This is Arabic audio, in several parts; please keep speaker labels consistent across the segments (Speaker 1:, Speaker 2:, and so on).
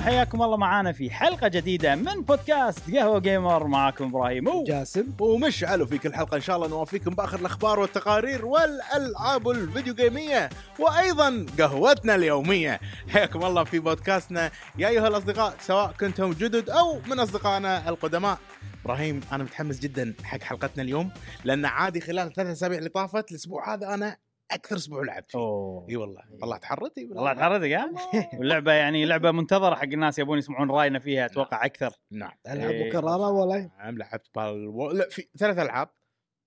Speaker 1: حياكم الله معانا في حلقه جديده من بودكاست قهوه جيمر معاكم ابراهيم و-
Speaker 2: جاسم
Speaker 3: ومشعل وفي كل حلقه ان شاء الله نوافيكم باخر الاخبار والتقارير والالعاب الفيديو جيميه وايضا قهوتنا اليوميه حياكم الله في بودكاستنا يا ايها الاصدقاء سواء كنتم جدد او من اصدقائنا القدماء ابراهيم انا متحمس جدا حق حلقتنا اليوم لان عادي خلال ثلاث اسابيع اللي طافت الاسبوع هذا انا اكثر اسبوع لعبت فيه
Speaker 1: اوه
Speaker 3: اي والله طلعت حرتي
Speaker 1: والله تعرضك ها واللعبه يعني لعبه منتظره حق الناس يبون يسمعون راينا فيها اتوقع اكثر
Speaker 3: نعم
Speaker 1: إيه.
Speaker 2: العاب مكرره ولا
Speaker 3: نعم لعبت بال و... لا في ثلاث العاب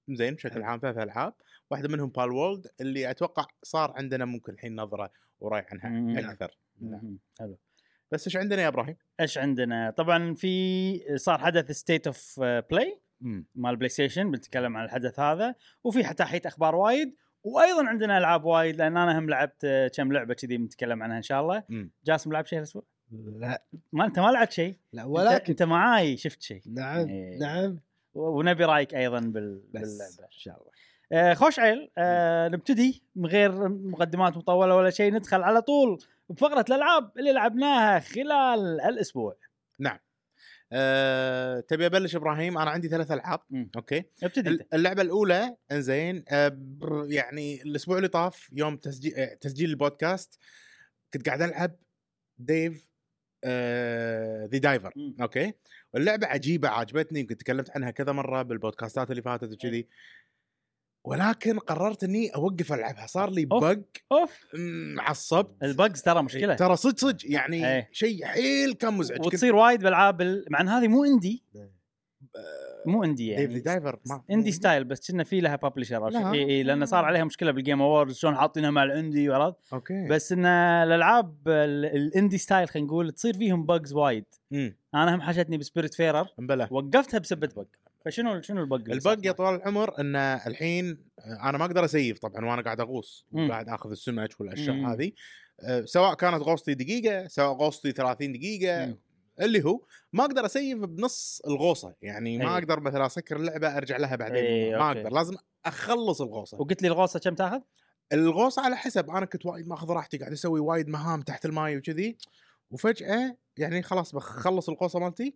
Speaker 3: زين بشكل عام ثلاث العاب واحده منهم بال وولد اللي اتوقع صار عندنا ممكن الحين نظره وراي
Speaker 1: مم.
Speaker 3: عنها اكثر نعم.
Speaker 1: مهم. حلو
Speaker 3: بس ايش عندنا يا ابراهيم؟
Speaker 1: ايش عندنا طبعا في صار حدث ستيت اوف بلاي مال بلاي ستيشن بنتكلم عن الحدث هذا وفي تحية اخبار وايد وايضا عندنا العاب وايد لان انا هم لعبت آه، كم لعبه كذي بنتكلم عنها ان شاء الله
Speaker 3: مم.
Speaker 1: جاسم لعب شيء هالاسبوع
Speaker 2: لا
Speaker 1: ما انت ما لعبت شيء
Speaker 2: لا
Speaker 1: ولكن
Speaker 2: ولكن
Speaker 1: انت معاي شفت شيء
Speaker 2: نعم
Speaker 1: إيه.
Speaker 2: نعم
Speaker 1: و- ونبي رايك ايضا بال...
Speaker 2: بس
Speaker 1: باللعبه
Speaker 2: ان شاء الله
Speaker 1: آه خوش عيل آه نبتدي من غير مقدمات مطوله ولا شيء ندخل على طول بفقره الالعاب اللي لعبناها خلال الاسبوع
Speaker 3: أه... تبي ابلش ابراهيم انا عندي ثلاث العاب
Speaker 1: مم.
Speaker 3: اوكي
Speaker 1: ابتدي انت
Speaker 3: الل- اللعبه الاولى انزين أه... بر- يعني الاسبوع اللي طاف يوم تسجيل أه، تسجيل البودكاست كنت قاعد العب ديف ذا دايفر
Speaker 1: مم.
Speaker 3: اوكي اللعبه عجيبه عجبتني يمكن تكلمت عنها كذا مره بالبودكاستات اللي
Speaker 1: إيه.
Speaker 3: فاتت وكذي ولكن قررت اني اوقف العبها صار لي
Speaker 1: أوف.
Speaker 3: بق
Speaker 1: اوف
Speaker 3: مم، عصبت
Speaker 1: البجز ترى مشكله
Speaker 3: إيه، ترى صدق صدق يعني
Speaker 1: إيه.
Speaker 3: شيء حيل كان مزعج كنت
Speaker 1: وتصير وايد بالعاب ال- مع ان هذه مو اندي مو اندي
Speaker 3: ديف ذا
Speaker 1: يعني
Speaker 3: دايفر ما-
Speaker 1: اندي ستايل بس كنا في لها ببلشر او شيء
Speaker 3: لا.
Speaker 1: اي اي لان صار عليها مشكله بالجيم اووردز شلون حاطينها مع الاندي وعرفت
Speaker 3: اوكي
Speaker 1: بس ان الالعاب ال- الاندي ستايل خلينا نقول تصير فيهم بجز وايد
Speaker 3: مم،
Speaker 1: انا هم حشتني بسبيريت فيرر
Speaker 3: بلى
Speaker 1: وقفتها بسبه بق فشنو شنو البق اللي صار؟
Speaker 3: البق يا طوال العمر ان الحين انا ما اقدر اسيف طبعا وانا قاعد اغوص
Speaker 1: مم.
Speaker 3: وقاعد اخذ السمك والاشياء
Speaker 1: مم.
Speaker 3: هذه أه، سواء كانت غوصتي دقيقه سواء غوصتي 30 دقيقه
Speaker 1: مم.
Speaker 3: اللي هو ما اقدر اسيف بنص الغوصه يعني ما
Speaker 1: أي.
Speaker 3: اقدر مثلا اسكر اللعبه ارجع لها
Speaker 1: أي،
Speaker 3: بعدين ما
Speaker 1: أيوه. إيه، أوكي.
Speaker 3: اقدر لازم اخلص الغوصه
Speaker 1: وقلت لي الغوصه كم تاخذ؟
Speaker 3: الغوصه على حسب انا كنت وايد ماخذ راحتي قاعد اسوي وايد مهام تحت الماي وكذي وفجاه يعني خلاص بخلص الغوصه مالتي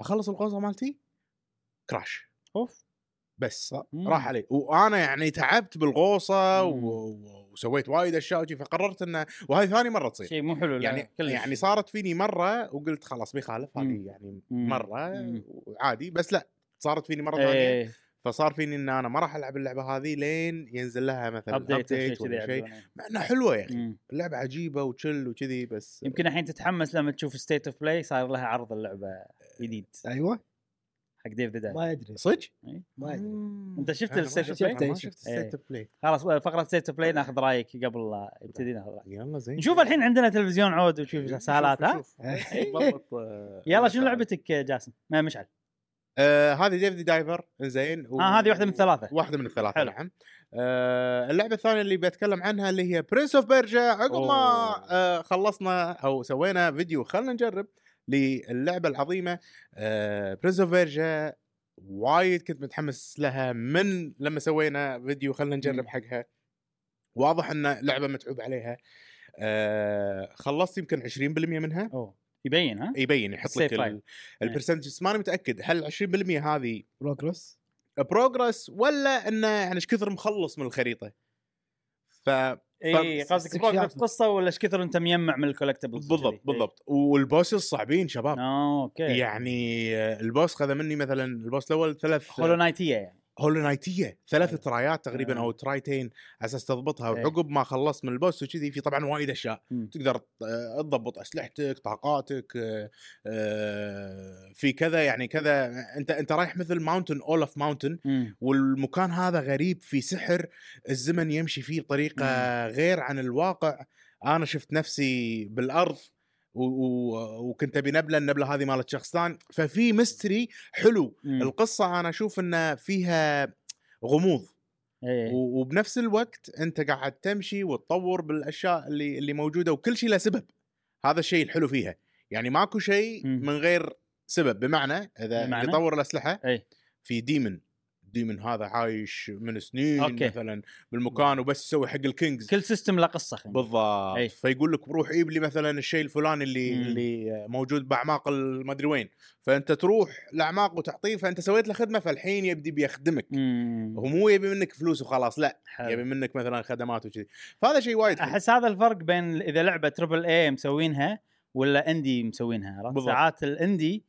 Speaker 3: اخلص الغوصه مالتي كراش
Speaker 1: اوف
Speaker 3: بس
Speaker 1: مم.
Speaker 3: راح علي وانا يعني تعبت بالغوصه
Speaker 1: مم.
Speaker 3: و... و- وسويت وايد اشياء وشي، فقررت انه وهاي ثاني مره تصير
Speaker 1: شيء مو حلو لا،
Speaker 3: يعني
Speaker 1: كلش.
Speaker 3: يعني صارت فيني مره وقلت خلاص بيخالف
Speaker 1: مم.
Speaker 3: هذه يعني
Speaker 1: مم.
Speaker 3: مره
Speaker 1: مم.
Speaker 3: وعادي بس لا صارت فيني مره ثانيه
Speaker 1: ايه
Speaker 3: فصار فيني ان انا ما راح العب اللعبه هذه لين ينزل لها مثلا
Speaker 1: ابديت أو شيء
Speaker 3: update
Speaker 1: كذي
Speaker 3: ولا شيء
Speaker 1: يعدلونه.
Speaker 3: مع انها حلوه يا اخي
Speaker 1: مم.
Speaker 3: اللعبه عجيبه وتشل وكذي بس
Speaker 1: يمكن الحين تتحمس لما تشوف ستيت اوف بلاي صار لها عرض اللعبه جديد
Speaker 2: ايوه
Speaker 1: حق ديف ذا
Speaker 2: ما ادري
Speaker 3: صدق؟
Speaker 2: ما ادري
Speaker 1: أنت شفت
Speaker 3: أنا ما
Speaker 1: الستيت
Speaker 2: أوف
Speaker 3: شفت-
Speaker 2: بلاي؟
Speaker 3: أنا ما
Speaker 2: شفت-
Speaker 3: شفت
Speaker 1: إيه.
Speaker 3: ستيت أوف بلاي
Speaker 1: خلاص فقره ستيت اوف بلاي ناخذ رايك قبل لا نبتدي ناخذ رايك
Speaker 3: طيب، يلا زين
Speaker 1: نشوف الحين عندنا تلفزيون عود
Speaker 3: إيه،
Speaker 1: ونشوف سهالات ها إيه. يلا شنو لعبتك يا جاسم ما مشعل
Speaker 3: آه، هذه ديف ذا دايفر زين و...
Speaker 1: اه هذه واحده من الثلاثه
Speaker 3: واحده من الثلاثه
Speaker 1: حلو.
Speaker 3: نعم آه اللعبه الثانيه اللي بتكلم عنها اللي هي برنس اوف بيرجا عقب ما
Speaker 1: أوه.
Speaker 3: آه خلصنا او سوينا فيديو خلينا نجرب للعبه العظيمه آه برنس اوف بيرجا وايد كنت متحمس لها من لما سوينا فيديو خلينا
Speaker 1: مم.
Speaker 3: نجرب حقها واضح ان لعبه متعوب عليها آه خلصت يمكن 20% منها
Speaker 1: اوه يبين ها
Speaker 3: يبين إيه، يحط
Speaker 1: السيف لاين.
Speaker 3: لك
Speaker 1: إيه.
Speaker 3: البرسنتج بس ماني متاكد هل 20% هذه
Speaker 2: بروجرس
Speaker 3: بروجرس ولا انه يعني ايش كثر مخلص من الخريطه ف
Speaker 1: اي
Speaker 3: فم-
Speaker 1: إيه، قصدك
Speaker 2: ستيك
Speaker 1: بروك
Speaker 2: شارب.
Speaker 1: نفس قصه ولا ايش كثر انت مجمع من الكولكتبلز
Speaker 3: بالضبط بالضبط والبوس الصعبين شباب
Speaker 1: اه اوكي
Speaker 3: يعني آه، البوس خذ مني مثلا البوس الاول ثلاث
Speaker 1: هولو نايتيه يعني
Speaker 3: هولو نايتيه ثلاث
Speaker 1: أيوة.
Speaker 3: ترايات تقريبا
Speaker 1: أيوة.
Speaker 3: او ترايتين على اساس تضبطها
Speaker 1: أيوة.
Speaker 3: وعقب ما خلصت من البوس وكذي في طبعا وايد اشياء
Speaker 1: مم.
Speaker 3: تقدر آه، تضبط اسلحتك طاقاتك آه، آه، في كذا يعني كذا انت انت رايح مثل ماونتن اول اوف ماونتن
Speaker 1: مم.
Speaker 3: والمكان هذا غريب في سحر الزمن يمشي فيه بطريقه غير عن الواقع انا شفت نفسي بالارض و... و... وكنت ابي نبله النبله هذه مالت شخص ثاني ففي ميستري حلو
Speaker 1: مم.
Speaker 3: القصه انا اشوف ان فيها غموض
Speaker 1: إيه.
Speaker 3: و... وبنفس الوقت انت قاعد تمشي وتطور بالاشياء اللي اللي موجوده وكل شيء له سبب هذا الشيء الحلو فيها يعني ماكو شيء
Speaker 1: مم.
Speaker 3: من غير سبب بمعنى اذا
Speaker 1: إمم. بمعنى؟ إيه.
Speaker 3: اللي طور الاسلحه
Speaker 1: أي.
Speaker 3: في ديمن الديمن هذا عايش من سنين
Speaker 1: أوكي.
Speaker 3: مثلا بالمكان وبس يسوي حق الكينجز
Speaker 1: كل سيستم له قصه خلينا نقول.
Speaker 3: بالضبط
Speaker 1: أي.
Speaker 3: فيقول لك بروح جيب لي مثلا الشيء الفلاني اللي
Speaker 1: مم.
Speaker 3: اللي موجود باعماق المدري وين فانت تروح لاعماق وتعطيه فانت سويت له خدمه فالحين يبدي بيخدمك
Speaker 1: إمم. مم.
Speaker 3: هو مو يبي منك فلوس وخلاص لا
Speaker 1: حلو.
Speaker 3: يبي منك مثلا خدمات وكذي فهذا شيء وايد حلو.
Speaker 1: احس هذا الفرق بين ال- اذا لعبه تربل اي مسوينها ولا اندي مسوينها عرفت
Speaker 3: بالضبط.
Speaker 1: ساعات الاندي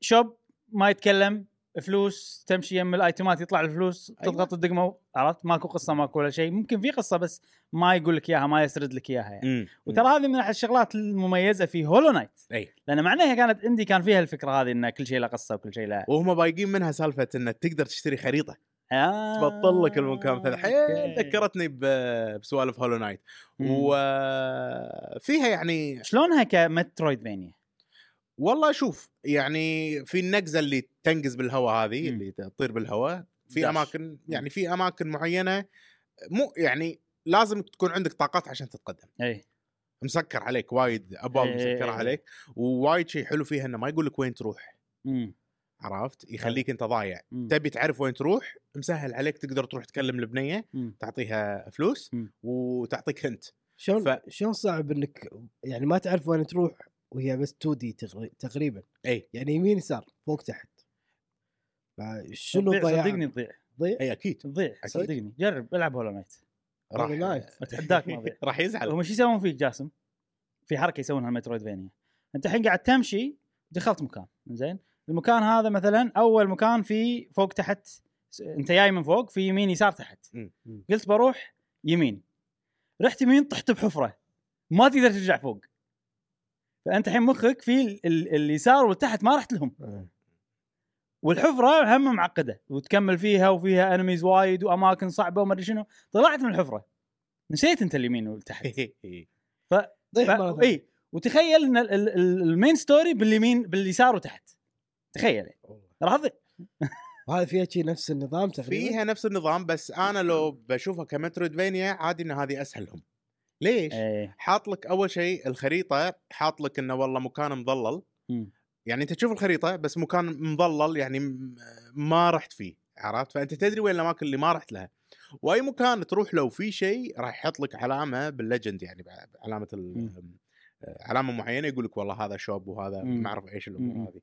Speaker 1: شوب ما يتكلم فلوس تمشي يم الايتمات يطلع الفلوس
Speaker 3: أيوة.
Speaker 1: تضغط الدقمه عرفت ماكو قصه ماكو ولا شيء ممكن في قصه بس ما يقول لك اياها ما يسرد لك اياها يعني.
Speaker 3: مم.
Speaker 1: وترى هذه من احد الشغلات المميزه في هولو نايت
Speaker 3: أي.
Speaker 1: لان معناها كانت اندي كان فيها الفكره هذه ان كل شيء له قصه وكل شيء له
Speaker 3: وهم بايقين منها سالفه انك تقدر تشتري خريطه
Speaker 1: آه.
Speaker 3: تبطل لك المكان فالحين
Speaker 1: أوكي.
Speaker 3: ذكرتني ب- بسوالف هولو نايت
Speaker 1: مم.
Speaker 3: وفيها يعني
Speaker 1: شلونها كمترويدفينيا
Speaker 3: والله شوف يعني في النقزه اللي تنقز بالهواء هذه
Speaker 1: مم.
Speaker 3: اللي تطير بالهواء في
Speaker 1: داش.
Speaker 3: اماكن يعني في اماكن معينه مو يعني لازم تكون عندك طاقات عشان تتقدم
Speaker 1: اي
Speaker 3: مسكر عليك وايد ابواب
Speaker 1: إيه.
Speaker 3: مسكره عليك ووايد شيء حلو فيها انه ما يقول لك وين تروح
Speaker 1: مم.
Speaker 3: عرفت يخليك انت ضايع
Speaker 1: مم.
Speaker 3: تبي تعرف وين تروح مسهل عليك تقدر تروح تكلم البنيه
Speaker 1: مم.
Speaker 3: تعطيها فلوس
Speaker 1: مم.
Speaker 3: وتعطيك انت
Speaker 2: شلون
Speaker 3: ف-
Speaker 2: شلون صعب انك يعني ما تعرف وين تروح وهي بس 2 دي تقريبا
Speaker 3: اي
Speaker 2: يعني يمين يسار فوق تحت شنو
Speaker 1: تضيع،
Speaker 2: ضياع
Speaker 1: صدقني تضيع
Speaker 2: ضيع
Speaker 3: اي اكيد
Speaker 1: تضيع
Speaker 3: أكيد.
Speaker 1: صدقني جرب العب هولو نايت
Speaker 3: راح
Speaker 2: Hollow Knight.
Speaker 1: أتحداك ما أضيع.
Speaker 3: راح يزعل
Speaker 1: هم شو يسوون فيك جاسم؟ في حركه يسوونها المترويدفينيا انت الحين قاعد تمشي دخلت مكان زين المكان هذا مثلا اول مكان في فوق تحت س- انت جاي من فوق في يمين يسار تحت
Speaker 3: مم.
Speaker 2: مم.
Speaker 1: قلت بروح يمين رحت يمين طحت بحفره ما تقدر ترجع فوق فانت الحين مخك في ال- ال- اليسار والتحت ما رحت لهم
Speaker 3: إيه.
Speaker 2: آه.
Speaker 1: والحفره هم معقده وتكمل فيها وفيها انميز وايد واماكن صعبه وما ادري شنو طلعت من الحفره نسيت انت اليمين
Speaker 3: إيه.
Speaker 1: والتحت
Speaker 3: طيب،
Speaker 2: ضيع
Speaker 1: ف-
Speaker 2: مرة ثانية.
Speaker 1: اي وتخيل ان ال- ال- ال- المين ستوري باليمين باليسار وتحت تخيل راح اضيع
Speaker 2: وهذا فيها شيء نفس النظام تقريبا
Speaker 3: فيها نفس النظام بس انا لو بشوفها كمترويدفينيا عادي ان هذه اسهلهم ليش؟
Speaker 1: إيه.
Speaker 3: حاط لك اول شيء الخريطه حاط لك انه والله مكان مظلل
Speaker 1: مم.
Speaker 3: يعني انت تشوف الخريطه بس مكان مظلل يعني م- ما رحت فيه عرفت فانت تدري وين الاماكن اللي ما رحت لها واي مكان تروح لو في شيء راح يحط لك علامه بالليجند يعني بع- علامه ال... علامه معينه يقول لك والله هذا شوب وهذا
Speaker 1: مم.
Speaker 3: ما اعرف ايش الامور
Speaker 1: مم.
Speaker 3: هذه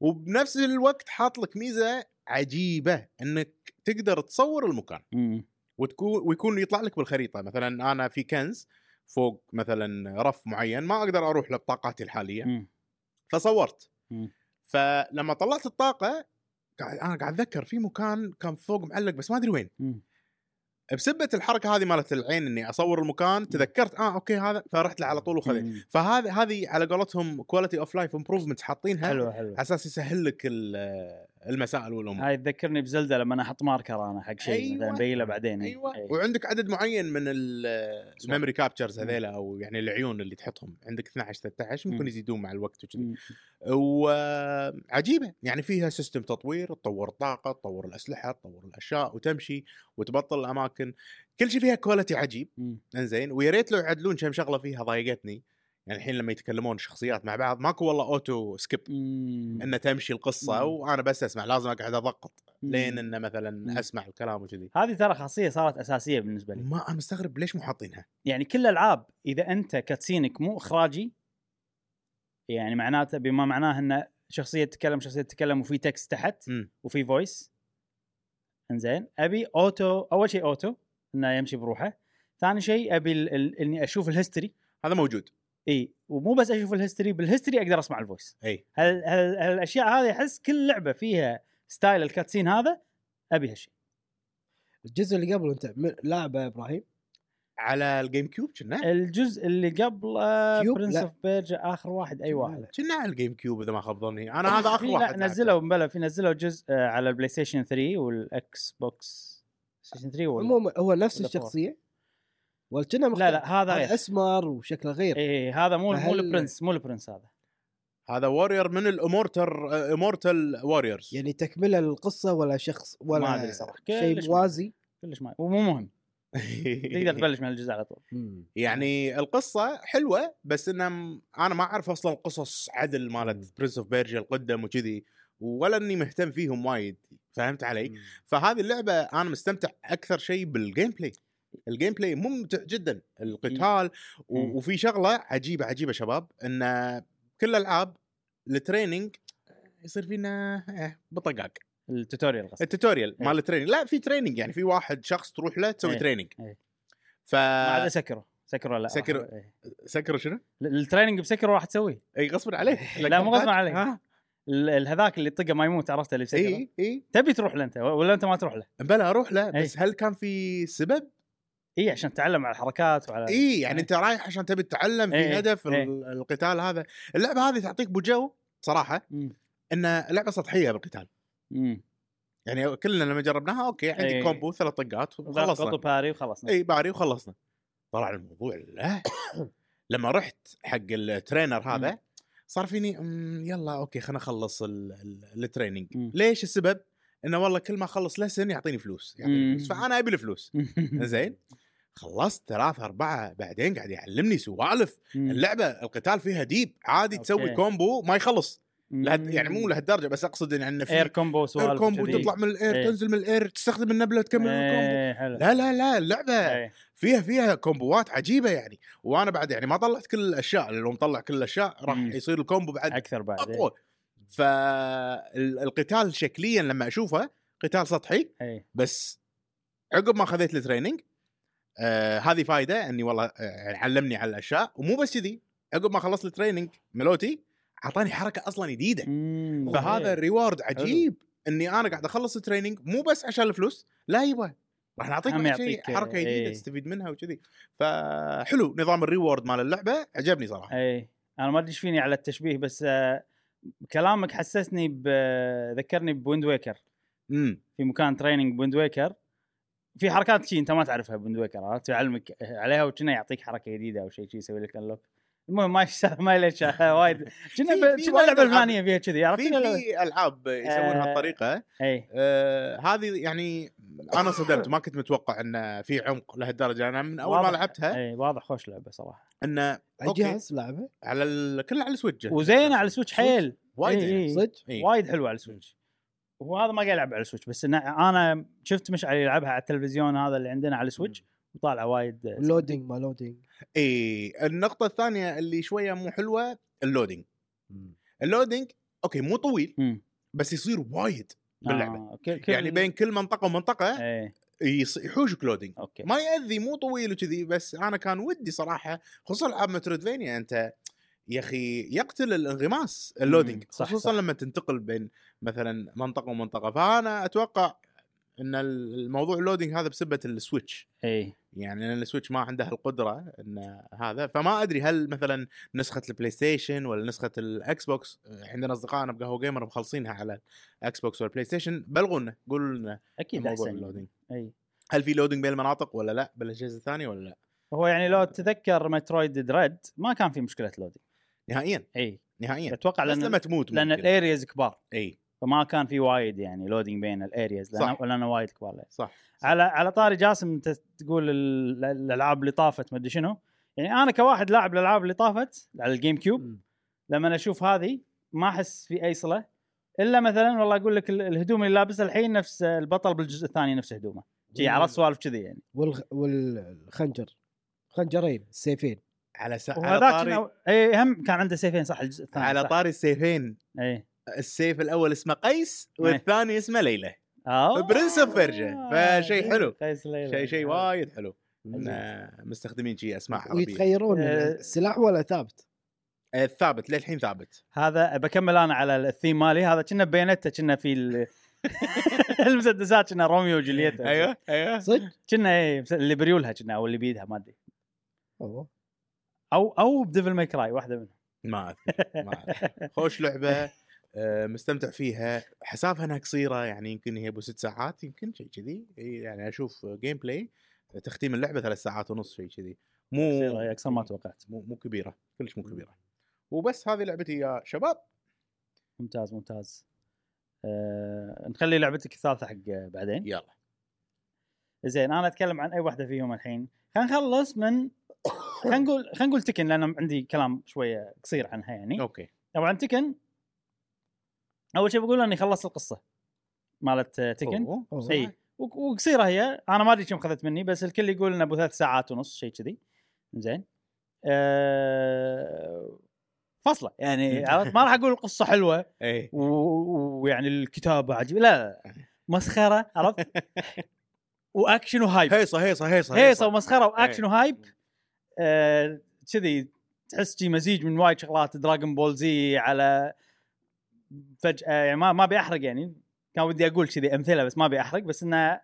Speaker 3: وبنفس الوقت حاط لك ميزه عجيبه انك تقدر تصور المكان
Speaker 1: مم.
Speaker 3: وتكون ويكون يطلع لك بالخريطه مثلا انا في كنز فوق مثلا رف معين ما اقدر اروح له بطاقاتي الحاليه
Speaker 1: مم.
Speaker 3: فصورت
Speaker 1: مم.
Speaker 3: فلما طلعت الطاقه قاعد انا قاعد اتذكر في مكان كان فوق معلق بس ما ادري وين
Speaker 1: مم.
Speaker 3: بسبه الحركه هذه مالت العين اني اصور المكان تذكرت اه اوكي هذا فرحت له على طول وخذيت
Speaker 1: مم.
Speaker 3: فهذه هذه على قولتهم كواليتي اوف لايف امبروفمنت حاطينها على
Speaker 1: حلوه حلوه
Speaker 3: اساس يسهل لك ال- المسائل والامور
Speaker 1: هاي تذكرني بزلده لما انا احط ماركر انا حق شيء
Speaker 3: أيوة.
Speaker 1: مثلا بيله بعدين إيه.
Speaker 3: ايوه
Speaker 1: إيه.
Speaker 3: وعندك عدد معين من ال-
Speaker 1: صح.
Speaker 3: الميموري كابتشرز هذيلا او يعني العيون اللي تحطهم عندك 12 13 ممكن
Speaker 1: مم.
Speaker 3: يزيدون مع الوقت وكذي
Speaker 1: مم.
Speaker 3: وعجيبه يعني فيها سيستم تطوير تطور الطاقه تطور الاسلحه تطور الاشياء وتمشي وتبطل الاماكن كل شيء فيها كواليتي عجيب
Speaker 1: مم.
Speaker 3: انزين ويا ريت لو يعدلون كم شغله فيها ضايقتني يعني الحين لما يتكلمون شخصيات مع بعض ماكو والله اوتو سكيب
Speaker 1: مم.
Speaker 3: انه تمشي القصه
Speaker 1: مم.
Speaker 3: وانا بس اسمع لازم اقعد اضغط
Speaker 1: مم.
Speaker 3: لين انه مثلا
Speaker 1: مم.
Speaker 3: اسمع الكلام وكذي
Speaker 1: هذه ترى خاصيه صارت اساسيه بالنسبه لي
Speaker 3: ما انا مستغرب ليش مو حاطينها
Speaker 1: يعني كل الالعاب اذا انت كاتسينك مو اخراجي يعني معناته بما معناه ان شخصيه تتكلم شخصيه تتكلم وفي تكست تحت
Speaker 3: مم.
Speaker 1: وفي فويس انزين ابي اوتو اول شيء اوتو انه يمشي بروحه ثاني شيء ابي ال... ال... اني اشوف الهيستوري
Speaker 3: هذا موجود
Speaker 1: اي ومو بس اشوف الهيستوري بالهيستوري اقدر اسمع الفويس
Speaker 3: اي
Speaker 1: هال... هال... هالاشياء هذه احس كل لعبه فيها ستايل الكاتسين هذا ابي هالشيء
Speaker 2: الجزء اللي قبله انت م- لاعبه ابراهيم
Speaker 3: على الجيم كيوب
Speaker 1: إيه.
Speaker 3: كنا
Speaker 1: الجزء اللي قبل
Speaker 2: كيوب؟
Speaker 1: برنس
Speaker 2: لا.
Speaker 1: اوف بيرجا اخر واحد اي واحد
Speaker 3: كنا على الجيم كيوب اذا ما خاب ظني انا هذا اخر
Speaker 1: في
Speaker 3: واحد
Speaker 1: إيه. لا نزلوا بلا في نزلوا جزء آه، على البلاي ستيشن 3 والاكس بوكس ستيشن 3 ولا
Speaker 2: عموما هو نفس
Speaker 1: ولا فور.
Speaker 2: الشخصيه ولا كنا
Speaker 1: لا لا هذا غير
Speaker 2: اسمر وشكله غير
Speaker 1: اي هذا مو مو
Speaker 2: فهل-
Speaker 1: البرنس مو البرنس هذا
Speaker 3: هذا واريور من الامورتر امورتال واريورز
Speaker 2: يعني تكمله للقصه ولا شخص ولا
Speaker 1: ما أدري صراحة. كلش
Speaker 2: شيء موازي
Speaker 1: كلش ما ومو مهم يعني تقدر تبلش من الجزء على طول
Speaker 2: مم.
Speaker 3: يعني القصه حلوه بس انها م- انا ما اعرف اصلا قصص عدل مالت برنس اوف بيرجيا القدم وكذي ولا اني مهتم فيهم وايد فهمت علي؟ فهذه اللعبه انا مستمتع اكثر شيء بالجيم بلاي الجيم بلاي ممتع جدا القتال
Speaker 1: مم.
Speaker 3: و- وفي شغله عجيبه عجيبه شباب ان كل الالعاب التريننج يصير فينا إيه، بطقاق
Speaker 1: التوتوريال قصدي
Speaker 3: التوتوريال
Speaker 1: إيه.
Speaker 3: مال التريننج لا في تريننج يعني في واحد شخص تروح له تسوي
Speaker 1: إيه.
Speaker 3: تريننج
Speaker 1: إيه.
Speaker 3: ف
Speaker 1: ما عدا سكرو سكرو لا
Speaker 3: سكرو.
Speaker 1: راح- إيه.
Speaker 3: سكر شنو؟
Speaker 1: ال- التريننج بسكرو راح تسويه
Speaker 3: اي غصب عليه
Speaker 1: إيه. لا، مو غصباً إيه، عليه.
Speaker 3: ها؟
Speaker 1: ال- ال- هذاك اللي طقه ما يموت عرفته اللي بسكره
Speaker 3: اي اي
Speaker 1: تبي تروح له انت ولا انت ما تروح له
Speaker 3: بلا اروح له
Speaker 1: إيه.
Speaker 3: بس هل كان في سبب؟
Speaker 1: اي عشان تتعلم على الحركات وعلى
Speaker 3: اي يعني
Speaker 1: إيه.
Speaker 3: انت رايح عشان تبي تتعلم في
Speaker 1: إيه.
Speaker 3: هدف
Speaker 1: إيه.
Speaker 3: ال- القتال هذا اللعبه هذه تعطيك بجو صراحه
Speaker 1: مم.
Speaker 3: ان لعبه سطحيه بالقتال
Speaker 1: امم
Speaker 3: يعني كلنا لما جربناها اوكي عندي
Speaker 1: إيه.
Speaker 3: كومبو ثلاث طقات
Speaker 1: خلاص
Speaker 3: وخلصنا
Speaker 1: باري وخلصنا
Speaker 3: اي باري إيه، وخلصنا طلع الموضوع لا لما رحت حق الترينر هذا
Speaker 1: مم.
Speaker 3: صار فيني "أمم، يلا اوكي خلينا اخلص ال- ال- التريننج
Speaker 1: مم.
Speaker 3: ليش السبب؟ انه والله كل ما اخلص لسن يعطيني فلوس يعطيني
Speaker 1: مم.
Speaker 3: فلوس فانا ابي الفلوس زين خلصت ثلاثة أربعة بعدين قاعد يعلمني سوالف
Speaker 1: مم.
Speaker 3: اللعبة القتال فيها ديب عادي
Speaker 1: أوكي.
Speaker 3: تسوي كومبو ما يخلص
Speaker 1: مم.
Speaker 3: لهد يعني مو لهالدرجة بس أقصد يعني
Speaker 1: اير
Speaker 3: في
Speaker 1: كومبو
Speaker 3: اير
Speaker 1: سوالف
Speaker 3: كومبو
Speaker 1: وكذي.
Speaker 3: تطلع من الاير
Speaker 1: إيه.
Speaker 3: تنزل من الاير تستخدم النبلة تكمل الكومبو
Speaker 1: إيه، حلو
Speaker 3: لا لا لا اللعبة
Speaker 1: إيه.
Speaker 3: فيها فيها كومبوات عجيبه يعني وانا بعد يعني ما طلعت كل الاشياء لو مطلع كل الاشياء راح
Speaker 1: مم.
Speaker 3: يصير الكومبو بعد
Speaker 1: اكثر بعد
Speaker 3: اقوى فالقتال شكليا لما اشوفه قتال سطحي
Speaker 1: اي
Speaker 3: بس عقب ما خذيت التريننج آه هذه فايده اني والله آه علمني على الاشياء ومو بس كذي عقب ما خلصت التريننج ملوتي اعطاني حركه اصلا جديده فهذا الريورد عجيب اني انا قاعد اخلص التريننج مو بس عشان الفلوس لا يبا راح نعطيك
Speaker 1: هم
Speaker 3: بعد شيء
Speaker 1: يعطيك،
Speaker 3: حركه جديده
Speaker 1: إيه.
Speaker 3: تستفيد منها وكذي فحلو نظام الريورد مال اللعبه عجبني صراحه
Speaker 1: اي انا ما ادري ايش فيني على التشبيه بس آه، كلامك حسسني ب ذكرني بويند ويكر
Speaker 3: امم
Speaker 1: في مكان تريننج بويند ويكر في حركات شي انت ما تعرفها بويند ويكر عرفت يعلمك عليها وكنا يعطيك حركه جديده او شيء شي يسوي لك انلوك المهم ما يشتغل- ما ليش وايد كنا
Speaker 3: في-
Speaker 1: ب-
Speaker 3: في
Speaker 1: كنا
Speaker 3: وايد
Speaker 1: اللعبه
Speaker 3: ألعاب.
Speaker 1: الفلانيه فيها كذي عرفت
Speaker 3: في في العاب يسوونها
Speaker 1: آه.
Speaker 3: الطريقه
Speaker 1: اي
Speaker 3: آه هذه يعني انا صدمت ما كنت متوقع ان في عمق لهالدرجه انا من اول ما
Speaker 1: واضح. أه.
Speaker 3: لعبتها
Speaker 1: اي واضح خوش لعبه صراحه
Speaker 3: انه
Speaker 2: على
Speaker 3: أوكي.
Speaker 2: الجهاز لعبه
Speaker 3: على ال... كلها على السويتش
Speaker 1: وزينه على السويتش حيل
Speaker 3: وايد إيه.
Speaker 1: إي-
Speaker 3: زينة.
Speaker 1: إي.
Speaker 2: صدق؟
Speaker 3: إي.
Speaker 1: وايد حلوه على السويتش وهذا ما قاعد يلعب على السويتش بس إن انا شفت مشعل يلعبها على التلفزيون هذا اللي عندنا على السويتش وطالعه وايد
Speaker 2: لودينج ما لودينج
Speaker 3: اي النقطه الثانيه إيه. اللي شويه مو حلوه اللودينج اللودينج اوكي مو طويل
Speaker 1: مم.
Speaker 3: بس يصير وايد باللعبه
Speaker 1: آه. كل... كل...
Speaker 3: يعني بين كل منطقه ومنطقه
Speaker 1: ايه
Speaker 3: يص- يحوشك لودينج
Speaker 1: اوكي
Speaker 3: ما ياذي مو طويل وكذي بس انا كان ودي صراحه خصوصا العاب مترويدفينيا انت يا اخي يقتل الانغماس اللودينج
Speaker 1: مم، إمم، صح،
Speaker 3: خصوصا
Speaker 1: صح.
Speaker 3: لما تنتقل بين مثلا منطقه ومنطقه فانا اتوقع ان الموضوع اللودينج هذا بسبه السويتش
Speaker 1: ايه
Speaker 3: يعني لان السويتش ما عنده القدره ان هذا فما ادري هل مثلا نسخه البلاي ستيشن ولا نسخه الاكس بوكس عندنا اصدقائنا بقهوه جيمر مخلصينها على الاكس بوكس والبلاي ستيشن بلغونا قولوا لنا
Speaker 1: اكيد
Speaker 3: موضوع
Speaker 1: احسن
Speaker 3: اللودينج
Speaker 1: اي
Speaker 3: هل في لودينج بين المناطق ولا لا بالاجهزه الثانيه ولا لا
Speaker 1: هو يعني لو تتذكر مترويد دريد ما كان في مشكله لودي
Speaker 3: نهائيا
Speaker 1: اي
Speaker 3: نهائيا
Speaker 1: اتوقع
Speaker 3: إيه. بس لما
Speaker 1: لان
Speaker 3: تموت
Speaker 1: لان
Speaker 3: ممكن.
Speaker 1: الارياز كبار
Speaker 3: اي
Speaker 1: فما كان في وايد يعني لودينج بين الارياز لان
Speaker 3: صح.
Speaker 1: لان وايد كبار لا.
Speaker 3: صح
Speaker 1: على على طاري جاسم انت تقول ال- الالعاب اللي طافت ما ادري شنو يعني انا كواحد لاعب الالعاب اللي طافت على الجيم كيوب
Speaker 2: مم.
Speaker 1: لما اشوف هذه ما احس في اي صله الا مثلا والله اقول لك ال- الهدوم اللي لابسه الحين نفس البطل بالجزء الثاني نفس هدومه جي عرفت سوالف كذي يعني
Speaker 2: والخ... والخنجر خنجرين سيفين
Speaker 3: على سا... على
Speaker 1: وهذاك
Speaker 3: طاري
Speaker 1: شنو- اي هم كان عنده سيفين صح الجزء الثاني
Speaker 3: على
Speaker 1: صح.
Speaker 3: طاري السيفين
Speaker 1: اي
Speaker 3: السيف الاول اسمه قيس والثاني اسمه ليلى
Speaker 1: آه. إيه،
Speaker 3: برنس أوف فرجة. فشي حلو.
Speaker 1: قيس ليلى. إيه،
Speaker 3: شيء شيء وايد حلو إن
Speaker 2: آه،
Speaker 3: مستخدمين شي اسماء عربيه
Speaker 2: ويتغيرون
Speaker 1: آه.
Speaker 2: السلاح ولا ثابت
Speaker 3: آه، ثابت للحين ثابت
Speaker 1: هذا بكمل انا على الثيم مالي هذا كنا بيانتا كنا في ال... المسدسات كنا روميو وجولييتا
Speaker 3: ايوه ايوه
Speaker 2: صدق؟
Speaker 1: كنا اي مس- اللي بريولها كنا او اللي بيدها ما ادري
Speaker 2: أوه.
Speaker 1: او او بديفل ماي كراي واحده منهم
Speaker 3: ما أذكر، ما أذكر. خوش لعبه آه، مستمتع فيها حسافها انها قصيره يعني يمكن هي ابو ست ساعات يمكن شيء كذي يعني اشوف جيم بلاي تختيم اللعبه ثلاث ساعات ونص شيء كذي مو
Speaker 1: قصيرة، اكثر ما توقعت
Speaker 3: مو مو كبيره كلش مو كبيره وبس هذه لعبتي يا شباب
Speaker 1: ممتاز ممتاز أه... نخلي لعبتك الثالثه حق بعدين
Speaker 3: يلا
Speaker 1: زين انا اتكلم عن اي واحده فيهم الحين خلينا نخلص من خلينا نقول خلينا نقول إيه. تكن لان عندي كلام شويه قصير عنها يعني
Speaker 3: اوكي
Speaker 1: طبعا تكن اول شيء بقول اني خلصت القصه مالت آه، تكن
Speaker 3: أوه.
Speaker 2: أوه.
Speaker 1: اي وك- وقصيره هي انا ما ادري كم خذت مني بس الكل يقول انه ابو ثلاث ساعات ونص شيء كذي زين أه... فصله يعني عرفت؟ ما راح اقول القصه حلوه
Speaker 3: اي
Speaker 1: و- و- ويعني الكتابه عجيبه لا, لا. مسخره عرفت واكشن وهايب
Speaker 3: هيصه هيصه هيصه
Speaker 1: هيصه ومسخره واكشن وهايب آه، كذي تحس شي مزيج من وايد شغلات دراغون بول زي على فجاه يعني ما ما ابي احرق يعني كان ودي اقول كذي امثله بس ما ابي احرق بس انه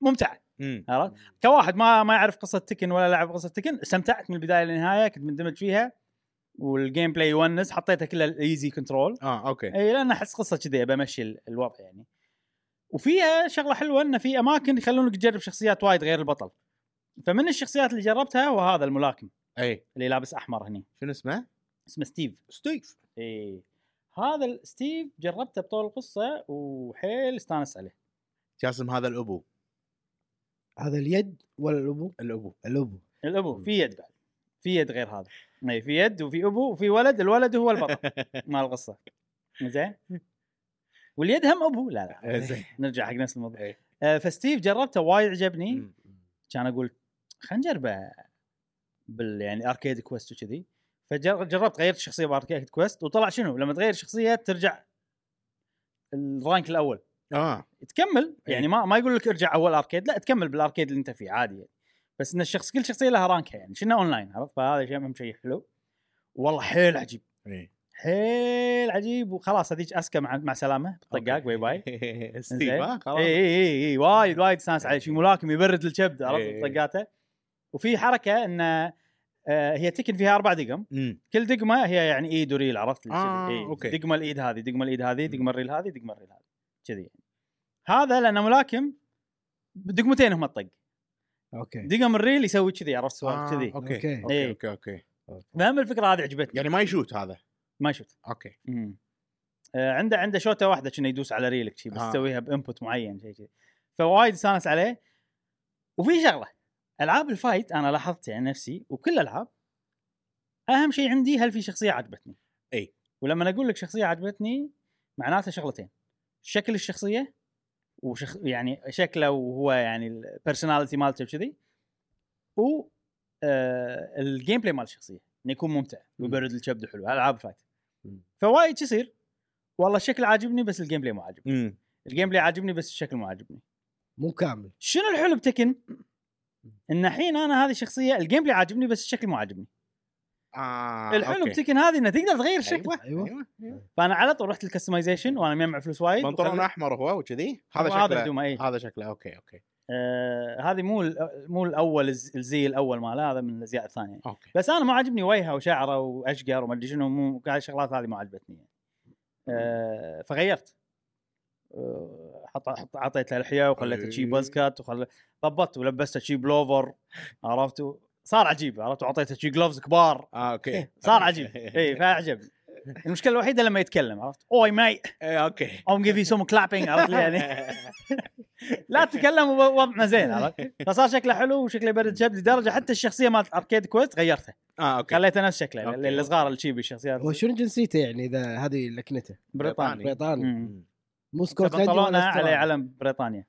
Speaker 1: ممتع
Speaker 3: مم.
Speaker 1: عرفت؟ كواحد ما ما يعرف قصه تكن ولا لعب قصه تكن استمتعت من البدايه للنهايه كنت مندمج فيها والجيم بلاي يونس حطيته كله الايزي كنترول
Speaker 3: اه اوكي
Speaker 1: اي لان احس قصه كذي ابى امشي ال- الوضع يعني وفيها شغله حلوه انه في اماكن يخلونك تجرب شخصيات وايد غير البطل فمن الشخصيات اللي جربتها هو هذا الملاكم
Speaker 3: اي
Speaker 1: اللي لابس احمر هني
Speaker 3: إيه. شنو اسمه؟
Speaker 1: اسمه ستيف
Speaker 3: ستيف
Speaker 1: اي هذا ال- ستيف جربته بطول القصه وحيل استانس عليه
Speaker 3: جاسم هذا الابو
Speaker 2: هذا اليد ولا الابو؟
Speaker 3: الابو
Speaker 2: الابو
Speaker 1: الابو في يد بعد في يد غير هذا اي في يد وفي ابو وفي ولد الولد هو البطل مال القصه زين واليد هم ابو لا لا
Speaker 3: إيه، زين
Speaker 1: نرجع حق نفس الموضوع
Speaker 3: إيه.
Speaker 1: آه، فستيف جربته وايد عجبني
Speaker 3: مم.
Speaker 1: كان اقول خلينا نجربه بال يعني اركيد كويست وكذي فجربت غيرت الشخصيه باركيد كويست وطلع شنو لما تغير شخصيه ترجع الرانك الاول
Speaker 3: اه
Speaker 1: تكمل
Speaker 3: إيه.
Speaker 1: يعني ما ما يقول لك ارجع اول اركيد لا تكمل بالاركيد اللي انت فيه عادي يعني. بس ان الشخص كل شخصيه لها رانكها يعني شنو اونلاين عرفت فهذا شيء اهم شيء حلو والله حيل عجيب
Speaker 3: اي
Speaker 1: حيل عجيب وخلاص هذيك اسكا مع, مع سلامه بالطقاق باي باي
Speaker 3: ستيف ها خلاص
Speaker 1: اي اي اي اي إيه، وايد
Speaker 3: إيه.
Speaker 1: وايد استانس عليه شي ملاكم يبرد الكبد
Speaker 3: إي.
Speaker 1: عرفت طقاته وفي حركه ان آه، هي تكن فيها اربع دقم
Speaker 3: مم.
Speaker 1: كل دقمه هي يعني ايد وريل عرفت
Speaker 3: آه،
Speaker 1: إي.
Speaker 3: أوكي.
Speaker 1: دقمه الايد هذه دقمه الايد هذه دقمه الريل هذه دقمه الريل هذه كذي يعني هذا لانه ملاكم دقمتين هم الطق
Speaker 2: اوكي
Speaker 1: دقم الريل يسوي كذي عرفت
Speaker 3: إيه. آه،
Speaker 1: سوالف كذي
Speaker 3: اوكي
Speaker 2: أوكي.
Speaker 3: اوكي
Speaker 1: إيه.
Speaker 3: اوكي اوكي
Speaker 1: فهم الفكره هذه عجبتني
Speaker 3: يعني ما يشوت هذا
Speaker 1: ما شفت
Speaker 3: اوكي
Speaker 1: امم آه، عنده عنده شوته واحده كنا يدوس على ريلك شي بس
Speaker 3: آه.
Speaker 1: تسويها بانبوت معين شيء كذي فوايد استانس عليه وفي شغله العاب الفايت انا لاحظت يعني نفسي وكل الالعاب اهم شيء عندي هل في شخصيه عجبتني
Speaker 3: أي.
Speaker 1: ولما اقول لك شخصيه عجبتني معناته شغلتين شكل الشخصيه وشخ يعني شكله وهو يعني البرسوناليتي مالته وكذي و آه الجيم بلاي مال الشخصيه انه يكون ممتع ويبرد الكبد حلو العاب فايت
Speaker 2: مم.
Speaker 1: فوايد شو يصير؟ والله الشكل عاجبني بس الجيم بلاي مو عاجبني
Speaker 3: امم
Speaker 1: الجيم بلاي عاجبني بس الشكل مو عاجبني
Speaker 2: مو كامل
Speaker 1: شنو الحلو بتكن؟ ان الحين انا هذه الشخصيه الجيم بلاي عاجبني بس الشكل مو عاجبني
Speaker 3: آه
Speaker 1: الحلو
Speaker 3: أوكي.
Speaker 1: بتكن هذه انه تقدر تغير الشكل
Speaker 3: ايوه
Speaker 2: أيوة.
Speaker 3: ايوه, أيوة.
Speaker 1: فانا على طول رحت الكستمايزيشن وانا مجمع فلوس وايد
Speaker 3: بنطلون
Speaker 1: وخل-
Speaker 3: احمر هو وكذي هذا
Speaker 1: هذا هذا
Speaker 3: شكله آه.
Speaker 1: هدومه اي
Speaker 3: هذا شكله اوكي اوكي
Speaker 1: آه هذه مو ال- مو الاول الز- الزي الاول ماله هذا من الازياء الثانيه
Speaker 3: اوكي
Speaker 1: بس انا ما عجبني وجهه وشعره واشقر وما ادري شنو مو هاي الشغلات هذه ما عجبتني يعني. آه فغيرت آه، حط حط اعطيت له لحيه وخليته شي باز كات وخل ضبطت ولبسته شي بلوفر عرفت صار عجيب عرفت واعطيته شي جلوفز كبار إيه،
Speaker 3: اه اوكي
Speaker 1: صار عجيب إيه، اي فاعجب المشكله الوحيده لما يتكلم عرفت "Oh, اوي ماي
Speaker 3: إيه، آه، اوكي
Speaker 1: ام جيف يو سم كلابينج عرفت لي يعني لا تكلم ووضعنا زين عرفت فصار شكله حلو وشكله برد شاب لدرجه حتى الشخصيه مالت اركيد كويست غيرتها
Speaker 3: اه اوكي
Speaker 1: خليته نفس شكله
Speaker 3: أوكي.
Speaker 1: الصغار اللي شي بالشخصيات
Speaker 2: هو شنو جنسيته يعني اذا هذه لكنته
Speaker 1: بريطاني
Speaker 2: بريطاني
Speaker 1: مم.
Speaker 2: مو سكوتلندي
Speaker 1: بنطلونه
Speaker 2: ولا
Speaker 1: يعني. عليه
Speaker 2: استرالي.
Speaker 1: علم بريطانيا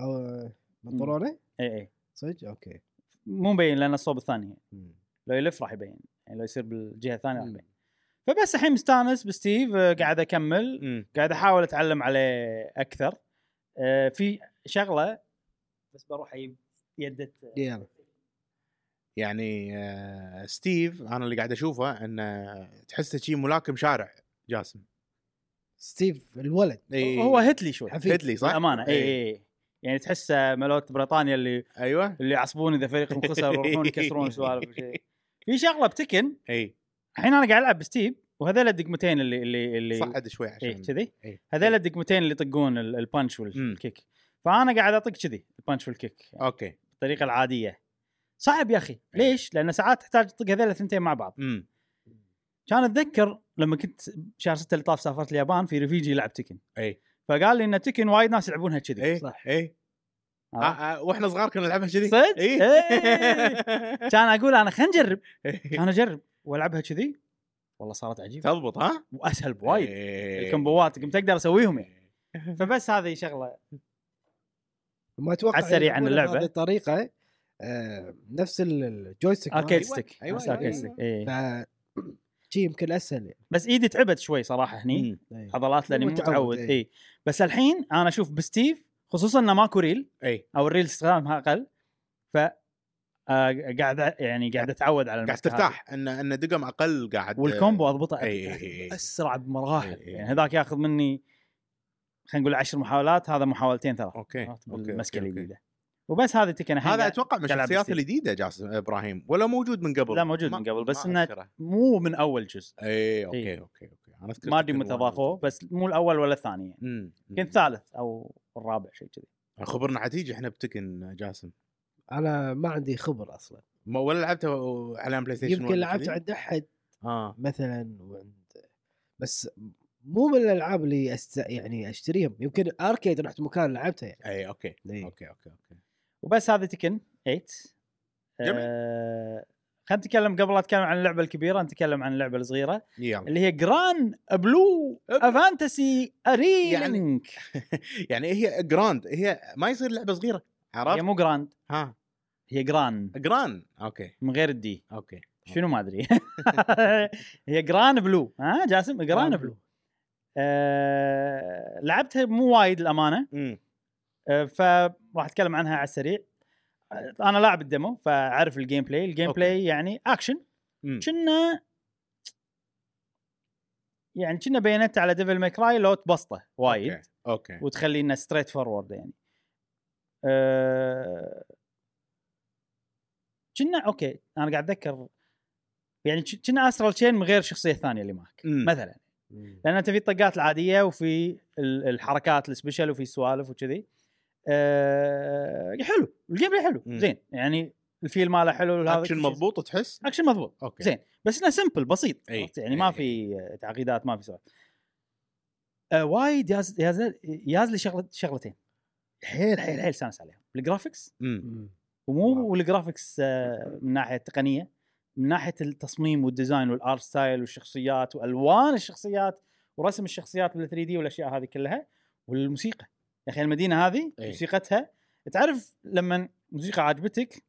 Speaker 2: أو- بنطلونه
Speaker 1: اي اي
Speaker 2: صدق اوكي
Speaker 1: مو مبين لان الصوب الثاني
Speaker 2: مم.
Speaker 1: لو يلف راح يبين يعني لو يصير بالجهه الثانيه راح
Speaker 2: مم.
Speaker 1: يبين فبس الحين مستانس بستيف آه، قاعد اكمل
Speaker 3: مم.
Speaker 1: قاعد احاول اتعلم عليه اكثر آه، في شغله بس بروح اجيب يدة
Speaker 2: يلا
Speaker 3: يعني آه، ستيف انا اللي قاعد اشوفه انه تحسه شي ملاكم شارع جاسم إيه،
Speaker 2: ستيف الولد
Speaker 3: إي.
Speaker 1: هو هتلي شوي
Speaker 2: حفيد
Speaker 3: هدلي صح؟
Speaker 1: للامانه اي
Speaker 3: إي.
Speaker 1: اي يعني تحسه ملوت بريطانيا اللي
Speaker 3: ايوه
Speaker 1: اللي يعصبون اذا فريقهم خسر ويروحون يكسرون سوالف وشي. في شغله بتكن
Speaker 3: اي
Speaker 1: الحين انا قاعد العب بستيف وهذول الدقمتين اللي اللي اللي
Speaker 3: صعد شوي عشان
Speaker 1: اي إيه، كذي
Speaker 3: إي.
Speaker 1: هذول الدقمتين اللي يطقون ال- البانش
Speaker 3: مم.
Speaker 1: والكيك فانا قاعد اطق كذي البانش والكيك
Speaker 3: اوكي
Speaker 1: الطريقه العاديه صعب يا
Speaker 3: إيه.
Speaker 1: اخي ليش؟ لان ساعات تحتاج تطق هذول الثنتين مع بعض
Speaker 3: امم
Speaker 1: كان اتذكر لما كنت شهر 6 اللي طاف سافرت اليابان في رفيجي يلعب تكن
Speaker 3: اي.
Speaker 1: فقال لي ان تكن وايد ناس يلعبونها كذي
Speaker 3: اي
Speaker 2: صح.
Speaker 3: اي إيه. آه،
Speaker 1: عرفت؟
Speaker 3: آه، واحنا صغار كنا نلعبها كذي إيه.
Speaker 1: صدق؟
Speaker 3: اي إيه.
Speaker 1: إيه. إي. كان اقول انا خلينا نجرب كان اجرب والعبها كذي والله صارت عجيبه
Speaker 3: تضبط ها؟
Speaker 1: واسهل بوايد
Speaker 3: إيه.
Speaker 1: الكمبوات قمت اقدر اسويهم يعني فبس هذه شغله
Speaker 2: ما اتوقع
Speaker 1: على السريع عن
Speaker 2: يكون
Speaker 1: اللعبة.
Speaker 2: بهذه الطريقه آه نفس ال- الجويستيك
Speaker 1: اركيد
Speaker 3: أيوة،
Speaker 1: ستيك
Speaker 3: أيوة،
Speaker 1: بس
Speaker 3: أيوة،
Speaker 1: أركيد
Speaker 3: أيوة.
Speaker 1: ستيك، إيه.
Speaker 2: ف شي يمكن اسهل يعني
Speaker 1: بس ايدي تعبت شوي صراحه هني
Speaker 3: مم.
Speaker 2: أيوة.
Speaker 1: عضلات لاني مو
Speaker 2: متعود،
Speaker 1: متعود
Speaker 2: إيه.
Speaker 1: اي بس الحين انا اشوف بستيف خصوصا انه ماكو ريل
Speaker 3: اي
Speaker 1: او الريل استخدامها اقل ف آه، قاعد أ- يعني قاعد اتعود على
Speaker 3: قاعد
Speaker 1: المسكة هذه.
Speaker 3: ترتاح إيه، ان ان دقم اقل قاعد
Speaker 1: والكومبو اضبطه
Speaker 3: إي إي إي إي.
Speaker 1: اسرع بمراحل
Speaker 3: إي إي.
Speaker 1: يعني هذاك ياخذ مني خلينا نقول 10 محاولات هذا محاولتين ثلاث
Speaker 3: اوكي
Speaker 1: عرفت؟
Speaker 3: أوكي،
Speaker 1: بالمسكه
Speaker 3: أوكي،
Speaker 1: الجديده وبس هذه تكن
Speaker 3: أوكي. هذا اتوقع من
Speaker 1: تلعب
Speaker 3: الشخصيات
Speaker 1: ستيل.
Speaker 3: الجديده جاسم ابراهيم ولا موجود من قبل
Speaker 1: لا موجود
Speaker 3: ما-
Speaker 1: من قبل بس
Speaker 3: ما
Speaker 1: انه
Speaker 3: أذكره. إيه،
Speaker 1: مو من اول جزء
Speaker 3: اي اوكي
Speaker 1: إي.
Speaker 3: اوكي اوكي انا أذكر
Speaker 1: ما ادري
Speaker 3: كنت
Speaker 1: متى
Speaker 3: وانا
Speaker 1: ضافوه
Speaker 3: صغير.
Speaker 1: بس مو الاول ولا الثاني يعني
Speaker 3: مم، مم.
Speaker 1: يمكن الثالث او الرابع شيء كذي
Speaker 3: خبرنا عتيجي احنا بتكن جاسم
Speaker 2: انا ما عندي خبر اصلا
Speaker 3: ما ولا لعبته و- على بلاي ستيشن
Speaker 2: يمكن
Speaker 3: ولا
Speaker 2: لعبت
Speaker 3: كذي؟
Speaker 2: عند احد
Speaker 3: اه
Speaker 2: مثلا وعند بس مو من الالعاب اللي أست... يعني اشتريهم يمكن اركيد رحت مكان لعبتها يعني
Speaker 3: اي اوكي
Speaker 1: إيه.
Speaker 2: إي.
Speaker 3: اوكي اوكي اوكي
Speaker 1: وبس هذه تكن 8
Speaker 3: جميل.
Speaker 1: آه خلينا نتكلم قبل لا نتكلم عن اللعبه الكبيره نتكلم عن اللعبه الصغيره
Speaker 3: يلا
Speaker 1: اللي هي جران بلو افانتسي اريلينك
Speaker 3: يعني هي جراند هي ما يصير لعبه صغيره
Speaker 1: هي
Speaker 3: عرفت؟
Speaker 1: مو جراند
Speaker 3: ها
Speaker 1: هي جران
Speaker 3: جران اوكي
Speaker 1: من غير الدي
Speaker 3: اوكي
Speaker 1: شنو ما ادري هي جران بلو ها جاسم جران بلو آه لعبتها مو وايد الامانه
Speaker 3: امم
Speaker 1: آه فراح اتكلم عنها على السريع آه، انا لاعب الديمو فاعرف الجيم بلاي الجيم
Speaker 3: أوكي.
Speaker 1: بلاي يعني اكشن
Speaker 3: أمم.
Speaker 1: كنا يعني كنا بينت على ديفل ماكراي لو تبسطه وايد
Speaker 3: اوكي اوكي
Speaker 1: وتخلينا ستريت فورورد يعني أه... كنا اوكي انا قاعد اتذكر يعني ج- كنا اسرال تشين من غير الشخصيه الثانيه اللي معك
Speaker 3: أمم.
Speaker 1: مثلا لان انت في الطقات العاديه وفي ال- الحركات السبيشل وفي سوالف وكذي أه... حلو الجيم بلاي حلو
Speaker 3: مم.
Speaker 1: زين يعني الفيل ماله حلو هذا
Speaker 3: اكشن
Speaker 1: كل شيء.
Speaker 3: مضبوط تحس؟
Speaker 1: اكشن مضبوط
Speaker 3: اوكي
Speaker 1: زين بس انه سمبل بسيط
Speaker 3: أي،
Speaker 1: عرفت؟ يعني
Speaker 3: أي،
Speaker 1: ما
Speaker 3: أي.
Speaker 1: في آه، تعقيدات ما في سوالف آه وايد ياز ياز ياز لي شغله شغلتين حيل حيل حيل استانس عليهم الجرافكس
Speaker 3: امم
Speaker 1: ومو
Speaker 2: واو.
Speaker 1: والجرافكس آه من ناحيه التقنيه من ناحيه التصميم والديزاين والارت ستايل والشخصيات والوان الشبات ورسم الشخصيات بال 3 دي والاشياء هذه كلها والموسيقى يا اخي المدينه هذه
Speaker 3: إيه.
Speaker 1: موسيقتها تعرف لما موسيقى عجبتك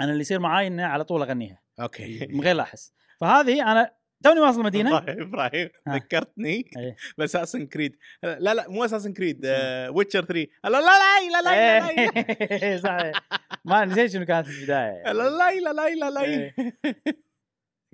Speaker 1: انا اللي يصير معاي اني على طول اغنيها
Speaker 3: اوكي
Speaker 1: من غير لا احس فهذه انا توني واصل المدينه
Speaker 3: ابراهيم ابراهيم
Speaker 1: ها.
Speaker 3: ذكرتني
Speaker 1: إيه.
Speaker 3: باساسن كريد لا لا مو اساسن كريد ويتشر 3 لا لا لا لا لا لا
Speaker 1: إيه، صحيح ما نسيت شنو كانت البدايه
Speaker 3: لا لا لا لا لا لا
Speaker 1: إيه.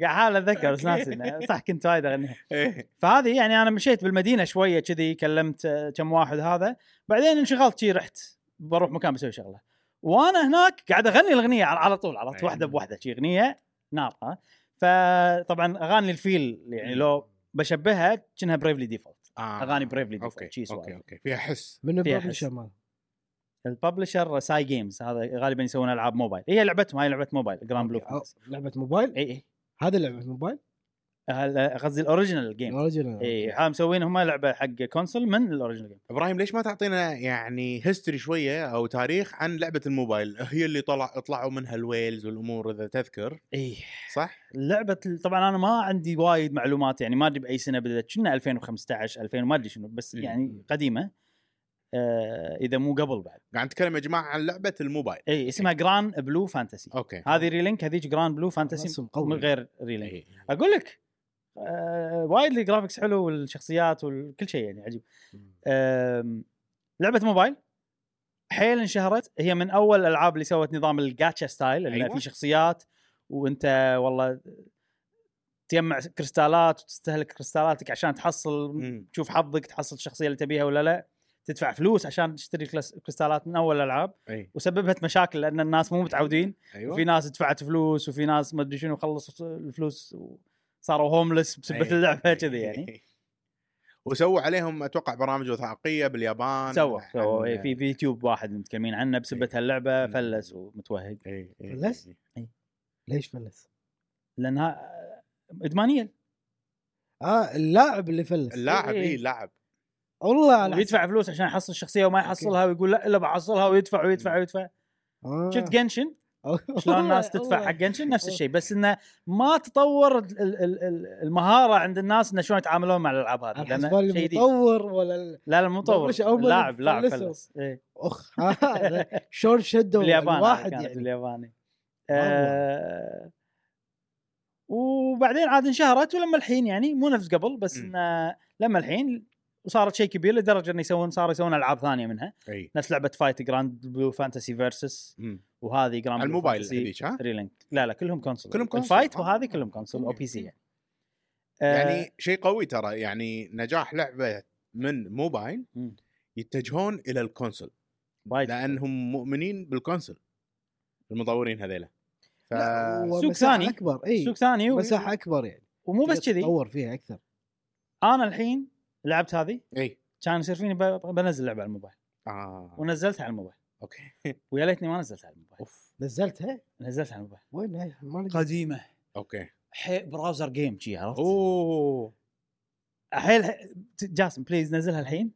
Speaker 1: قاعد احاول اتذكر بس
Speaker 3: أوكي.
Speaker 1: ناسي إنه صح كنت وايد اغنيها
Speaker 3: إيه.
Speaker 1: فهذه يعني انا مشيت بالمدينه شويه كذي كلمت آه، كم واحد هذا بعدين انشغلت شي رحت بروح مكان بسوي شغله وانا هناك قاعد اغني الاغنيه على- على طول عرفت
Speaker 3: أي.
Speaker 1: واحده بواحده شي اغنيه نار ها فطبعا اغاني الفيل يعني لو بشبهها كأنها بريفلي ديفولت
Speaker 3: آه.
Speaker 1: أغاني Bravely Default،
Speaker 3: اوكي
Speaker 1: شي سوالف.
Speaker 3: اوكي اوكي فيها حس
Speaker 2: من
Speaker 1: فيها
Speaker 2: الببلشر
Speaker 1: حس.
Speaker 2: مال
Speaker 1: الببلشر ساي جيمز هذا غالبا يسوون العاب موبايل هي لعبتهم هاي لعبه موبايل جراند بلو
Speaker 2: أو- لعبه موبايل
Speaker 1: اي اي
Speaker 2: هذا لعبه موبايل
Speaker 1: هل- قصدي الاوريجنال جيم
Speaker 2: اوريجنال
Speaker 1: اي ها مسوين هم لعبه حق كونسول من الاوريجنال جيم
Speaker 3: ابراهيم ليش ما تعطينا يعني هيستوري شويه او تاريخ عن لعبه الموبايل هي اللي طلع طلعوا منها الويلز والامور اذا تذكر
Speaker 1: اي
Speaker 3: صح؟
Speaker 1: لعبه ال- طبعا انا ما عندي وايد معلومات يعني ما ادري باي سنه بدات كنا 2015 2000 ما ادري شنو بس
Speaker 3: مم.
Speaker 1: يعني قديمه آه اذا مو قبل بعد
Speaker 3: قاعد نتكلم يا جماعه عن لعبه الموبايل
Speaker 1: اي اسمها جران بلو فانتسي
Speaker 3: اوكي
Speaker 1: هذه ريلينك هذيك جران بلو فانتسي
Speaker 2: رسم
Speaker 1: من
Speaker 2: قوي
Speaker 1: غير ريلينك
Speaker 3: إيه.
Speaker 1: اقول لك آه وايد الجرافكس حلو والشخصيات وكل شيء يعني عجيب أم، لعبه موبايل حيل انشهرت هي من اول الالعاب اللي سوت نظام الجاتشا ستايل اللي
Speaker 3: أيوة.
Speaker 1: أيوة. في شخصيات وانت والله تجمع كريستالات وتستهلك كريستالاتك عشان تحصل
Speaker 3: مم.
Speaker 1: تشوف حظك تحصل الشخصيه اللي تبيها ولا لا تدفع فلوس عشان تشتري كلاس- كريستالات من اول الالعاب
Speaker 3: اي
Speaker 1: وسببت مشاكل لان الناس مو متعودين
Speaker 3: ايوه
Speaker 1: في ناس دفعت فلوس وفي ناس ما ادري شنو خلصت الفلوس وصاروا هوملس بسبه
Speaker 3: أي.
Speaker 1: اللعبه كذي يعني
Speaker 3: وسووا عليهم اتوقع برامج وثائقيه باليابان
Speaker 1: سوى
Speaker 3: عن-
Speaker 1: سوى إيه، في في يوتيوب واحد متكلمين عنه بسبه هاللعبه فلس ومتوهق
Speaker 3: إيه، إيه،
Speaker 2: فلس؟
Speaker 3: إيه.
Speaker 2: ليش فلس؟
Speaker 1: لانها ادمانيه
Speaker 2: اه اللاعب اللي فلس
Speaker 3: اللاعب
Speaker 1: إيه.
Speaker 3: اي اللاعب
Speaker 2: والله على
Speaker 1: ويدفع فلوس عشان يحصل الشخصيه وما يحصلها ويقول لا الا بحصلها ويدفع ويدفع ويدفع
Speaker 2: آه.
Speaker 1: شفت جنشن شلون الناس تدفع حق جنشن نفس الشيء بس انه ما تطور ال- ال- ال- ال- المهاره عند الناس انه شلون يتعاملون مع الالعاب هذه
Speaker 2: على
Speaker 1: لأن
Speaker 2: حسب
Speaker 1: شيء جديد.
Speaker 2: المطور ولا ال-
Speaker 1: لا لا مو مطور
Speaker 2: مش أول ما
Speaker 1: لاعب لاعب
Speaker 2: يفلسوا.
Speaker 1: فلس إيه.
Speaker 2: اخ هذا شلون شدوا
Speaker 1: باليابان
Speaker 2: الواحد
Speaker 1: واحد يعني
Speaker 2: يعني
Speaker 1: بالياباني آه وبعدين عاد انشهرت ولما الحين يعني مو نفس قبل بس
Speaker 3: مم.
Speaker 1: انه لما الحين وصارت شيء كبير لدرجه انه يسوون صاروا يسوون العاب ثانيه منها
Speaker 3: اي
Speaker 1: نفس لعبه فايت جراند بلو فانتسي فيرسس
Speaker 3: مم.
Speaker 1: وهذه جراند
Speaker 3: على الموبايل هذيك ها
Speaker 1: ريلينك لا لا كلهم كونسول
Speaker 3: كلهم كونسول.
Speaker 1: الفايت
Speaker 3: آه.
Speaker 1: وهذه كلهم كونسول او بي سي يعني آه.
Speaker 3: يعني شيء قوي ترى يعني نجاح لعبه من موبايل
Speaker 1: مم.
Speaker 3: يتجهون الى الكونسول
Speaker 1: وايد
Speaker 3: لانهم مؤمنين بالكونسول المطورين هذيلا ف...
Speaker 2: لا، هو
Speaker 1: سوق
Speaker 2: مساحة
Speaker 1: ثاني.
Speaker 2: اكبر اي
Speaker 1: إيه، سوق ثاني و-
Speaker 2: مساحه اكبر يعني
Speaker 1: ومو بس
Speaker 2: تقدر
Speaker 1: كذي
Speaker 2: تطور فيها اكثر
Speaker 1: انا الحين لعبت هذه
Speaker 3: اي
Speaker 1: كان يصير فيني ب- بنزل لعبه على الموبايل
Speaker 3: اه
Speaker 1: ونزلتها على الموبايل
Speaker 3: اوكي
Speaker 1: ويا ليتني ما نزلتها على الموبايل
Speaker 3: اوف
Speaker 2: نزلتها
Speaker 1: نزلتها على الموبايل
Speaker 2: وين هاي؟ ما لقيت.
Speaker 1: قديمه
Speaker 3: اوكي
Speaker 1: حي براوزر جيم شي عرفت؟
Speaker 3: اوه
Speaker 1: حيل حي- ت- جاسم بليز نزلها الحين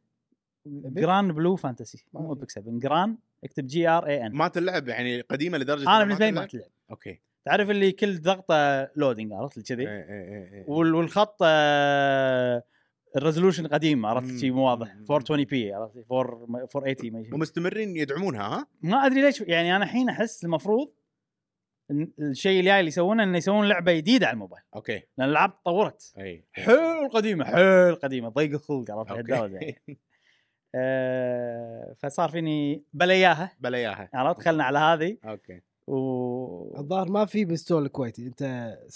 Speaker 1: جران بلو فانتسي
Speaker 2: ما
Speaker 1: مو
Speaker 2: في.
Speaker 1: ابيك 7 جران اكتب جي ار اي ان
Speaker 3: مات اللعب يعني قديمه لدرجه
Speaker 1: انا
Speaker 3: إنها
Speaker 1: بالنسبه لي ما
Speaker 3: اللعب؟
Speaker 1: تلعب
Speaker 3: اوكي
Speaker 1: تعرف اللي كل ضغطه لودنج عرفت لي كذي
Speaker 3: إيه، إيه، إيه، إيه.
Speaker 1: وال- والخط آه، الريزولوشن قديم عرفت
Speaker 3: مم.
Speaker 1: شي مو واضح
Speaker 3: مم.
Speaker 1: 420 بي عرفت 4 480 ما يجي.
Speaker 3: ومستمرين يدعمونها ها
Speaker 1: ما ادري ليش يعني انا الحين احس المفروض إن الشيء الجاي اللي يسوونه انه يسوون لعبه جديده على الموبايل
Speaker 3: اوكي
Speaker 1: لان الالعاب تطورت
Speaker 3: اي
Speaker 1: حيل قديمه حيل قديمه ضيق الخلق عرفت هالدرجه يعني
Speaker 3: اوكي
Speaker 1: أه فصار فيني بلا اياها
Speaker 3: بلا اياها
Speaker 1: عرفت خلنا على هذه
Speaker 3: اوكي
Speaker 1: و
Speaker 2: الظاهر ما في بالستور الكويتي انت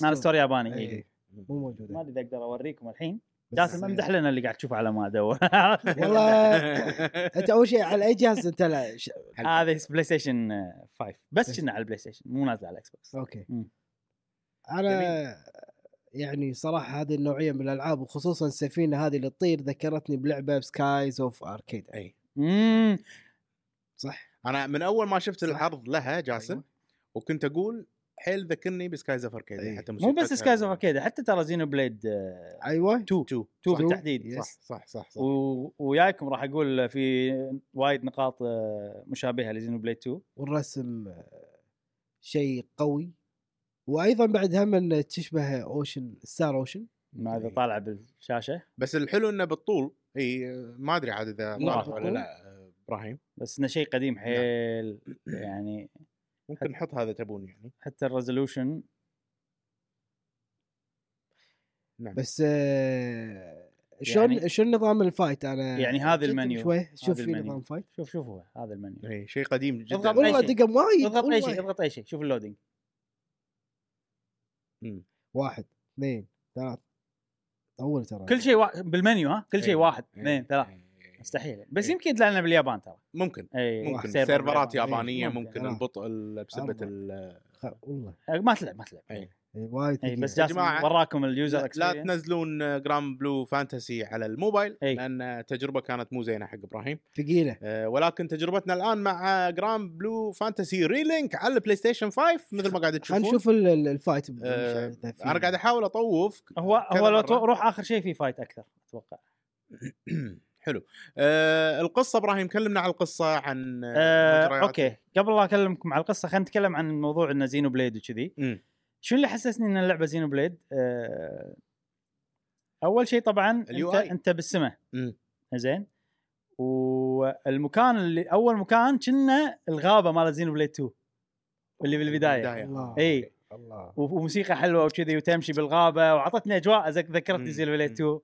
Speaker 1: انا ستوري ياباني
Speaker 2: إي،
Speaker 1: إيه.
Speaker 2: مو
Speaker 1: ما
Speaker 2: موجوده
Speaker 1: ادري اذا اقدر اوريكم الحين
Speaker 2: بس- إيه.
Speaker 1: جاسم امدح لنا اللي قاعد تشوفه على ما ادور
Speaker 2: والله انت اول شيء على اي جهاز انت لا ش...
Speaker 1: هذا بلاي ستيشن 5 بس كنا على البلاي ستيشن مو نازل على الاكس بوكس
Speaker 2: اوكي
Speaker 1: مم.
Speaker 2: انا يعني صراحه هذه النوعيه من الالعاب وخصوصا السفينه هذه اللي تطير ذكرتني بلعبه سكايز اوف اركيد
Speaker 3: اي
Speaker 1: امم
Speaker 2: صح
Speaker 3: انا من اول ما شفت العرض لها جاسم
Speaker 1: أيوه.
Speaker 2: أيوة.
Speaker 3: وكنت اقول حيل ذكرني بسكايز اوف اركيد
Speaker 2: إي.
Speaker 3: حتى
Speaker 1: إيه. مو بس سكايز اوف اركيد حتى ترى آه، زينو بليد 2
Speaker 2: ايوه
Speaker 3: 2
Speaker 2: صح.
Speaker 1: بالتحديد
Speaker 2: Yes.
Speaker 3: صح صح صح صح
Speaker 1: و... وياكم راح اقول في وايد نقاط آه، مشابهه لزينو بليد 2
Speaker 2: والرسم آه، شيء قوي وايضا بعد هم ان تشبه اوشن ستار اوشن
Speaker 1: ما اذا طالعه بالشاشه
Speaker 3: بس الحلو انه بالطول اي ما ادري عاد اذا
Speaker 1: نعم.
Speaker 3: طالع ولا لا آه، ابراهيم
Speaker 1: بس انه شيء
Speaker 3: نعم.
Speaker 1: قديم حيل يعني
Speaker 3: ممكن نحط هذا تبون يعني
Speaker 1: حتى الريزولوشن
Speaker 3: نعم
Speaker 2: بس آه، شلون
Speaker 1: يعني-
Speaker 2: يعني شلون نظام الفايت انا
Speaker 1: يعني هذا
Speaker 2: جيت
Speaker 1: المنيو.
Speaker 2: شوي شوف
Speaker 1: هذا
Speaker 2: في
Speaker 1: المنيو.
Speaker 2: نظام فايت
Speaker 1: شوف شوف هو هذا المنيو
Speaker 3: اي شيء قديم جدا
Speaker 1: اضغط
Speaker 2: والله
Speaker 1: أي شيء.
Speaker 2: دقم وايد
Speaker 1: اضغط اي شيء
Speaker 2: والله.
Speaker 1: اضغط اي شيء شوف اللودينج
Speaker 3: يعني، إمم.
Speaker 2: واحد اثنين ثلاث طول
Speaker 3: آه.
Speaker 2: ترى
Speaker 1: كل شيء وا... بالمنيو ها كل
Speaker 3: إي.
Speaker 1: شيء واحد
Speaker 3: إي.
Speaker 1: اثنين ثلاث
Speaker 3: إي.
Speaker 1: مستحيل بس
Speaker 3: إي.
Speaker 1: يمكن لانه باليابان ترى
Speaker 3: ممكن
Speaker 1: اي
Speaker 3: إيه. ممكن
Speaker 1: سيرفر يعني. إيه،
Speaker 3: سيرفرات
Speaker 1: باليابان.
Speaker 3: يابانيه
Speaker 1: إي،
Speaker 3: ممكن
Speaker 2: آه.
Speaker 3: البطء ال- بسبه
Speaker 2: أربعة.
Speaker 3: ال-
Speaker 2: خ... والله
Speaker 1: آه، ما تلعب ما تلعب
Speaker 3: إي.
Speaker 2: إيه، وايد
Speaker 1: اي
Speaker 2: ثقيل.
Speaker 1: بس
Speaker 3: يا
Speaker 1: جاسم
Speaker 3: جماعة،
Speaker 1: وراكم اليوزر
Speaker 3: لا, لا
Speaker 1: اكسبيرينس
Speaker 3: تنزلون جرام بلو فانتسي على الموبايل
Speaker 1: أي.
Speaker 3: لان تجربه كانت مو زينه حق ابراهيم
Speaker 2: ثقيله
Speaker 3: أه ولكن تجربتنا الان مع جرام بلو فانتسي ريلينك على البلاي ستيشن 5 مثل ما قاعد تشوفون
Speaker 2: خلينا نشوف ال- ال- الفايت ب-
Speaker 3: آه،
Speaker 2: إذا في-
Speaker 3: انا قاعد احاول اطوف
Speaker 1: هو
Speaker 3: كذا
Speaker 1: هو لو
Speaker 3: مرة.
Speaker 1: تو- روح اخر شيء في فايت اكثر اتوقع
Speaker 3: حلو أه القصه ابراهيم كلمنا على القصه عن
Speaker 1: آه
Speaker 3: مجريات.
Speaker 1: اوكي قبل لا اكلمكم على القصه خلينا نتكلم عن موضوع انه زينو بليد وكذي
Speaker 3: مم.
Speaker 1: شو اللي حسسني ان اللعبه زينو بليد آه اول شيء طبعا
Speaker 3: ال
Speaker 1: انت
Speaker 3: UI.
Speaker 1: انت بالسمه
Speaker 3: مم.
Speaker 1: زين والمكان اللي اول مكان كنا الغابه مال زينو بليد 2 اللي بالبدايه
Speaker 2: الله
Speaker 1: إي.
Speaker 2: الله
Speaker 1: و- وموسيقى حلوه وكذي وتمشي بالغابه وعطتني اجواء زك-
Speaker 3: مم.
Speaker 1: ذكرتني زينو بليد
Speaker 3: مم.
Speaker 1: 2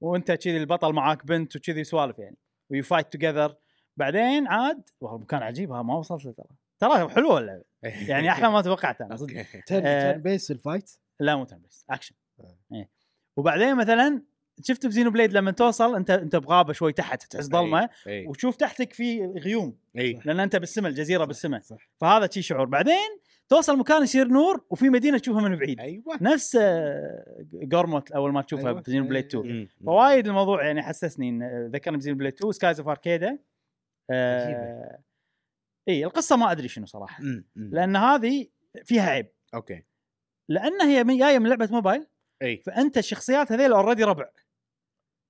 Speaker 1: وانت كذي البطل معاك بنت وكذي سوالف يعني ويو فايت توجذر بعدين عاد والله مكان عجيب ها ما وصلت له ترى ترى حلوه اللعبه يعني احلى ما توقعت انا صدق
Speaker 3: أوكي.
Speaker 2: ترن
Speaker 1: آه.
Speaker 2: ترن بيس الفايت
Speaker 1: لا مو ترن بيست اكشن
Speaker 2: آه.
Speaker 1: إيه. وبعدين مثلا شفت بزينو بليد لما توصل انت انت بغابه شوي تحت تحس
Speaker 2: إيه.
Speaker 1: ظلمه
Speaker 3: اي
Speaker 1: وتشوف تحتك في غيوم
Speaker 3: اي
Speaker 1: لان انت بالسمه الجزيره بالسمه
Speaker 2: صح
Speaker 1: فهذا شي شعور بعدين توصل مكان يصير نور وفي مدينه تشوفها من بعيد
Speaker 3: ايوه
Speaker 1: نفس آه، جورموت اول ما تشوفها
Speaker 2: أيوة.
Speaker 1: بزينو بليد 2
Speaker 3: مم.
Speaker 1: فوايد الموضوع يعني حسسني إن- ذكرني بزينو بليد 2 سكايز اوف اركيدا
Speaker 2: عجيبة.
Speaker 1: اي القصه آه، ما ادري شنو صراحه
Speaker 3: مم. مم.
Speaker 1: لان هذه فيها عيب
Speaker 3: اوكي
Speaker 1: لان هي من جايه من لعبه موبايل
Speaker 3: اي
Speaker 1: فانت الشخصيات هذيل اوريدي ربع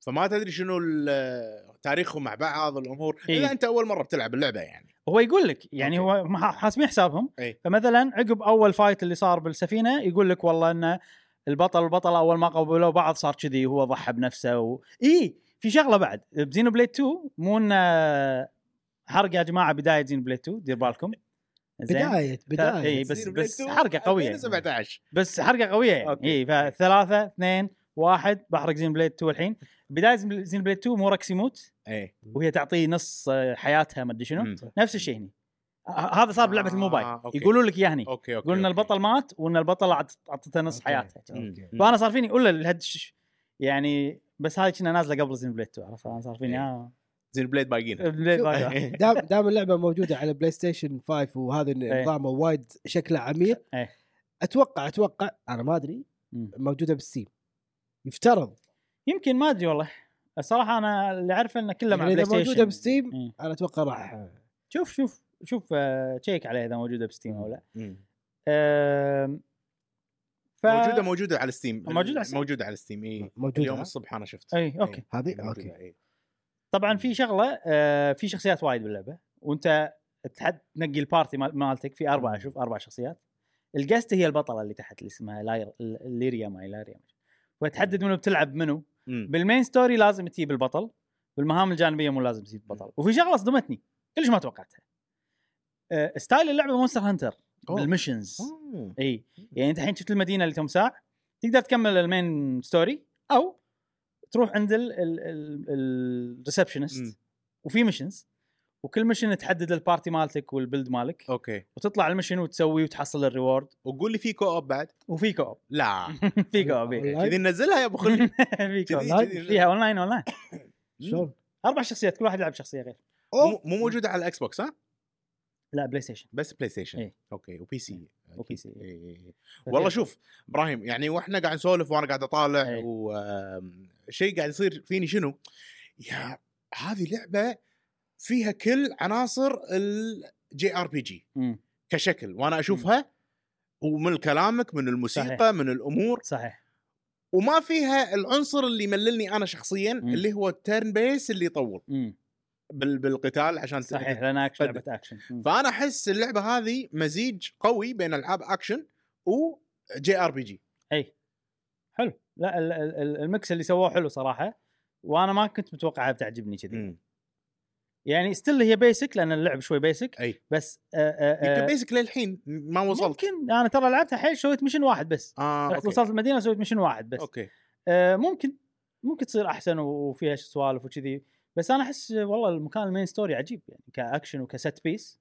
Speaker 3: فما تدري شنو ال- تاريخهم مع بعض الامور
Speaker 1: إيه.
Speaker 3: اذا انت اول مره بتلعب اللعبه يعني
Speaker 1: هو يقول لك يعني
Speaker 3: أوكي.
Speaker 1: هو ما ح- حاسبين حسابهم
Speaker 3: إي.
Speaker 1: فمثلا عقب اول فايت اللي صار بالسفينه يقول لك والله انه البطل والبطله اول ما قابلوا بعض صار كذي وهو ضحى بنفسه و... اي في شغله بعد بزينو بليد 2 مو انه حرق يا جماعه بدايه زينو بليد 2 دير بالكم
Speaker 2: بدايه
Speaker 1: إي،
Speaker 2: بدايه
Speaker 1: بس-
Speaker 3: Xenoblade
Speaker 1: بس
Speaker 3: 2
Speaker 1: حركة قوية.
Speaker 3: 2017
Speaker 1: بس حرقه قويه يعني
Speaker 3: أوكي.
Speaker 1: اي فثلاثه اثنين واحد بحرق زين بليد 2 الحين بدايه زين بليد 2 مو ركس يموت
Speaker 3: اي
Speaker 1: وهي تعطيه نص آه، حياتها ما ادري شنو
Speaker 3: مم.
Speaker 1: نفس الشيء هنا آه، هذا صار بلعبه
Speaker 3: آه،
Speaker 1: الموبايل
Speaker 3: أوكي.
Speaker 1: يقولوا لك اياه هني
Speaker 3: اوكي اوكي
Speaker 1: يقولوا ان
Speaker 3: أوكي.
Speaker 1: البطل مات وان البطل عط- اعطته نص
Speaker 2: أوكي.
Speaker 1: حياته
Speaker 2: أوكي.
Speaker 3: مم.
Speaker 1: فانا صار فيني اقول له الهد ش- يعني بس هاي كنا نازله قبل زين بليد 2 عرفت انا صار فيني
Speaker 3: إيه.
Speaker 1: اه
Speaker 3: زين بليد باقيين
Speaker 1: بليد باقي.
Speaker 2: دام دام اللعبه موجوده على بلاي ستيشن 5 وهذا نظامه وايد شكله عميق
Speaker 1: إيه.
Speaker 2: اتوقع اتوقع انا ما ادري
Speaker 1: مم.
Speaker 2: موجوده بالسيم يفترض
Speaker 1: يمكن ما ادري والله الصراحه انا اللي اعرفه انه كله مع
Speaker 2: يعني
Speaker 1: بلاي
Speaker 2: اذا
Speaker 1: ستيشن
Speaker 2: موجوده بستيم
Speaker 1: إيه.
Speaker 2: انا اتوقع راح
Speaker 1: شوف شوف شوف آه، تشيك عليها اذا موجوده بستيم او لا
Speaker 3: مم.
Speaker 1: آم، ف... آه،
Speaker 3: موجوده موجوده على ستيم
Speaker 1: موجودة على Steam. إيه،
Speaker 3: موجوده على ستيم اي اليوم
Speaker 2: موجوده
Speaker 3: الصبح انا شفت إيه.
Speaker 1: اي اوكي
Speaker 2: هذه اوكي
Speaker 3: موجودة، إي.
Speaker 1: طبعا في شغله آه، في شخصيات وايد باللعبه وانت تحد تنقي البارتي مال- مالتك في اربعه شوف اربع شخصيات الجست هي البطله اللي تحت اللي اسمها لاير ليريا ماي لاريا وتحدد منو بتلعب منو
Speaker 3: مم.
Speaker 1: بالمين ستوري لازم تجيب البطل بالمهام الجانبيه مو لازم تجيب البطل وفي شغله صدمتني كلش ما توقعتها آه، ستايل اللعبه مونستر هانتر
Speaker 3: أوه.
Speaker 1: بالمشنز
Speaker 3: أوه.
Speaker 1: اي يعني انت الحين شفت المدينه اللي تم ساعه تقدر تكمل المين ستوري او تروح عند
Speaker 3: مم.
Speaker 1: الريسبشنست وفي ميشنز وكل ميشن تحدد البارتي مالتك والبيلد مالك
Speaker 3: اوكي
Speaker 1: وتطلع الميشن وتسوي وتحصل الريورد
Speaker 3: وقول لي في كو اوب بعد
Speaker 1: وفي كوب
Speaker 3: لا
Speaker 1: في كوب إي.
Speaker 2: أونلاين؟
Speaker 3: كذي ننزلها يا ابو خلي
Speaker 1: في
Speaker 3: كذي-
Speaker 1: كوب
Speaker 3: كذي-
Speaker 1: فيها اونلاين اونلاين
Speaker 2: شلون؟
Speaker 1: اربع شخصيات كل واحد يلعب شخصيه غير
Speaker 3: مو مو موجوده على الاكس بوكس ها
Speaker 1: لا بلاي ستيشن
Speaker 3: بس بلاي ستيشن
Speaker 1: إيه.
Speaker 3: اوكي وبي سي
Speaker 1: وبي سي.
Speaker 3: أكيد. إيه، إيه، إيه. والله شوف ابراهيم يعني واحنا قاعد نسولف وانا قاعد اطالع
Speaker 1: إيه.
Speaker 3: وشيء قاعد يصير فيني شنو؟ يا هذه لعبه فيها كل عناصر الجي ار بي جي
Speaker 1: مم.
Speaker 3: كشكل وانا اشوفها ومن كلامك من الموسيقى
Speaker 1: صحيح.
Speaker 3: من الامور
Speaker 1: صحيح
Speaker 3: وما فيها العنصر اللي يمللني انا شخصيا اللي هو التيرن بيس اللي يطول
Speaker 1: مم.
Speaker 3: بال- بالقتال عشان ت-
Speaker 1: صحيح لان أكشن-
Speaker 3: تفضل.
Speaker 1: لعبه اكشن مم.
Speaker 3: فانا احس اللعبه هذه مزيج قوي بين العاب اكشن وجي ار بي جي
Speaker 1: اي حلو لا ال- ال- ال- المكس اللي سووه حلو صراحه وانا ما كنت متوقعها بتعجبني كذي يعني ستيل هي بيسك لان اللعب شوي بيسك
Speaker 3: اي
Speaker 1: بس آه آه
Speaker 3: يمكن
Speaker 1: آه
Speaker 3: بيسك للحين ما وصلت
Speaker 1: ممكن انا ترى لعبتها حيل سويت ميشن واحد بس
Speaker 3: اه
Speaker 1: رحت
Speaker 3: اوكي
Speaker 1: وصلت المدينه سويت ميشن واحد بس
Speaker 3: اوكي
Speaker 1: آه ممكن ممكن تصير احسن و- وفيها سوالف وكذي بس انا احس والله المكان المين ستوري عجيب يعني كاكشن وكست بيس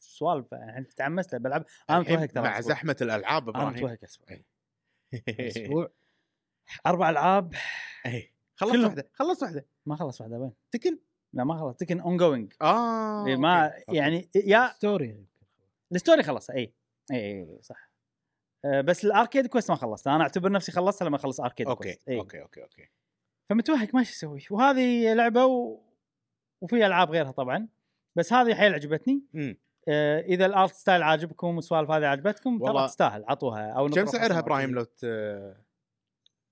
Speaker 1: سوالف يعني تعمست له بلعب انا
Speaker 3: الحين
Speaker 1: متوهق ترى
Speaker 3: مع
Speaker 1: الأسبوع.
Speaker 3: زحمه الالعاب
Speaker 1: انا
Speaker 3: ابراهيم
Speaker 1: متوهق الأسبوع.
Speaker 2: اسبوع
Speaker 1: اربع العاب
Speaker 3: إيه. خلصت
Speaker 1: كلهم.
Speaker 3: واحده خلصت واحده
Speaker 1: ما خلص واحده وين
Speaker 3: تكن
Speaker 1: لا ما خلص تكن اون جوينج
Speaker 3: اه
Speaker 1: إيه ما
Speaker 3: أوكي. أوكي.
Speaker 1: يعني يا
Speaker 2: ستوري
Speaker 1: الستوري خلص إيه، اي اي اي صح أه، بس الاركيد كويست ما خلصت انا اعتبر نفسي خلصت لما اخلص اركيد
Speaker 3: اوكي
Speaker 1: كويست. إي.
Speaker 3: اوكي اوكي اوكي
Speaker 1: إيه. فمتوهق ما شو اسوي وهذه لعبه و... وفي العاب غيرها طبعا بس هذه حيل عجبتني
Speaker 3: أمم.
Speaker 1: أه، اذا الارت ستايل عاجبكم والسوالف هذه عجبتكم
Speaker 3: والله.
Speaker 1: ترى تستاهل عطوها او
Speaker 3: كم
Speaker 1: نطرحها
Speaker 3: سعرها
Speaker 1: سماعة.
Speaker 3: ابراهيم لو ت...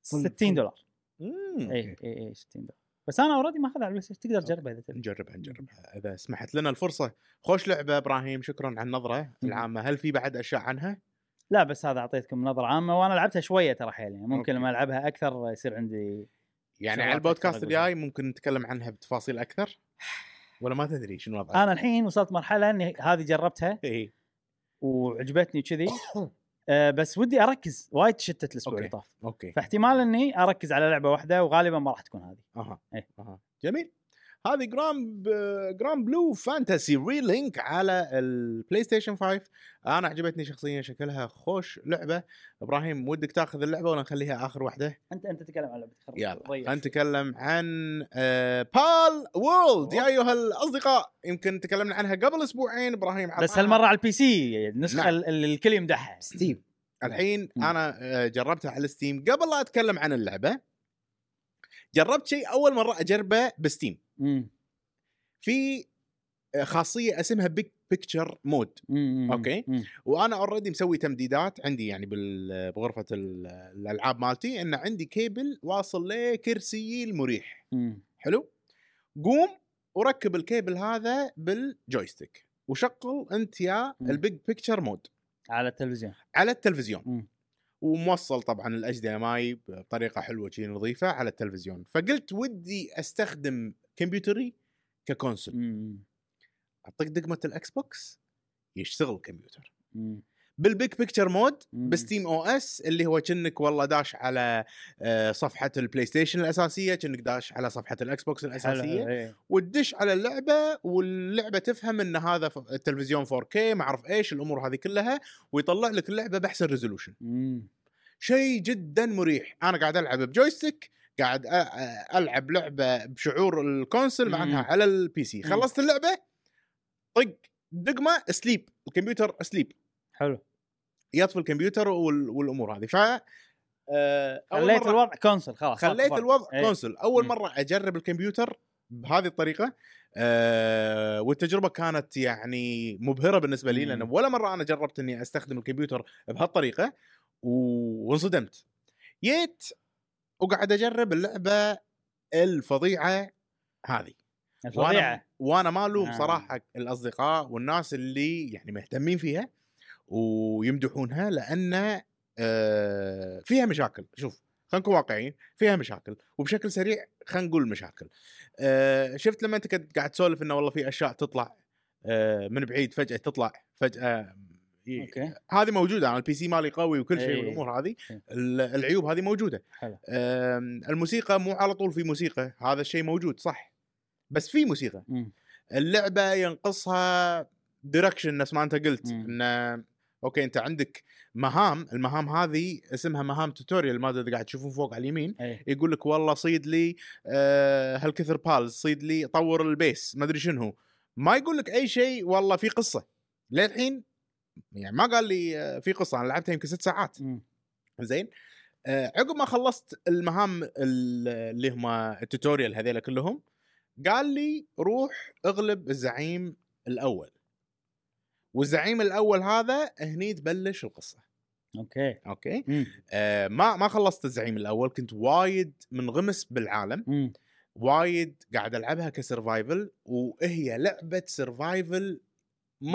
Speaker 1: 60 دولار إيه،
Speaker 3: أمم.
Speaker 1: اي اي اي 60 دولار بس انا اوريدي ماخذها على البلاي ستيشن تقدر تجربها اذا تبي
Speaker 3: نجربها نجربها اذا سمحت لنا الفرصه خوش لعبه ابراهيم شكرا على النظره العامه هل في بعد اشياء عنها يعني
Speaker 1: لا بس هذا اعطيتكم نظره عامه وانا لعبتها شويه ترى حيل يعني
Speaker 3: أوكي.
Speaker 1: ممكن لما العبها اكثر يصير عندي
Speaker 3: يعني
Speaker 1: شغلات
Speaker 3: على البودكاست
Speaker 1: أكثر أقولها.
Speaker 3: الجاي ممكن نتكلم عنها بتفاصيل اكثر ولا ما تدري شنو وضعها
Speaker 1: انا الحين وصلت مرحله اني هذه جربتها
Speaker 3: إيه.
Speaker 1: وعجبتني كذي آه، بس ودي اركز وايد تشتت الاسبوع اللي
Speaker 3: أوكي.
Speaker 1: طاف
Speaker 3: اوكي
Speaker 1: فاحتمال اني اركز على لعبه واحده وغالبا ما راح تكون هذه
Speaker 3: اها
Speaker 1: إيه.
Speaker 3: اها جميل هذه جرام جرام بلو فانتسي ريلينك على البلاي ستيشن 5 انا عجبتني شخصيا شكلها خوش لعبه ابراهيم ودك تاخذ اللعبه ولا نخليها اخر واحده
Speaker 1: انت انت تتكلم عن لعبه خرب
Speaker 3: يلا
Speaker 1: ضيع
Speaker 3: نتكلم عن آه، بال وورلد يا
Speaker 1: أوه.
Speaker 3: ايها الاصدقاء يمكن تكلمنا عنها قبل اسبوعين ابراهيم
Speaker 1: شوي. بس
Speaker 3: عطانا-
Speaker 1: هالمره على البي سي النسخه
Speaker 3: نعم.
Speaker 1: نعم. اللي الكل يمدحها
Speaker 2: ستيم
Speaker 3: الحين
Speaker 1: مم.
Speaker 3: انا آه، جربتها على ستيم قبل لا اتكلم عن اللعبه جربت شيء اول مره اجربه بستيم
Speaker 1: مم.
Speaker 3: في آه، خاصيه اسمها بيج بيكتشر مود
Speaker 1: مم.
Speaker 3: أوكي.
Speaker 1: مم.
Speaker 3: وانا اوريدي مسوي تمديدات عندي يعني بال- بغرفه ال- الالعاب مالتي ان عندي كيبل واصل لكرسيي المريح
Speaker 1: مم.
Speaker 3: حلو قوم وركب الكيبل هذا بالجويستيك وشغل انت يا
Speaker 1: مم.
Speaker 3: البيج بيكتشر مود
Speaker 1: على التلفزيون
Speaker 3: على التلفزيون
Speaker 1: مم.
Speaker 3: وموصل طبعا الاتش دي ام اي بطريقه حلوه شي نظيفه على التلفزيون فقلت ودي استخدم كمبيوتري ككونسول
Speaker 1: مم.
Speaker 3: اعطيك دقمه الاكس بوكس يشتغل الكمبيوتر
Speaker 1: مم.
Speaker 3: بالبيج بيكتشر مود
Speaker 1: مم.
Speaker 3: بستيم او اس اللي هو كأنك والله داش على آه، صفحه البلاي ستيشن الاساسيه كأنك داش على صفحه الاكس بوكس
Speaker 1: حلو،
Speaker 3: الاساسيه
Speaker 1: إيه.
Speaker 3: وتدش على اللعبه واللعبه تفهم ان هذا ف- التلفزيون 4K ما اعرف ايش الامور هذه كلها ويطلع لك اللعبه باحسن ريزولوشن
Speaker 1: مم.
Speaker 3: شيء جدا مريح انا قاعد العب بجويستيك قاعد أ- أ- العب لعبه بشعور الكونسل مع
Speaker 1: مم.
Speaker 3: انها على البي سي
Speaker 1: مم.
Speaker 3: خلصت اللعبه طق دقمه سليب الكمبيوتر سليب
Speaker 1: حلو
Speaker 3: يطفي الكمبيوتر وال- والامور هذه ف آه، أول
Speaker 1: خليت
Speaker 3: مرة-
Speaker 1: الوضع كونسل خلاص
Speaker 3: خليت
Speaker 1: فقط.
Speaker 3: الوضع
Speaker 1: إيه.
Speaker 3: كونسل اول
Speaker 1: مم.
Speaker 3: مره اجرب الكمبيوتر بهذه الطريقه آه والتجربه كانت يعني مبهره بالنسبه لي
Speaker 1: مم.
Speaker 3: لان ولا مره انا جربت اني استخدم الكمبيوتر بهالطريقه و- وانصدمت جيت وقاعد اجرب اللعبه الفظيعه هذه
Speaker 1: الفظيعه
Speaker 3: وانا مالوم
Speaker 1: آه.
Speaker 3: صراحه الاصدقاء والناس اللي يعني مهتمين فيها ويمدحونها لان آه، فيها مشاكل شوف خلينا نكون واقعيين فيها مشاكل وبشكل سريع خلينا نقول مشاكل آه، شفت لما انت كنت قاعد تسولف انه والله في اشياء تطلع آه، من بعيد فجاه تطلع فجاه ي-
Speaker 1: اوكي
Speaker 3: هذه موجوده انا البي سي مالي قوي وكل شيء
Speaker 1: إيه.
Speaker 3: والامور هذه
Speaker 1: إيه.
Speaker 3: ال- العيوب هذه موجوده
Speaker 1: حلو
Speaker 3: آم، الموسيقى مو على طول في موسيقى هذا الشيء موجود صح بس في موسيقى
Speaker 1: مم.
Speaker 3: اللعبه ينقصها دايركشن نفس ما انت قلت
Speaker 1: مم.
Speaker 3: ان اوكي انت عندك مهام المهام هذه اسمها مهام توتوريال ما ادري إذا قاعد تشوفون فوق على اليمين
Speaker 1: ايه
Speaker 3: يقول لك والله صيد لي آه، هالكثر بالز صيد لي طور البيس ما ادري شنو ما يقول لك اي شيء والله في قصه للحين يعني ما قال لي آه، في قصه انا لعبتها يمكن ست ساعات
Speaker 1: مم.
Speaker 3: زين آه، عقب ما خلصت المهام ال- اللي هم التوتوريال هذيلا كلهم قال لي روح اغلب الزعيم الاول والزعيم الاول هذا هني تبلش القصه
Speaker 1: اوكي
Speaker 3: اوكي
Speaker 1: مم.
Speaker 3: آه ما ما خلصت الزعيم الاول كنت وايد منغمس بالعالم
Speaker 1: مم.
Speaker 3: وايد قاعد العبها كسرفايفل وهي لعبه سرفايفل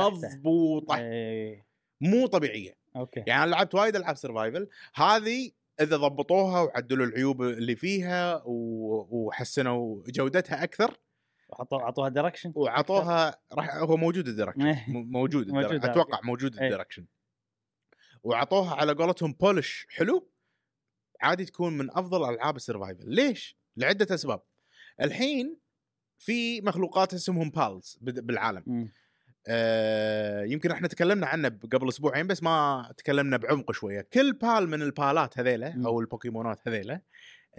Speaker 3: مضبوطه
Speaker 1: إيه.
Speaker 3: مو طبيعيه
Speaker 1: اوكي
Speaker 3: يعني انا لعبت وايد العاب سرفايفل هذه اذا ضبطوها وعدلوا العيوب اللي فيها و- وحسنوا جودتها اكثر
Speaker 1: اعطوها اعطوها دايركشن
Speaker 3: وعطوها راح هو موجود الدركشن
Speaker 1: إيه.
Speaker 3: موجود الدرك-
Speaker 1: موجود،
Speaker 3: اتوقع موجود
Speaker 1: إيه.
Speaker 3: الدركشن وعطوها على قولتهم بولش حلو عادي تكون من افضل العاب السرفايفل ليش لعده اسباب الحين في مخلوقات اسمهم بالز بالعالم
Speaker 1: مم.
Speaker 3: آه، يمكن احنا تكلمنا عنه قبل اسبوعين بس ما تكلمنا بعمق شويه كل بال من البالات هذيلا
Speaker 1: مم.
Speaker 3: او البوكيمونات هذيلا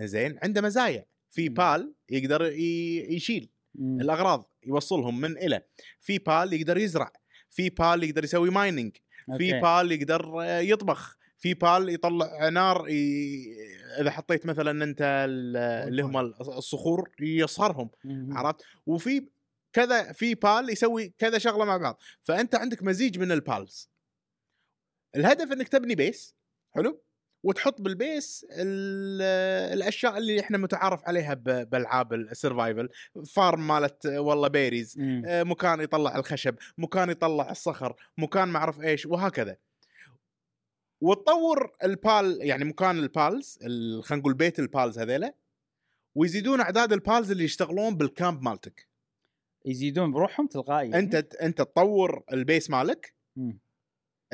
Speaker 3: زين عنده مزايا في
Speaker 1: مم.
Speaker 3: بال يقدر ي- يشيل
Speaker 1: مم.
Speaker 3: الاغراض يوصلهم من الى في بال يقدر يزرع في بال يقدر يسوي مايننج في
Speaker 1: أوكي.
Speaker 3: بال يقدر آه، يطبخ في بال يطلع نار ي... اذا حطيت مثلا انت ال- آه، اللي هم الصخور يصهرهم
Speaker 1: مم.
Speaker 3: عرفت وفي كذا في بال يسوي كذا شغله مع بعض فانت عندك مزيج من البالز الهدف انك تبني بيس حلو وتحط بالبيس ال- الاشياء اللي احنا متعارف عليها ب- بالعاب السرفايفل فارم مالت آه، والله بيريز
Speaker 1: مم.
Speaker 3: آه، مكان يطلع الخشب مكان يطلع الصخر مكان ما اعرف ايش وهكذا وتطور البال يعني مكان البالز ال- خلينا نقول بيت البالز هذيلا ويزيدون اعداد البالز اللي يشتغلون بالكامب مالتك
Speaker 1: يزيدون بروحهم تلقائيا
Speaker 3: انت انت تطور البيس مالك
Speaker 1: مم.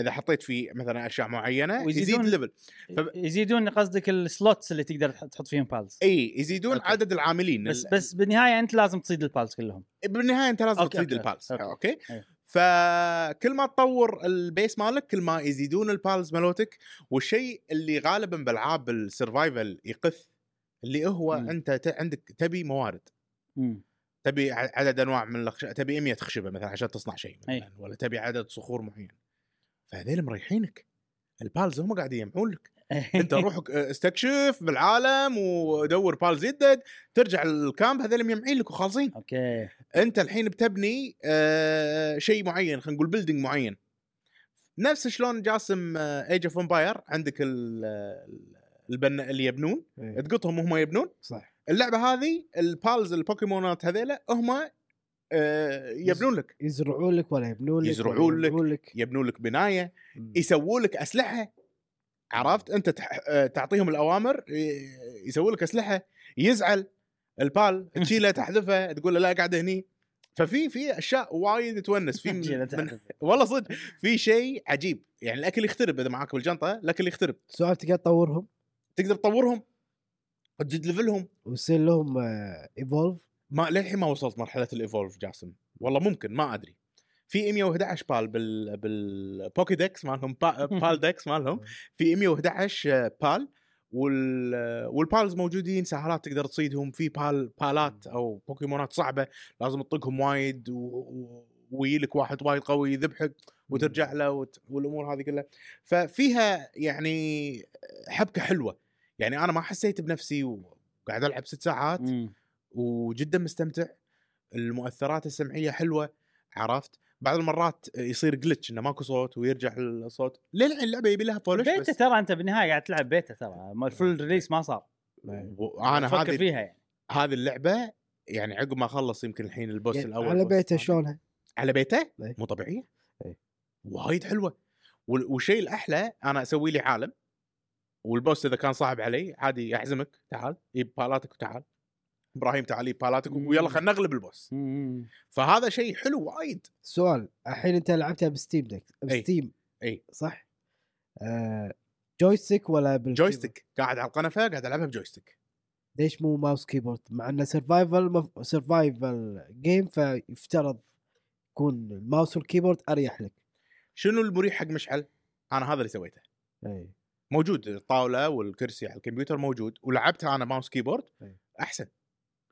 Speaker 3: اذا حطيت فيه مثلا اشياء معينه يزيد
Speaker 1: ويزيدون-
Speaker 3: ليفل فب-
Speaker 1: إيه. يزيدون قصدك السلوتس اللي تقدر تح- تحط فيهم بالز
Speaker 3: اي يزيدون
Speaker 1: أوكي.
Speaker 3: عدد العاملين
Speaker 1: بس
Speaker 3: ال-
Speaker 1: بس بالنهايه انت لازم تصيد البالز كلهم
Speaker 3: بالنهايه انت لازم
Speaker 1: أوكي،
Speaker 3: تصيد
Speaker 1: أوكي،
Speaker 3: البالز
Speaker 1: أوكي.
Speaker 3: اوكي
Speaker 1: أيوه.
Speaker 3: فكل ما تطور البيس مالك كل ما يزيدون البالز مالوتك والشيء اللي غالبا بالعاب السرفايفل يقث اللي هو
Speaker 1: مم.
Speaker 3: انت ت- عندك تبي موارد
Speaker 1: مم.
Speaker 3: تبي ع- عدد انواع من الخش... تبي 100 خشبه مثلا عشان تصنع شيء
Speaker 1: أي.
Speaker 3: مثلا ولا تبي عدد صخور معين فهذيل مريحينك البالز هم قاعد يجمعون لك انت روح استكشف بالعالم ودور بال زدد ترجع الكامب هذول مجمعين لك وخالصين
Speaker 1: اوكي
Speaker 3: انت الحين بتبني آه شيء معين خلينا نقول بيلدينج معين نفس شلون جاسم آه، ايج اوف امباير عندك ال- ال- البن اللي يبنون
Speaker 2: إيه،
Speaker 3: تقطهم هم يبنون
Speaker 2: صح
Speaker 3: اللعبه هذه البالز البوكيمونات هذيلا هم آه يبنون لك
Speaker 2: يزرعون لك ولا يبنون لك
Speaker 3: يزرعون
Speaker 2: ولا
Speaker 3: لك.
Speaker 2: يبنون لك
Speaker 3: يبنون لك بنايه
Speaker 2: مم.
Speaker 3: يسووا لك اسلحه عرفت انت تح... آه، تعطيهم الاوامر ي- يسووا لك اسلحه يزعل البال تشيله تحذفه تقول له لا قاعد هني ففي في اشياء وايد تونس في
Speaker 1: شيلة
Speaker 3: من... من...
Speaker 1: تحت.
Speaker 3: والله صدق في شيء عجيب يعني الاكل يخترب اذا معاك بالجنطه الاكل يخترب
Speaker 2: سؤال تقدر تطورهم
Speaker 3: تقدر تطورهم تزيد ليفلهم
Speaker 2: ويصير لهم آه، ايفولف
Speaker 3: ما للحين ما وصلت مرحله الايفولف جاسم والله ممكن ما ادري في 111 بال بال بالبوكي ديكس مالهم با بال ديكس
Speaker 2: آه،
Speaker 3: مالهم في 111 بال وال والبالز موجودين سهرات تقدر تصيدهم في بال بالات او بوكيمونات صعبه لازم تطقهم وايد و... و... ويجيلك واحد وايد قوي يذبحك وترجع له وت... والامور هذه كلها ففيها يعني حبكه حلوه يعني انا ما حسيت بنفسي وقاعد العب ست ساعات
Speaker 1: مم.
Speaker 3: وجدا مستمتع المؤثرات السمعيه حلوه عرفت بعض المرات يصير جلتش انه ماكو صوت ويرجع الصوت للحين اللعبه يبي لها بولش
Speaker 1: بيتا
Speaker 3: بس
Speaker 1: ترى انت بالنهايه قاعد تلعب بيتا ترى ما الفول ريليس ما صار
Speaker 2: إيه. يعني
Speaker 3: انا
Speaker 1: فكر
Speaker 3: هذه
Speaker 1: فيها يعني
Speaker 3: هذه اللعبه يعني عقب ما اخلص يمكن الحين البوس الاول
Speaker 2: يعني على
Speaker 3: بوس
Speaker 2: بيته
Speaker 3: الثاني.
Speaker 2: شلونها؟
Speaker 3: على بيته
Speaker 2: إيه.
Speaker 3: مو طبيعيه
Speaker 2: إيه.
Speaker 3: وايد حلوه وال- والشيء الاحلى انا اسوي لي عالم والبوس اذا كان صعب علي عادي اعزمك تعال جيب بالاتك وتعال ابراهيم تعال جيب بالاتك
Speaker 1: مم.
Speaker 3: ويلا خلينا نغلب البوس
Speaker 1: مم.
Speaker 3: فهذا شيء حلو وايد
Speaker 2: أيوة. سؤال الحين انت لعبتها بستيم دك
Speaker 3: أي.
Speaker 2: بستيم
Speaker 3: أي.
Speaker 2: صح؟ آه جويستيك ولا بال
Speaker 3: جويستيك قاعد على القنفه قاعد العبها بجويستيك
Speaker 2: ليش مو ماوس كيبورد؟ مع انه سرفايفل مف... سرفايفل جيم فيفترض يكون الماوس والكيبورد اريح لك.
Speaker 3: شنو المريح حق مشعل؟ انا هذا اللي سويته
Speaker 2: اي
Speaker 3: موجود الطاوله والكرسي على الكمبيوتر موجود ولعبتها انا ماوس كيبورد
Speaker 2: إيه.
Speaker 3: احسن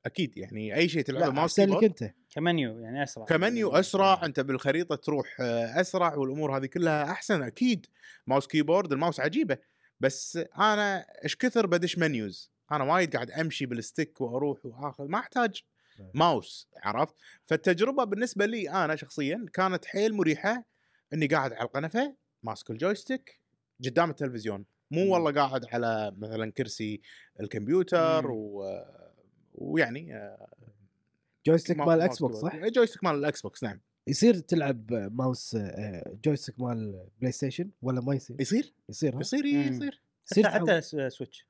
Speaker 3: اكيد يعني اي شيء تلعبه
Speaker 2: لا
Speaker 3: ماوس
Speaker 2: احسن لك
Speaker 3: كيبورد
Speaker 2: انت
Speaker 1: كمنيو يعني اسرع
Speaker 3: كمنيو اسرع انت بالخريطه تروح آه، اسرع والامور هذه كلها احسن اكيد ماوس كيبورد الماوس عجيبه بس انا ايش كثر بدش منيوز انا وايد قاعد امشي بالستيك واروح واخذ ما احتاج
Speaker 2: طيب.
Speaker 3: ماوس عرفت فالتجربه بالنسبه لي انا شخصيا كانت حيل مريحه اني قاعد على القنفه ماسك الجويستيك قدام التلفزيون
Speaker 1: مم.
Speaker 3: مو والله قاعد على مثلا كرسي الكمبيوتر
Speaker 1: مم.
Speaker 3: و... ويعني آه،
Speaker 2: جويستيك
Speaker 3: ما-
Speaker 2: مال
Speaker 3: ماوس
Speaker 2: الاكس بوكس
Speaker 3: كيبورد.
Speaker 2: صح؟
Speaker 3: الجويستيك مال الاكس بوكس نعم
Speaker 2: يصير تلعب ماوس آه، جويستيك مال بلاي ستيشن ولا ما يصير؟
Speaker 3: يصير
Speaker 2: يصير ها؟
Speaker 3: يصير
Speaker 1: مم.
Speaker 3: يصير
Speaker 1: حتى,
Speaker 2: يصير
Speaker 1: حتى س- سويتش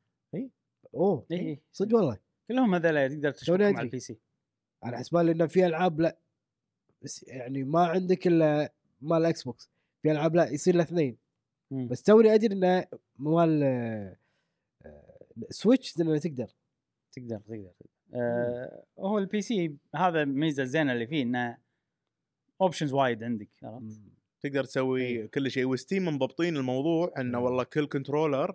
Speaker 2: اوه
Speaker 1: اي اي
Speaker 2: إيه، صدق والله
Speaker 1: كلهم هذول تقدر
Speaker 2: توني
Speaker 1: تشتغل مع
Speaker 2: أدري.
Speaker 1: البي سي
Speaker 2: على حسبالي انه في العاب لا بس يعني ما عندك الا مال الاكس بوكس في العاب لا يصير له اثنين
Speaker 1: مم.
Speaker 2: بس توني ادري انه مال آه، آه، سويتش انه تقدر
Speaker 1: تقدر تقدر آه هو البي سي هذا الميزه الزينه اللي فيه انه اوبشنز وايد عندك عرفت؟
Speaker 3: تقدر تسوي
Speaker 2: إيه.
Speaker 1: أيوه.
Speaker 3: كل شيء وستيم منضبطين الموضوع انه
Speaker 2: مم.
Speaker 3: والله كل كنترولر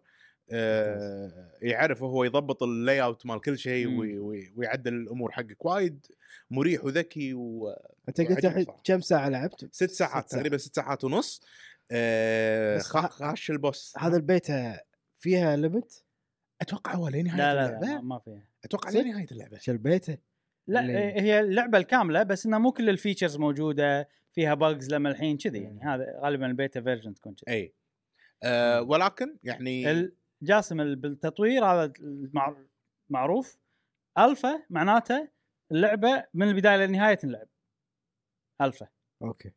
Speaker 3: آه يعرف هو يضبط اللاي اوت مال كل شيء
Speaker 1: مم.
Speaker 2: إمم.
Speaker 3: وي- وي- ويعدل الامور حقك وايد مريح وذكي وست
Speaker 2: انت قلت
Speaker 3: وعجيب
Speaker 2: الحين
Speaker 3: صراحة.
Speaker 2: كم ساعه لعبت؟
Speaker 3: ساعات
Speaker 2: ساعات.
Speaker 3: تقريبا ست ساعات ونص آه
Speaker 2: بس
Speaker 3: خ-
Speaker 2: ه-
Speaker 3: خاش البوس
Speaker 2: هذا البيت آه، فيها ليمت
Speaker 3: اتوقع هو لنهايه
Speaker 1: لا لا,
Speaker 3: اللعبه
Speaker 1: لا ما- ما فيها
Speaker 3: اتوقع
Speaker 2: صدق؟
Speaker 3: لنهايه اللعبه
Speaker 2: شل بيته
Speaker 1: لا
Speaker 2: اللي-
Speaker 1: آه، هي اللعبه الكامله بس انها مو كل الفيتشرز موجوده فيها بجز لما الحين كذي يعني هذا غالبا البيتا فيرجن تكون كذي
Speaker 3: اي
Speaker 2: إمم.
Speaker 3: آه ولكن يعني
Speaker 1: ال- جاسم ال- بالتطوير هذا المع- معروف الفا معناته اللعبه من البدايه للنهايه تنلعب الفا
Speaker 2: اوكي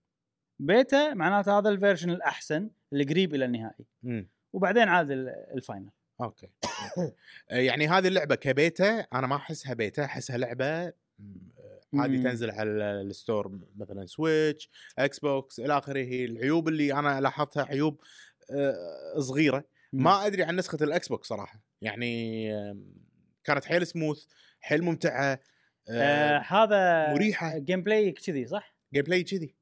Speaker 1: بيتا معناته هذا الفيرجن الاحسن اللي قريب الى النهائي
Speaker 3: مم.
Speaker 1: وبعدين عاد ال- الفاينل
Speaker 3: اوكي آه، يعني هذه اللعبه كبيتا انا ما احسها بيتا احسها لعبه مم، آه، عادي
Speaker 1: مم.
Speaker 3: تنزل على ال- الستور مثلا سويتش اكس بوكس الى اخره هي العيوب اللي انا لاحظتها عيوب آه، صغيره ما ادري عن نسخه الاكس بوكس صراحه يعني آم، كانت حيل سموث حيل ممتعه
Speaker 1: آه
Speaker 3: آه،
Speaker 1: هذا
Speaker 3: مريحه
Speaker 1: جيم بلاي كذي صح؟
Speaker 3: جيم بلاي كذي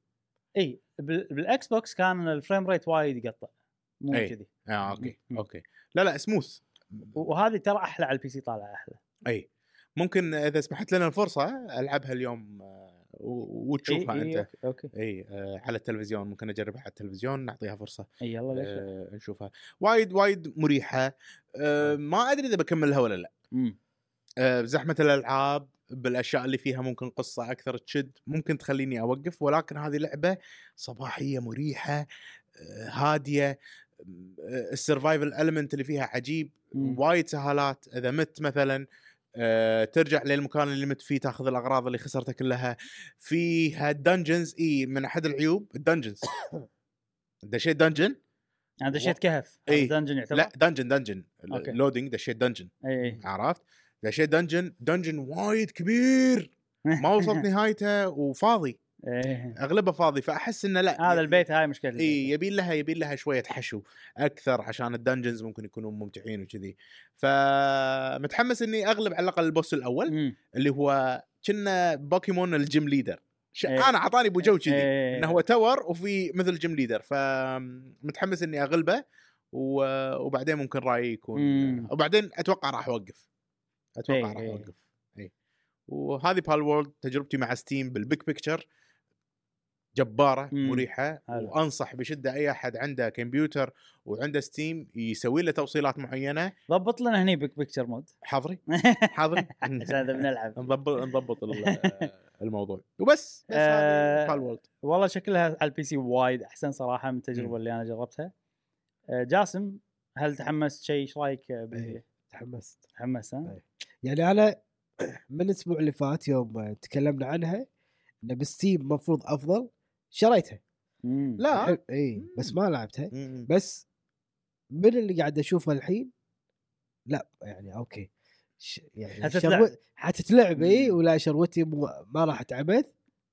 Speaker 1: اي بال- بالاكس بوكس كان الفريم ريت وايد يقطع مو
Speaker 3: إي.
Speaker 1: كذي
Speaker 3: اه اوكي
Speaker 1: مم.
Speaker 3: اوكي لا لا سموث
Speaker 1: وهذه ترى احلى على البي سي طالعه احلى
Speaker 3: اي ممكن اذا سمحت لنا الفرصه العبها اليوم آه، و- وتشوفها
Speaker 1: إي- إي،
Speaker 3: انت
Speaker 1: أوكي- اوكي
Speaker 3: اي آه، على التلفزيون ممكن اجربها على التلفزيون نعطيها فرصه
Speaker 1: اي يلا ليش لا؟
Speaker 3: آه، نشوفها وايد وايد مريحه آه، ما ادري اذا بكملها ولا لا
Speaker 1: مم.
Speaker 3: آه، زحمه الالعاب بالاشياء اللي فيها ممكن قصه اكثر تشد ممكن تخليني اوقف ولكن هذه لعبه صباحيه مريحه آه، هاديه آه، السرفايفل المنت اللي فيها عجيب
Speaker 1: مم.
Speaker 3: وايد سهالات اذا مت مثلا آه، ترجع للمكان اللي مت فيه تاخذ الاغراض اللي خسرتها كلها فيها دنجنز اي من احد العيوب الدنجنز دشيت دنجن
Speaker 1: انا دشيت كهف
Speaker 3: إي.
Speaker 1: دنجن يعتبر
Speaker 3: لا دنجن دنجن
Speaker 1: أوكي.
Speaker 3: لودينج دشيت دنجن
Speaker 1: اي اي
Speaker 3: عرفت دشيت دنجن دنجن وايد كبير ما وصلت نهايته وفاضي
Speaker 1: إيه.
Speaker 3: اغلبه فاضي فاحس انه لا
Speaker 1: هذا البيت هاي مشكلته
Speaker 3: اي يبين لها يبين لها شويه حشو اكثر عشان الدنجنز ممكن يكونوا ممتعين وكذي فمتحمس اني اغلب على الاقل البوس الاول
Speaker 1: مم.
Speaker 3: اللي هو كنا بوكيمون الجيم ليدر ش...
Speaker 1: إيه.
Speaker 3: انا اعطاني بجو كذي
Speaker 1: إيه.
Speaker 3: انه هو تاور وفي مثل جيم ليدر فمتحمس اني اغلبه و... وبعدين ممكن رايي يكون
Speaker 1: مم.
Speaker 3: وبعدين اتوقع راح اوقف
Speaker 1: إيه،
Speaker 3: اتوقع راح
Speaker 1: إيه.
Speaker 3: اوقف اي وهذه بال وورلد تجربتي مع ستيم بالبيك بيكتشر جباره
Speaker 1: مم.
Speaker 3: مريحه
Speaker 1: حلو.
Speaker 3: وانصح بشده اي احد عنده كمبيوتر وعنده ستيم يسوي له توصيلات معينه
Speaker 1: ضبط لنا هني بيك بيكتشر مود
Speaker 3: حاضري حاضري
Speaker 1: عشان اذا بنلعب
Speaker 3: نضبط نضبط ال- الموضوع وبس بس
Speaker 1: آه،
Speaker 3: هذه وورلد
Speaker 1: والله شكلها على البي سي وايد احسن صراحه من التجربه اللي انا جربتها آه، جاسم هل تحمست شيء ايش رايك آه، بال-
Speaker 2: إيه. تحمست
Speaker 1: تحمس ها؟
Speaker 3: طيب.
Speaker 2: إيه. يعني انا من الاسبوع اللي فات يوم آه، تكلمنا عنها انه بالستيم المفروض افضل شريتها
Speaker 1: آه. مم.
Speaker 3: لا
Speaker 2: اي بس ما لعبتها
Speaker 3: مم.
Speaker 2: بس من اللي قاعد اشوفه الحين لا يعني اوكي ش يعني
Speaker 1: حتتلعب.
Speaker 2: شرو- حتتلعب اي
Speaker 1: مم.
Speaker 2: ولا شروتي مو ما راح تعبث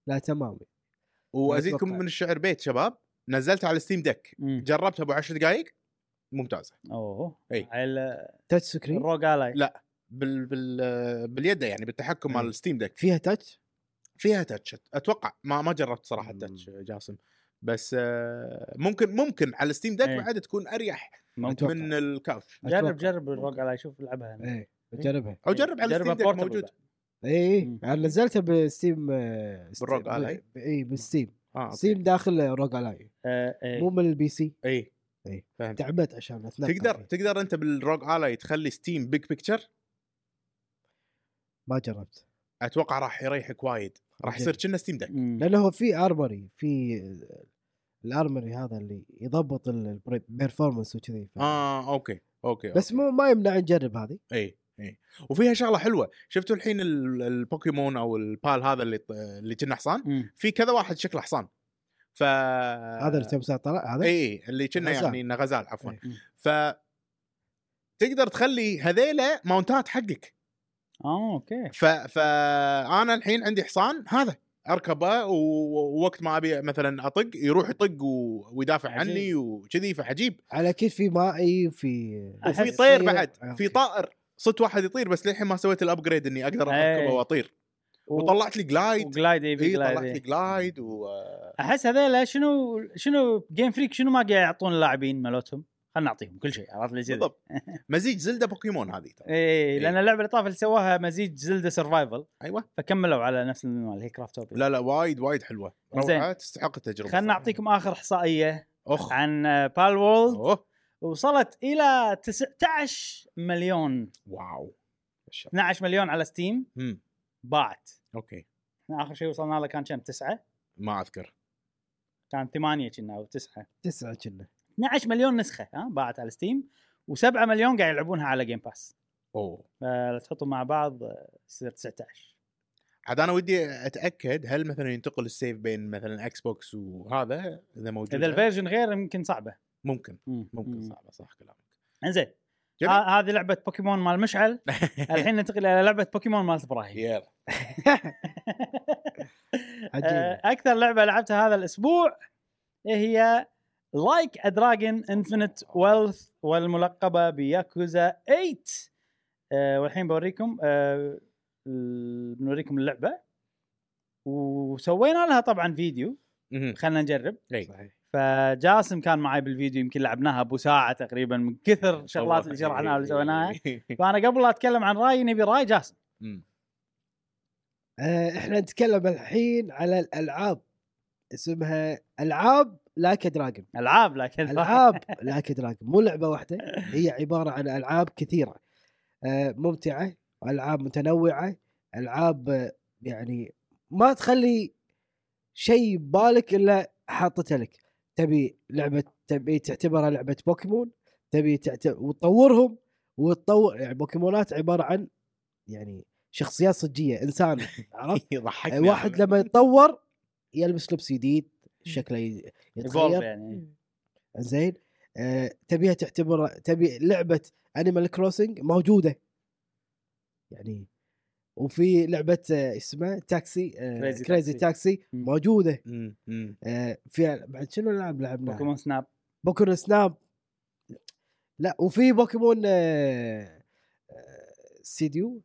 Speaker 2: لا تمام
Speaker 3: وازيدكم
Speaker 2: أتوقع.
Speaker 3: من الشعر بيت شباب نزلتها على ستيم ديك
Speaker 1: مم.
Speaker 3: جربتها ابو 10 دقائق ممتازه
Speaker 1: اوه
Speaker 3: إيه.
Speaker 1: على
Speaker 2: تاتش سكرين
Speaker 1: الروج الاي
Speaker 3: لا. بال بال باليد يعني بالتحكم مال
Speaker 2: أي.
Speaker 3: الستيم ديك
Speaker 2: فيها تاتش
Speaker 3: فيها تاتش اتوقع ما ما جربت صراحه
Speaker 2: مم.
Speaker 3: تاتش جاسم بس آه، ممكن ممكن على الستيم ديك
Speaker 1: أي.
Speaker 3: بعد تكون اريح
Speaker 1: ممكن
Speaker 2: أتوقع.
Speaker 3: من الكاوتش
Speaker 1: جرب
Speaker 2: أتوقع. إيه،
Speaker 1: جرب الروج الاي شوف العبها هنا.
Speaker 2: اي بجربها
Speaker 3: او إيه. جرب على
Speaker 1: إيه. جربها
Speaker 3: الستيم ديك
Speaker 1: portable
Speaker 3: موجود
Speaker 1: بعد.
Speaker 2: اي اي
Speaker 1: مم.
Speaker 2: انا إيه، نزلتها بستيم آه،
Speaker 3: بالروج آلاي؟
Speaker 2: اي بالستيم
Speaker 3: اه أوكي.
Speaker 2: إيه، ستيم داخل روج الاي
Speaker 1: آه، إيه.
Speaker 2: مو من البي سي
Speaker 3: اي
Speaker 2: أي.
Speaker 3: فهمت
Speaker 2: تعبت عشان اتنقل
Speaker 3: تقدر
Speaker 2: فيه.
Speaker 3: تقدر انت بالروج الاي تخلي ستيم بيج بيكتشر
Speaker 2: ما جربت
Speaker 3: اتوقع راح يريحك وايد راح يصير كنا ستيم ديك
Speaker 1: مم.
Speaker 2: لانه هو في ارمري في الارمري هذا اللي يضبط البرفورمانس وكذي ف-
Speaker 3: اه اوكي اوكي
Speaker 2: بس مو ما يمنع نجرب هذه
Speaker 3: اي اي وفيها شغله حلوه شفتوا الحين ال- البوكيمون او البال هذا اللي اللي كنا حصان
Speaker 1: مم.
Speaker 3: في كذا واحد شكله حصان ف آه.
Speaker 2: هذا اللي تمسح طلع هذا
Speaker 3: اي اللي كنا
Speaker 2: غزال.
Speaker 3: يعني انه غزال عفوا
Speaker 2: إي.
Speaker 3: ف تقدر تخلي هذيله ماونتات حقك
Speaker 1: اه اوكي
Speaker 3: ف فانا الحين عندي حصان هذا اركبه و- ووقت ما ابي مثلا اطق يروح يطق و... ويدافع
Speaker 1: عجيب.
Speaker 3: عني وكذي فعجيب
Speaker 2: على اكيد في مائي وفي
Speaker 3: وفي
Speaker 1: أحس-
Speaker 3: طير
Speaker 2: طير.
Speaker 3: بعد
Speaker 2: آه،
Speaker 3: في
Speaker 2: أوكي.
Speaker 3: طائر صرت واحد يطير بس للحين ما سويت الابجريد اني اقدر
Speaker 1: إي.
Speaker 2: إيه.
Speaker 3: اركبه واطير وطلعت لي جلايد
Speaker 1: وجلايد اي
Speaker 3: اي
Speaker 1: في
Speaker 3: طلعت لي
Speaker 1: جلايد
Speaker 3: جلايد و
Speaker 1: احس إيه. هذيلا شنو شنو جيم فريك شنو ما قاعد يعطون اللاعبين مالتهم خلينا نعطيهم كل شيء عرفت لي كذي
Speaker 3: بالضبط مزيج زلده بوكيمون هذه ترى
Speaker 1: اي لان
Speaker 3: إيه.
Speaker 1: اللعبه إيه، اللي طافت اللي سواها مزيج زلدة سرفايفل
Speaker 3: ايوه
Speaker 1: فكملوا على نفس المنوال هي كرافت اوبيا
Speaker 3: لا لا وايد وايد حلوه روعه
Speaker 1: زين.
Speaker 3: تستحق التجربه
Speaker 1: خلنا نعطيكم اخر احصائيه
Speaker 3: اخ
Speaker 1: عن بال وولد
Speaker 3: أوه.
Speaker 1: وصلت الى 19 مليون
Speaker 3: واو
Speaker 1: 12 مليون على ستيم
Speaker 3: امم
Speaker 1: باعت
Speaker 3: اوكي
Speaker 1: احنا اخر شيء وصلنا له كان كم تسعه
Speaker 3: ما اذكر
Speaker 1: كان ثمانيه كنا او تسعه
Speaker 2: تسعه كنا
Speaker 1: 12 مليون نسخه ها باعت على ستيم و7 مليون قاعد يلعبونها على جيم باس
Speaker 3: اوه
Speaker 1: فتحطوا مع بعض آه، يصير 19
Speaker 3: عاد انا ودي اتاكد هل مثلا ينتقل السيف بين مثلا اكس بوكس وهذا اذا موجود
Speaker 1: اذا الفيرجن غير يمكن صعبه
Speaker 3: ممكن ممكن
Speaker 1: مم.
Speaker 3: صعبه صح كلامك
Speaker 1: انزين
Speaker 3: جميل.
Speaker 1: ه- هذه لعبه بوكيمون مال مشعل الحين ننتقل الى لعبه بوكيمون مال ابراهيم
Speaker 3: يلا
Speaker 2: عجيبه
Speaker 1: آه، اكثر لعبه لعبتها هذا الاسبوع هي لايك ا دراجون انفنت ويلث والملقبه بياكوزا 8 آه، والحين بوريكم آه، ال- بنوريكم اللعبه وسوينا لها طبعا فيديو
Speaker 3: مهم.
Speaker 1: خلينا نجرب
Speaker 3: إي.
Speaker 2: صحيح
Speaker 1: فجاسم كان معي بالفيديو يمكن لعبناها ابو ساعه تقريبا من كثر شغلات اللي شرحناها واللي سويناها فانا قبل لا اتكلم عن رايي نبي راي جاسم
Speaker 3: مم.
Speaker 2: آه، احنا نتكلم الحين على الالعاب اسمها العاب لاك دراجون
Speaker 1: العاب لكن
Speaker 2: العاب لاك دراجون مو لعبه واحده هي عباره عن العاب كثيره آه، ممتعه العاب متنوعه العاب آه، يعني ما تخلي شيء ببالك الا حاطته لك تبي لعبه تبي تعتبرها لعبه بوكيمون تبي تعتبر وتطورهم وتطور يعني بوكيمونات عباره عن يعني شخصيات صجيه انسان عرفت
Speaker 3: يضحكني
Speaker 2: واحد
Speaker 3: هذا.
Speaker 2: لما يتطور يلبس لبس جديد شكله ي-
Speaker 1: Evolve
Speaker 2: يتغير
Speaker 1: يعني
Speaker 2: زين آه، تبيها تعتبر تبي لعبه انيمال كروسنج موجوده يعني وفي لعبه آه، اسمها تاكسي آه،
Speaker 1: Crazy
Speaker 2: كريزي
Speaker 1: Taxi.
Speaker 2: تاكسي
Speaker 1: مم.
Speaker 2: موجوده
Speaker 3: مم، مم.
Speaker 2: آه، فيها بعد شنو لعب لعبنا
Speaker 1: بوكيمون سناب
Speaker 2: بوكيمون سناب لا وفي بوكيمون آه، آه، ستيديو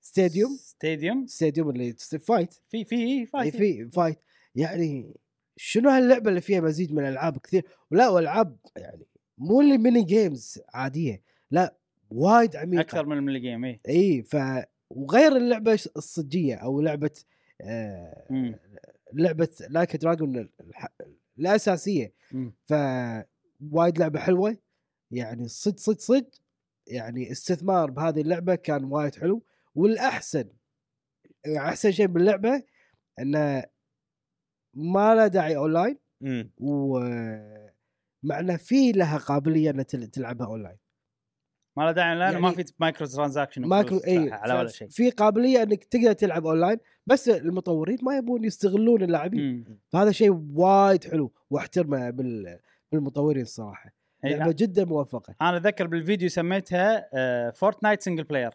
Speaker 2: ستاديوم
Speaker 1: ستاديوم
Speaker 2: ستاديوم اللي تصير فايت
Speaker 1: في إيه، في
Speaker 2: اي
Speaker 1: فايت
Speaker 2: إيه، في فايت يعني شنو هاللعبه اللي فيها مزيج من الالعاب كثير ولا والعاب يعني مو اللي ميني جيمز عاديه لا وايد عميقه
Speaker 1: اكثر من إيه. الملي جيم اي
Speaker 2: اي ف وغير اللعبه الصجيه او لعبه آه
Speaker 1: مم.
Speaker 2: لعبه لايك دراجون الاساسيه
Speaker 1: مم.
Speaker 2: ف وايد لعبه حلوه يعني صد صد صد يعني استثمار بهذه اللعبه كان وايد حلو والاحسن احسن شيء باللعبه انه ما له داعي اونلاين
Speaker 3: مم.
Speaker 2: ومع انه في لها قابليه انها تل- تلعبها اونلاين
Speaker 1: ما له داعي لانه ما
Speaker 2: يعني- إيه،
Speaker 1: في مايكرو ترانزاكشن
Speaker 2: ماكو اي
Speaker 1: على ولا شيء
Speaker 2: في قابليه انك تقدر تلعب اونلاين بس المطورين ما يبون يستغلون اللاعبين
Speaker 1: مم.
Speaker 2: فهذا شيء وايد حلو واحترمه بال- بالمطورين الصراحه
Speaker 1: إي،
Speaker 2: لعبه جدا موفقه
Speaker 1: انا اتذكر بالفيديو سميتها آه، فورتنايت سنجل بلاير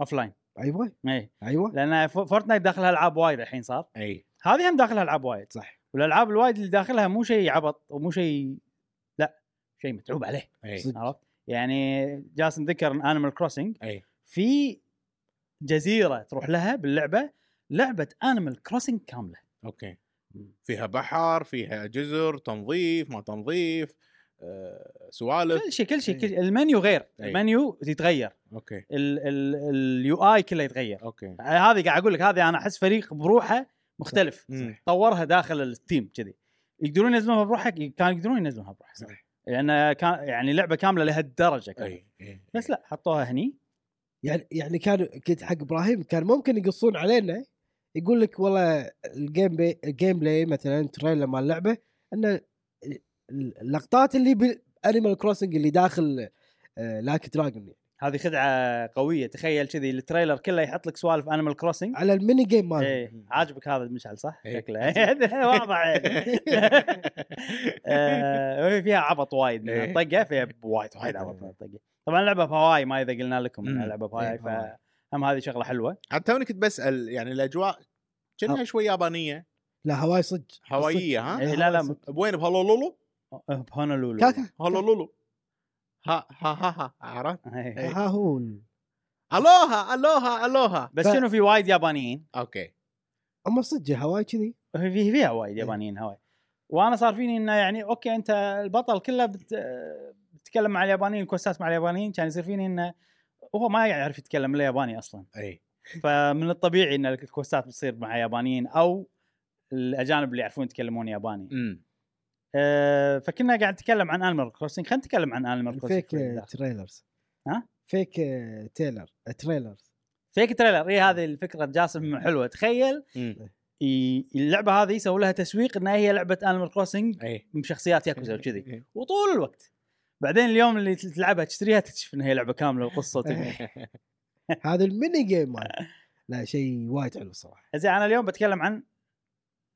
Speaker 1: اوف لاين
Speaker 2: ايوه
Speaker 1: اي
Speaker 2: ايوه
Speaker 1: لان إيه. فو- فورتنايت داخلها العاب وايد الحين صار
Speaker 3: اي
Speaker 1: هذه هم داخلها العاب وايد
Speaker 2: صح.
Speaker 1: والالعاب الوايد اللي داخلها مو شيء عبط ومو شيء لا شيء متعوب عليه
Speaker 3: اي
Speaker 2: صدق.
Speaker 1: إيه، عرفت يعني جاسم ذكر انيمال كروسنج
Speaker 3: اي
Speaker 1: في جزيره تروح لها باللعبه لعبه انيمال كروسنج كامله
Speaker 3: اوكي
Speaker 1: إمم.
Speaker 3: فيها بحر فيها جزر تنظيف ما تنظيف آه، سوالف
Speaker 1: كل شيء كل شيء
Speaker 2: إيه.
Speaker 1: كل شيء. المنيو غير
Speaker 3: إيه.
Speaker 1: المنيو يتغير
Speaker 3: اوكي
Speaker 1: اليو اي كله يتغير
Speaker 3: اوكي
Speaker 1: هذه قاعد اقول لك هذه انا احس فريق بروحه مختلف
Speaker 3: مم.
Speaker 1: طورها داخل التيم كذي يقدرون ينزلونها بروحه كانوا يقدرون ينزلونها بروحه
Speaker 3: صح.
Speaker 1: لان كان يعني لعبه كامله لهالدرجه كانت
Speaker 3: اي اي
Speaker 1: آه. بس لا حطوها هني
Speaker 2: يعني يعني كان كنت حق ابراهيم كان ممكن يقصون علينا يقول لك والله الجيم بي الجيم بلاي مثلا تريلر مال اللعبه ان اللقطات اللي بالانيمال كروسنج اللي داخل آه، لاك دراجون
Speaker 1: هذه خدعه قويه تخيل كذي التريلر كله يحط لك سوالف انيمال كروسنج
Speaker 2: على الميني جيم ماله
Speaker 1: ايه عاجبك هذا المشعل صح؟
Speaker 3: إيه.
Speaker 1: شكله واضح يعني. آه، فيها عبط وايد من
Speaker 3: إيه.
Speaker 1: الطقه فيها وايد وايد عبط من الطقه طبعا لعبه بهواي ما اذا قلنا لكم انها
Speaker 3: مم.
Speaker 1: لعبه بهواي
Speaker 2: إيه، هواي.
Speaker 1: فهم هذه شغله حلوه
Speaker 3: حتى توني كنت بسال يعني
Speaker 1: آه.
Speaker 3: الاجواء كانها شوي يابانيه
Speaker 2: لا هواي صدق
Speaker 3: هواييه ها
Speaker 1: إيه، لا لا
Speaker 3: بوين بهولولولو
Speaker 1: بهونولولو
Speaker 2: كاكا
Speaker 3: هولولولو ها ها ها ها عرفت
Speaker 1: إيه.
Speaker 3: إيه.
Speaker 2: ها هو ال-
Speaker 3: الوها الوها الوها
Speaker 1: بس
Speaker 2: ف-
Speaker 1: شنو في وايد يابانيين
Speaker 3: اوكي
Speaker 2: اما صدق هواي كذي
Speaker 1: في فيها وايد يابانيين هواي وانا صار فيني انه يعني اوكي انت البطل كله بت... بتتكلم مع اليابانيين الكوستات مع اليابانيين كان يصير فيني انه هو ما يعرف يتكلم الا ياباني اصلا
Speaker 3: اي
Speaker 1: فمن الطبيعي ان الكوستات بتصير مع يابانيين او الاجانب اللي يعرفون يتكلمون ياباني
Speaker 3: امم
Speaker 1: أه فكنا قاعد نتكلم عن انيمال كروسنج خلينا نتكلم عن انيمال
Speaker 2: فيك
Speaker 1: كروسنج
Speaker 2: تريلرز
Speaker 1: ها؟
Speaker 2: فيك آه، تيلر آه، تريلرز
Speaker 1: فيك تريلر اي هذه الفكره جاسم حلوه تخيل
Speaker 3: أمم.
Speaker 1: ي- اللعبه هذه يسوي لها تسويق انها هي لعبه انيمال كروسنج
Speaker 3: اي
Speaker 1: بشخصيات ياكوزا وكذي
Speaker 3: إي.
Speaker 1: وطول الوقت بعدين اليوم اللي تل- تلعبها تشتريها تكتشف انها هي لعبه كامله وقصه
Speaker 3: إيه.
Speaker 1: تبي.
Speaker 2: هذا الميني جيم ماله لا شيء وايد حلو صراحه
Speaker 1: زين انا اليوم بتكلم عن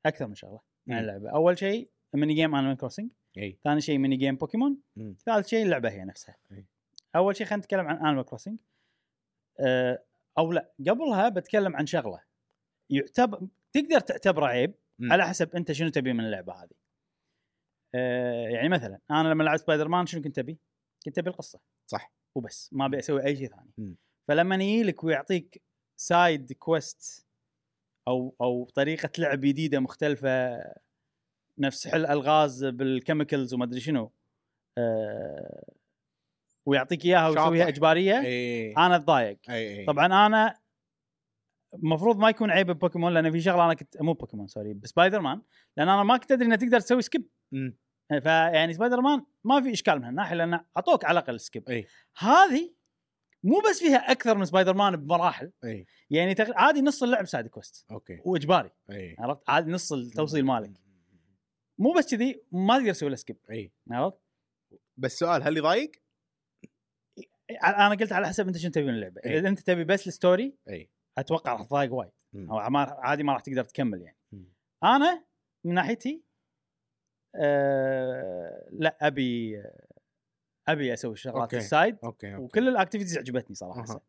Speaker 1: اكثر من شغله عن
Speaker 3: مم.
Speaker 1: اللعبه اول شيء ميني جيم انيمال كروسنج
Speaker 3: اي
Speaker 1: ثاني شيء ميني جيم بوكيمون
Speaker 3: مم. إيه.
Speaker 1: ثالث شيء اللعبه هي نفسها
Speaker 3: إي.
Speaker 1: اول شيء خلينا نتكلم عن انيمال كروسنج أه او لا قبلها بتكلم عن شغله يعتبر تقدر تعتبره عيب
Speaker 3: مم.
Speaker 1: على حسب انت شنو تبي من اللعبه هذه أه يعني مثلا انا لما لعبت سبايدر مان شنو كنت ابي؟ كنت ابي القصه
Speaker 3: صح.
Speaker 1: وبس ما ابي اسوي اي شيء ثاني
Speaker 3: مم.
Speaker 1: فلما يجي لك ويعطيك سايد كويست او او طريقه لعب جديده مختلفه نفس حل الغاز بالكيميكلز وما ادري شنو أه ويعطيك اياها ويسويها
Speaker 3: شاطح. إيه.
Speaker 1: اجباريه
Speaker 3: اي
Speaker 1: انا اتضايق
Speaker 3: اي
Speaker 1: طبعا انا المفروض ما يكون عيب ببوكيمون لان في شغله انا كنت مو بوكيمون سوري بسبايدر مان لان انا ما كنت ادري انه تقدر تسوي سكيب
Speaker 3: مم.
Speaker 1: فيعني سبايدر مان ما في اشكال من هالناحيه لان اعطوك على الاقل سكيب
Speaker 3: إي.
Speaker 1: هذه مو بس فيها اكثر من سبايدر مان بمراحل
Speaker 3: اي
Speaker 1: يعني تق- عادي نص اللعب سايد كويست
Speaker 3: اوكي
Speaker 1: واجباري
Speaker 3: اي
Speaker 1: عرفت عادي نص التوصيل مالك مو بس كذي ما تقدر تسوي له سكيب
Speaker 3: اي
Speaker 1: عرفت
Speaker 3: بس سؤال هل يضايق؟
Speaker 1: انا قلت على حسب انت شنو تبي من اللعبه
Speaker 3: إي.
Speaker 1: اذا انت تبي بس الستوري
Speaker 3: اي
Speaker 1: اتوقع راح تضايق وايد
Speaker 3: مم.
Speaker 1: او ما عادي ما راح تقدر تكمل يعني
Speaker 3: مم.
Speaker 1: انا من ناحيتي آه لا ابي ابي اسوي شغلات
Speaker 3: أوكي.
Speaker 1: السايد
Speaker 3: اوكي اوكي
Speaker 1: وكل الاكتيفيتيز عجبتني صراحه
Speaker 3: أها.
Speaker 1: هسه.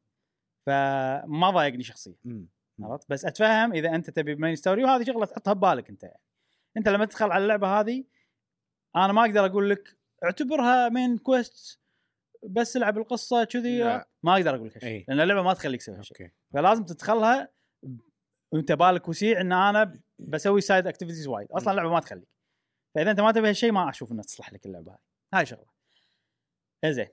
Speaker 1: فما ضايقني شخصيا
Speaker 3: مم. مم.
Speaker 1: عرفت بس اتفهم اذا انت تبي مين ستوري وهذه شغله تحطها ببالك انت يعني. انت لما تدخل على اللعبه هذه انا ما اقدر اقول لك اعتبرها مين كويست بس العب القصه كذي
Speaker 3: لا. إيه.
Speaker 1: ما اقدر اقول لك
Speaker 3: إي.
Speaker 1: هالشيء لان اللعبه ما تخليك تسوي هالشيء
Speaker 3: اوكي
Speaker 1: فلازم تدخلها وانت بالك وسيع ان انا بسوي سايد اكتيفيتيز وايد اصلا اللعبه ما تخليك فاذا انت ما تبي هالشيء ما اشوف انها تصلح لك اللعبه هاي هاي شغله زين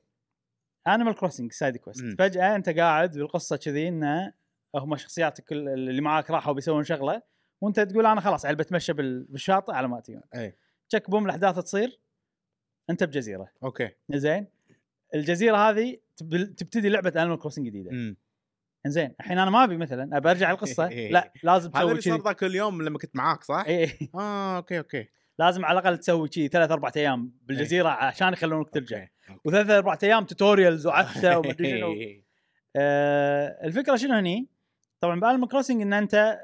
Speaker 1: انيمال كروسنج سايد كويست
Speaker 3: مم.
Speaker 1: فجاه انت قاعد بالقصه كذي انه هم شخصياتك كل اللي معاك راحوا بيسوون شغله وانت تقول انا خلاص على بتمشى بال- بالشاطئ على ما تجون
Speaker 3: أي.
Speaker 1: تشك بوم الاحداث تصير انت بجزيره
Speaker 3: اوكي
Speaker 1: زين الجزيره هذه تب- تبتدي لعبه انيمال كروسنج جديده
Speaker 3: مم.
Speaker 1: زين الحين انا ما ابي مثلا ابي ارجع القصه لا لازم
Speaker 3: هذا
Speaker 1: تسوي
Speaker 3: اللي صار
Speaker 1: كذي
Speaker 3: ذاك اليوم لما كنت معاك صح؟
Speaker 1: اي إي.
Speaker 3: اه اوكي اوكي
Speaker 1: لازم على الاقل تسوي كذي ثلاث اربع ايام بالجزيره عشان يخلونك ترجع
Speaker 3: اوكي إيه. أوكي. إيه.
Speaker 1: وثلاث اربع ايام توتوريالز وعفسه ومدري شنو آه، الفكره شنو هني؟ طبعا بالم كروسنج ان انت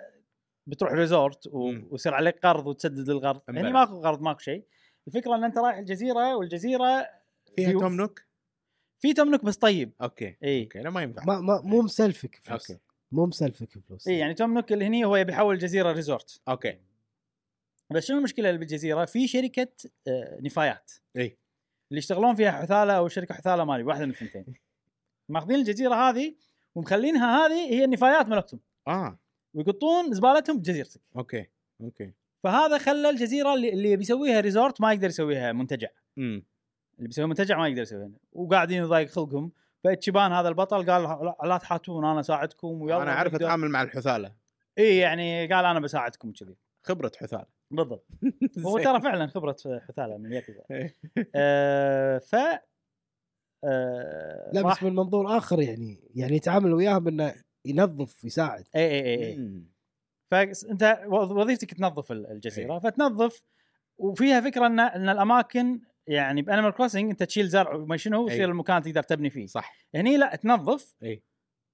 Speaker 1: بتروح ريزورت و-
Speaker 3: مم.
Speaker 1: ويصير عليك قرض وتسدد القرض
Speaker 3: أمبلى.
Speaker 1: هني ماكو قرض ماكو شيء الفكره ان انت رايح الجزيره والجزيره
Speaker 3: فيها
Speaker 1: في-
Speaker 3: توم نوك؟
Speaker 1: في تملك بس طيب
Speaker 3: اوكي
Speaker 1: اي
Speaker 3: اوكي لا ما ينفع
Speaker 2: ما ما
Speaker 1: إيه.
Speaker 2: مو مسلفك فلوس
Speaker 3: اوكي
Speaker 2: مو مسلفك فلوس
Speaker 1: اي يعني تملك اللي هني هو يبي يحول الجزيره ريزورت
Speaker 3: اوكي
Speaker 1: بس شنو المشكله اللي بالجزيره؟ في شركه آه، نفايات.
Speaker 3: إي.
Speaker 1: اللي يشتغلون فيها حثاله او شركه حثاله مالي واحده من الثنتين. ماخذين الجزيره هذه ومخلينها هذه هي النفايات مالتهم
Speaker 3: اه
Speaker 1: ويقطون زبالتهم بجزيرتك.
Speaker 3: اوكي اوكي
Speaker 1: فهذا خلى الجزيره اللي اللي بيسويها ريزورت ما يقدر يسويها منتجع.
Speaker 3: امم
Speaker 1: اللي بيسوي منتجع ما يقدر يسويها وقاعدين يضايق خلقهم فشيبان هذا البطل قال لا- لا تحاتون انا اساعدكم ويلا
Speaker 3: انا اعرف اتعامل مع الحثاله
Speaker 1: اي يعني قال انا بساعدكم كذي
Speaker 3: خبره حثاله
Speaker 1: بالضبط. هو
Speaker 3: زين.
Speaker 1: ترى فعلا خبره حثاله من ياكوزا
Speaker 3: إيه.
Speaker 1: آه، ف آه،
Speaker 2: لا بس
Speaker 1: راح-
Speaker 2: من منظور اخر يعني يعني يتعامل وياهم انه ينظف يساعد
Speaker 1: اي اي اي, إي.
Speaker 3: مم.
Speaker 1: فانت وظ- وظيفتك تنظف ال- الجزيره فتنظف وفيها فكره ان ان الاماكن يعني بانيمال كروسنج انت تشيل زرع وما شنو
Speaker 3: إي.
Speaker 1: ويصير المكان تقدر تبني فيه
Speaker 3: صح
Speaker 1: هني لا تنظف
Speaker 3: إي.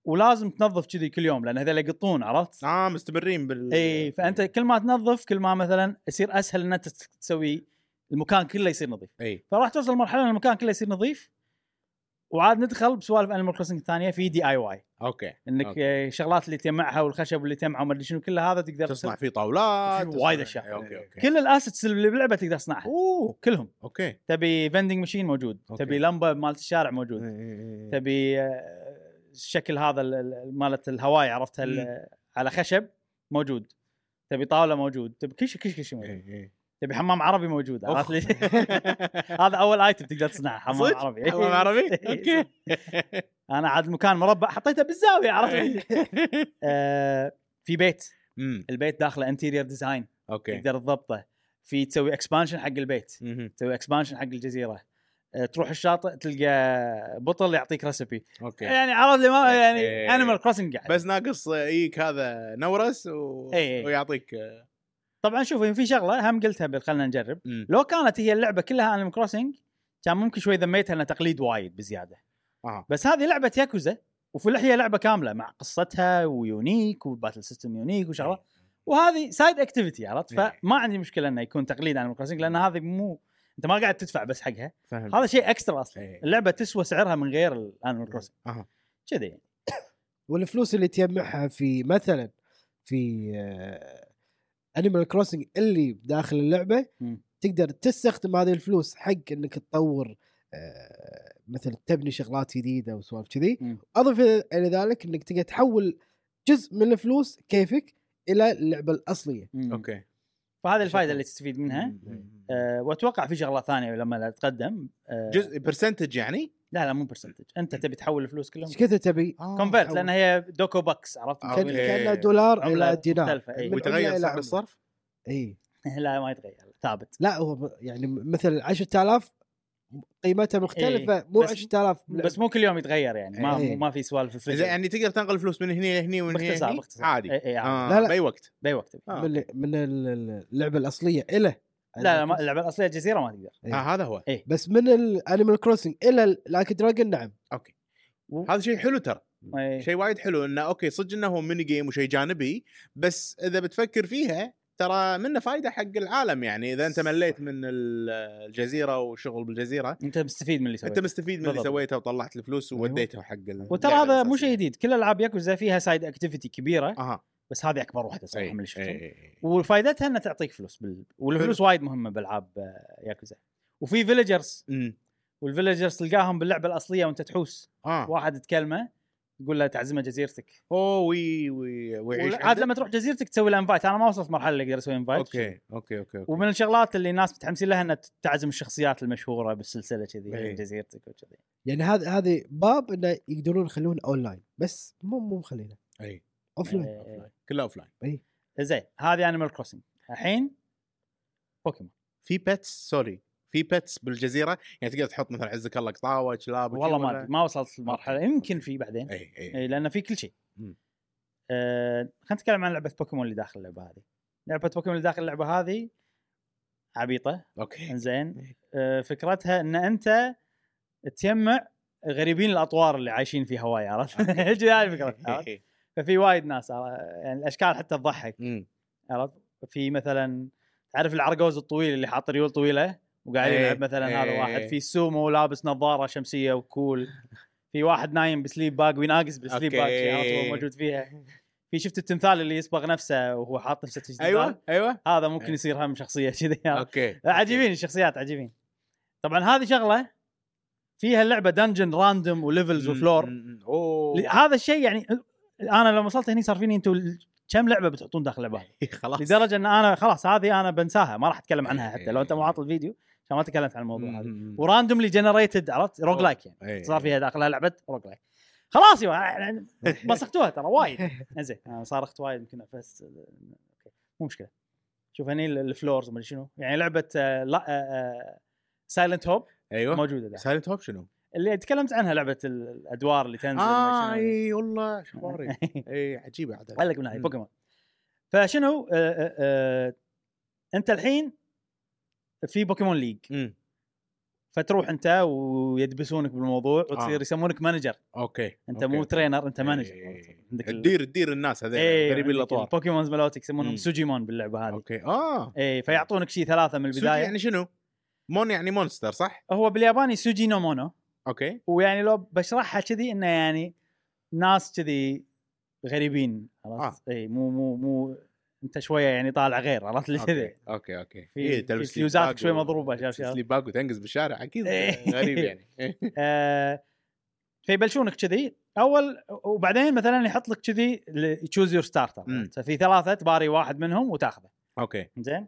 Speaker 1: ولازم تنظف كذي كل يوم لان هذول يقطون عرفت؟
Speaker 3: اه مستمرين بال
Speaker 1: اي فانت كل ما تنظف كل ما مثلا يصير اسهل ان انت تس- تسوي المكان كله يصير نظيف
Speaker 3: اي
Speaker 1: فراح توصل مرحله ان المكان كله يصير نظيف وعاد ندخل بسوالف انيمال كروسنج الثانيه في دي اي واي
Speaker 3: اوكي
Speaker 1: انك
Speaker 3: أوكي.
Speaker 1: آه، الشغلات اللي تجمعها والخشب اللي تجمعه وما ادري شنو كل هذا تقدر
Speaker 3: تصنع
Speaker 1: تسوي.
Speaker 3: فيه طاولات إيه،
Speaker 1: في
Speaker 3: تصنع-
Speaker 1: وايد أشياء.
Speaker 3: اوكي اوكي
Speaker 1: كل الاسيتس اللي باللعبه تقدر تصنعها
Speaker 3: اوه
Speaker 1: كلهم
Speaker 3: اوكي
Speaker 1: تبي فندنج ماشين موجود
Speaker 3: أوكي. إيه.
Speaker 1: تبي لمبه مالت الشارع موجود
Speaker 3: إي، إي، إي.
Speaker 1: تبي آه، الشكل هذا ال- ال- مالت الهواي عرفتها ال- على خشب موجود تبي طاوله موجود تبي كل شيء كل شيء كل شيء موجود
Speaker 3: إي، إي.
Speaker 1: تبي حمام عربي موجود
Speaker 3: إيه. أوف.
Speaker 1: عرفت لي
Speaker 3: إيه.
Speaker 1: هذا اول ايتم تقدر تصنعه حمام
Speaker 3: صدق؟
Speaker 1: عربي
Speaker 3: حمام عربي؟ إيه. أوكي.
Speaker 1: انا عاد المكان مربع حطيته بالزاويه عرفت
Speaker 3: إيه.
Speaker 1: آه، في بيت
Speaker 3: مم.
Speaker 1: البيت داخله انتيرير ديزاين
Speaker 3: اوكي
Speaker 1: تقدر تضبطه في تسوي اكسبانشن حق البيت
Speaker 3: مهم.
Speaker 1: تسوي اكسبانشن حق الجزيره آه، تروح الشاطئ تلقى بطل يعطيك ريسبي
Speaker 3: اوكي
Speaker 1: يعني عرفت لي ما
Speaker 3: إيه.
Speaker 1: يعني انيمال كروسنج قاعد
Speaker 3: بس ناقص يجيك هذا نورس و...
Speaker 1: إي، إي.
Speaker 3: ويعطيك
Speaker 1: طبعا شوف في شغله هم قلتها بال- خلينا نجرب
Speaker 3: مم.
Speaker 1: لو كانت هي اللعبه كلها انيمال كروسنج كان ممكن شوي ذميتها انها تقليد وايد بزياده
Speaker 3: آه.
Speaker 1: بس هذه لعبه ياكوزا وفي اللحيه لعبه كامله مع قصتها ويونيك والباتل سيستم يونيك وشغله وهذه سايد اكتيفيتي عرفت
Speaker 3: إيه.
Speaker 1: فما عندي مشكله انه يكون تقليد انيمال كروسنج لان هذه مو انت ما قاعد تدفع بس حقها
Speaker 3: فهمت.
Speaker 1: هذا شيء اكسترا اصلا
Speaker 3: إي.
Speaker 1: اللعبه تسوى سعرها من غير الانيمال كروسنج
Speaker 3: إيه. أها.
Speaker 1: كذي يعني.
Speaker 2: والفلوس اللي تجمعها في مثلا في انيمال كروسنج اللي داخل اللعبه
Speaker 1: مم.
Speaker 2: تقدر تستخدم هذه الفلوس حق انك تطور آه، مثلا تبني شغلات جديده وسوالف كذي
Speaker 1: مم.
Speaker 2: اضف الى ذلك انك تقدر تحول جزء من الفلوس كيفك الى اللعبه الاصليه
Speaker 1: مم.
Speaker 3: اوكي
Speaker 1: فهذه الفائده
Speaker 2: شكراً.
Speaker 1: اللي تستفيد منها آه،
Speaker 3: مم.
Speaker 1: أه واتوقع في شغله ثانيه لما لا تقدم أه
Speaker 3: جزء برسنتج يعني
Speaker 1: لا لا مو برسنتج انت
Speaker 3: إيه.
Speaker 1: تبي تحول الفلوس كلهم
Speaker 2: ايش كثر تبي؟
Speaker 3: آه،
Speaker 1: كونفرت
Speaker 2: تحول.
Speaker 1: لان هي دوكو بكس عرفت
Speaker 3: آه،
Speaker 2: كان
Speaker 3: أوكي.
Speaker 2: كانه دولار
Speaker 1: عملة
Speaker 2: الى دينار إيه.
Speaker 1: مختلفة، إي.
Speaker 2: من عملة
Speaker 3: ويتغير
Speaker 2: إلى
Speaker 3: سعر
Speaker 2: عملة.
Speaker 3: الصرف
Speaker 2: اي
Speaker 1: لا ما يتغير ثابت
Speaker 2: لا هو ب- يعني مثل 10000 قيمتها مختلفه مو
Speaker 1: إيه، بس-
Speaker 2: 10000
Speaker 1: بس مو كل يوم يتغير يعني ما
Speaker 2: إيه.
Speaker 1: ما في سوالف
Speaker 3: زين،
Speaker 1: الفلوس
Speaker 3: يعني تقدر تنقل فلوس من هنا لهني ومن هنا
Speaker 1: باختصار
Speaker 3: لهني؟
Speaker 1: باختصار إيه، يعني.
Speaker 3: عادي
Speaker 1: اي اي عادي.
Speaker 3: آه،
Speaker 2: لا، لا.
Speaker 3: باي وقت
Speaker 1: باي وقت
Speaker 3: آه.
Speaker 2: من من ال- اللعبه الاصليه الى
Speaker 1: لا لا ما- اللعبه الاصليه الجزيره ما تقدر
Speaker 2: إي.
Speaker 3: آه، هذا هو
Speaker 2: بس من الانيمال كروسنج الى لايك دراجون نعم
Speaker 3: هذا شيء حلو ترى
Speaker 1: إي.
Speaker 3: شيء وايد حلو انه اوكي صدق انه هو ميني جيم وشيء جانبي بس اذا بتفكر فيها ترى منه فائده حق العالم يعني اذا انت مليت من ال- الجزيره وشغل بالجزيره
Speaker 1: انت مستفيد من اللي سويته
Speaker 3: انت مستفيد من اللي
Speaker 1: بالضبط. أيوه.
Speaker 3: سويته وطلعت الفلوس
Speaker 2: أيوة.
Speaker 3: ووديته حق ال- يعني
Speaker 1: وترى
Speaker 3: اللعبة
Speaker 1: هذا مو
Speaker 3: الأساسية.
Speaker 1: شيء جديد كل العاب ياكوزا فيها سايد اكتيفيتي كبيره
Speaker 3: اها
Speaker 1: بس هذه اكبر واحده صراحه
Speaker 3: اي
Speaker 1: من اللي شفتهم
Speaker 3: اي اي.
Speaker 1: وفائدتها انها تعطيك فلوس بال... والفلوس وايد مهمه بالعاب آه، ياكوزا وفي فيلجرز
Speaker 3: امم.
Speaker 1: والفيلجرز تلقاهم باللعبه الاصليه وانت تحوس
Speaker 3: اه
Speaker 1: واحد تكلمه تقول له تعزمه جزيرتك
Speaker 3: اوه وي وي ويعيش
Speaker 1: عاد
Speaker 3: عندك؟
Speaker 1: لما تروح جزيرتك تسوي له انفايت انا ما وصلت مرحله اللي اقدر اسوي انفايت
Speaker 3: اوكي اوكي اوكي اوكي.
Speaker 1: ومن الشغلات اللي الناس متحمسين لها ان تعزم الشخصيات المشهوره بالسلسله كذي
Speaker 3: إي.
Speaker 1: جزيرتك وكذي
Speaker 2: يعني هذا هذه باب انه يقدرون يخلون اونلاين بس مو مو مخلينه
Speaker 3: اي
Speaker 2: اوف لاين
Speaker 1: إيه.
Speaker 3: آه، كله اوف لاين
Speaker 1: زين هذه انيمال كروسنج الحين بوكيمون
Speaker 3: في بيتس سوري في بيتس بالجزيره يعني تقدر تحط مثلا عزك الله قطاوه كلاب وشي
Speaker 1: والله ما إيه.
Speaker 3: ولا- إيه،
Speaker 1: ادري ما وصلت المرحله يمكن في بعدين
Speaker 3: اي اي
Speaker 1: إي، لان في كل شيء
Speaker 3: مم.
Speaker 1: آه، خلينا نتكلم عن لعبه بوكيمون اللي داخل اللعبه هذه لعبه بوكيمون اللي داخل اللعبه هذه عبيطه
Speaker 3: اوكي
Speaker 1: زين آه، فكرتها ان انت تجمع غريبين الاطوار اللي عايشين في هواي عرفت؟ هذه هاي الفكره عرفت؟
Speaker 3: إي.
Speaker 1: ففي وايد ناس آه، يعني الاشكال حتى تضحك
Speaker 3: امم.
Speaker 1: عرفت في مثلا تعرف العرقوز الطويل اللي حاط ريول طويله وقاعد
Speaker 3: إيه،
Speaker 1: يلعب مثلا هذا
Speaker 3: إيه.
Speaker 1: واحد في السومو لابس نظاره شمسيه وكول في واحد نايم بسليب باج ويناقص بسليب باج
Speaker 3: أوكي.
Speaker 1: شي عرفت هو موجود فيها في شفت التمثال اللي يصبغ نفسه وهو حاط نفسه تجديد
Speaker 3: ايوه ايوه
Speaker 1: هذا ممكن يصير هم شخصيه كذي
Speaker 3: اوكي
Speaker 1: نعم. عجيبين الشخصيات عجيبين طبعا هذه شغله فيها اللعبه دنجن راندوم وليفلز
Speaker 3: مم،
Speaker 1: وفلور
Speaker 3: مم، مم. اوه
Speaker 1: ل- هذا الشيء يعني انا لما وصلت هني صار فيني انتم كم لعبه بتحطون داخل لعبه
Speaker 3: إيه، خلاص
Speaker 1: لدرجه ان انا خلاص هذه انا بنساها ما راح اتكلم عنها حتى لو انت مو
Speaker 3: إيه.
Speaker 1: عاطل الفيديو عشان ما تكلمت عن الموضوع هذا
Speaker 3: مم، مم.
Speaker 1: وراندوملي جنريتد عرفت روج لايك يعني
Speaker 3: إيه.
Speaker 1: صار فيها داخلها لعبه روج لايك خلاص يا يعني مسختوها ترى وايد زين انا صارخت وايد يمكن بس أوكي. مو مشكله شوف هني ال- الفلورز مدري شنو يعني لعبه آه، لا سايلنت هوب
Speaker 3: ايوه
Speaker 1: موجوده ده.
Speaker 3: سايلنت هوب شنو؟
Speaker 1: اللي تكلمت عنها لعبه ال- الادوار اللي تنزل
Speaker 3: اه
Speaker 1: مدري شنو.
Speaker 3: اي والله إيه، شخباري اي عجيبه عاد
Speaker 1: قال لك من هاي
Speaker 3: مم.
Speaker 1: بوكيمون فشنو آه، آه، آه، انت الحين في بوكيمون ليج
Speaker 3: مم.
Speaker 1: فتروح انت ويدبسونك بالموضوع وتصير
Speaker 3: آه.
Speaker 1: يسمونك مانجر
Speaker 3: اوكي
Speaker 1: انت
Speaker 3: أوكي.
Speaker 1: مو ترينر انت مانجر
Speaker 3: إيه.
Speaker 1: عندك ال-
Speaker 3: تدير تدير الناس هذول
Speaker 1: ايه
Speaker 3: غريبين الاطوار
Speaker 1: بوكيمونز ملوتك
Speaker 3: مم.
Speaker 1: يسمونهم سوجيمون باللعبه هذه
Speaker 3: اوكي اه
Speaker 1: ايه فيعطونك شيء ثلاثه من
Speaker 3: البدايه
Speaker 1: البدايه
Speaker 3: يعني شنو؟ مون يعني مونستر صح؟
Speaker 1: هو بالياباني سوجي نو مونو
Speaker 3: اوكي
Speaker 1: ويعني لو بشرحها كذي انه يعني ناس كذي غريبين عرفت؟
Speaker 3: آه.
Speaker 1: اي مو مو مو انت شويه يعني طالع غير عرفت اللي كذي
Speaker 3: اوكي اوكي اوكي
Speaker 1: في-
Speaker 3: إيه،
Speaker 1: في
Speaker 3: تلبس
Speaker 1: فيوزاتك
Speaker 3: ليباج
Speaker 1: شوي
Speaker 3: و-
Speaker 1: مضروبة، شاف-
Speaker 3: تلبس
Speaker 1: شاف.
Speaker 3: ليباج وتنقز بالشارع اكيد
Speaker 1: إيه.
Speaker 3: غريب يعني إيه.
Speaker 1: آه، فيبلشونك كذي اول وبعدين مثلا يحط لك كذي تشوز يور ستارتر
Speaker 3: مم.
Speaker 1: ففي ثلاثه تباري واحد منهم وتاخذه
Speaker 3: اوكي
Speaker 1: زين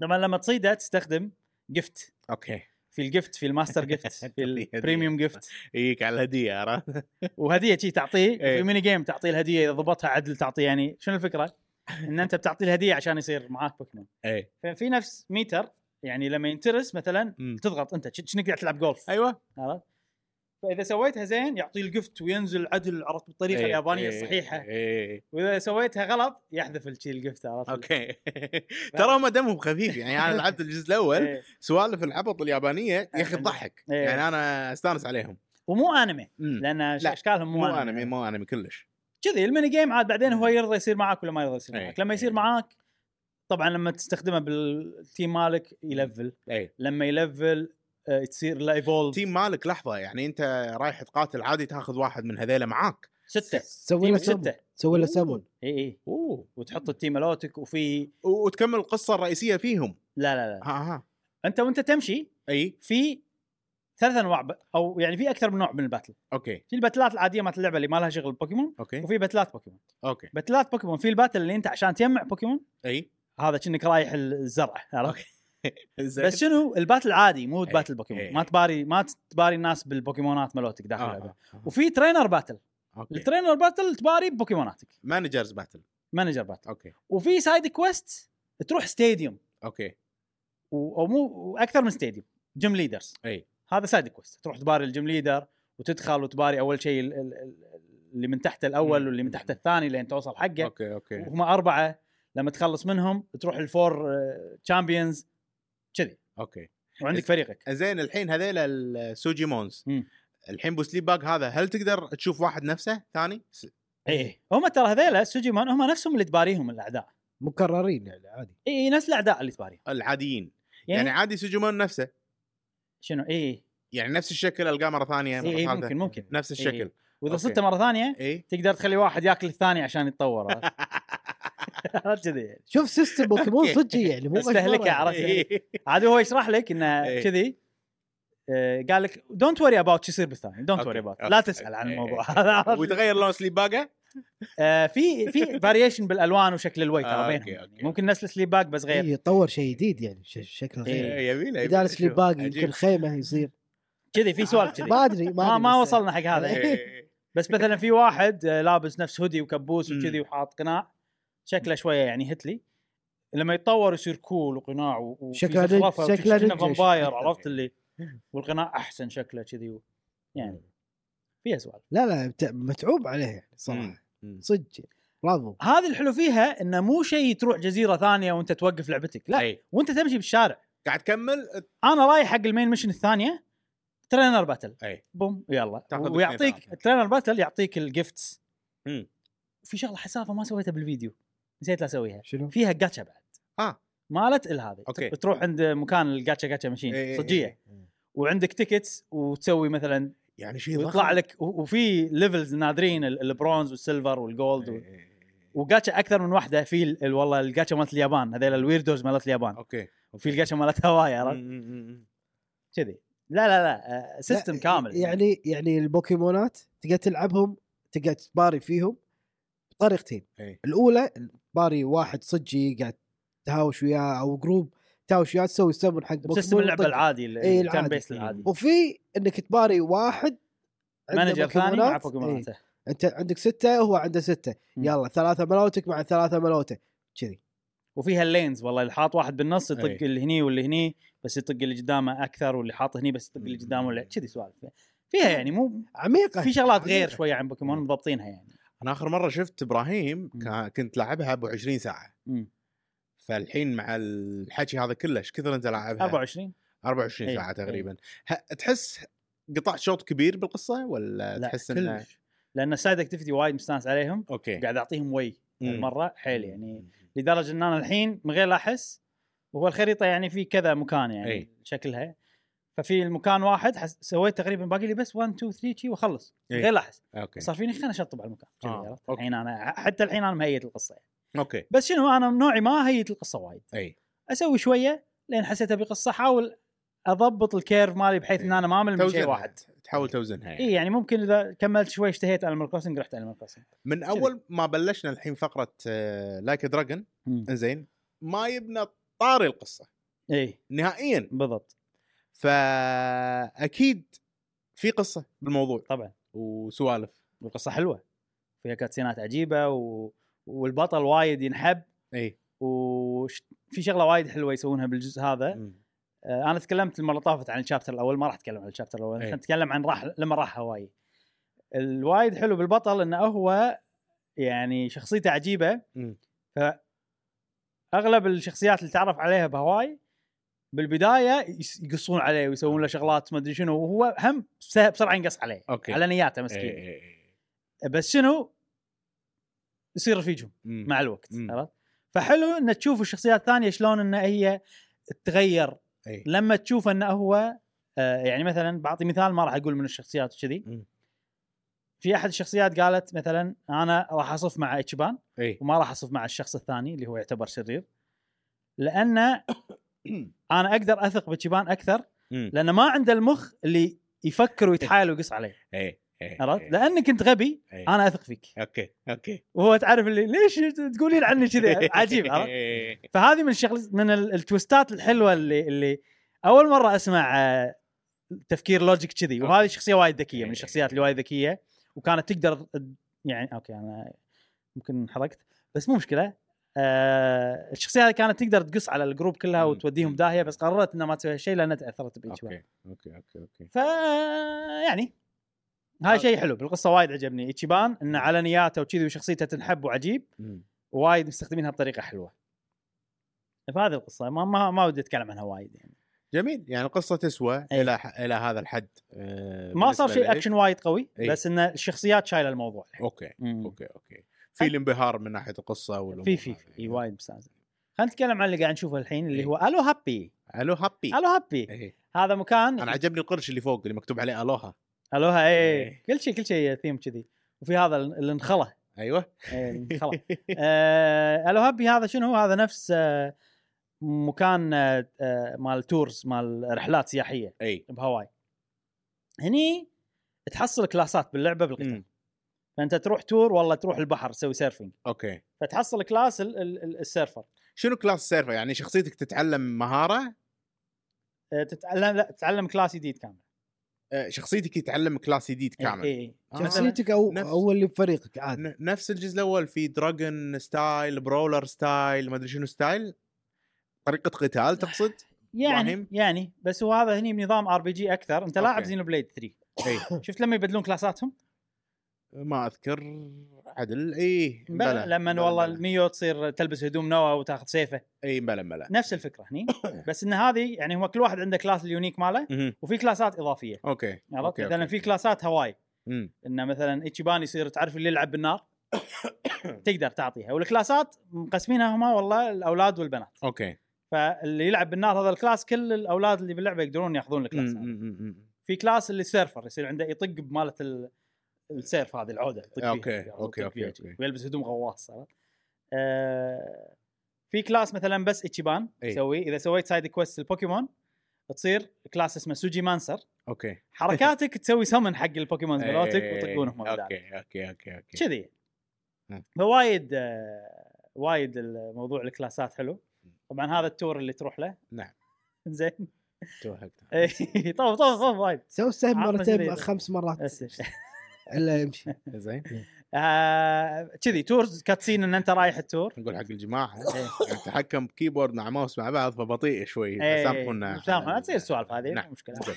Speaker 1: طبعا لما تصيده تستخدم جفت
Speaker 3: اوكي
Speaker 1: في الجفت في الماستر جفت في البريميوم جفت
Speaker 3: يجيك على الهديه عرفت؟
Speaker 1: وهديه شي تعطيه
Speaker 3: إيه.
Speaker 1: في ميني جيم تعطيه الهديه اذا ضبطها عدل تعطيه يعني شنو الفكره؟ ان انت بتعطيه الهديه عشان يصير معاك بوكيمون
Speaker 3: اي
Speaker 1: ففي نفس ميتر يعني لما ينترس مثلا
Speaker 3: مم.
Speaker 1: تضغط انت شنو قاعد تلعب جولف
Speaker 3: ايوه
Speaker 1: عرفت؟ فاذا سويتها زين يعطيه الجفت وينزل عدل عرفت بالطريقه
Speaker 3: إيه،
Speaker 1: اليابانيه
Speaker 3: إيه،
Speaker 1: الصحيحه
Speaker 3: إيه.
Speaker 1: واذا سويتها غلط يحذف الشي الجفت عرفت؟
Speaker 3: اوكي ترى هم دمهم خفيف يعني انا لعبت الجزء الاول
Speaker 1: إيه.
Speaker 3: سوالف العبط اليابانيه يا اخي تضحك
Speaker 1: إيه.
Speaker 3: يعني انا استانس عليهم
Speaker 1: ومو انمي
Speaker 3: مم.
Speaker 1: لان
Speaker 3: لا،
Speaker 1: اشكالهم
Speaker 3: مو انمي مو انمي كلش
Speaker 1: كذي الميني جيم عاد بعدين هو يرضى يصير معاك ولا ما يرضى يصير
Speaker 3: إيه.
Speaker 1: معاك لما يصير
Speaker 3: إيه.
Speaker 1: معاك طبعا لما تستخدمه بالتيم مالك يلفل
Speaker 3: اي
Speaker 1: لما يلفل آه، تصير له ايفولف
Speaker 3: تيم مالك لحظه يعني انت رايح تقاتل عادي تاخذ واحد من هذيلا معاك
Speaker 1: سته
Speaker 2: سوي
Speaker 1: تيم
Speaker 2: له سمون
Speaker 1: سته
Speaker 2: سوي له سمون
Speaker 1: اي اي
Speaker 3: اوه
Speaker 1: وتحط التيم الوتك وفي
Speaker 3: و- وتكمل القصه الرئيسيه فيهم
Speaker 1: لا لا لا
Speaker 3: ها ها
Speaker 1: انت وانت تمشي
Speaker 3: اي
Speaker 1: في ثلاث انواع ب... او يعني في اكثر من نوع من الباتل
Speaker 3: اوكي
Speaker 1: في الباتلات العاديه مالت اللعبه اللي ما لها شغل بوكيمون
Speaker 3: اوكي
Speaker 1: وفي باتلات بوكيمون
Speaker 3: اوكي
Speaker 1: باتلات بوكيمون في الباتل اللي انت عشان تجمع بوكيمون
Speaker 3: اي
Speaker 1: هذا كأنك رايح الزرع عرفت
Speaker 3: زين.
Speaker 1: بس شنو الباتل عادي مو
Speaker 3: إيه.
Speaker 1: باتل بوكيمون
Speaker 3: إيه.
Speaker 1: ما تباري ما تباري الناس بالبوكيمونات مالتك داخل
Speaker 3: آه، إيه.
Speaker 1: اللعبه
Speaker 3: آه، آه.
Speaker 1: وفي ترينر باتل
Speaker 3: أوكي.
Speaker 1: الترينر باتل تباري ببوكيموناتك
Speaker 3: مانجرز باتل
Speaker 1: مانجر باتل
Speaker 3: اوكي
Speaker 1: وفي سايد كويست تروح ستاديوم
Speaker 3: اوكي
Speaker 1: و- او مو اكثر من ستاديوم جيم ليدرز
Speaker 3: اي
Speaker 1: هذا سايد كويست تروح تباري الجيم ليدر وتدخل وتباري اول شيء ال- ال- ال- اللي من تحت الاول
Speaker 3: مم.
Speaker 1: واللي من تحت الثاني لين توصل حقه
Speaker 3: اوكي اوكي
Speaker 1: وهم اربعه لما تخلص منهم تروح الفور تشامبيونز كذي
Speaker 3: اوكي إيه.
Speaker 1: وعندك فريقك
Speaker 3: زين الحين هذيل السوجيمونز
Speaker 1: مم.
Speaker 3: الحين بو سليب باج هذا هل تقدر تشوف واحد نفسه ثاني؟ س- إيه.
Speaker 1: ايه هم ترى هذيلا سوجيمان هم نفسهم اللي تباريهم الاعداء
Speaker 2: مكررين يعني عادي
Speaker 1: اي نفس الاعداء اللي تباريهم
Speaker 3: العاديين
Speaker 1: يعني,
Speaker 3: يعني, عادي سوجيمون نفسه
Speaker 1: شنو اي
Speaker 3: يعني نفس الشكل القاه مره ثانيه مره
Speaker 1: اي
Speaker 3: ثالثه
Speaker 1: ممكن إيه. ممكن
Speaker 3: نفس الشكل إيه.
Speaker 1: واذا
Speaker 3: أوكي.
Speaker 1: صدته مره ثانيه
Speaker 3: اي
Speaker 1: تقدر تخلي واحد ياكل الثاني عشان يتطور عرفت كذي يعني.
Speaker 2: شوف سيستم بوكيمون
Speaker 3: أوكي.
Speaker 2: صدق يعني مو مشبرة
Speaker 1: استهلكه،
Speaker 2: يعني.
Speaker 1: عرفت؟ عاد هو يشرح لك انه
Speaker 3: إيه.
Speaker 1: كذي آه، قال لك دونت وري اباوت شو يصير بالثاني دونت
Speaker 3: أوكي.
Speaker 1: وري اباوت
Speaker 3: أوكي.
Speaker 1: لا تسال عن
Speaker 3: إيه.
Speaker 1: الموضوع هذا عرفت؟
Speaker 3: ويتغير لون سليب باجه
Speaker 1: آه، في في فاريشن بالالوان وشكل الويت
Speaker 3: آه،
Speaker 1: ترى
Speaker 3: أوكي،
Speaker 1: بينهم يعني
Speaker 3: أوكي.
Speaker 1: ممكن نفس السليب باك بس غير
Speaker 2: إيه، يطور شيء جديد يعني ش- شكل غير
Speaker 1: إيه.
Speaker 3: يبي له إيه.
Speaker 2: بدال سليب باقي يمكن خيمه يصير
Speaker 1: كذي في سوالف كذي
Speaker 2: ما ادري
Speaker 1: ما
Speaker 2: أدري
Speaker 1: ما
Speaker 2: بس-
Speaker 1: وصلنا حق هذا
Speaker 3: إيه.
Speaker 1: يعني. بس مثلا في واحد آه، لابس نفس هودي وكبوس
Speaker 3: مم.
Speaker 1: وكذي وحاط قناع شكله شويه يعني هتلي لما يتطور يصير كول وقناع و- وفي
Speaker 2: شكله نج-
Speaker 1: زخرفة وشي-
Speaker 2: شكله
Speaker 1: شكله
Speaker 2: نجش.
Speaker 1: فامباير عرفت اللي والقناع احسن شكله كذي و- يعني فيها سوالف
Speaker 2: لا لا بت- متعوب عليه يعني صراحه صدق برافو
Speaker 1: هذه الحلو فيها انه مو شيء تروح جزيره ثانيه وانت توقف لعبتك لا
Speaker 3: لا
Speaker 1: وانت تمشي بالشارع
Speaker 3: قاعد تكمل
Speaker 1: انا رايح حق المين ميشن الثانيه ترينر باتل
Speaker 3: اي
Speaker 1: بوم يلا
Speaker 3: تاخذ الاثنين
Speaker 1: ويعطيك
Speaker 3: ثلاثة.
Speaker 1: الترينر باتل يعطيك الجفتس
Speaker 3: مم.
Speaker 1: في شغله حسافه ما سويتها بالفيديو نسيت لا اسويها
Speaker 2: شنو؟
Speaker 1: فيها جاتشا بعد
Speaker 3: آه.
Speaker 1: مالت الهذه
Speaker 3: أوكي.
Speaker 1: تروح عند مكان الجاتشا جاتشا ماشين صجيه وعندك تيكتس وتسوي مثلا
Speaker 3: يعني شيء
Speaker 1: ويطلع لك و- وفي ليفلز نادرين ال- البرونز والسيلفر والجولد وال-
Speaker 3: إيه.
Speaker 1: وجاتشا اكثر من واحده في ال- ال- والله الجاتشا مالت اليابان هذيل الويردوز مالت اليابان
Speaker 3: اوكي
Speaker 1: وفي الجاتشا مالت هواي عرفت كذي لا لا لا سيستم
Speaker 2: لا،
Speaker 1: كامل
Speaker 2: يعني يعني البوكيمونات تقدر تلعبهم تقدر تباري فيهم بطريقتين
Speaker 3: إيه.
Speaker 2: الاولى باري واحد صجي قاعد تهاوش وياه او جروب تهاوش وياه تسوي سمن حق بوكيمون
Speaker 1: سيستم اللعبه
Speaker 2: وتطق.
Speaker 1: العادي ال-
Speaker 2: إيه،
Speaker 1: التيرن
Speaker 2: العادي.
Speaker 1: بيس العادي
Speaker 2: وفي انك تباري واحد عنده
Speaker 1: مانجر ثاني مع
Speaker 2: بوكيمونات. إيه.
Speaker 1: بوكيموناته
Speaker 2: انت عندك سته وهو عنده سته
Speaker 1: مم.
Speaker 2: يلا ثلاثه ملوتك مع ثلاثه ملوته كذي
Speaker 1: وفيها اللينز والله اللي حاط واحد بالنص يطق
Speaker 3: إيه.
Speaker 1: اللي هني واللي هني بس يطق اللي قدامه اكثر واللي حاط هني بس يطق اللي قدامه واللي- كذي سوالف فيها يعني مو
Speaker 2: عميقه
Speaker 1: في شغلات غير
Speaker 2: عميقة.
Speaker 1: شويه عن بوكيمون
Speaker 3: مم.
Speaker 1: مضبطينها يعني
Speaker 3: انا اخر مره شفت ابراهيم كا- كنت لعبها ابو 20 ساعه
Speaker 1: مم.
Speaker 3: فالحين مع الحكي هذا كله ايش كثر انت لاعبها
Speaker 1: 24
Speaker 3: 24
Speaker 1: إيه.
Speaker 3: ساعه
Speaker 1: إيه.
Speaker 3: تقريبا ه- تحس قطعت شوط كبير بالقصه ولا
Speaker 1: لا
Speaker 3: تحس انه
Speaker 1: كلش. لان السايد اكتيفيتي وايد مستانس عليهم
Speaker 3: اوكي
Speaker 1: قاعد اعطيهم وي
Speaker 3: مم.
Speaker 1: المره حيل يعني لدرجه ان انا الحين من غير لا احس وهو الخريطه يعني في كذا مكان يعني
Speaker 3: إيه.
Speaker 1: شكلها ففي المكان واحد حس... سويت تقريبا باقي لي بس 1 2 3 شي واخلص من
Speaker 3: إيه.
Speaker 1: غير لا احس
Speaker 3: اوكي
Speaker 1: صار فيني خليني اشطب على المكان كذي،
Speaker 3: آه،
Speaker 1: عرفت؟
Speaker 3: أوكي.
Speaker 1: الحين انا حتى الحين انا مهيئ القصه يعني.
Speaker 3: اوكي
Speaker 1: بس شنو انا من نوعي ما هيئت القصه وايد
Speaker 3: اي
Speaker 1: اسوي شويه لين حسيتها بقصه احاول اضبط الكيرف مالي بحيث ان
Speaker 3: إيه.
Speaker 1: انا ما اعمل من شيء
Speaker 3: توزنها
Speaker 1: واحد
Speaker 3: تحاول توزنها يعني.
Speaker 1: اي يعني ممكن اذا كملت شوي اشتهيت انيمال كروسنج رحت انيمال كروسنج
Speaker 3: من اول ما بلشنا الحين آه، فقره لايك دراجون زين ما يبنى طاري القصه
Speaker 1: اي
Speaker 3: نهائيا
Speaker 1: بالضبط
Speaker 3: فاكيد في قصه بالموضوع
Speaker 1: طبعا
Speaker 3: وسوالف
Speaker 1: والقصه حلوه فيها كاتسينات عجيبه و... والبطل وايد ينحب
Speaker 3: اي
Speaker 1: وفي شغله وايد حلوه يسوونها بالجزء هذا
Speaker 3: مم.
Speaker 1: آه، انا تكلمت المره اللي طافت عن الشابتر الاول ما راح اتكلم عن الشابتر الاول
Speaker 3: إيه.
Speaker 1: احنا نتكلم عن راح لما راح هواي الوايد حلو بالبطل انه هو يعني شخصيته عجيبه
Speaker 3: مم.
Speaker 1: اغلب الشخصيات اللي تعرف عليها بهواي بالبدايه يس- يقصون عليه ويسوون له شغلات ما ادري شنو وهو هم بس- بسرعه ينقص عليه
Speaker 3: اوكي
Speaker 1: على نياته
Speaker 3: إي،
Speaker 1: مسكين
Speaker 3: إي، إي.
Speaker 1: بس شنو يصير رفيجهم
Speaker 3: مم.
Speaker 1: مع الوقت
Speaker 3: مم.
Speaker 1: عرفت فحلو ان تشوف الشخصيات الثانيه شلون ان هي تتغير
Speaker 3: إي.
Speaker 1: لما تشوف انه هو آه، يعني مثلا بعطي مثال ما راح اقول من الشخصيات
Speaker 3: مم.
Speaker 1: كذي في احد الشخصيات قالت مثلا انا راح اصف مع اتشبان
Speaker 3: اي
Speaker 1: وما راح اصف مع الشخص الثاني اللي هو يعتبر شرير لان انا اقدر اثق باتشبان اكثر
Speaker 3: مم.
Speaker 1: لانه ما عنده المخ اللي يفكر ويتحايل ويقص عليه
Speaker 3: اي إيه،
Speaker 1: عرفت؟
Speaker 3: إيه،
Speaker 1: لانك انت غبي
Speaker 3: إيه.
Speaker 1: انا اثق فيك
Speaker 3: اوكي اوكي
Speaker 1: وهو تعرف اللي ليش تقولين عني كذا عجيب عرفت؟
Speaker 3: إيه.
Speaker 1: فهذه من الشغل من ال- التويستات الحلوه اللي اللي اول مره اسمع آه، تفكير لوجيك كذي وهذه شخصيه وايد ذكيه
Speaker 3: إيه.
Speaker 1: من الشخصيات اللي وايد ذكيه وكانت تقدر يعني اوكي انا يمكن انحرقت بس مو مشكله آه الشخصيه هذه كانت تقدر تقص على الجروب كلها
Speaker 3: مم.
Speaker 1: وتوديهم داهيه بس قررت انها ما تسوي هالشيء لانها تاثرت بايتشيبان
Speaker 3: اوكي اوكي اوكي اوكي
Speaker 1: ف يعني هاي شيء حلو بالقصه وايد عجبني ايتشيبان انه على نياته وكذي وشخصيته تنحب وعجيب
Speaker 3: مم.
Speaker 1: وايد مستخدمينها بطريقه حلوه فهذه القصه ما ما, ما ودي اتكلم عنها وايد يعني
Speaker 3: جميل يعني القصه تسوى
Speaker 1: إيه.
Speaker 3: الى ح- الى هذا الحد آه،
Speaker 1: ما صار
Speaker 3: بالنسبة إيه.
Speaker 1: شيء
Speaker 3: لي.
Speaker 1: اكشن وايد قوي
Speaker 3: إي.
Speaker 1: بس ان الشخصيات شايله الموضوع
Speaker 3: اوكي
Speaker 1: مم.
Speaker 3: اوكي اوكي في الانبهار من ناحيه القصه والامور
Speaker 1: في في
Speaker 3: هذه.
Speaker 1: في وايد مستانس خلينا نتكلم عن اللي قاعد نشوفه الحين
Speaker 3: إي.
Speaker 1: اللي هو الو هابي
Speaker 3: الو هابي
Speaker 1: الو هابي
Speaker 3: إيه.
Speaker 1: هذا مكان
Speaker 3: انا عجبني القرش اللي فوق اللي مكتوب عليه الوها
Speaker 1: الوها اي
Speaker 3: إي.
Speaker 1: إيه. كل شيء كل شيء ثيم كذي وفي هذا ال- الانخله
Speaker 3: ايوه
Speaker 1: إي، الانخله آه الو هابي هذا شنو هذا نفس آه مكان آه آه، مال تورز مال رحلات سياحيه
Speaker 3: اي
Speaker 1: بهواي هني تحصل كلاسات باللعبه بالقتال
Speaker 3: مم.
Speaker 1: فانت تروح تور والله تروح البحر تسوي سيرفنج
Speaker 3: اوكي
Speaker 1: فتحصل كلاس ال- ال- ال- السيرفر
Speaker 3: شنو كلاس السيرفر يعني شخصيتك تتعلم مهاره
Speaker 1: أه، تتعلم لا تتعلم كلاس جديد كامل إيه،
Speaker 3: آه، شخصيتك يتعلم كلاس جديد كامل
Speaker 1: اي اي
Speaker 3: آه.
Speaker 1: مثلا
Speaker 2: شخصيتك او
Speaker 3: نفس-
Speaker 2: اول اللي بفريقك عادي
Speaker 3: ن- نفس الجزء الاول في دراجون ستايل برولر ستايل ما ادري شنو ستايل طريقه قتال تقصد إبراهيم؟
Speaker 1: يعني يعني بس هو هذا هني بنظام ار بي جي اكثر انت لاعب
Speaker 3: أوكي. إيه.
Speaker 1: زينو بليد 3
Speaker 3: اي
Speaker 1: شفت لما يبدلون كلاساتهم
Speaker 3: ما اذكر عدل اي
Speaker 1: بلى لما والله الميو تصير تلبس هدوم نوا وتاخذ سيفه
Speaker 3: اي بلا بلا
Speaker 1: نفس الفكره هني بس ان هذه يعني هو كل واحد عنده كلاس اليونيك ماله
Speaker 3: مهم.
Speaker 1: وفي كلاسات اضافيه
Speaker 3: اوكي
Speaker 1: عرفت
Speaker 3: أوكي،
Speaker 1: مثلا
Speaker 3: أوكي.
Speaker 1: في كلاسات هواي
Speaker 3: مم.
Speaker 1: انه مثلا ايتشيبان يصير تعرف اللي يلعب بالنار تقدر تعطيها والكلاسات مقسمينها هما والله الاولاد والبنات
Speaker 3: اوكي
Speaker 1: فاللي يلعب بالنار هذا الكلاس كل الاولاد اللي باللعبه يقدرون ياخذون
Speaker 3: مم،
Speaker 1: الكلاس هذا.
Speaker 3: مم، مم، مم.
Speaker 1: في كلاس اللي سيرفر يصير عنده يطق بماله ال- السيرف هذه العوده يطق فيها.
Speaker 3: أوكي،
Speaker 1: يطق
Speaker 3: أوكي،
Speaker 1: فيها
Speaker 3: أوكي،
Speaker 1: شي.
Speaker 3: أوكي.
Speaker 1: ويلبس هدوم غواص عرفت؟ آه، في كلاس مثلا بس ايتشيبان
Speaker 3: إي.
Speaker 1: يسوي اذا سويت سايد كويست البوكيمون تصير كلاس اسمه سوجي مانسر
Speaker 3: اوكي
Speaker 1: حركاتك تسوي سمن حق البوكيمون
Speaker 3: إيه،
Speaker 1: مالتك ويطقونهم مرة داعي.
Speaker 3: اوكي اوكي اوكي اوكي
Speaker 1: كذي
Speaker 3: مم.
Speaker 1: فوايد آه، وايد الموضوع الكلاسات حلو طبعا هذا التور اللي تروح له
Speaker 3: نعم.
Speaker 1: زين إيه.
Speaker 3: توهقت.
Speaker 1: إي، طوف طوف طوف وايد
Speaker 2: سوي السهم
Speaker 1: عطنا
Speaker 2: مرتين
Speaker 1: جديد.
Speaker 2: خمس مرات
Speaker 1: بس.
Speaker 2: الا يمشي
Speaker 3: زين
Speaker 1: آه، كذي تورز كاتسين ان انت رايح التور
Speaker 3: نقول حق الجماعه
Speaker 1: إيه.
Speaker 3: نتحكم بكيبورد مع ماوس مع بعض فبطيء شوي
Speaker 1: إيه،
Speaker 3: فسامحونا
Speaker 1: سامحونا تصير السوالف هذه مو
Speaker 3: نعم
Speaker 1: مشكله
Speaker 3: زين.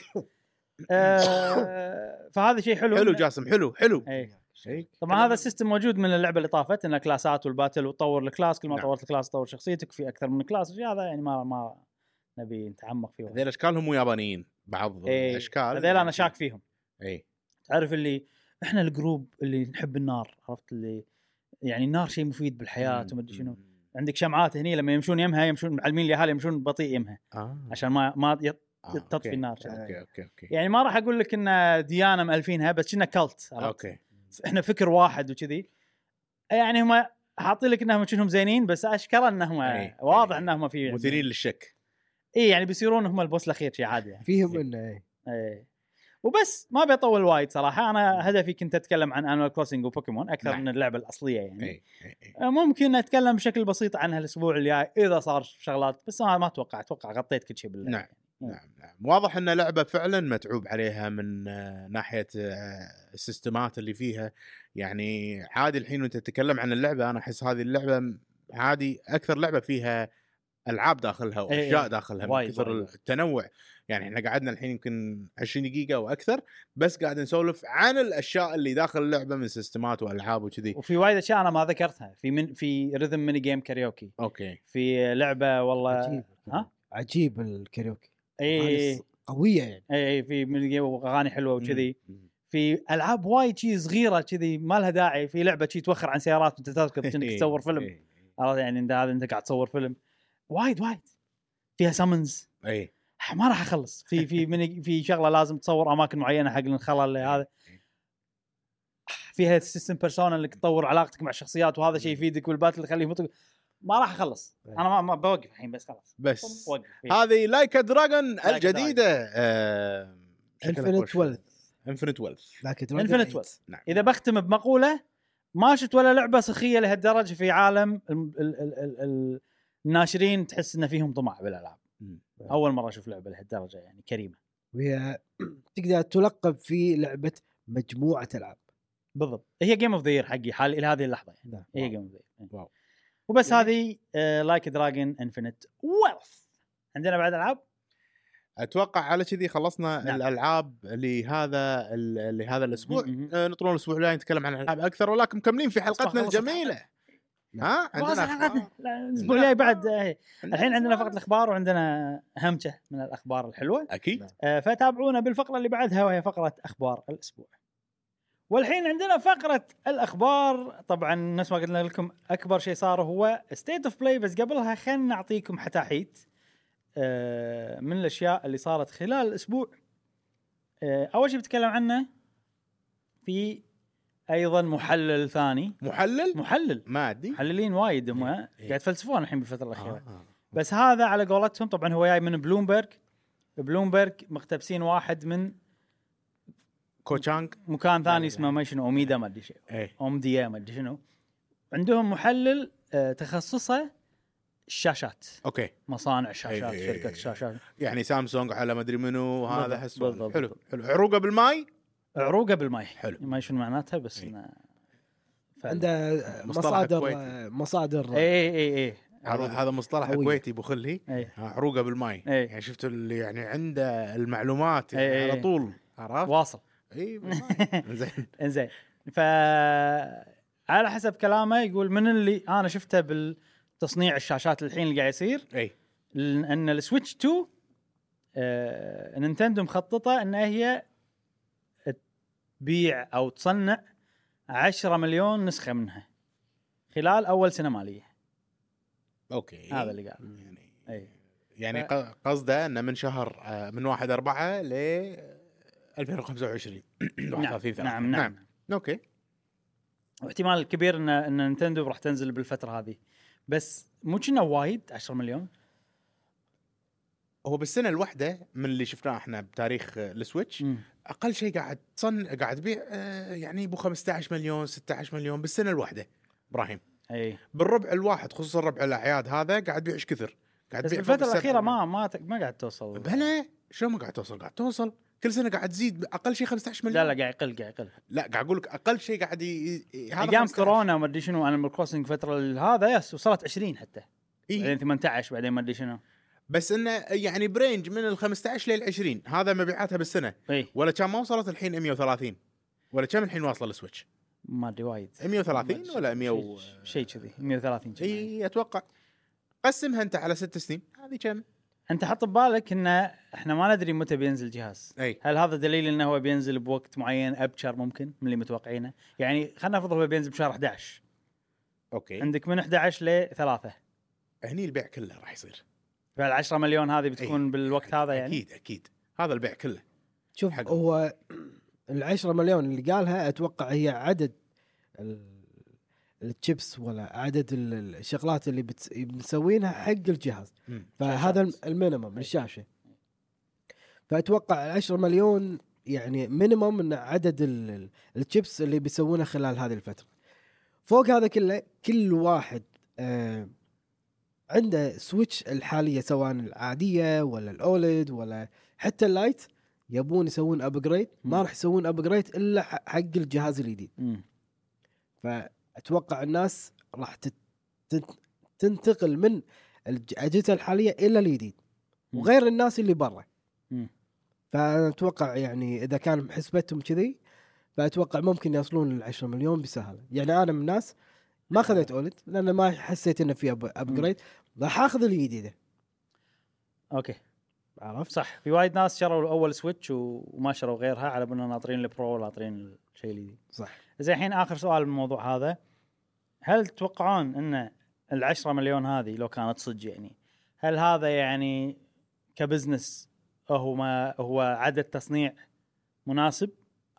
Speaker 1: آه، فهذا شيء حلو
Speaker 3: حلو
Speaker 1: إن-
Speaker 3: جاسم حلو حلو
Speaker 1: إي.
Speaker 3: شيء
Speaker 1: طبعا هذا السيستم موجود من اللعبه اللي طافت ان كلاسات والباتل وتطور الكلاس كل ما
Speaker 3: نعم.
Speaker 1: طورت الكلاس تطور شخصيتك في اكثر من كلاس وشي هذا يعني ما ما نبي نتعمق فيه
Speaker 3: هذيل اشكالهم مو يابانيين بعض يعني
Speaker 1: إيه.
Speaker 3: الاشكال
Speaker 1: هذيل انا شاك فيهم
Speaker 3: اي
Speaker 1: تعرف اللي احنا الجروب اللي نحب النار عرفت اللي يعني النار شيء مفيد بالحياه وما ادري شنو عندك شمعات هني لما يمشون يمها يمشون معلمين الاهالي يمشون بطيء يمها
Speaker 3: آه.
Speaker 1: عشان ما ما يط...
Speaker 3: آه،
Speaker 1: تطفي
Speaker 3: أوكي.
Speaker 1: النار.
Speaker 3: اوكي اوكي اوكي
Speaker 1: يعني ما راح اقول لك ان ديانه مالفينها بس كنا كلت عرفت؟
Speaker 3: اوكي
Speaker 1: احنا فكر واحد وكذي يعني هم حاطين لك انهم كأنهم زينين بس اشكر انهم
Speaker 3: إي.
Speaker 1: واضح
Speaker 3: إي.
Speaker 1: انهم في
Speaker 3: مثيرين للشك
Speaker 1: اي يعني بيصيرون هم البوس الاخير شيء عادي يعني
Speaker 2: فيهم انه
Speaker 1: إي. إيه. وبس ما بيطول وايد صراحه انا هدفي كنت اتكلم عن انوال كروسنج وبوكيمون اكثر
Speaker 3: نعم. إيه.
Speaker 1: من اللعبه الاصليه يعني
Speaker 3: اي إي، إي.
Speaker 1: ممكن اتكلم بشكل بسيط عنها الاسبوع الجاي اذا صار شغلات بس انا ما اتوقع اتوقع غطيت كل شيء بالله
Speaker 3: نعم نعم نعم واضح ان لعبه فعلا متعوب عليها من آه، ناحيه آه، السيستمات اللي فيها يعني عادي الحين وانت تتكلم عن اللعبه انا احس هذه اللعبه م- عادي اكثر لعبه فيها العاب داخلها
Speaker 1: إيه،
Speaker 3: واشياء
Speaker 1: إيه.
Speaker 3: داخلها من
Speaker 1: وايد،
Speaker 3: كثر
Speaker 1: وايد.
Speaker 3: التنوع يعني احنا قعدنا الحين يمكن 20 دقيقه واكثر بس قاعد نسولف عن الاشياء اللي داخل اللعبه من سيستمات والعاب وكذي
Speaker 1: وفي وايد اشياء انا ما ذكرتها في من في ريذم ميني جيم كاريوكي
Speaker 3: اوكي
Speaker 1: في لعبه والله
Speaker 2: عجيب
Speaker 1: ها؟ إيه.
Speaker 2: عجيب الكاريوكي
Speaker 1: اي
Speaker 2: أغاني قويه يعني
Speaker 1: اي في ميني جيم واغاني حلوه وكذي
Speaker 3: مم.
Speaker 1: في العاب وايد شي صغيره كذي ما لها داعي في لعبه شي توخر عن سيارات وانت تركض كأنك تصور فيلم
Speaker 3: إيه،
Speaker 1: عرفت يعني انت هذا انت قاعد تصور فيلم وايد وايد فيها سمنز
Speaker 3: اي
Speaker 1: ما راح اخلص في في من في شغله لازم تصور اماكن معينه حق الخلل هذا فيها سيستم بيرسونا انك تطور علاقتك مع الشخصيات وهذا شيء يفيدك والباتل يخليه مطلق ما راح اخلص انا ما, ما بوقف الحين بس خلاص
Speaker 3: بس
Speaker 1: وقف
Speaker 3: هذه لايك دراجون
Speaker 1: دراجون.
Speaker 3: الجديده آه، شكلها
Speaker 2: Infinite
Speaker 3: خوش.
Speaker 2: Wealth.
Speaker 3: انفنت ويلث
Speaker 2: لكن Dragon
Speaker 1: Infinite
Speaker 2: Age.
Speaker 1: Wealth.
Speaker 3: نعم.
Speaker 1: اذا بختم بمقوله ما شفت ولا لعبه سخيه لهالدرجه في عالم ال- ال- ال- ال- ال- الناشرين تحس ان فيهم طمع بالالعاب
Speaker 3: مم.
Speaker 1: اول مره اشوف لعبه لهالدرجه يعني كريمه
Speaker 2: وهي تقدر تلقب في لعبه مجموعه العاب
Speaker 1: بالضبط هي جيم اوف ذا يير حقي حال الى هذه اللحظه يعني
Speaker 2: نعم.
Speaker 1: هي
Speaker 3: واو.
Speaker 1: جيم اوف ذا يير
Speaker 3: واو.
Speaker 1: وبس هذه آه، لايك دراجون انفنت ويلث عندنا بعد العاب
Speaker 3: اتوقع على كذي خلصنا
Speaker 1: نعم.
Speaker 3: نعم. الالعاب لهذا ال- لهذا الاسبوع
Speaker 1: مم.
Speaker 3: آه، نطرون الاسبوع الجاي نتكلم عن الالعاب اكثر ولكن مكملين في حلقتنا
Speaker 1: خلصت
Speaker 3: الجميله
Speaker 2: نعم.
Speaker 3: ها
Speaker 1: خلاص
Speaker 3: عندنا
Speaker 1: حلقتنا
Speaker 3: أخبار.
Speaker 1: لا، الاسبوع الجاي بعد آه، الحين عندنا فقره الاخبار وعندنا همشه من الاخبار الحلوه
Speaker 3: اكيد
Speaker 1: آه، فتابعونا بالفقره اللي بعدها وهي فقره اخبار الاسبوع. والحين عندنا فقره الاخبار طبعا نفس ما قلنا لكم اكبر شيء صار هو ستيت اوف بلاي بس قبلها خلينا نعطيكم حتاحيت آه، من الاشياء اللي صارت خلال الاسبوع آه، اول شيء بتكلم عنه في ايضا محلل ثاني
Speaker 3: محلل
Speaker 1: محلل
Speaker 3: مادي
Speaker 1: محللين وايد هم
Speaker 3: إيه.
Speaker 1: قاعد يتفلسفون الحين بالفتره الاخيره
Speaker 3: آه.
Speaker 1: بس هذا على قولتهم طبعا هو جاي من بلومبرج بلومبرج مقتبسين واحد من
Speaker 3: كوتشانغ
Speaker 1: مكان
Speaker 3: لا، لا.
Speaker 1: ثاني اسمه ما شنو اوميدا ما ادري شيء
Speaker 3: ايه
Speaker 1: اوم دي ما ادري شنو عندهم محلل آه، تخصصه الشاشات
Speaker 3: اوكي
Speaker 1: مصانع
Speaker 3: إيه،
Speaker 1: شاشات
Speaker 3: إيه،
Speaker 1: شركه
Speaker 3: إيه.
Speaker 1: شاشات
Speaker 3: يعني سامسونج على ما ادري منو هذا
Speaker 1: بالضبط،
Speaker 3: حسون
Speaker 1: بالضبط.
Speaker 3: حلو حلو عروقه بالماي
Speaker 1: عروقه بالماي
Speaker 3: حلو.
Speaker 1: ما شنو معناتها بس
Speaker 3: إيه.
Speaker 1: انه
Speaker 2: عنده
Speaker 3: مصطلح
Speaker 2: مصادر
Speaker 3: كويتي.
Speaker 2: مصادر
Speaker 1: اي اي اي
Speaker 3: هذا هذا مصطلح
Speaker 2: قوية.
Speaker 3: كويتي ابو خلي
Speaker 1: اي
Speaker 3: ها، عروقه بالماي
Speaker 1: إيه.
Speaker 3: يعني شفت اللي يعني عنده المعلومات يعني
Speaker 1: إيه.
Speaker 3: على طول عرفت؟
Speaker 1: واصل
Speaker 3: اي بالماي. زين
Speaker 1: انزين ف على حسب كلامه يقول من اللي انا شفته بالتصنيع الشاشات الحين اللي قاعد يصير
Speaker 3: اي
Speaker 1: لان السويتش 2 آه، نينتندو مخططه ان هي تبيع او تصنع 10 مليون نسخه منها خلال اول سنه ماليه
Speaker 3: اوكي
Speaker 1: هذا اللي إيه. قال
Speaker 3: يعني
Speaker 1: اي
Speaker 3: يعني
Speaker 1: ف-
Speaker 3: ق- قصده انه من شهر آه، من 1 4 ل 2025
Speaker 1: نعم
Speaker 3: 31 ثلاثة.
Speaker 1: نعم نعم
Speaker 3: اوكي
Speaker 1: واحتمال كبير ان ان نينتندو راح تنزل بالفتره هذه بس مو كنا وايد 10 مليون
Speaker 3: هو بالسنه الواحده من اللي شفناه احنا بتاريخ آه، السويتش
Speaker 1: مم.
Speaker 3: اقل شيء قاعد تصن قاعد تبيع آه، يعني ابو 15 مليون 16 مليون بالسنه الواحده ابراهيم
Speaker 1: اي
Speaker 3: بالربع الواحد خصوصا ربع الاعياد هذا قاعد بيع ايش كثر قاعد
Speaker 1: بس
Speaker 3: بيع
Speaker 1: بالفتره الاخيره ما ما ت- ما قاعد توصل
Speaker 3: بلا شو ما قاعد توصل قاعد توصل كل سنه قاعد تزيد اقل شيء 15
Speaker 1: لا
Speaker 3: مليون
Speaker 1: لا قاعد يقل قاعد يقل
Speaker 3: لا قاعد اقول لك اقل شيء قاعد ي... ي- هذا
Speaker 1: ايام
Speaker 3: 15.
Speaker 1: كورونا وما ادري شنو انا كروسنج فتره هذا يس وصلت 20 حتى
Speaker 3: إيه.
Speaker 1: بعدين 18 يعني بعدين ما ادري شنو
Speaker 3: بس انه يعني برينج من ال 15 لل 20 هذا مبيعاتها بالسنه
Speaker 1: اي
Speaker 3: ولا كان ما وصلت الحين 130 ولا كم الحين واصله السويتش
Speaker 1: ما ادري وايد
Speaker 3: 130 ولا 100 و... إيه.
Speaker 1: شيء- شيء كذي 130 كذي يعني.
Speaker 3: اي اتوقع قسمها انت على ست سنين هذه كم؟
Speaker 1: انت حط ببالك ان احنا ما ندري متى بينزل جهاز
Speaker 3: اي
Speaker 1: هل هذا دليل انه هو بينزل بوقت معين ابشر ممكن من اللي متوقعينه يعني خلينا نفرض هو بينزل بشهر 11
Speaker 3: اوكي
Speaker 1: عندك من 11 ل 3
Speaker 3: هني البيع كله راح يصير
Speaker 1: فال10 مليون هذه
Speaker 3: إيه.
Speaker 1: بتكون بالوقت هذا يعني
Speaker 3: اكيد اكيد هذا البيع كله
Speaker 2: شوف
Speaker 3: حقه.
Speaker 2: هو العشرة مليون اللي قالها اتوقع هي عدد ال- التشيبس ولا عدد ال- ال- الشغلات اللي بتس- بنسوينها حق الجهاز
Speaker 3: مم.
Speaker 2: فهذا الم-
Speaker 1: شاشات.
Speaker 2: المينيمم للشاشه فاتوقع العشرة مليون يعني مينيمم من عدد ال- ال- التشيبس اللي بيسوونها خلال هذه الفتره فوق هذا كله كل واحد آه عنده سويتش الحاليه سواء العاديه ولا الاولد ولا حتى اللايت يبون يسوون ابجريد ما راح يسوون ابجريد الا ح- حق الجهاز الجديد
Speaker 1: مم.
Speaker 2: فاتوقع الناس راح تت- تت- تنتقل من الج- الاجهزه الحاليه الى الجديد
Speaker 1: مم.
Speaker 2: وغير الناس اللي برا
Speaker 1: مم.
Speaker 2: فاتوقع يعني اذا كان حسبتهم كذي فاتوقع ممكن يوصلون لل 10 مليون بسهاله يعني انا من الناس ما خذيت اولد لان ما حسيت انه في أب- ابجريد راح اخذ الجديده
Speaker 1: اوكي
Speaker 2: عرفت
Speaker 1: صح في وايد ناس شروا اول سويتش و- وما شروا غيرها على بالنا ناطرين البرو ناطرين الشيء الجديد
Speaker 2: صح
Speaker 1: زين الحين اخر سؤال بالموضوع هذا هل تتوقعون ان العشرة مليون هذه لو كانت صدق يعني هل هذا يعني كبزنس هو ما هو عدد تصنيع مناسب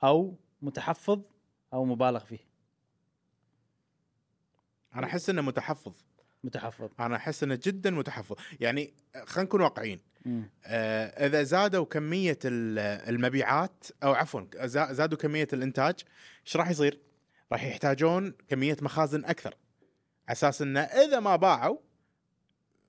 Speaker 1: او متحفظ او مبالغ فيه
Speaker 3: انا احس انه متحفظ
Speaker 1: متحفظ
Speaker 3: انا احس انه جدا متحفظ يعني خلينا نكون واقعيين
Speaker 1: مم.
Speaker 3: آه، اذا زادوا كميه ال- المبيعات او عفوا زا- زادوا كميه الانتاج ايش راح يصير؟ راح يحتاجون كميه مخازن اكثر على اساس انه اذا ما باعوا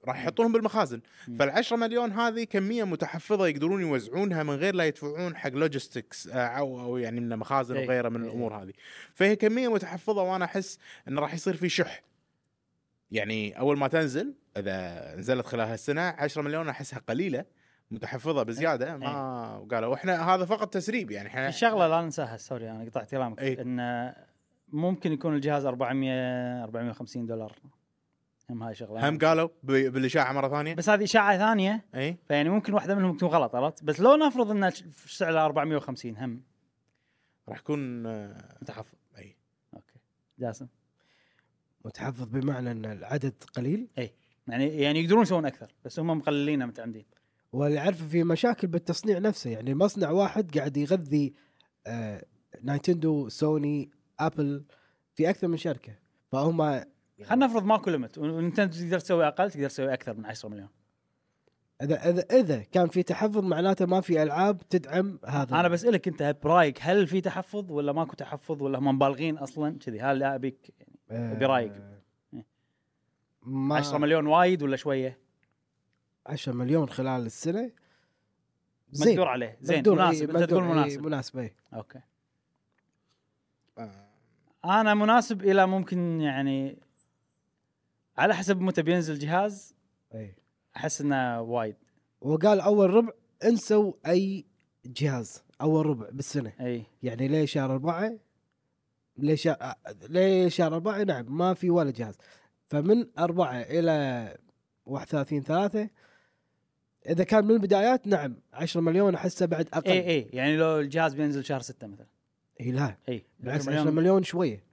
Speaker 3: راح يحطونهم بالمخازن
Speaker 1: مم.
Speaker 3: فال10 مليون هذه كميه متحفظه يقدرون يوزعونها من غير لا يدفعون حق لوجيستكس آه، او او يعني من مخازن
Speaker 1: إيه،
Speaker 3: وغيره من
Speaker 1: إيه.
Speaker 3: الامور هذه فهي كميه متحفظه وانا احس انه راح يصير في شح يعني اول ما تنزل اذا نزلت خلال هالسنه 10 مليون احسها قليله متحفظه بزياده ما وقالوا احنا هذا فقط تسريب يعني احنا
Speaker 1: في شغله لا ننساها سوري انا قطعت كلامك
Speaker 3: إي.
Speaker 1: ان ممكن يكون الجهاز 400 450 دولار هم هاي شغله
Speaker 3: هم قالوا ب- بالاشاعه مره ثانيه
Speaker 1: بس هذه اشاعه ثانيه
Speaker 3: اي
Speaker 1: فيعني ممكن واحده منهم تكون غلط عرفت بس لو نفرض ان سعرها 450 هم
Speaker 3: راح يكون آه،
Speaker 1: متحفظ
Speaker 3: اي
Speaker 1: اوكي جاسم
Speaker 2: متحفظ بمعنى ان العدد قليل
Speaker 1: يعني يعني يقدرون يسوون اكثر بس هم مقللينها متعمدين
Speaker 2: واللي اعرفه في مشاكل بالتصنيع نفسه يعني مصنع واحد قاعد يغذي آه نايتندو سوني ابل في اكثر من شركه فهم
Speaker 1: خلينا نفرض ماكو ليمت ونتندو تقدر تسوي اقل تقدر تسوي اكثر من 10 مليون
Speaker 2: اذا اذا اذا كان في تحفظ معناته ما في العاب تدعم هذا
Speaker 1: انا بسالك انت برايك هل في تحفظ ولا ماكو تحفظ ولا هم مبالغين اصلا كذي هل ابيك
Speaker 2: آه،
Speaker 1: برأيك.
Speaker 2: ما
Speaker 1: 10 مليون وايد ولا شويه
Speaker 2: 10 مليون خلال السنه
Speaker 1: مقدور عليه زين
Speaker 2: مقدور، إيه،
Speaker 1: مناسب انت
Speaker 2: مقدور،
Speaker 1: تقول
Speaker 2: إيه،
Speaker 1: مناسب
Speaker 2: مناسب إيه.
Speaker 1: اوكي
Speaker 3: آه،
Speaker 1: انا مناسب الى ممكن يعني على حسب متى بينزل الجهاز
Speaker 2: إيه.
Speaker 1: احس انه وايد
Speaker 2: وقال اول ربع انسوا اي جهاز اول ربع بالسنه
Speaker 1: اي
Speaker 2: يعني ليه شهر أربعة ليه شهر ليه شهر أربعة نعم ما في ولا جهاز فمن أربعة إلى 31 ثلاثة إذا كان من البدايات نعم 10 مليون أحسه بعد أقل
Speaker 1: اي اي يعني لو الجهاز بينزل شهر 6 مثلا
Speaker 2: إي لا
Speaker 1: اي
Speaker 2: بالعكس
Speaker 1: 10
Speaker 2: 10 مليون شوية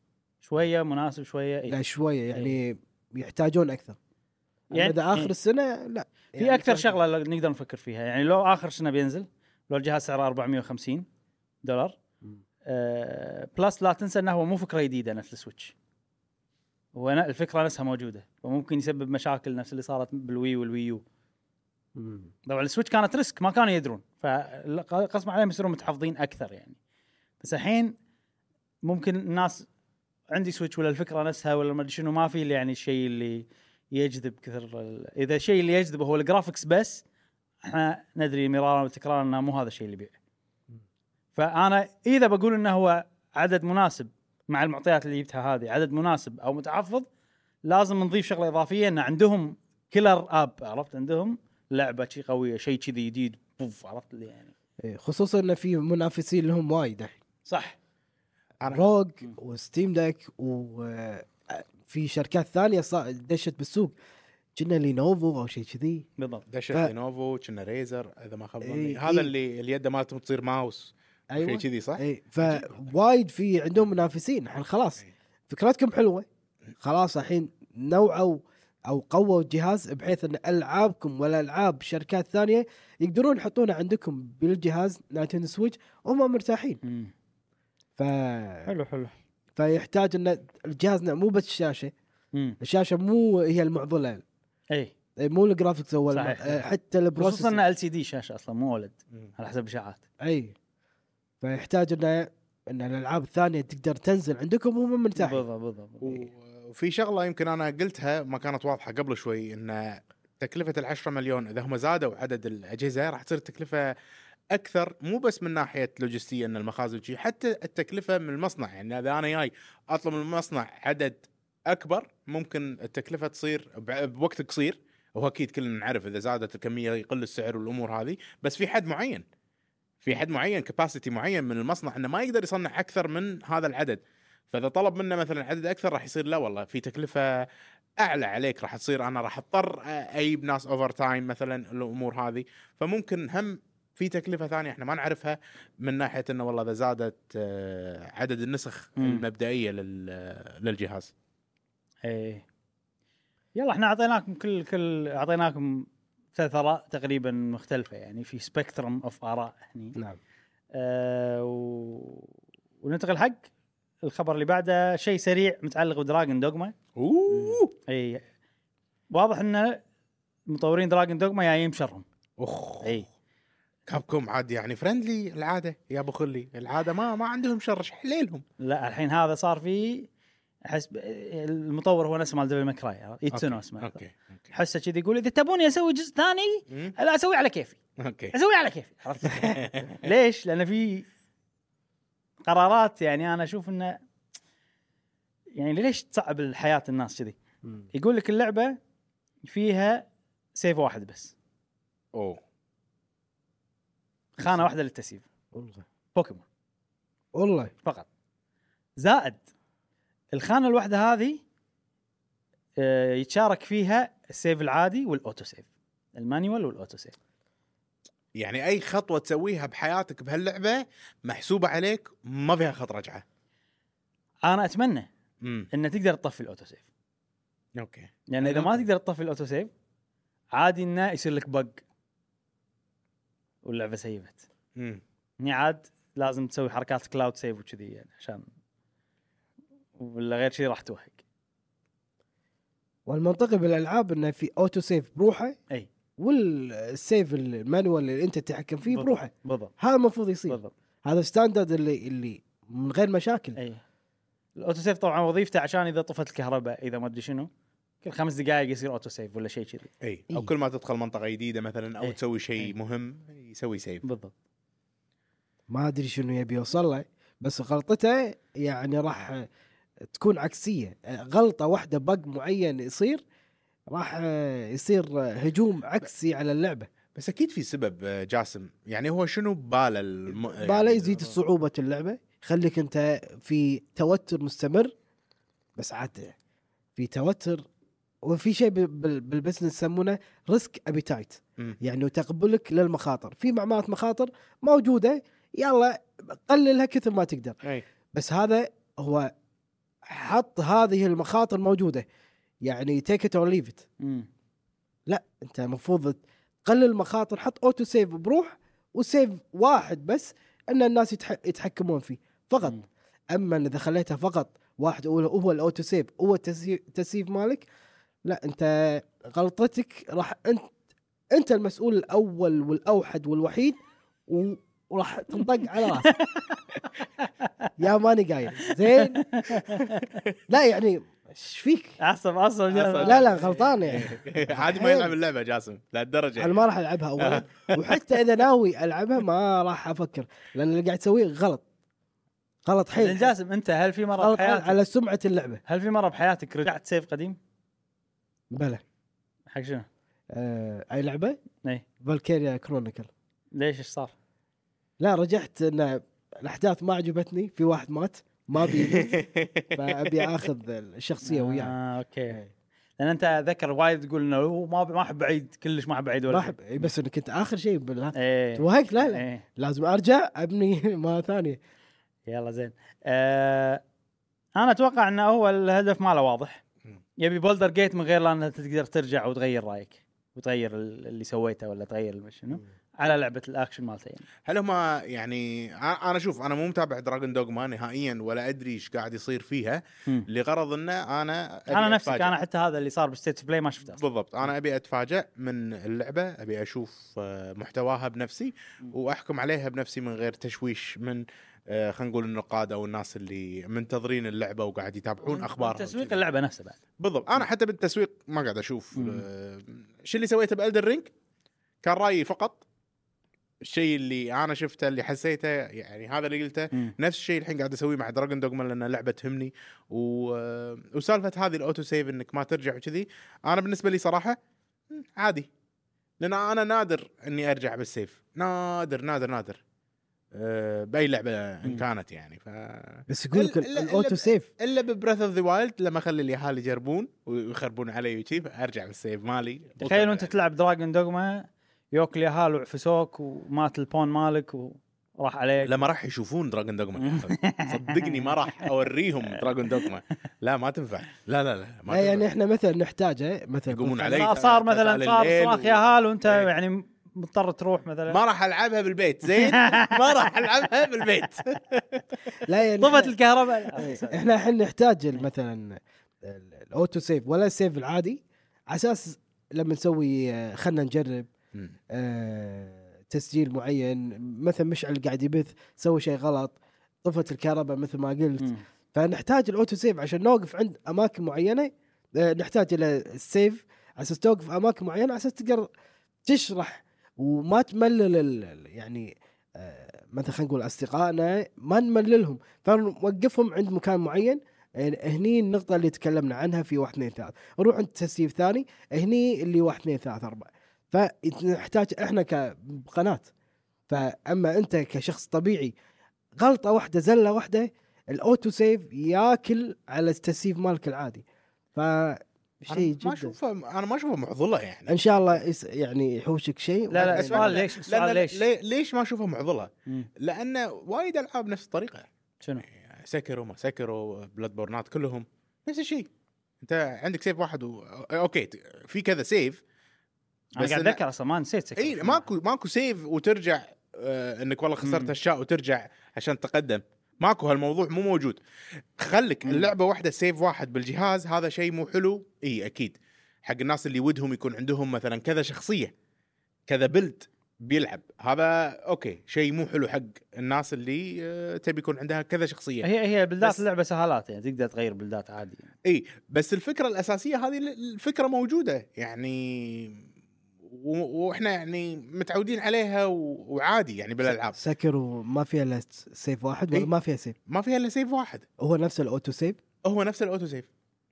Speaker 1: شويه مناسب شويه اي
Speaker 2: لا شوية يعني يحتاجون أكثر يعني
Speaker 1: إيه. يعني-
Speaker 2: إذا آخر
Speaker 1: إيه.
Speaker 2: السنة لا يعني
Speaker 1: في اكثر شغله لو- نقدر نفكر فيها يعني لو اخر سنه بينزل لو الجهاز سعره 450 دولار
Speaker 2: مم.
Speaker 1: آه بلس لا تنسى انه هو مو فكره جديده نفس السويتش هو ن- الفكره نفسها موجوده وممكن يسبب مشاكل نفس اللي صارت بالوي والوي يو
Speaker 2: مم.
Speaker 1: طبعا السويتش كانت ريسك ما كانوا يدرون فقسم عليهم يصيرون متحفظين اكثر يعني بس الحين ممكن الناس عندي سويتش ولا الفكره نفسها ولا ما ادري شنو ما في اللي يعني الشيء اللي يجذب كثر ال- اذا الشيء اللي يجذبه هو الجرافكس بس احنا ندري مرارا وتكرارا انه مو هذا الشيء اللي يبيع فانا اذا بقول انه هو عدد مناسب مع المعطيات اللي جبتها هذه عدد مناسب او متحفظ لازم نضيف شغله اضافيه ان عندهم كيلر اب عرفت عندهم لعبه شي قويه شيء كذي جديد بوف عرفت اللي يعني
Speaker 2: إيه، خصوصا إن في منافسين لهم وايد الحين
Speaker 1: صح
Speaker 3: انا
Speaker 2: روج وستيم ديك وفي آه، شركات ثانيه صا- دشت بالسوق كنا لينوفو او شيء كذي
Speaker 1: بالضبط
Speaker 3: دشت
Speaker 2: ف-
Speaker 3: لينوفو كنا ريزر اذا ما خاب ظني
Speaker 2: إي،
Speaker 3: هذا
Speaker 2: إي.
Speaker 3: اللي اليد مالته تصير ماوس
Speaker 2: أيوة.
Speaker 3: شيء كذي صح؟
Speaker 2: اي فوايد إيه، في عندهم منافسين الحين خلاص
Speaker 3: إي.
Speaker 2: فكرتكم حلوه خلاص الحين نوعوا او قووا الجهاز بحيث ان العابكم ولا العاب شركات ثانيه يقدرون يحطونها عندكم بالجهاز نايتن سويتش وهم مرتاحين ف...
Speaker 1: حلو حلو
Speaker 2: فيحتاج ان الجهاز مو بس الشاشه الشاشه مو هي المعضله
Speaker 1: اي
Speaker 2: إيه، مو الجرافكس هو الم...
Speaker 1: صحيح.
Speaker 2: آه، حتى
Speaker 1: خصوصا
Speaker 2: البروسيسنج
Speaker 1: انه ال سي دي شاشه اصلا مو اولد
Speaker 3: مم.
Speaker 1: على حسب الاشاعات
Speaker 2: اي إيه. فيحتاج انه ان الالعاب الثانيه تقدر تنزل عندكم وهم مرتاحين
Speaker 1: بالضبط بالضبط
Speaker 3: و- وفي شغله يمكن انا قلتها ما كانت واضحه قبل شوي ان تكلفه ال10 مليون اذا هم زادوا عدد الاجهزه راح تصير تكلفه اكثر مو بس من ناحيه لوجستيه ان المخازن شيء حتى التكلفه من المصنع يعني اذا انا جاي اطلب من المصنع عدد اكبر ممكن التكلفه تصير ب- بوقت قصير وهو اكيد كلنا نعرف اذا زادت الكميه يقل السعر والامور هذه بس في حد معين في حد معين كباسيتي معين من المصنع انه ما يقدر يصنع اكثر من هذا العدد فاذا طلب منا مثلا عدد اكثر راح يصير لا والله في تكلفه اعلى عليك راح تصير انا راح اضطر اجيب ناس اوفر تايم مثلا الامور هذه فممكن هم في تكلفه ثانيه احنا ما نعرفها من ناحيه انه والله اذا زادت آه، عدد النسخ
Speaker 1: مم.
Speaker 3: المبدئيه لل- آه، للجهاز
Speaker 1: اي إيه. يلا احنا اعطيناكم كل كل اعطيناكم ثلاث اراء تقريبا مختلفه يعني في سبيكترم اوف اراء هني
Speaker 2: نعم
Speaker 1: آه و... وننتقل حق الخبر اللي بعده شيء سريع متعلق بدراجن دوغما
Speaker 3: اوه
Speaker 1: اي إيه. واضح ان مطورين دراجون دوغما جايين بشرهم
Speaker 3: اخ
Speaker 1: اي
Speaker 3: كابكم عاد يعني فرندلي العاده يا ابو خلي العاده ما ما عندهم شر حليلهم
Speaker 1: لا الحين هذا صار في احس ب- المطور هو نفسه مال ديفل ماكراي يتسونو آه، اسمه
Speaker 3: اوكي اوكي
Speaker 1: حسه كذي يقول اذا تبوني اسوي جزء ثاني
Speaker 3: مم.
Speaker 1: لا اسوي على كيفي
Speaker 3: اوكي
Speaker 1: اسوي على كيفي عرفت ليش؟ لان في قرارات يعني انا اشوف انه يعني ليش تصعب الحياه الناس كذي؟ يقول لك اللعبه فيها سيف واحد بس
Speaker 3: اوه
Speaker 1: خانه واحده للتسييف
Speaker 2: والله
Speaker 1: بوكيمون
Speaker 2: والله
Speaker 1: فقط زائد الخانه الواحده هذه آه، يتشارك فيها السيف العادي والاوتو سيف المانيوال والاوتو سيف
Speaker 3: يعني اي خطوه تسويها بحياتك بهاللعبه محسوبه عليك ما فيها خط رجعه
Speaker 1: انا اتمنى
Speaker 3: امم
Speaker 1: ان تقدر تطفي الاوتو سيف
Speaker 3: اوكي
Speaker 1: لان اذا ما
Speaker 3: علاقة.
Speaker 1: تقدر تطفي الاوتو سيف عادي انه يصير لك بق واللعبه سيبت
Speaker 3: امم
Speaker 1: هني يعني عاد لازم تسوي حركات كلاود سيف وكذي يعني عشان ولا غير شيء راح توهق
Speaker 2: والمنطقي بالالعاب انه في اوتو سيف بروحه
Speaker 1: أي.
Speaker 2: والسيف المانوال اللي انت تتحكم فيه
Speaker 1: بالضبط.
Speaker 2: بروحه
Speaker 1: بالضبط
Speaker 2: هذا المفروض يصير
Speaker 1: بالضبط
Speaker 2: هذا ستاندرد اللي اللي من غير مشاكل
Speaker 1: اي الاوتو سيف طبعا وظيفته عشان اذا طفت الكهرباء اذا ما ادري شنو كل خمس دقائق يصير اوتو سيف ولا شيء كذي
Speaker 3: اي
Speaker 2: إيه.
Speaker 3: او كل ما تدخل منطقه جديده مثلا او
Speaker 1: إيه.
Speaker 3: تسوي شيء
Speaker 1: إيه.
Speaker 3: مهم يسوي سيف
Speaker 1: بالضبط
Speaker 2: ما ادري شنو يبي يوصل له بس غلطته يعني راح تكون عكسيه غلطه واحده بق معين يصير راح يصير هجوم عكسي على اللعبه
Speaker 3: بس اكيد في سبب آه، جاسم يعني هو شنو باله الم...
Speaker 2: باله يزيد
Speaker 3: آه.
Speaker 2: صعوبه اللعبه يخليك انت في توتر مستمر بس عاد في توتر وفي شيء بال- بال- بالبزنس يسمونه ريسك ابيتايت
Speaker 3: مم.
Speaker 2: يعني تقبلك للمخاطر في معمارة مخاطر موجوده يلا قللها كثر ما تقدر
Speaker 3: اي
Speaker 2: بس هذا هو حط هذه المخاطر موجوده يعني تيك ات اور ليف ات
Speaker 1: امم
Speaker 2: انت المفروض تقلل المخاطر حط اوتو سيف بروح وسيف واحد بس ان الناس يتح... يتحكمون فيه فقط
Speaker 1: مم.
Speaker 2: اما اذا خليتها فقط واحد هو هو الاوتو سيف هو التسييف التسييف مالك لا انت غلطتك راح انت انت المسؤول الاول والاوحد والوحيد و... وراح تنطق على راسك يا ماني قايل زين لا يعني ايش فيك؟
Speaker 1: اعصب اعصب
Speaker 2: لا لا غلطان يعني
Speaker 3: عادي ما يلعب اللعبه جاسم لهالدرجه
Speaker 2: انا ما راح العبها اولا وحتى اذا ناوي العبها ما راح افكر لان اللي قاعد تسويه غلط غلط
Speaker 1: زين
Speaker 2: حيل
Speaker 1: جاسم انت هل في مره
Speaker 2: غلط
Speaker 1: بحياتك
Speaker 2: على سمعه اللعبه
Speaker 1: هل في مره بحياتك رجعت سيف قديم؟
Speaker 2: بلى
Speaker 1: حق شنو؟
Speaker 2: آه، اي لعبه؟
Speaker 1: إيه.
Speaker 2: فالكيريا كرونيكل
Speaker 1: ليش ايش صار؟
Speaker 2: لا رجعت ان الاحداث ما عجبتني في واحد مات ما بي فابي اخذ الشخصيه وياه
Speaker 1: اه اوكي
Speaker 2: إيه.
Speaker 1: لان انت ذكر وايد تقول انه هو ما ما احب اعيد كلش ما احب اعيد ولا
Speaker 2: ما
Speaker 1: شيء.
Speaker 2: احب إيه، بس انا كنت اخر شيء بالله
Speaker 1: ايه
Speaker 2: توهقت لا لا
Speaker 1: ايه
Speaker 2: لازم ارجع ابني مره ثانيه
Speaker 1: يلا زين آه انا اتوقع انه هو الهدف ماله واضح
Speaker 3: مم.
Speaker 1: يبي بولدر جيت من غير لا انت تقدر ترجع وتغير رايك وتغير ال- اللي سويته ولا تغير شنو على لعبه الاكشن مالته يعني
Speaker 3: هل هم يعني أ- انا شوف انا مو متابع دراجون دوغما نهائيا ولا ادري ايش قاعد يصير فيها
Speaker 1: مم.
Speaker 3: لغرض انه انا أبي
Speaker 1: انا نفسك
Speaker 3: أتفاجأ.
Speaker 1: انا حتى هذا اللي صار بالستيت اوف بلاي ما شفته اصلا
Speaker 3: بالضبط انا ابي اتفاجأ من اللعبه ابي اشوف آه، محتواها بنفسي
Speaker 1: مم.
Speaker 3: واحكم عليها بنفسي من غير تشويش من آه، خلينا نقول النقاد او الناس اللي منتظرين اللعبه وقاعد يتابعون اخبارها
Speaker 1: تسويق
Speaker 3: وكذي.
Speaker 1: اللعبه نفسها بعد
Speaker 3: بالضبط انا حتى بالتسويق ما قاعد اشوف
Speaker 1: مم.
Speaker 3: آه، شو اللي سويته بالدر رينج كان رايي فقط الشيء اللي انا شفته اللي حسيته يعني هذا اللي قلته
Speaker 1: مم.
Speaker 3: نفس الشيء الحين قاعد اسويه مع دراجون دوغما لان اللعبه تهمني و... آه، وسالفه هذه الاوتو سيف انك ما ترجع وكذي انا بالنسبه لي صراحه مم، عادي لان انا نادر اني ارجع بالسيف نادر نادر نادر أه باي لعبه ان
Speaker 1: مم.
Speaker 3: كانت يعني ف
Speaker 2: بس يقول لك
Speaker 3: إلا- إلا- إلا
Speaker 2: الاوتو
Speaker 3: ب-
Speaker 2: سيف
Speaker 3: الا ببريث اوف ذا وايلد لما اخلي اليهال يجربون ويخربون علي وشي فارجع بالسيف مالي
Speaker 1: تخيل وانت تلعب دراجون دوغما يوك اليهال وعفسوك ومات البون مالك وراح عليك
Speaker 3: لما راح يشوفون دراجون دوغما صدقني ما راح اوريهم دراجون دوغما لا ما تنفع لا لا لا ما
Speaker 2: لا يعني
Speaker 3: تنفع.
Speaker 2: احنا مثلا نحتاجه مثلا
Speaker 3: يقومون
Speaker 2: بالفعل.
Speaker 3: علي
Speaker 1: صار صار
Speaker 3: تسعة
Speaker 1: مثلا
Speaker 3: الليل
Speaker 1: صار صراخ
Speaker 3: و-
Speaker 1: يهال وانت
Speaker 3: إيه.
Speaker 1: يعني مضطر تروح مثلا
Speaker 3: ما راح العبها بالبيت زين ما راح العبها بالبيت
Speaker 2: لا يعني
Speaker 1: طفت
Speaker 2: إحنا-
Speaker 1: الكهرباء
Speaker 3: إيه.
Speaker 2: احنا الحين نحتاج مثلا الاوتو سيف ولا السيف العادي على اساس لما نسوي آه، خلنا نجرب
Speaker 3: مم.
Speaker 2: آه، تسجيل معين مثلا مشعل قاعد يبث سوى شيء غلط طفت الكهرباء مثل ما قلت
Speaker 1: مم.
Speaker 2: فنحتاج الاوتو سيف عشان نوقف عند اماكن معينه آه، نحتاج الى السيف على اساس توقف اماكن معينه على اساس تقدر تشرح وما تملل ال- ال- يعني آه، مثلا خلينا نقول اصدقائنا ما نمللهم فنوقفهم عند مكان معين آه، هني النقطة اللي تكلمنا عنها في واحد اثنين ثلاث، نروح عند تسييف ثاني، هني اللي واحد اثنين ثلاث أربعة، فنحتاج احنا كقناة فأما أنت كشخص طبيعي غلطة واحدة زلة واحدة الاوتو سيف ياكل على التسييف مالك العادي ف شيء
Speaker 3: أنا
Speaker 2: جدا
Speaker 3: ما اشوفه انا ما اشوفه معضله يعني
Speaker 2: ان شاء الله يس- يعني يحوشك شيء
Speaker 1: لا لا
Speaker 2: ولا-
Speaker 1: السؤال ليش السؤال
Speaker 3: لأن-
Speaker 1: ليش
Speaker 3: لي- ليش ما اشوفها معضله؟
Speaker 1: مم.
Speaker 3: لان وايد العاب نفس الطريقه
Speaker 1: شنو
Speaker 3: سكروا ما سكروا بلاد بورنات كلهم نفس الشيء انت عندك سيف واحد و... اوكي ت- في كذا سيف
Speaker 1: انا قاعد
Speaker 3: إن-
Speaker 1: اتذكر اصلا ما نسيت سكر
Speaker 3: اي ماكو ماكو سيف وترجع آه انك والله خسرت
Speaker 1: مم.
Speaker 3: هالشاء وترجع عشان تقدم ماكو هالموضوع مو موجود خلك
Speaker 1: مم.
Speaker 3: اللعبه واحده سيف واحد بالجهاز هذا شيء مو حلو اي اكيد حق الناس اللي ودهم يكون عندهم مثلا كذا شخصيه كذا بلد بيلعب هذا اوكي شيء مو حلو حق الناس اللي آه، تبي يكون عندها كذا شخصيه
Speaker 1: هي هي بلدات
Speaker 3: بس-
Speaker 1: اللعبه سهالات يعني تقدر تغير بلدات عادي
Speaker 3: اي بس الفكره الاساسيه هذه ال- الفكره موجوده يعني و- واحنا يعني متعودين عليها و- وعادي يعني بالالعاب
Speaker 2: سكر وما فيها الا س- سيف واحد
Speaker 3: إي.
Speaker 2: ولا ما فيها سيف
Speaker 3: ما فيها الا سيف واحد
Speaker 2: هو نفس الاوتو سيف
Speaker 3: هو نفس الاوتو سيف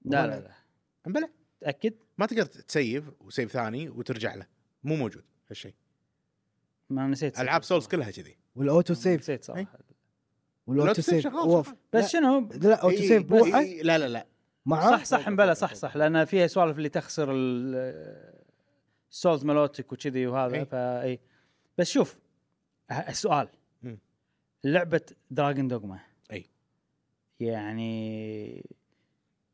Speaker 1: لا
Speaker 2: ولا-
Speaker 1: لا لا
Speaker 3: بلى
Speaker 1: تاكد
Speaker 3: ما تقدر تسيف وسيف ثاني وترجع له مو موجود هالشيء
Speaker 1: ما نسيت سكر.
Speaker 3: العاب سولز كلها كذي
Speaker 2: والاوتو سيف
Speaker 1: نسيت صراحه
Speaker 2: والاوتو سيف هو-
Speaker 1: بس شنو
Speaker 2: لا اوتو
Speaker 3: إيه،
Speaker 2: سيف بروحه
Speaker 3: لا لا لا
Speaker 2: معاه
Speaker 3: أه؟
Speaker 1: صح صح مبلا صح صح لان فيها سوالف اللي تخسر ال- السولز ملوتك وكذي وهذا
Speaker 3: إي.
Speaker 1: فاي بس شوف ه- السؤال
Speaker 3: مم. إيه.
Speaker 1: لعبه دراجون دوغما
Speaker 3: إي.
Speaker 1: يعني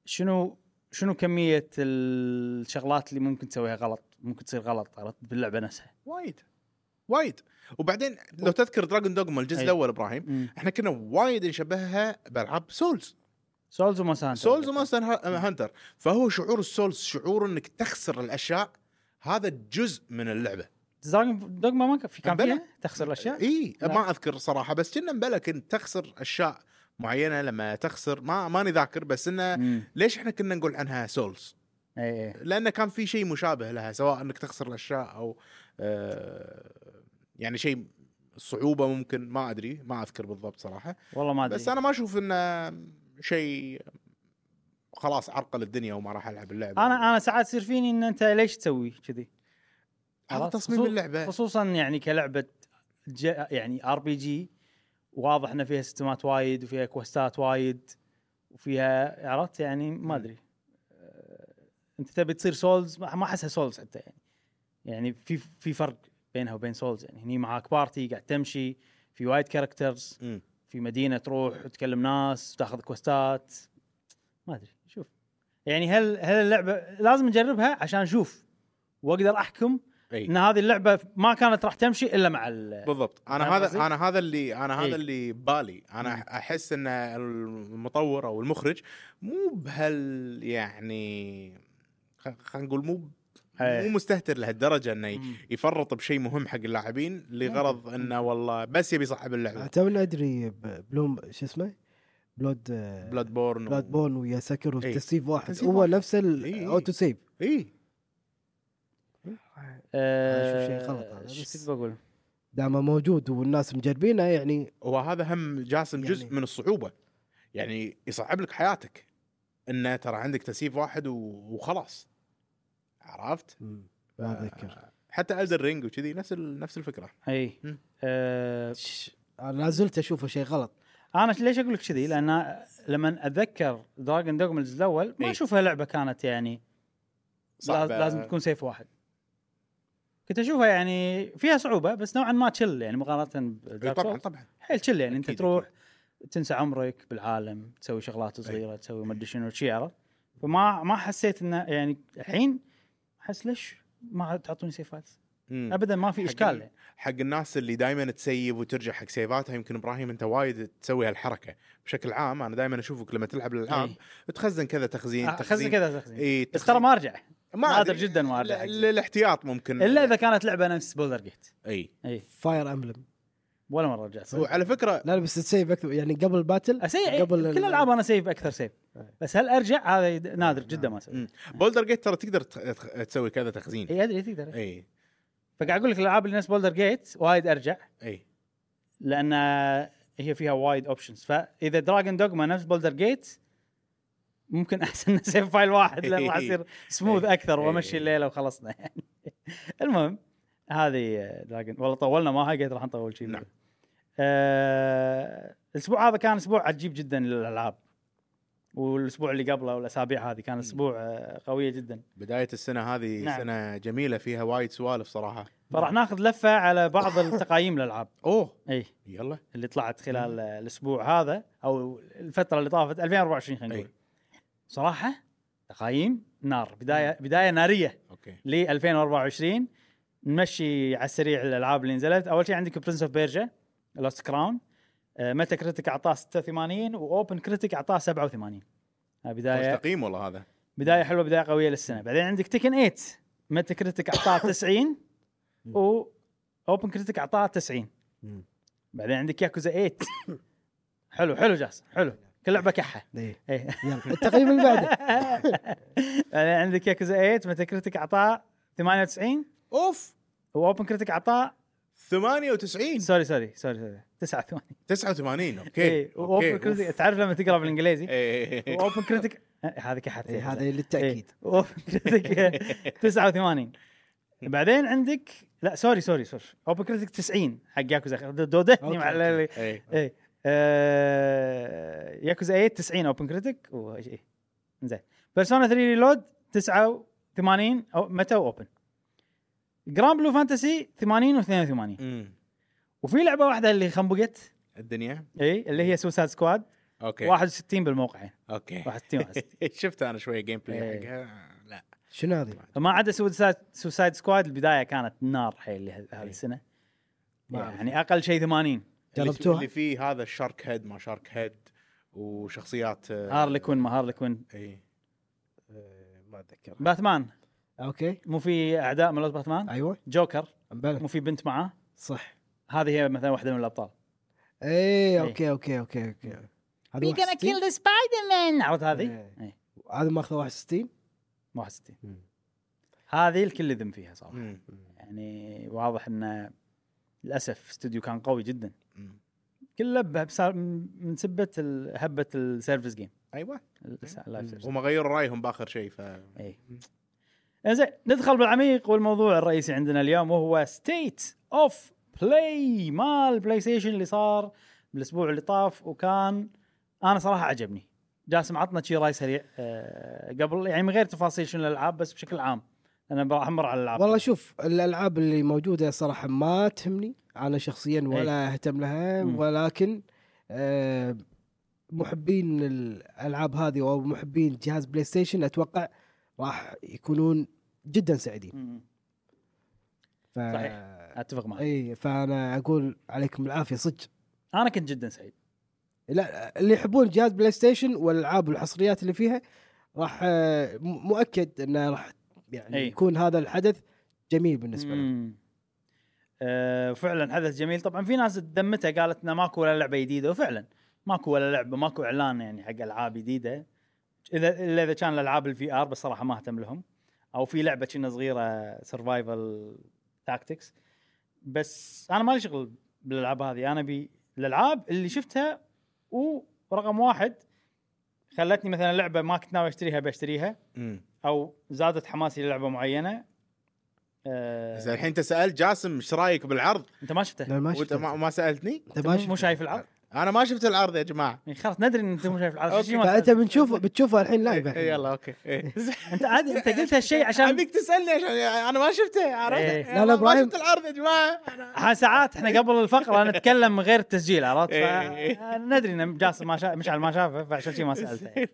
Speaker 1: شنو شنو كميه الشغلات اللي ممكن تسويها غلط ممكن تصير غلط عرفت باللعبه نفسها
Speaker 3: وايد وايد وبعدين لو تذكر دراجون دوغما الجزء
Speaker 1: أي.
Speaker 3: الاول ابراهيم احنا كنا وايد نشبهها بالعاب سولز
Speaker 1: سولز ومونستر هانتر.
Speaker 3: سولز ومونستر ها- هانتر uh, فهو شعور السولز شعور انك تخسر الاشياء هذا جزء من اللعبه
Speaker 1: دراجون دوغما ما كان في كان
Speaker 3: مبلى.
Speaker 1: فيها تخسر الاشياء
Speaker 3: اي
Speaker 1: لا.
Speaker 3: ما اذكر صراحه بس كنا مبلا كنت تخسر اشياء معينه لما تخسر ما ماني ذاكر بس انه
Speaker 1: مم. إيه،
Speaker 3: ليش احنا كنا نقول عنها سولز؟
Speaker 1: اي اي
Speaker 3: لانه كان في شيء مشابه لها سواء انك تخسر الاشياء او آه يعني شيء صعوبه ممكن ما ادري ما اذكر بالضبط صراحه
Speaker 1: والله ما ادري
Speaker 3: بس انا ما اشوف انه شيء خلاص عرقل الدنيا وما راح العب اللعبه
Speaker 1: انا انا ساعات يصير فيني ان انت ليش تسوي كذي
Speaker 3: هذا
Speaker 1: عرفت؟
Speaker 3: تصميم
Speaker 1: خصوص-
Speaker 3: اللعبه
Speaker 1: خصوصا يعني كلعبه ج... يعني ار بي جي واضح ان فيها سيستمات وايد وفيها كوستات وايد وفيها عرفت يعني ما ادري أه، انت تبي تصير سولز ما ما احسها سولز حتى يعني يعني في في فرق بينها وبين سولز يعني هني معاك بارتي قاعد تمشي في وايد كاركترز
Speaker 3: مم.
Speaker 1: في مدينه تروح وتكلم ناس وتاخذ كوستات ما ادري شوف يعني هل هل اللعبه لازم نجربها عشان اشوف واقدر احكم
Speaker 2: إيه.
Speaker 3: اي
Speaker 1: ان هذه اللعبه ما كانت راح تمشي الا مع ال
Speaker 3: بالضبط
Speaker 1: فاهم
Speaker 3: انا
Speaker 1: نعم، قصدي؟
Speaker 3: هذا انا هذا اللي انا
Speaker 1: إي.
Speaker 3: هذا اللي بالي انا
Speaker 1: مم.
Speaker 3: احس ان المطور او المخرج مو بهال يعني خ- خلينا نقول مو
Speaker 1: إي.
Speaker 3: مو مستهتر لهالدرجه انه ي-
Speaker 1: مم.
Speaker 3: يفرط بشيء مهم حق اللاعبين لغرض انه والله بس يبي يصعب اللعبه
Speaker 2: آه، تونا ادري ب- بلوم شو اسمه بلود آه،
Speaker 3: بلاد بورن
Speaker 2: بلاد بون ويا سكر
Speaker 3: إي.
Speaker 2: وتسيف واحد
Speaker 3: تسييف
Speaker 2: هو
Speaker 3: واحد.
Speaker 2: نفس
Speaker 3: إي، إي.
Speaker 2: الاوتو سيف
Speaker 3: اي
Speaker 1: آه،
Speaker 2: أنا أشوف شيء غلط هذا، بس-
Speaker 1: شو كنت بقول؟
Speaker 2: دامه موجود والناس مجربينه يعني
Speaker 3: وهذا هم جاسم
Speaker 2: يعني-
Speaker 3: جزء من الصعوبه يعني يصعب لك حياتك انه ترى عندك تسييف واحد و- وخلاص عرفت؟
Speaker 2: ما اتذكر
Speaker 3: حتى الدر رينج وكذي نفس ال- نفس الفكره
Speaker 1: اي
Speaker 3: مم.
Speaker 1: إيه. آه،
Speaker 2: انا لا زلت اشوفه شيء غلط
Speaker 1: انا ليش اقول لك كذي؟ لان لما اتذكر دراجون دوغما الجزء الاول ما
Speaker 2: إيه.
Speaker 3: إي.
Speaker 1: اشوفها لعبه كانت يعني لاز-
Speaker 3: صعبة.
Speaker 1: لازم تكون سيف واحد كنت اشوفها يعني فيها صعوبه بس نوعا ما تشل يعني مقارنه
Speaker 2: إيه،
Speaker 3: إي
Speaker 1: بدارك
Speaker 3: طبعا
Speaker 1: سولز
Speaker 3: طبعا
Speaker 1: حيل تشل يعني انت
Speaker 3: أكيد،
Speaker 1: تروح تنسى عمرك بالعالم تسوي شغلات
Speaker 2: إيه.
Speaker 1: صغيره تسوي ما ادري شنو شي عرفت فما ما حسيت انه يعني الحين احس ليش ما تعطوني سيفات
Speaker 3: مم.
Speaker 1: ابدا ما في
Speaker 3: حق
Speaker 1: اشكال
Speaker 3: ال-
Speaker 1: يعني.
Speaker 3: حق الناس اللي دائما تسيب وترجع حق سيفاتها يمكن ابراهيم انت وايد تسوي هالحركه بشكل عام انا دائما اشوفك لما تلعب الالعاب
Speaker 1: إي.
Speaker 3: تخزن كذا إيه، تخزين إيه،
Speaker 1: أخزن آه، كذا تخزين
Speaker 3: اي
Speaker 1: بس ترى ما ارجع
Speaker 3: ما
Speaker 1: نادر
Speaker 3: أدري.
Speaker 1: جدا وارد
Speaker 3: ل-
Speaker 1: حق زي.
Speaker 3: للاحتياط ممكن
Speaker 1: الا اذا كانت لعبه نفس بولدر جيت
Speaker 3: اي
Speaker 1: اي
Speaker 2: فاير امبلم
Speaker 1: ولا مره رجعت
Speaker 3: وعلى فكره
Speaker 2: لا لا بس تسيف اكثر يعني قبل الباتل
Speaker 1: اسيء
Speaker 2: قبل
Speaker 1: قبل كل
Speaker 2: ال-
Speaker 1: الالعاب انا سيف اكثر سيف
Speaker 2: إيه.
Speaker 1: بس هل ارجع هذا يد- نادر جدا ما اسوي
Speaker 3: نعم. مم. بولدر جيت ترى تقدر تخ- تخ- تسوي كذا تخزين
Speaker 1: اي ادري تقدر إيه.
Speaker 3: اي
Speaker 1: فقاعد اقول لك الالعاب اللي نفس بولدر جيت وايد ارجع
Speaker 3: اي
Speaker 1: لان هي فيها وايد اوبشنز فاذا دراجون دوغما نفس بولدر جيت ممكن احسن إنه سيف فايل واحد لان راح يصير سموث
Speaker 3: إيه.
Speaker 1: اكثر
Speaker 3: إيه.
Speaker 1: وامشي الليله وخلصنا يعني المهم هذه دراجون والله طولنا ما هاي قلت راح نطول شيء
Speaker 3: نعم.
Speaker 1: آه، الاسبوع هذا كان اسبوع عجيب جدا للالعاب والاسبوع اللي قبله والاسابيع هذه كان اسبوع آه، قويه
Speaker 3: نعم.
Speaker 1: جدا
Speaker 3: بدايه السنه هذه
Speaker 1: نعم.
Speaker 3: سنه جميله فيها وايد سوالف صراحه
Speaker 1: فراح ناخذ لفه على بعض التقايم الالعاب
Speaker 3: اوه
Speaker 1: اي
Speaker 3: يلا
Speaker 1: اللي طلعت خلال آه، الاسبوع هذا او الفتره اللي طافت 2024 خلينا نقول
Speaker 3: أي.
Speaker 1: صراحه تقايم نار بدايه بدايه ناريه
Speaker 3: اوكي
Speaker 1: ل 2024 نمشي على السريع الالعاب اللي نزلت اول شيء عندك برنس اوف بيرجا لوست كراون ميتا كريتيك اعطاه 86 واوبن كريتيك اعطاه 87 هاي بدايه
Speaker 3: مستقيم والله هذا
Speaker 1: بدايه حلوه بدايه قويه للسنه بعدين عندك تكن 8 ميتا كريتيك اعطاه 90 و اوبن كريتيك اعطاه 90
Speaker 2: مم.
Speaker 1: بعدين عندك ياكوزا 8 حلو حلو جاسم حلو كل لعبه كحه
Speaker 2: ايه
Speaker 1: إيه.
Speaker 2: يلا التقييم اللي بعده
Speaker 1: بعدين عندك ياكوزا 8 ميتا كريتيك اعطاه 98
Speaker 3: اوف
Speaker 1: واوبن كريتيك اعطاه
Speaker 3: 98
Speaker 1: سوري سوري سوري سوري 89
Speaker 3: 89
Speaker 1: اوكي
Speaker 3: اوكي
Speaker 1: واوبن
Speaker 3: أوف.
Speaker 1: كريتيك تعرف لما تقرا بالانجليزي
Speaker 3: إيه.
Speaker 1: واوبن كريتيك هذه كحت
Speaker 2: إيه، هذا للتاكيد
Speaker 1: اوبن كريتيك 89 بعدين عندك لا سوري سوري سوري اوبن كريتيك 90 حق ياكوزا دودتني
Speaker 2: أوكي،
Speaker 1: مع
Speaker 2: أوكي.
Speaker 1: ال-
Speaker 3: إيه.
Speaker 1: ايه آه، ياكوزا 8 90 اوبن كريتيك وشيء إيه. زين بيرسونا 3 ريلود 89 او متى اوبن جراند بلو فانتسي 80 و82
Speaker 3: مم.
Speaker 1: وفي لعبه واحده اللي خنبقت
Speaker 3: الدنيا
Speaker 1: اي اللي هي سوساد سكواد
Speaker 3: اوكي
Speaker 1: 61 بالموقعين
Speaker 3: اوكي
Speaker 1: 61 61
Speaker 3: شفت انا شويه جيم بلاي
Speaker 1: إيه.
Speaker 3: حقها لا
Speaker 2: شنو هذه؟
Speaker 1: فما عدا سوسايد سوسايد سكواد البدايه كانت نار حيل لها- هذه السنه
Speaker 2: ما أعرف.
Speaker 1: يعني اقل شيء 80
Speaker 3: اللي-
Speaker 2: جربتوها؟
Speaker 3: اللي فيه هذا الشارك هيد ما شارك هيد وشخصيات آه، إيه.
Speaker 1: هارلي كوين ما هارلي كوين
Speaker 3: اي
Speaker 2: إيه، ما اتذكر
Speaker 1: باتمان
Speaker 2: اوكي
Speaker 1: مو في اعداء من باتمان
Speaker 2: ايوه
Speaker 1: جوكر
Speaker 2: بلى
Speaker 1: مو في بنت معاه
Speaker 2: صح
Speaker 1: هذه هي مثلا واحده من الابطال إيه.
Speaker 2: ايه اوكي اوكي اوكي اوكي هذا 61
Speaker 1: ذا سبايدر مان عرفت هذه؟
Speaker 2: إيه.
Speaker 1: إيه،
Speaker 2: هذا ماخذه 61
Speaker 1: 61
Speaker 2: مم.
Speaker 1: هذه الكل ذم فيها صراحه
Speaker 3: مم.
Speaker 1: يعني واضح انه للاسف استوديو كان قوي جدا
Speaker 3: مم.
Speaker 1: كله بسا- من سبه ال- هبه السيرفس جيم
Speaker 3: ايوه
Speaker 1: اللايف سيرفس
Speaker 3: هم غيروا رايهم باخر شيء ف
Speaker 1: اي يعني زين ندخل بالعميق والموضوع الرئيسي عندنا اليوم وهو ستيت اوف بلاي مال بلاي ستيشن اللي صار بالاسبوع اللي طاف وكان انا صراحه عجبني جاسم عطنا شي راي سريع آه، قبل يعني من غير تفاصيل شنو الالعاب بس بشكل عام انا راح امر على الالعاب
Speaker 2: والله شوف الالعاب اللي موجوده صراحه ما تهمني انا شخصيا ولا اهتم لها
Speaker 1: إيه. مم.
Speaker 2: ولكن آه، محبين الالعاب هذه او محبين جهاز بلاي ستيشن اتوقع راح يكونون جدا سعيدين
Speaker 1: مم.
Speaker 2: ف...
Speaker 1: صحيح. اتفق معك
Speaker 2: اي فانا اقول إيه، عليكم العافيه صدق
Speaker 1: انا كنت جدا سعيد
Speaker 2: لا اللي يحبون جهاز بلاي ستيشن والالعاب والحصريات اللي فيها راح آه، م- مؤكد انه راح يعني
Speaker 1: إي.
Speaker 2: يكون هذا الحدث جميل بالنسبه لهم
Speaker 1: مم. آه فعلا حدث جميل طبعا في ناس دمتها قالت انه ماكو ولا لعبه جديده وفعلا ماكو ولا لعبه ماكو اعلان يعني حق العاب جديده اذا الا اذا كان الالعاب الفي ار بس صراحه ما اهتم لهم او في لعبه كنا صغيره سرفايفل تاكتكس بس انا مالي شغل بالالعاب هذه انا ابي الالعاب اللي شفتها ورقم واحد خلتني مثلا لعبه ما كنت ناوي اشتريها بشتريها
Speaker 3: مم.
Speaker 1: او زادت حماسي للعبه معينه آه،
Speaker 3: بس الحين انت سالت جاسم ايش رايك بالعرض
Speaker 1: انت ما شفته
Speaker 2: لا ما
Speaker 3: وانت
Speaker 2: شفته.
Speaker 3: ما, ما سالتني
Speaker 2: انت
Speaker 1: انت
Speaker 2: ما
Speaker 1: مو- مو
Speaker 2: شفته.
Speaker 1: شايف العرض
Speaker 3: انا ما شفت العرض يا جماعه
Speaker 1: يعني خلاص ندري ان انت مو شايف العرض
Speaker 3: أوكي.
Speaker 1: شي ما
Speaker 2: فانت
Speaker 1: تسأل.
Speaker 2: بنشوفه بتشوفه الحين لايف
Speaker 3: إيه،
Speaker 2: الحين
Speaker 3: يلا اوكي إيه.
Speaker 1: انت عادي انت قلت هالشيء عشان
Speaker 3: ابيك تسالني عشان انا ما شفته عرفت
Speaker 1: إيه.
Speaker 3: أنا
Speaker 2: لا، لا،
Speaker 3: ما
Speaker 2: إبراهيم.
Speaker 3: شفت العرض يا جماعه أنا-
Speaker 1: ها ساعات احنا قبل الفقره نتكلم من غير التسجيل عرفت
Speaker 3: إيه.
Speaker 1: فا- ندري ان جاسم ما شا... مشعل ما شافه فعشان شي ما سالته يعني.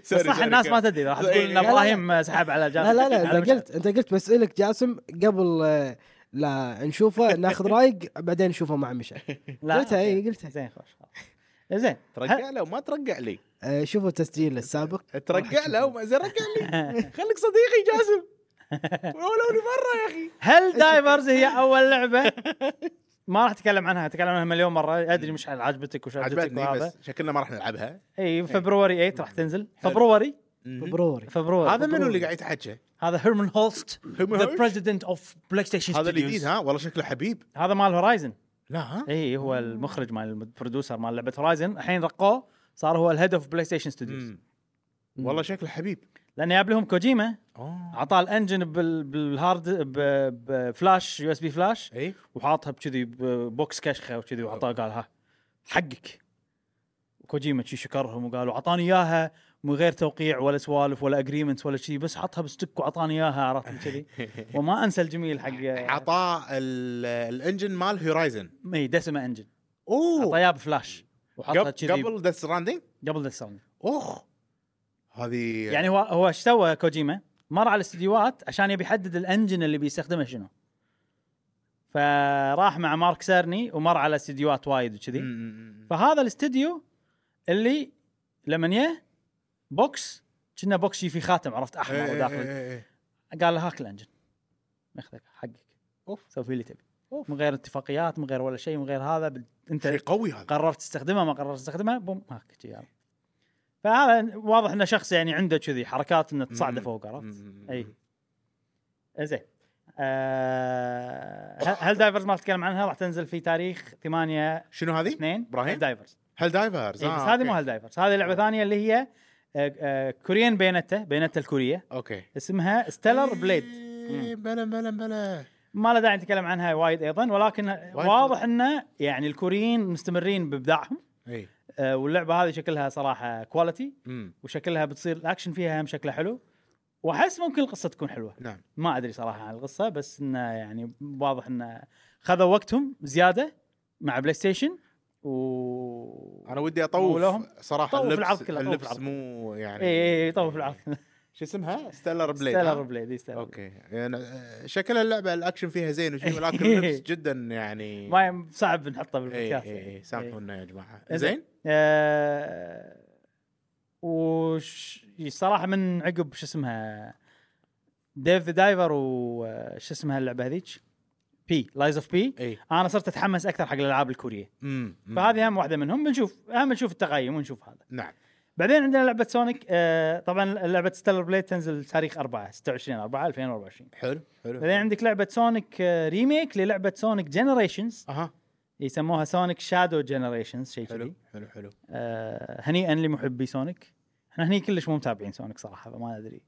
Speaker 1: بس
Speaker 3: سوري،
Speaker 1: صح
Speaker 3: سوري،
Speaker 1: الناس ما
Speaker 3: كمل.
Speaker 1: تدري راح
Speaker 3: إيه،
Speaker 1: تقول ان
Speaker 3: إيه.
Speaker 1: ابراهيم سحب على
Speaker 2: لا
Speaker 1: جاسم
Speaker 2: لا لا
Speaker 1: على
Speaker 2: انت
Speaker 1: مشعل.
Speaker 2: قلت انت قلت بسالك جاسم قبل آه، لا نشوفه ناخذ رايق بعدين نشوفه مع مشعل
Speaker 1: لا
Speaker 2: قلتها، إيه، قلتها.
Speaker 1: زين خوش زين
Speaker 3: ترقع له وما ترقع لي
Speaker 2: آه، شوفوا التسجيل السابق
Speaker 3: ترقع له وما زين رقع لي خليك صديقي جاسم ولو مره يا اخي
Speaker 1: هل دايفرز هي اول لعبه ما راح اتكلم عنها اتكلم عنها مليون مره ادري مش عجبتك وش عجبتك
Speaker 3: عجبتني
Speaker 1: وهذا
Speaker 3: بس شكلنا ما راح نلعبها
Speaker 2: إيه.
Speaker 1: اي فبروري 8 راح تنزل فبروري
Speaker 2: فبروري
Speaker 1: فبروري
Speaker 3: هذا منو اللي قاعد يتحكى؟
Speaker 1: هذا هيرمان هولست
Speaker 3: هيرمان
Speaker 1: ذا
Speaker 3: هولست؟
Speaker 1: بريزيدنت اوف بلاي ستيشن
Speaker 3: هذا الجديد ها والله شكله حبيب
Speaker 1: هذا مال هورايزن
Speaker 3: لا ها
Speaker 1: اي هو المخرج مال البرودوسر مال لعبه هورايزن الحين رقوه صار هو الهيد اوف بلاي ستيشن ستوديوز
Speaker 3: مم. والله شكله حبيب
Speaker 1: لان جاب لهم كوجيما
Speaker 3: اه
Speaker 1: عطاه الانجن بال- بالهارد ب- بفلاش يو اس بي فلاش
Speaker 3: اي
Speaker 1: وحاطها بكذي بوكس كشخه وكذي وعطاه قال ها حقك كوجيما شي شكرهم وقالوا اعطاني اياها من غير توقيع ولا سوالف ولا اجريمنت ولا شيء بس حطها بستك واعطاني اياها عرفت كذي وما انسى الجميل حق إيه،
Speaker 3: عطاه ال- الانجن مال هورايزن
Speaker 1: اي دسمه انجن
Speaker 3: اوه
Speaker 1: عطاياه بفلاش وحطها
Speaker 3: قبل
Speaker 1: كذي
Speaker 3: قبل ذا ستراندنج
Speaker 1: قبل الساوند
Speaker 3: اخ هذه
Speaker 1: يعني هو هو ايش سوى كوجيما؟ مر على الاستديوهات عشان يبي يحدد الانجن اللي بيستخدمه شنو. فراح مع مارك سيرني ومر على استديوهات وايد وكذي
Speaker 3: مم.
Speaker 1: فهذا الاستديو اللي لما يه بوكس كنا بوكس شي فيه خاتم عرفت
Speaker 3: إيه،
Speaker 1: احمر
Speaker 3: إيه،
Speaker 1: وداخل
Speaker 3: إيه، إيه.
Speaker 1: قال له هاك الانجن اخذك حقك
Speaker 3: أوف.
Speaker 1: سوي فيه اللي تبي من غير اتفاقيات من غير ولا شيء من غير هذا بال- انت
Speaker 3: شيء قوي هذا
Speaker 1: قررت تستخدمها ما قررت تستخدمها بوم هاك جي يعني. فهذا واضح انه شخص يعني عنده كذي حركات انه تصعده
Speaker 3: مم.
Speaker 1: فوق عرفت؟
Speaker 3: مم.
Speaker 1: اي زين آه هل- هل دايفرز ما تتكلم عنها راح تنزل في تاريخ 8
Speaker 3: شنو هذه؟
Speaker 1: 2
Speaker 3: إبراهيم؟ آه،
Speaker 1: هل دايفرز
Speaker 3: هل دايفرز
Speaker 1: نعم. إيه بس هذه مو هل دايفرز هذه لعبه ثانيه اللي هي آه، آه كوريان بينتا بينتا الكوريه
Speaker 3: اوكي
Speaker 1: اسمها ستيلر بليد
Speaker 3: إيه،
Speaker 1: نعم.
Speaker 3: بلا بلا بلا
Speaker 1: ما له داعي نتكلم عنها وايد ايضا ولكن واضح انه يعني الكوريين مستمرين بابداعهم
Speaker 3: اي
Speaker 1: آه، واللعبه هذه شكلها صراحه كواليتي
Speaker 3: مم.
Speaker 1: وشكلها بتصير الاكشن فيها هم شكلها حلو واحس ممكن القصه تكون حلوه
Speaker 3: نعم
Speaker 1: ما ادري صراحه عن القصه بس انه يعني واضح انه خذوا وقتهم زياده مع بلاي ستيشن و إيه،
Speaker 3: انا ودي
Speaker 1: مولوهم.
Speaker 3: اطوف صراحه
Speaker 1: طوف
Speaker 3: اللبس
Speaker 1: العرض كله، طوف
Speaker 3: اللبس
Speaker 1: العرض. إيه،
Speaker 3: مو يعني
Speaker 1: اي اي طوف العرض
Speaker 3: شو اسمها؟ ستيلر بليد
Speaker 1: ستيلر
Speaker 3: ها؟
Speaker 1: بليد إي، ستيلر
Speaker 3: اوكي يعني آه، شكلها اللعبه الاكشن فيها زين وشي ولكن اللبس جدا يعني إيه،
Speaker 1: بليد. ما يم- صعب نحطه
Speaker 3: اي
Speaker 1: بالبودكاست
Speaker 3: اي اي
Speaker 1: يعني.
Speaker 3: سامحونا يا جماعه
Speaker 1: إيه.
Speaker 3: زين؟
Speaker 1: آه، وش الصراحه من عقب شو اسمها ديف ذا دايفر وش آه، اسمها اللعبه هذيك بي لايز اوف بي
Speaker 3: اي
Speaker 1: انا صرت اتحمس اكثر حق الالعاب الكوريه
Speaker 3: مم. مم.
Speaker 1: إيه. فهذه هم واحده منهم بنشوف اهم نشوف التقييم ونشوف هذا
Speaker 3: نعم
Speaker 1: بعدين عندنا لعبه سونيك آه طبعا لعبه ستيلر بليد تنزل تاريخ 4 26 4 2024
Speaker 3: حلو حلو
Speaker 1: بعدين عندك لعبه سونيك آه ريميك للعبه سونيك جنريشنز
Speaker 3: اها
Speaker 1: يسموها سونيك شادو جنريشنز شيء كذي
Speaker 3: حلو حلو حلو
Speaker 1: آه، هنيئا لمحبي سونيك احنا هني كلش مو متابعين سونيك صراحه فما ادري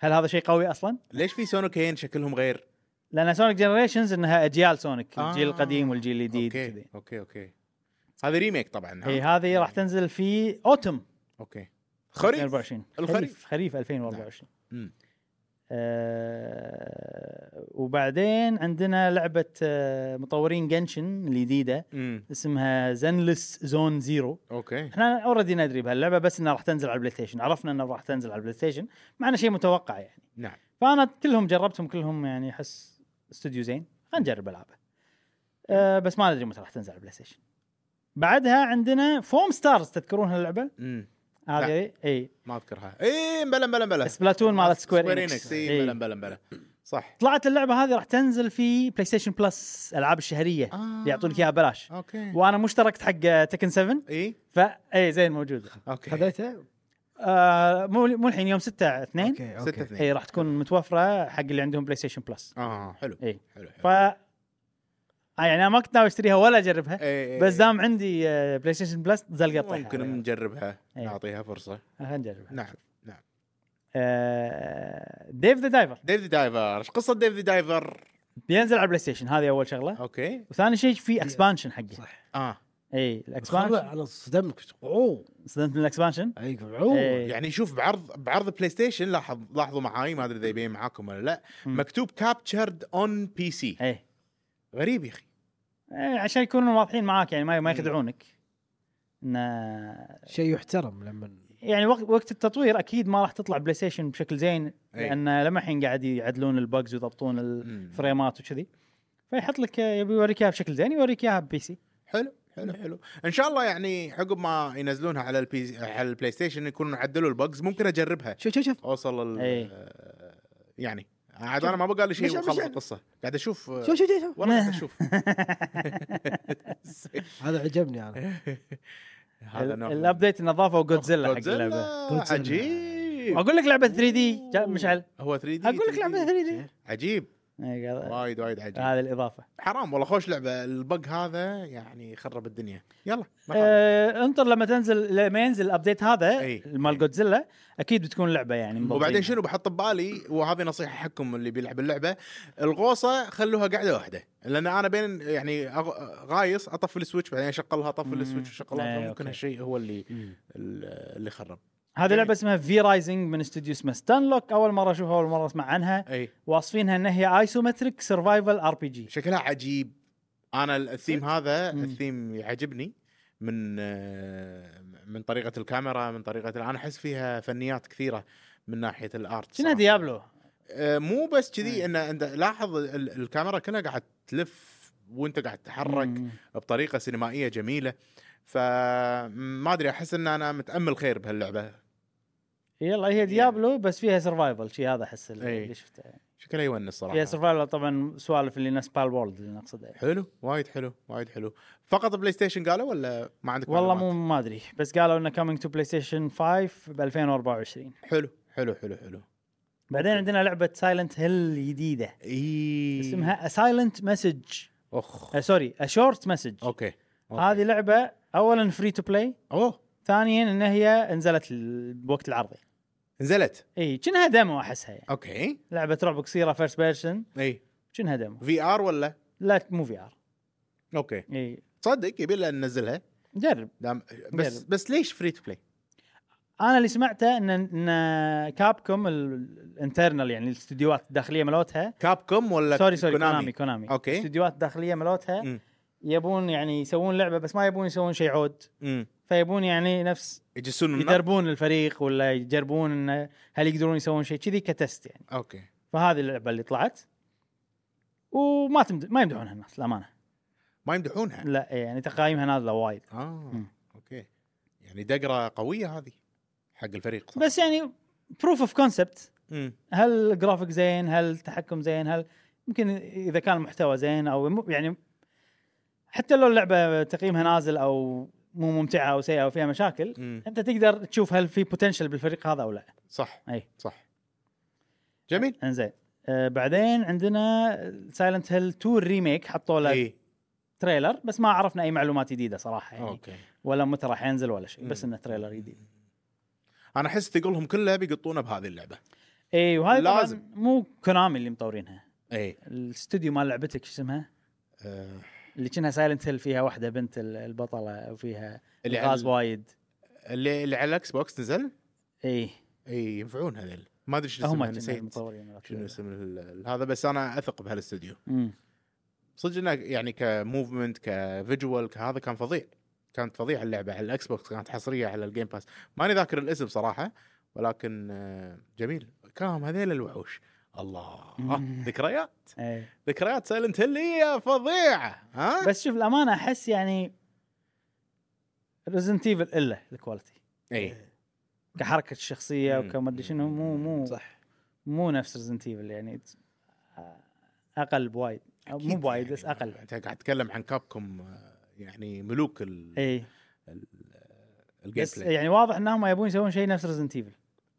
Speaker 1: هل هذا شيء قوي اصلا؟
Speaker 3: ليش في سونوكين شكلهم غير؟
Speaker 1: لان سونيك جنريشنز انها اجيال سونيك الجيل
Speaker 3: آه.
Speaker 1: القديم والجيل الجديد
Speaker 3: اوكي
Speaker 1: كذي
Speaker 3: اوكي اوكي هذه ريميك طبعا ها؟
Speaker 1: اي هذه
Speaker 3: يعني.
Speaker 1: راح تنزل في اوتم
Speaker 3: اوكي خريف
Speaker 1: 2024
Speaker 3: الخريف. نعم.
Speaker 1: خريف خريف 2024
Speaker 3: مم.
Speaker 1: آه وبعدين عندنا لعبه آه مطورين جنشن الجديده
Speaker 3: مم.
Speaker 1: اسمها زنلس زون زيرو
Speaker 3: اوكي
Speaker 1: احنا اوريدي ندري بهاللعبه بس انها راح تنزل على البلاي ستيشن عرفنا انها راح تنزل على البلاي ستيشن مع انه شيء متوقع يعني
Speaker 3: نعم
Speaker 1: فانا كلهم جربتهم كلهم يعني احس استوديو زين خلينا نجرب العابه أه بس ما ندري متى راح تنزل على البلاي ستيشن بعدها عندنا فوم ستارز تذكرون هاللعبه
Speaker 3: مم.
Speaker 1: هذه إيه. اي
Speaker 3: ما اذكرها اي بلا بلا بلا
Speaker 1: آه، سبلاتون مالت سكوير إيه،
Speaker 3: انكس اي بلا بلا بلا صح
Speaker 1: طلعت اللعبه هذه راح تنزل في بلاي ستيشن بلس العاب الشهريه
Speaker 3: آه.
Speaker 1: اللي يعطونك اياها ببلاش
Speaker 3: اوكي
Speaker 1: وانا مشتركت حق تكن 7
Speaker 3: اي
Speaker 1: فا اي إيه، زين موجود
Speaker 3: اوكي
Speaker 2: خذيته؟
Speaker 1: آه مو مو الحين يوم 6 2
Speaker 2: اوكي
Speaker 3: ستة
Speaker 2: اوكي
Speaker 3: اثنين
Speaker 1: اي راح تكون متوفره حق اللي عندهم بلاي ستيشن بلس
Speaker 3: اه حلو
Speaker 1: إي.
Speaker 3: حلو حلو
Speaker 1: ف آه، يعني انا ما كنت ناوي اشتريها ولا اجربها
Speaker 3: إي، إي،
Speaker 1: بس
Speaker 3: إي.
Speaker 1: دام يعني. عندي آه، بلاي ستيشن بلس زال قطع
Speaker 3: إيه، ممكن نجربها
Speaker 1: إي.
Speaker 3: نعطيها فرصه
Speaker 1: خلينا نجربها
Speaker 3: نعم نعم
Speaker 1: آه، ديف ذا دايفر
Speaker 3: ديف ذا دايفر ايش قصه ديف ذا دايفر
Speaker 1: بينزل على البلاي ستيشن هذه اول شغله
Speaker 3: اوكي
Speaker 1: وثاني شيء في إيه، اكسبانشن حقه
Speaker 2: صح
Speaker 3: اه
Speaker 1: اي الاكسبانشن
Speaker 2: انا صدمت اوه
Speaker 1: استخدمت من الاكسبانشن
Speaker 2: اي اوه
Speaker 1: إيه.
Speaker 3: يعني شوف بعرض بعرض بلاي ستيشن لاحظ لاحظوا معاي ما ادري اذا يبين معاكم ولا لا
Speaker 1: مم.
Speaker 3: مكتوب كابتشرد اون بي سي
Speaker 1: اي
Speaker 3: غريب يا اخي
Speaker 1: إي، إيه. عشان يكونون واضحين معاك يعني ما
Speaker 3: إيه.
Speaker 1: ما يخدعونك إنه-
Speaker 2: شيء يحترم لما
Speaker 1: يعني وقت وقت التطوير اكيد ما راح تطلع بلاي ستيشن بشكل زين
Speaker 3: إي.
Speaker 1: لان لما الحين قاعد يعدلون البجز ويضبطون
Speaker 3: إيه. مم.
Speaker 1: الفريمات وكذي فيحط لك آه، يبي يوريك اياها بشكل زين يوريك اياها ببي سي
Speaker 3: حلو حلو حلو ان شاء الله يعني عقب ما ينزلونها على البي على البلاي ستيشن يكونون عدلوا البجز ممكن اجربها
Speaker 2: شوف شوف شوف
Speaker 3: اوصل ال...
Speaker 1: إيه.
Speaker 3: آه، يعني عاد انا ما بقى لي شيء
Speaker 2: مش- مش-
Speaker 3: وخلص القصه قاعد اشوف آه،
Speaker 2: شوف شوف شوف
Speaker 3: والله قاعد اشوف
Speaker 2: هذا عجبني انا
Speaker 3: هذا نوع من-
Speaker 1: الابديت انه ضافوا جودزيلا حق
Speaker 3: جودزيلا،
Speaker 1: اللعبه
Speaker 2: جودزيلا.
Speaker 3: عجيب
Speaker 1: اقول لك لعبه 3 دي مشعل
Speaker 3: هو 3 دي
Speaker 1: اقول لك لعبه 3 دي
Speaker 3: عجيب وايد وايد عجيب
Speaker 1: إيه، هذه الاضافه
Speaker 3: حرام والله خوش لعبه البق هذا يعني خرب الدنيا يلا ما خالف.
Speaker 1: آه، انطر لما تنزل لما ينزل الابديت هذا
Speaker 3: أي.
Speaker 1: مال جودزيلا اكيد بتكون لعبه يعني مضبوطين.
Speaker 3: وبعدين شنو بحط ببالي وهذه نصيحه حقكم اللي بيلعب اللعبه الغوصه خلوها قاعده واحده لان انا بين يعني أغ- غايص اطفي السويتش بعدين اشغلها اطفي
Speaker 1: مم.
Speaker 3: السويتش
Speaker 1: إيه،
Speaker 3: اشغلها
Speaker 1: أوكي.
Speaker 3: فممكن هالشيء هو اللي اللي خرب
Speaker 1: هذه
Speaker 3: جميل.
Speaker 1: لعبه اسمها في رايزنج من استوديو اسمه ستانلوك اول مره اشوفها اول مره اسمع عنها
Speaker 3: اي
Speaker 1: واصفينها انها هي ايسومتريك سرفايفل ار بي جي
Speaker 3: شكلها عجيب انا الثيم هذا
Speaker 1: إيه. مم.
Speaker 3: الثيم يعجبني من آه، من طريقه الكاميرا من طريقه انا احس فيها فنيات كثيره من ناحيه الارت
Speaker 1: شنو
Speaker 3: صراحة.
Speaker 1: ديابلو
Speaker 3: آه، مو بس كذي
Speaker 1: إيه.
Speaker 3: ان انت لاحظ ال- الكاميرا كلها قاعد تلف وانت قاعد تتحرك
Speaker 1: مم.
Speaker 3: بطريقه سينمائيه جميله فما ادري احس ان انا متامل خير بهاللعبه
Speaker 1: يلا هي ديابلو بس فيها سرفايفل شي هذا احس اللي
Speaker 3: أي.
Speaker 1: اللي شفته يعني.
Speaker 3: شكلها يونس صراحه
Speaker 1: فيها سرفايفل طبعا سوالف اللي ناس بال وورلد اللي نقصدها
Speaker 3: حلو وايد حلو وايد حلو فقط بلاي ستيشن قالوا ولا ما عندك
Speaker 1: والله
Speaker 3: معلومات؟
Speaker 1: مو ما ادري بس قالوا انه كامينج تو بلاي ستيشن 5 ب 2024
Speaker 3: حلو حلو حلو حلو
Speaker 1: بعدين عندنا لعبه سايلنت هيل جديده
Speaker 3: اي
Speaker 1: اسمها سايلنت مسج
Speaker 3: اخ
Speaker 1: سوري شورت مسج
Speaker 3: اوكي أوكي.
Speaker 1: هذه لعبه اولا فري تو بلاي
Speaker 3: اوه
Speaker 1: ثانيا ان هي نزلت ال- بوقت العرض
Speaker 3: نزلت
Speaker 1: اي كأنها ديمو احسها يعني
Speaker 3: اوكي
Speaker 1: لعبه رعب قصيره فيرست بيرسون
Speaker 3: اي
Speaker 1: كأنها ديمو
Speaker 3: إيه، في ار ولا
Speaker 1: لا مو في ار
Speaker 3: اوكي
Speaker 1: اي
Speaker 3: تصدق يبي لنا ننزلها
Speaker 1: جرب
Speaker 3: دام بس
Speaker 1: يلا.
Speaker 3: بس ليش فري تو بلاي؟
Speaker 1: انا اللي سمعته ان ان كابكوم الانترنال يعني الاستديوهات الداخليه ملوتها
Speaker 3: كاب كوم ولا
Speaker 1: سوري سوري
Speaker 3: كونامي؟
Speaker 1: كونامي كونامي
Speaker 3: أوكي.
Speaker 1: الاستديوهات الداخليه ملوتها
Speaker 3: مم.
Speaker 1: يبون يعني يسوون لعبه بس ما يبون يسوون شيء عود
Speaker 3: امم
Speaker 1: فيبون يعني نفس
Speaker 3: يجسون النار؟
Speaker 1: يدربون الفريق ولا يجربون انه هل يقدرون يسوون شيء كذي كتست يعني
Speaker 3: اوكي
Speaker 1: فهذه اللعبه اللي طلعت وما تمد... ما يمدحونها الناس للامانه
Speaker 3: ما يمدحونها
Speaker 1: لا يعني تقايمها نازله وايد
Speaker 3: اه
Speaker 1: مم.
Speaker 3: اوكي يعني دقره قويه هذه حق الفريق صح؟
Speaker 1: بس يعني بروف اوف كونسبت
Speaker 3: مم.
Speaker 1: هل الجرافيك زين هل التحكم زين هل يمكن اذا كان المحتوى زين او مو- يعني حتى لو اللعبه تقييمها نازل او مو ممتعه او سيئه او فيها مشاكل
Speaker 3: مم.
Speaker 1: انت تقدر تشوف هل في بوتنشل بالفريق هذا او لا
Speaker 3: صح
Speaker 1: أي.
Speaker 3: صح جميل
Speaker 1: انزين آه بعدين عندنا سايلنت هيل 2 ريميك حطوا له
Speaker 3: اي
Speaker 1: تريلر بس ما عرفنا اي معلومات جديده صراحه يعني أوكي.
Speaker 3: اوكي
Speaker 1: ولا متى راح ينزل ولا شيء بس
Speaker 3: مم.
Speaker 1: انه تريلر جديد
Speaker 3: انا احس ثقلهم كلها بيقطونه بهذه اللعبه
Speaker 1: اي وهذا
Speaker 3: لازم.
Speaker 1: طبعا إيه، مو كونامي اللي مطورينها
Speaker 3: اي
Speaker 1: الاستوديو مال لعبتك شو اسمها
Speaker 3: إيه. آه.
Speaker 1: اللي كانها سايلنت هيل فيها واحده بنت ال- البطله وفيها
Speaker 3: اللي
Speaker 1: غاز
Speaker 3: على
Speaker 1: وايد
Speaker 3: اللي, اللي على الاكس بوكس نزل
Speaker 1: اي
Speaker 3: اي ينفعون هذيل ما ادري شنو
Speaker 1: هم
Speaker 3: اسمها
Speaker 1: كنا
Speaker 3: نسيت
Speaker 1: المطورين
Speaker 3: شنو اسم ال- ال- هذا بس انا اثق بهالاستوديو
Speaker 1: مم.
Speaker 3: صدق انه يعني كموفمنت كفيجوال كهذا كان فظيع كانت فظيعه اللعبه على الاكس بوكس كانت حصريه على الجيم باس ماني ذاكر الاسم صراحه ولكن آه، جميل كلام هذيل الوحوش الله
Speaker 1: مم.
Speaker 3: ذكريات
Speaker 1: إي.
Speaker 3: ذكريات سايلنت هيل هي فظيعه ها
Speaker 1: إيه. بس شوف الامانه احس يعني ريزنت ايفل الا الكواليتي
Speaker 3: اي
Speaker 1: كحركه الشخصيه
Speaker 3: مم.
Speaker 1: وكمدري شنو مو مو
Speaker 2: صح
Speaker 1: مو نفس ريزنت ايفل يعني اقل بوايد أو آه، مو
Speaker 3: أكيد
Speaker 1: بوايد
Speaker 3: يعني
Speaker 1: بس اقل
Speaker 3: انت قاعد تتكلم عن كابكم آه، يعني ملوك ال
Speaker 1: اي
Speaker 3: ال- آه، الجيم
Speaker 1: إيه. بس
Speaker 3: بلاي
Speaker 1: يعني واضح انهم يبون يسوون شيء نفس ريزنت ايفل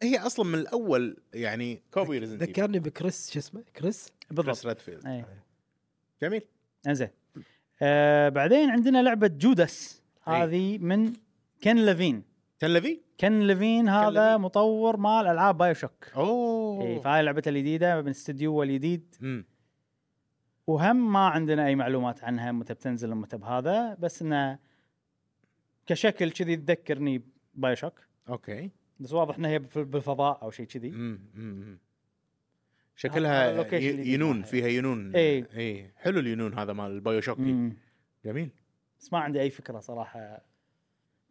Speaker 3: هي اصلا من الاول يعني كوبي ريزنت
Speaker 2: ذكرني بكريس شو اسمه كريس
Speaker 1: بالضبط إيه.
Speaker 3: ريدفيلد
Speaker 1: اي
Speaker 3: جميل
Speaker 1: انزين آه بعدين عندنا لعبه جودس هذه من كن لافين
Speaker 3: كان لفي
Speaker 1: كن لافين هذا
Speaker 3: لافين.
Speaker 1: مطور مال العاب بايو شوك اي
Speaker 3: اوه
Speaker 1: فهاي لعبته الجديده من استديو الجديد
Speaker 3: امم
Speaker 1: وهم ما عندنا اي معلومات عنها متى بتنزل متى بهذا بس انه كشكل كذي تذكرني بايو شوك
Speaker 3: اوكي
Speaker 1: بس واضح انها هي بال- بالفضاء او شيء كذي
Speaker 3: امم امم
Speaker 1: هذا
Speaker 3: شكلها
Speaker 1: اللوكيشن
Speaker 3: ي-
Speaker 1: الجديد
Speaker 3: ينون
Speaker 1: مالها.
Speaker 3: فيها ينون
Speaker 1: إي.
Speaker 3: اي حلو اليونون هذا مال البايو شوك
Speaker 1: مم.
Speaker 3: جميل
Speaker 1: بس ما عندي اي فكره صراحه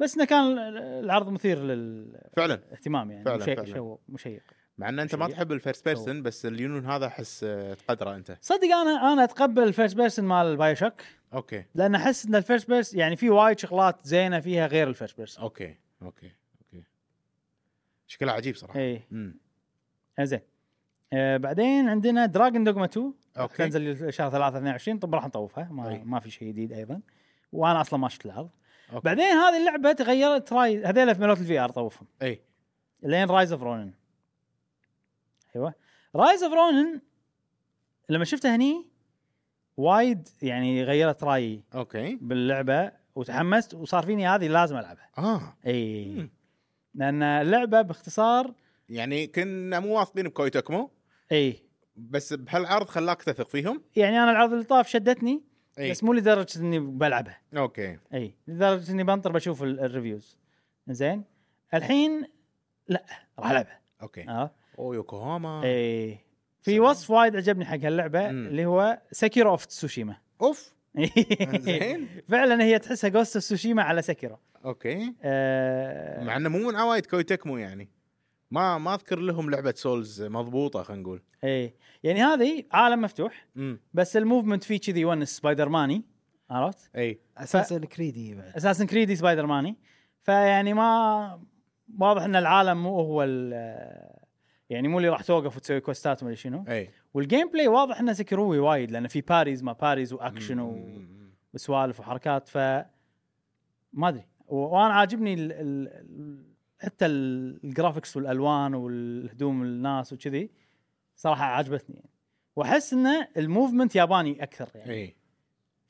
Speaker 1: بس انه كان العرض مثير للاهتمام
Speaker 3: فعلا
Speaker 1: يعني
Speaker 3: فعلا،
Speaker 1: مشي...
Speaker 3: فعلا.
Speaker 1: شو- مشيق
Speaker 3: مع ان انت ما
Speaker 1: شيء.
Speaker 3: تحب الفيرست بيرسون بس اليونون هذا احس آه، تقدره انت
Speaker 1: صدق انا انا اتقبل الفيرست بيرسون مال بايو شوك
Speaker 3: اوكي
Speaker 1: لان احس ان الفيرست بيرس يعني في وايد شغلات زينه فيها غير الفيرست بيرس
Speaker 3: اوكي اوكي اوكي شكلها عجيب صراحه
Speaker 1: اي
Speaker 3: امم
Speaker 1: إيه، زين آه بعدين عندنا دراجون دوغما 2
Speaker 3: أوكي.
Speaker 1: تنزل شهر 3 22 طب راح نطوفها ما,
Speaker 3: أي.
Speaker 1: ما في شيء جديد ايضا وانا اصلا ما شفت العرض
Speaker 3: أوكي.
Speaker 1: بعدين هذه اللعبه تغيرت راي هذيلا في ملوت الفي ار طوفهم
Speaker 3: اي
Speaker 1: لين رايز اوف رونن ايوه رايز اوف رونن لما شفتها هني وايد يعني غيرت رايي
Speaker 3: اوكي
Speaker 1: باللعبه وتحمست وصار فيني هذه لازم العبها
Speaker 3: اه
Speaker 1: اي
Speaker 3: مم.
Speaker 1: لان اللعبه باختصار
Speaker 3: يعني كنا مو واثقين بكوي تكمو
Speaker 1: اي
Speaker 3: بس بهالعرض خلاك تثق فيهم
Speaker 1: يعني انا العرض اللي طاف شدتني
Speaker 3: اي
Speaker 1: بس مو لدرجه اني بلعبها
Speaker 3: اوكي
Speaker 1: اي لدرجه اني بنطر بشوف ال- الريفيوز زين الحين لا راح العبها
Speaker 3: اوكي
Speaker 1: اه
Speaker 3: او يوكوهاما
Speaker 1: اي في
Speaker 3: آه. سلام.
Speaker 1: وصف وايد عجبني حق هاللعبه
Speaker 3: مم.
Speaker 1: اللي هو سكيرو اوف تسوشيما
Speaker 3: اوف زين
Speaker 1: فعلا هي تحسها جوست اوف سوشيما على سكيرو
Speaker 3: اوكي
Speaker 1: آه
Speaker 3: مع انه مو من عوايد كوي تكمو يعني ما ما اذكر لهم لعبه سولز مضبوطه خلينا نقول
Speaker 1: ايه يعني هذه عالم مفتوح
Speaker 3: امم
Speaker 1: بس الموفمنت فيه كذي ونس سبايدر ماني عرفت؟
Speaker 3: اي
Speaker 2: اساسا كريدي بعد
Speaker 1: اساسن كريدي سبايدر ماني فيعني ما واضح ان العالم مو هو ال يعني مو اللي راح توقف وتسوي كوستات ومدري شنو
Speaker 3: اي
Speaker 1: والجيم بلاي واضح انه سكروي وايد لان في باريز ما باريز واكشن و...
Speaker 3: مم.
Speaker 1: وسوالف وحركات ف ما ادري و- وانا عاجبني ال... ال... ال- حتى ال- الجرافكس والالوان والهدوم الناس وكذي صراحه عجبتني يعني. واحس انه الموفمنت ياباني اكثر يعني
Speaker 3: اي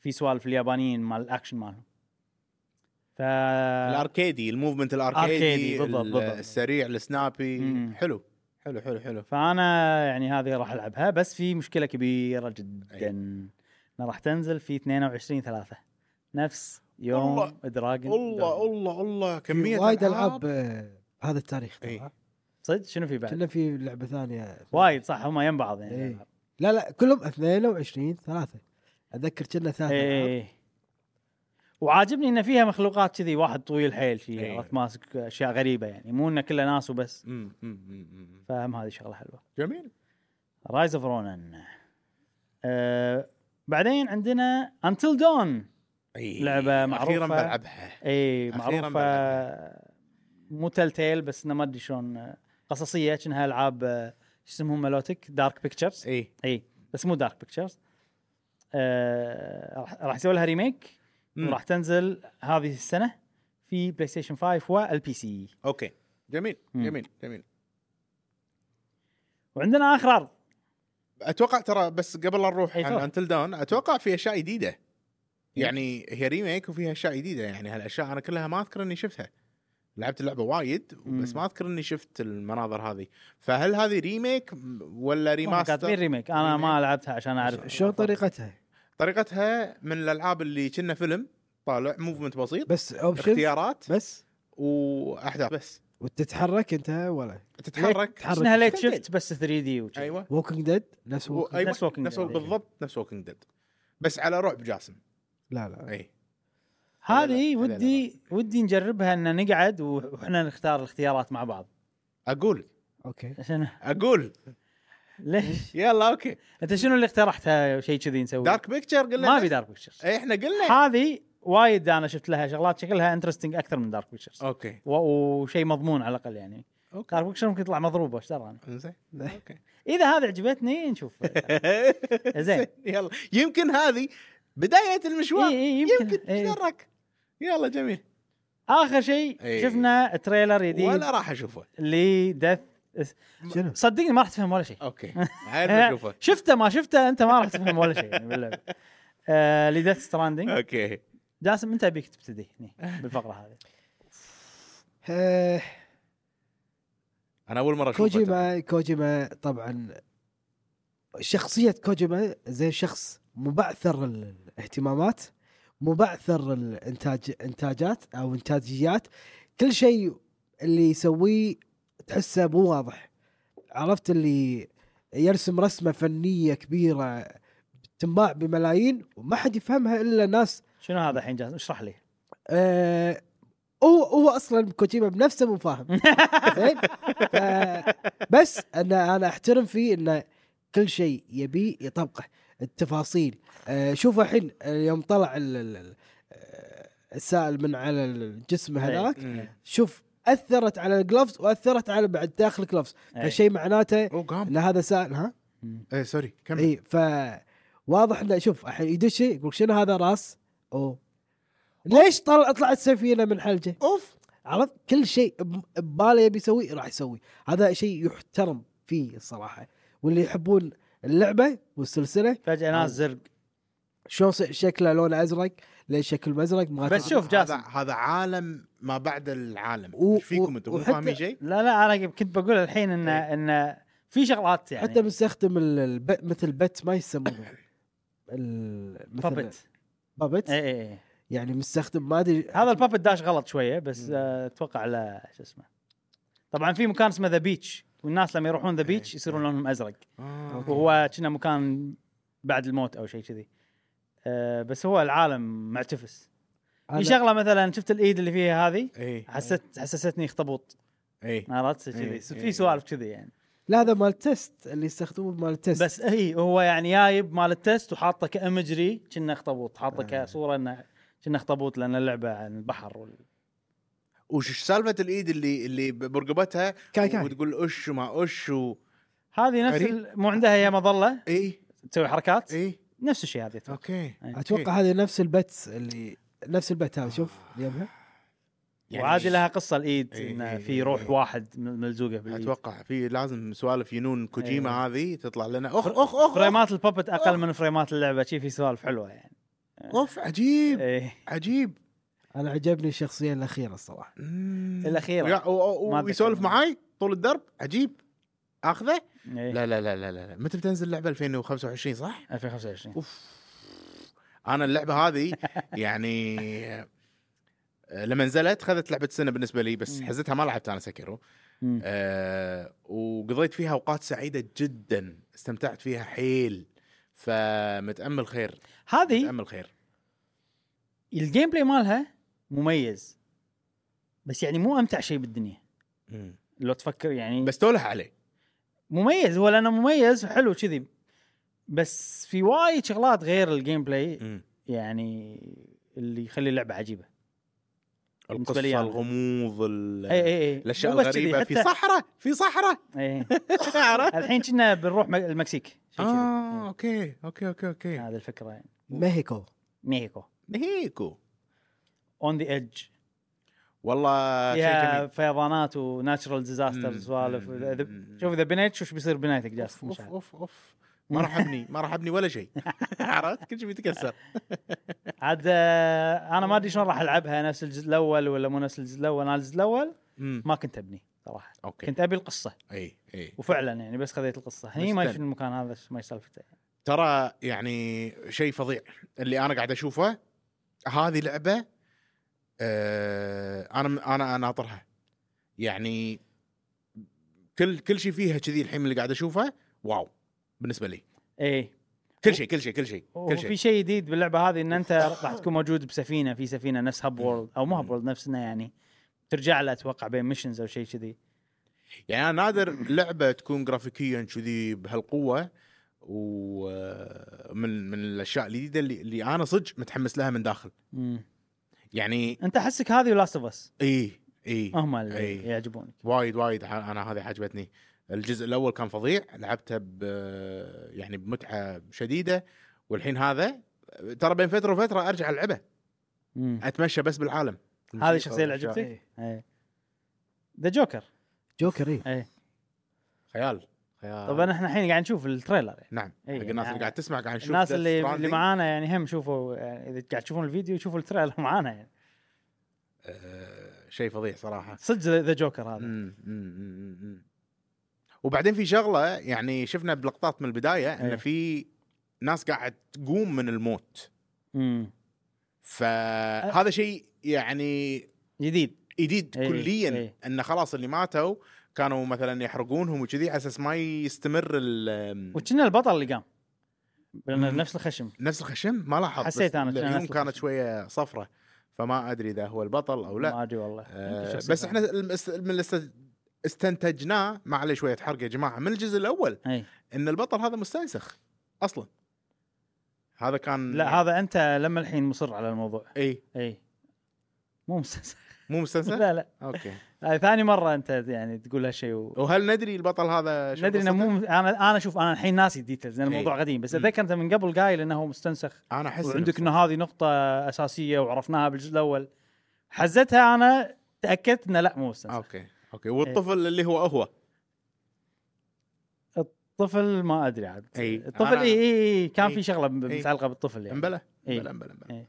Speaker 1: في سوالف اليابانيين مال الاكشن مالهم ف
Speaker 3: الاركيدي الموفمنت
Speaker 1: أركيدي،
Speaker 3: الاركيدي
Speaker 1: بالضبط،
Speaker 3: ال-
Speaker 1: بالضبط.
Speaker 3: السريع السنابي
Speaker 1: مم.
Speaker 3: حلو حلو حلو حلو
Speaker 1: فانا يعني هذه راح العبها بس في مشكله كبيره
Speaker 3: إيه.
Speaker 1: جدا انها راح تنزل في 22 3 نفس
Speaker 3: والله-
Speaker 1: يوم دراجون
Speaker 3: الله الله الله كميه
Speaker 2: وايد العاب آه، هذا التاريخ
Speaker 3: إي.
Speaker 2: ترى.
Speaker 1: صدق شنو في بعد؟
Speaker 2: كنا في لعبه ثانيه
Speaker 1: وايد صح هم يم بعض يعني
Speaker 2: إيه.
Speaker 1: الألعاب.
Speaker 2: لا لا كلهم 22 ثلاثه اتذكر كنا ثلاثه ألعاب.
Speaker 1: إيه. وعاجبني ان فيها مخلوقات كذي واحد طويل حيل شي
Speaker 3: إيه.
Speaker 1: عرفت ماسك اشياء غريبه يعني مو انه كله ناس وبس
Speaker 3: مم، مم، مم، مم.
Speaker 1: فاهم هذه شغله حلوه
Speaker 3: جميل
Speaker 1: رايز اوف رونن آه بعدين عندنا انتل دون
Speaker 3: اي
Speaker 1: لعبة
Speaker 3: اخيرا
Speaker 1: معروفة.
Speaker 3: بلعبها
Speaker 1: اي
Speaker 3: أخيراً
Speaker 1: معروفه
Speaker 3: بلعبها.
Speaker 1: إيه، مو تل تيل بس إنه ما ادري شلون آه، قصصيه كأنها العاب آه، شو اسمهم ملوتك دارك بيكتشرز
Speaker 3: اي
Speaker 1: اي بس مو دارك بيكتشرز آه راح- راح يسوي لها ريميك
Speaker 3: مم.
Speaker 1: وراح تنزل هذه السنه في بلاي ستيشن 5 والبي سي
Speaker 3: اوكي جميل
Speaker 1: مم.
Speaker 3: جميل جميل
Speaker 1: وعندنا اخر عرض
Speaker 3: اتوقع ترى بس قبل لا نروح
Speaker 1: أي
Speaker 3: عن
Speaker 1: تفضل.
Speaker 3: انتل داون اتوقع في اشياء جديده يعني هي ريميك وفيها اشياء جديده يعني هالاشياء انا كلها ما اذكر اني شفتها لعبت اللعبه وايد بس
Speaker 1: مم.
Speaker 3: ما اذكر اني شفت المناظر هذه فهل هذه ريميك ولا
Speaker 1: كاتبين
Speaker 3: ريماستر
Speaker 1: ريميك انا ما لعبتها عشان اعرف
Speaker 2: شلون طريقتها؟
Speaker 3: طريقتها من الالعاب اللي كنا فيلم طالع موفمنت بسيط
Speaker 2: بس اوبشن
Speaker 3: اختيارات
Speaker 2: بس
Speaker 3: واحداث بس
Speaker 2: وتتحرك انت ولا
Speaker 3: تتحرك
Speaker 2: تتحرك
Speaker 1: شنها ليت شفت بس 3 دي
Speaker 3: ايوه
Speaker 2: ووكينج ديد نفس
Speaker 3: و-
Speaker 2: Walking Dead.
Speaker 3: أيوة.
Speaker 1: نفس Walking
Speaker 3: نفس
Speaker 1: Dead. يعني.
Speaker 3: بالضبط نفس ووكينج ديد بس على رعب جاسم إيه.
Speaker 2: لا
Speaker 1: آه.
Speaker 2: لا
Speaker 3: اي
Speaker 1: هذه
Speaker 3: هذا لا- هذا
Speaker 1: ودي ودي نجربها ان نقعد واحنا نختار الاختيارات مع بعض
Speaker 3: اقول
Speaker 2: اوكي
Speaker 1: عشان
Speaker 3: اقول
Speaker 1: ليش؟
Speaker 3: يلا اوكي
Speaker 1: انت شنو اللي اقترحتها شيء كذي نسوي؟
Speaker 3: دارك بيكتشر قلنا
Speaker 1: ما في دارك بيكتشرز
Speaker 3: اي احنا قلنا
Speaker 1: هذه وايد انا شفت لها شغلات شكلها انترستنج اكثر من دارك بيكتشرز
Speaker 3: اوكي
Speaker 1: و- وشيء مضمون على الاقل يعني
Speaker 3: اوكي
Speaker 1: دارك بيكتشرز ممكن يطلع مضروبه ايش درى انا
Speaker 3: زين اوكي
Speaker 1: اذا هذه عجبتني نشوف اي زين.
Speaker 3: يلا يمكن هذه بدايه المشوار
Speaker 2: إيه،
Speaker 1: اي إيه، يمكن,
Speaker 3: أيوة، يمكن
Speaker 1: إي.
Speaker 3: تدرك يلا جميل
Speaker 1: اخر شيء
Speaker 3: إي.
Speaker 1: شفنا تريلر
Speaker 2: إيه،
Speaker 1: جديد
Speaker 3: ولا راح اشوفه
Speaker 1: لدث
Speaker 2: شنو؟
Speaker 1: صدقني ما راح تفهم ولا شيء
Speaker 3: اوكي عارف اشوفه
Speaker 1: شفته ما شفته انت ما راح تفهم ولا شيء يعني باللعبه آه لديث ستراندنج
Speaker 3: اوكي
Speaker 1: جاسم انت ابيك تبتدي هني بالفقره هذه
Speaker 2: آه،
Speaker 3: انا اول مره اشوفه ترى.
Speaker 2: كوجيما كوجيما طبعا شخصية كوجيما زي شخص مبعثر ال- الاهتمامات مبعثر الانتاج انتاجات او انتاجيات كل شيء اللي يسويه تحسه مو واضح عرفت اللي يرسم رسمة فنية كبيرة تنباع بملايين وما حد يفهمها الا ناس
Speaker 1: شنو هذا الحين جاسم اشرح لي
Speaker 2: آه هو هو اصلا كوجيما بنفسه مو فاهم زين ف- بس انا انا احترم فيه انه كل شيء يبيه يطبقه التفاصيل آه، شوفوا الحين آه، يوم طلع ال- ال- ال- آه، السائل من على الجسم
Speaker 1: إيه.
Speaker 2: هذاك
Speaker 3: مم.
Speaker 2: شوف اثرت على الجلفز واثرت على بعد داخل الجلفز
Speaker 1: إيه.
Speaker 2: فالشيء معناته
Speaker 3: اوه قام
Speaker 2: ان هذا سائل ها
Speaker 3: ايه سوري كمل
Speaker 2: اي إيه، ف واضح انه شوف الحين يدش يقول شنو هذا راس او ليش طلع طلعت سفينه من حلجه
Speaker 3: اوف
Speaker 2: عرفت كل شيء بم- بباله يبي يسويه راح يسوي هذا شيء يحترم فيه الصراحه واللي يحبون اللعبه والسلسله
Speaker 1: فجاه ناس زرق
Speaker 2: شلون س- شكله لونه ازرق ليش شكله مزرق ما
Speaker 1: بس
Speaker 2: تعرف.
Speaker 1: شوف
Speaker 3: هذا
Speaker 1: جاسم.
Speaker 3: هذا عالم ما بعد العالم
Speaker 2: و-
Speaker 3: ايش
Speaker 2: و-
Speaker 3: فيكم انتم مو
Speaker 2: وحتى-
Speaker 3: فاهمين شيء؟
Speaker 1: لا لا انا كنت بقول الحين ان
Speaker 3: إيه.
Speaker 1: ان في شغلات يعني
Speaker 2: حتى مستخدم ال- الب... مثل بت ما يسمونه ال...
Speaker 1: بابت
Speaker 2: بابت
Speaker 1: اي اي إي.
Speaker 2: يعني مستخدم ما ادري
Speaker 1: إيه. هذا البابت داش غلط شويه بس
Speaker 3: مم.
Speaker 1: آه، اتوقع على شو اسمه طبعا في مكان اسمه ذا بيتش والناس لما يروحون ذا
Speaker 3: إيه.
Speaker 1: بيتش يصيرون لونهم ازرق
Speaker 3: آه.
Speaker 1: وهو كنا مكان بعد الموت او شيء كذي آه، بس هو العالم معتفس
Speaker 2: أنا-
Speaker 1: في شغله مثلا شفت الايد اللي فيها هذه
Speaker 3: ايه
Speaker 1: حسيت حسستني اخطبوط
Speaker 3: ايه
Speaker 1: عرفت
Speaker 3: إيه،
Speaker 1: كذي
Speaker 3: إيه.
Speaker 1: في سوالف كذي يعني
Speaker 2: لا هذا مال تيست اللي يستخدمه مال تيست
Speaker 1: بس اي هو يعني جايب مال التست وحاطه كامجري كنا اخطبوط حاطه
Speaker 3: آه.
Speaker 1: كصوره انه كنا اخطبوط لان اللعبه عن البحر وال...
Speaker 3: وش سالفه الايد اللي اللي برقبتها
Speaker 2: كاي كاي
Speaker 3: وتقول اش وما اش و
Speaker 1: هذه نفس
Speaker 3: غريب.
Speaker 1: ال- مو عندها هي مظله
Speaker 3: اي
Speaker 1: تسوي حركات
Speaker 3: اي
Speaker 1: نفس الشيء هذه أتوقع.
Speaker 3: اوكي
Speaker 2: اتوقع هذا نفس البت اللي نفس البت هذا شوف يمها
Speaker 3: يعني
Speaker 1: وعادي
Speaker 3: إيش؟
Speaker 1: لها قصه الايد
Speaker 3: إيه،
Speaker 1: انه
Speaker 3: إيه،
Speaker 1: في
Speaker 3: إيه،
Speaker 1: روح
Speaker 3: إيه.
Speaker 1: واحد م- ملزوقه بالايد
Speaker 3: اتوقع في لازم سوالف ينون كوجيما
Speaker 1: إيه.
Speaker 3: هذه تطلع لنا اخ اخ اخ
Speaker 1: فريمات البابت اقل من فريمات اللعبه شي في سوالف حلوه يعني
Speaker 3: اوف عجيب
Speaker 1: ايه
Speaker 3: عجيب
Speaker 2: انا عجبني الشخصيه الاخيره الصراحه
Speaker 3: مم.
Speaker 1: الأخيرة.
Speaker 3: ويا- و- و-
Speaker 1: ما أتذكر
Speaker 3: ويسولف
Speaker 1: منها.
Speaker 3: معاي طول الدرب عجيب اخذه
Speaker 1: إيه.
Speaker 3: لا لا لا لا لا متى بتنزل اللعبه 2025 صح
Speaker 1: 2025
Speaker 3: اوف انا اللعبه هذه يعني آه، لما نزلت خذت لعبه سنه بالنسبه لي بس
Speaker 1: مم.
Speaker 3: حزتها ما لعبت انا سكرو
Speaker 1: مم.
Speaker 3: آه وقضيت فيها اوقات سعيده جدا استمتعت فيها حيل فمتامل خير
Speaker 1: هذه
Speaker 3: متامل خير
Speaker 1: الجيم بلاي مالها مميز بس يعني مو امتع شيء بالدنيا
Speaker 3: مم.
Speaker 1: لو تفكر يعني
Speaker 3: بس توله عليه
Speaker 1: مميز هو لانه مميز حلو كذي بس في وايد شغلات غير الجيم بلاي
Speaker 3: مم.
Speaker 1: يعني اللي يخلي اللعبه عجيبه
Speaker 3: القصه
Speaker 1: بالنسبة لي أنا.
Speaker 3: الغموض ال-
Speaker 1: اي اي اي
Speaker 3: الاشياء
Speaker 1: إيه، مو بس كذي،
Speaker 3: الغريبه في
Speaker 1: حتى-
Speaker 3: صحراء في صحراء
Speaker 1: إيه.
Speaker 3: عرفت؟
Speaker 1: الحين كنا بنروح م- المكسيك شي كذي.
Speaker 3: اه اوكي اوكي اوكي اوكي
Speaker 1: هذه الفكره يعني
Speaker 2: مهيكو
Speaker 1: ميكو
Speaker 3: نهيكو
Speaker 1: اون ذا ايدج
Speaker 3: والله شيء
Speaker 1: فيها
Speaker 3: جميل
Speaker 1: فيضانات وناتشرال ديزاستر
Speaker 3: آه، مم،
Speaker 1: سوالف
Speaker 3: مم،
Speaker 1: إذا- إذا-
Speaker 3: مم.
Speaker 1: شوف اذا بنيت شو بيصير بنايتك
Speaker 3: اوف
Speaker 1: جاسم إن
Speaker 3: اوف
Speaker 1: شاء الله.
Speaker 3: اوف اوف ما راح ابني ما راح ابني ولا شيء عرفت كل شيء بيتكسر
Speaker 1: عاد آه، انا ما ادري شلون راح العبها نفس الجزء الاول ولا مو نفس الجزء الاول انا الجزء الاول
Speaker 3: مم. إيه،
Speaker 1: ما كنت ابني صراحه
Speaker 3: اوكي
Speaker 1: كنت ابي القصه
Speaker 3: اي اي
Speaker 1: وفعلا يعني بس خذيت القصه هني ما
Speaker 3: مستل.
Speaker 1: شنو المكان هذا شو- ما سالفته
Speaker 3: ترى يعني شيء فظيع اللي انا قاعد اشوفه هذه لعبه آه انا انا ناطرها يعني كل كل شيء فيها كذي الحين اللي قاعد اشوفه واو بالنسبه لي
Speaker 1: اي
Speaker 3: كل شيء كل شيء كل شيء كل
Speaker 1: إيه. وفي
Speaker 3: شيء
Speaker 1: شيء جديد باللعبه هذه ان انت راح تكون موجود بسفينه في سفينه نفس هاب
Speaker 3: مم.
Speaker 1: وورلد او مو هاب
Speaker 3: مم.
Speaker 1: وورلد نفسنا يعني ترجع له اتوقع بين ميشنز او شيء كذي
Speaker 3: يعني انا نادر لعبه تكون جرافيكيا كذي بهالقوه ومن من الاشياء الجديده اللي, اللي انا صدق متحمس لها من داخل
Speaker 1: مم.
Speaker 3: يعني إيه،
Speaker 1: انت حسك هذه ولاست اوف اس
Speaker 3: اي اي
Speaker 1: هم اللي
Speaker 3: إي.
Speaker 1: يعجبونك
Speaker 3: وايد وايد ح- انا هذه عجبتني الجزء الاول كان فظيع لعبته ب يعني بمتعه شديده والحين هذا ترى بين فتره وفتره ارجع العبه
Speaker 1: مم. إيه.
Speaker 3: اتمشى بس بالعالم
Speaker 1: هذه الشخصيه اللي
Speaker 3: والأشياء.
Speaker 1: عجبتك؟ إي. ذا جوكر
Speaker 2: جوكر إيه.
Speaker 3: خيال خيال
Speaker 1: طبعا احنا الحين قاعد نشوف التريلر يعني.
Speaker 3: نعم حق
Speaker 1: إي،
Speaker 3: الناس
Speaker 1: يعني
Speaker 3: اللي قاعد تسمع قاعد نشوف
Speaker 1: الناس
Speaker 3: Death
Speaker 1: اللي اللي
Speaker 3: Stranding.
Speaker 1: معانا يعني هم شوفوا يعني اذا قاعد تشوفون الفيديو شوفوا التريلر معانا يعني
Speaker 3: آه، شيء فظيع صراحه
Speaker 1: صدق ذا جوكر هذا
Speaker 3: مم، مم، مم، مم. وبعدين في شغله يعني شفنا بلقطات من البدايه
Speaker 1: إيه.
Speaker 3: ان في ناس قاعد تقوم من الموت
Speaker 1: مم.
Speaker 3: فهذا شيء يعني
Speaker 1: جديد
Speaker 3: جديد
Speaker 1: إيه،
Speaker 3: كليا
Speaker 1: إيه.
Speaker 3: انه خلاص اللي ماتوا كانوا مثلا يحرقونهم وكذي على اساس ما يستمر ال-
Speaker 1: وكنا البطل اللي قام لان
Speaker 3: مم.
Speaker 1: نفس الخشم
Speaker 3: نفس الخشم ما لاحظت بس
Speaker 1: حسيت أنا كنا نفس
Speaker 3: العيون
Speaker 1: الخشم.
Speaker 3: كانت شويه صفرة فما ادري اذا هو البطل او لا
Speaker 1: ما يعني. ادري والله
Speaker 3: آه،
Speaker 1: يمكن شخصية
Speaker 3: بس احنا
Speaker 1: ثانية.
Speaker 3: الم- است- من الاست- استنتجناه ما عليه شويه حرق يا جماعه من الجزء الاول
Speaker 1: اي
Speaker 3: ان البطل هذا مستنسخ اصلا هذا كان
Speaker 1: لا هذا انت لما الحين مصر على الموضوع
Speaker 3: اي
Speaker 1: اي مو مسلسل
Speaker 3: مو مستنسخ
Speaker 1: لا لا
Speaker 3: اوكي
Speaker 1: هاي ثاني مره انت يعني تقول هالشيء و...
Speaker 3: وهل ندري البطل هذا شو
Speaker 1: ندري انه
Speaker 3: قصته؟
Speaker 1: مو
Speaker 3: إيه.
Speaker 1: انا انا شوف انا الحين ناسي الديتيلز لان الموضوع قديم بس
Speaker 3: مم.
Speaker 1: اتذكر انت من قبل قايل انه هو مستنسخ
Speaker 3: انا احس
Speaker 1: وعندك انه هذه نقطه اساسيه وعرفناها بالجزء الاول حزتها انا تاكدت انه لا مو مستنسخ
Speaker 3: اوكي اوكي والطفل اللي هو هو
Speaker 1: إيه. الطفل ما ادري عاد
Speaker 3: إي.
Speaker 1: الطفل
Speaker 3: أنا-
Speaker 1: اي اي إي، كان
Speaker 3: إي.
Speaker 1: في شغله ب-
Speaker 3: إي.
Speaker 1: متعلقه بالطفل يعني
Speaker 3: امبلا
Speaker 1: إي.
Speaker 3: امبلا امبلا امبلا
Speaker 1: إيه.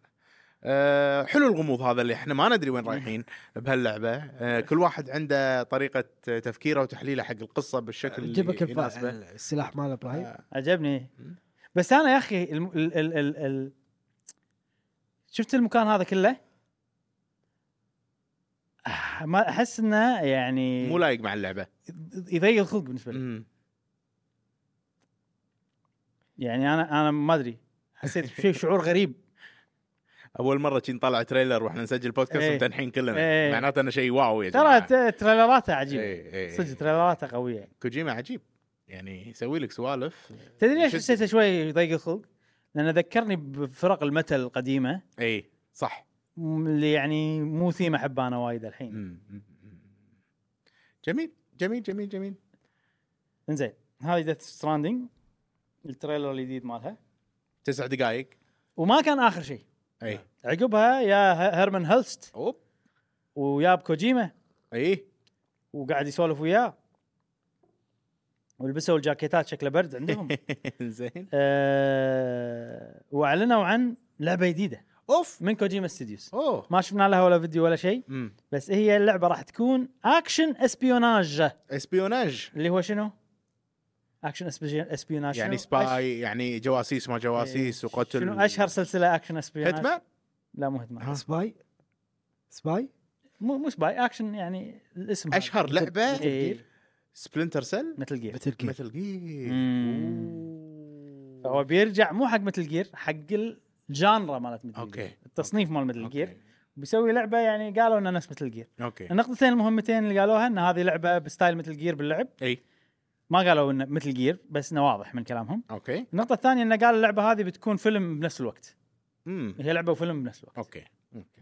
Speaker 3: آه، حلو الغموض هذا اللي احنا ما ندري وين رايحين بهاللعبه آه، كل واحد عنده طريقه تفكيره وتحليله حق القصه
Speaker 1: آه،
Speaker 3: بالشكل
Speaker 2: جبك
Speaker 3: اللي
Speaker 2: الف-
Speaker 1: يعني.
Speaker 3: يناسبه آه،
Speaker 2: السلاح مال ابراهيم
Speaker 1: عجبني
Speaker 3: مم.
Speaker 1: بس انا يا اخي الم... ال... ال... ال... ال... شفت المكان هذا كله آه، ما احس انه يعني
Speaker 3: مو لايق مع اللعبه
Speaker 1: يضيق الخلق بالنسبه لي
Speaker 3: مم.
Speaker 1: يعني انا انا ما ادري حسيت بشيء شعور غريب
Speaker 3: اول مره كي نطلع تريلر واحنا نسجل بودكاست
Speaker 1: إيه.
Speaker 3: متنحين كلنا
Speaker 1: إيه.
Speaker 3: معناته انه شيء واو يا
Speaker 1: ترى
Speaker 3: جماعه
Speaker 1: ت- تريلراته عجيبه
Speaker 3: إيه، إيه،
Speaker 1: صدق
Speaker 3: إيه.
Speaker 1: تريلراته قويه
Speaker 3: كوجيما عجيب يعني يسوي لك سوالف
Speaker 1: تدري ليش
Speaker 3: شد.
Speaker 1: حسيته شوي يضيق الخلق؟ لانه ذكرني بفرق المتل القديمه
Speaker 3: اي إيه، صح
Speaker 1: م- اللي يعني مو ثيم احبها انا وايد الحين
Speaker 3: مم. مم. جميل جميل جميل جميل
Speaker 1: انزين هذه ديث ستراندنج التريلر الجديد مالها
Speaker 3: تسع إيه. دقائق
Speaker 1: وما كان اخر شيء آه.
Speaker 3: اي
Speaker 1: عقبها يا ه- هيرمان هلست
Speaker 3: اوب
Speaker 1: ويا بكوجيما
Speaker 3: اي
Speaker 1: وقاعد يسولف وياه ولبسوا الجاكيتات شكله برد عندهم
Speaker 3: زين
Speaker 1: آه، واعلنوا عن لعبه جديده
Speaker 3: اوف
Speaker 1: من كوجيما ستوديوز
Speaker 3: اوه
Speaker 1: ما شفنا لها ولا فيديو ولا شيء
Speaker 3: امم
Speaker 1: بس هي اللعبه راح تكون اكشن اسبيوناج
Speaker 3: اسبيوناج
Speaker 1: اللي هو شنو؟ اكشن اسبيوناج شنو؟
Speaker 3: يعني
Speaker 1: أش- إيه.
Speaker 3: سباي يعني جواسيس ما جواسيس وقتل
Speaker 1: شنو اشهر سلسله اكشن اسبيوناج؟
Speaker 3: هيتمان
Speaker 1: لا مو هيتمان
Speaker 3: ها.
Speaker 2: سباي سباي
Speaker 1: مو مو سباي اكشن يعني الاسم
Speaker 3: اشهر لعبه
Speaker 1: إيه
Speaker 3: سبلنتر سيل
Speaker 1: آه. مثل جير
Speaker 2: مثل كيف
Speaker 3: مثل جير
Speaker 1: مم. فهو بيرجع مو حق مثل جير حق الجانرا مالت مثل
Speaker 3: أوكي.
Speaker 1: جير التصنيف مال مثل جير
Speaker 3: أوكي.
Speaker 1: بيسوي لعبه يعني قالوا انها نفس مثل جير
Speaker 3: اوكي
Speaker 1: النقطتين المهمتين اللي قالوها ان هذه لعبه بستايل مثل جير باللعب
Speaker 3: اي
Speaker 1: ما قالوا انه مثل جير بس انه واضح من كلامهم
Speaker 3: اوكي
Speaker 1: النقطه الثانيه انه قال اللعبه هذه بتكون فيلم بنفس الوقت
Speaker 3: امم
Speaker 1: هي لعبه وفيلم بنفس الوقت
Speaker 3: اوكي اوكي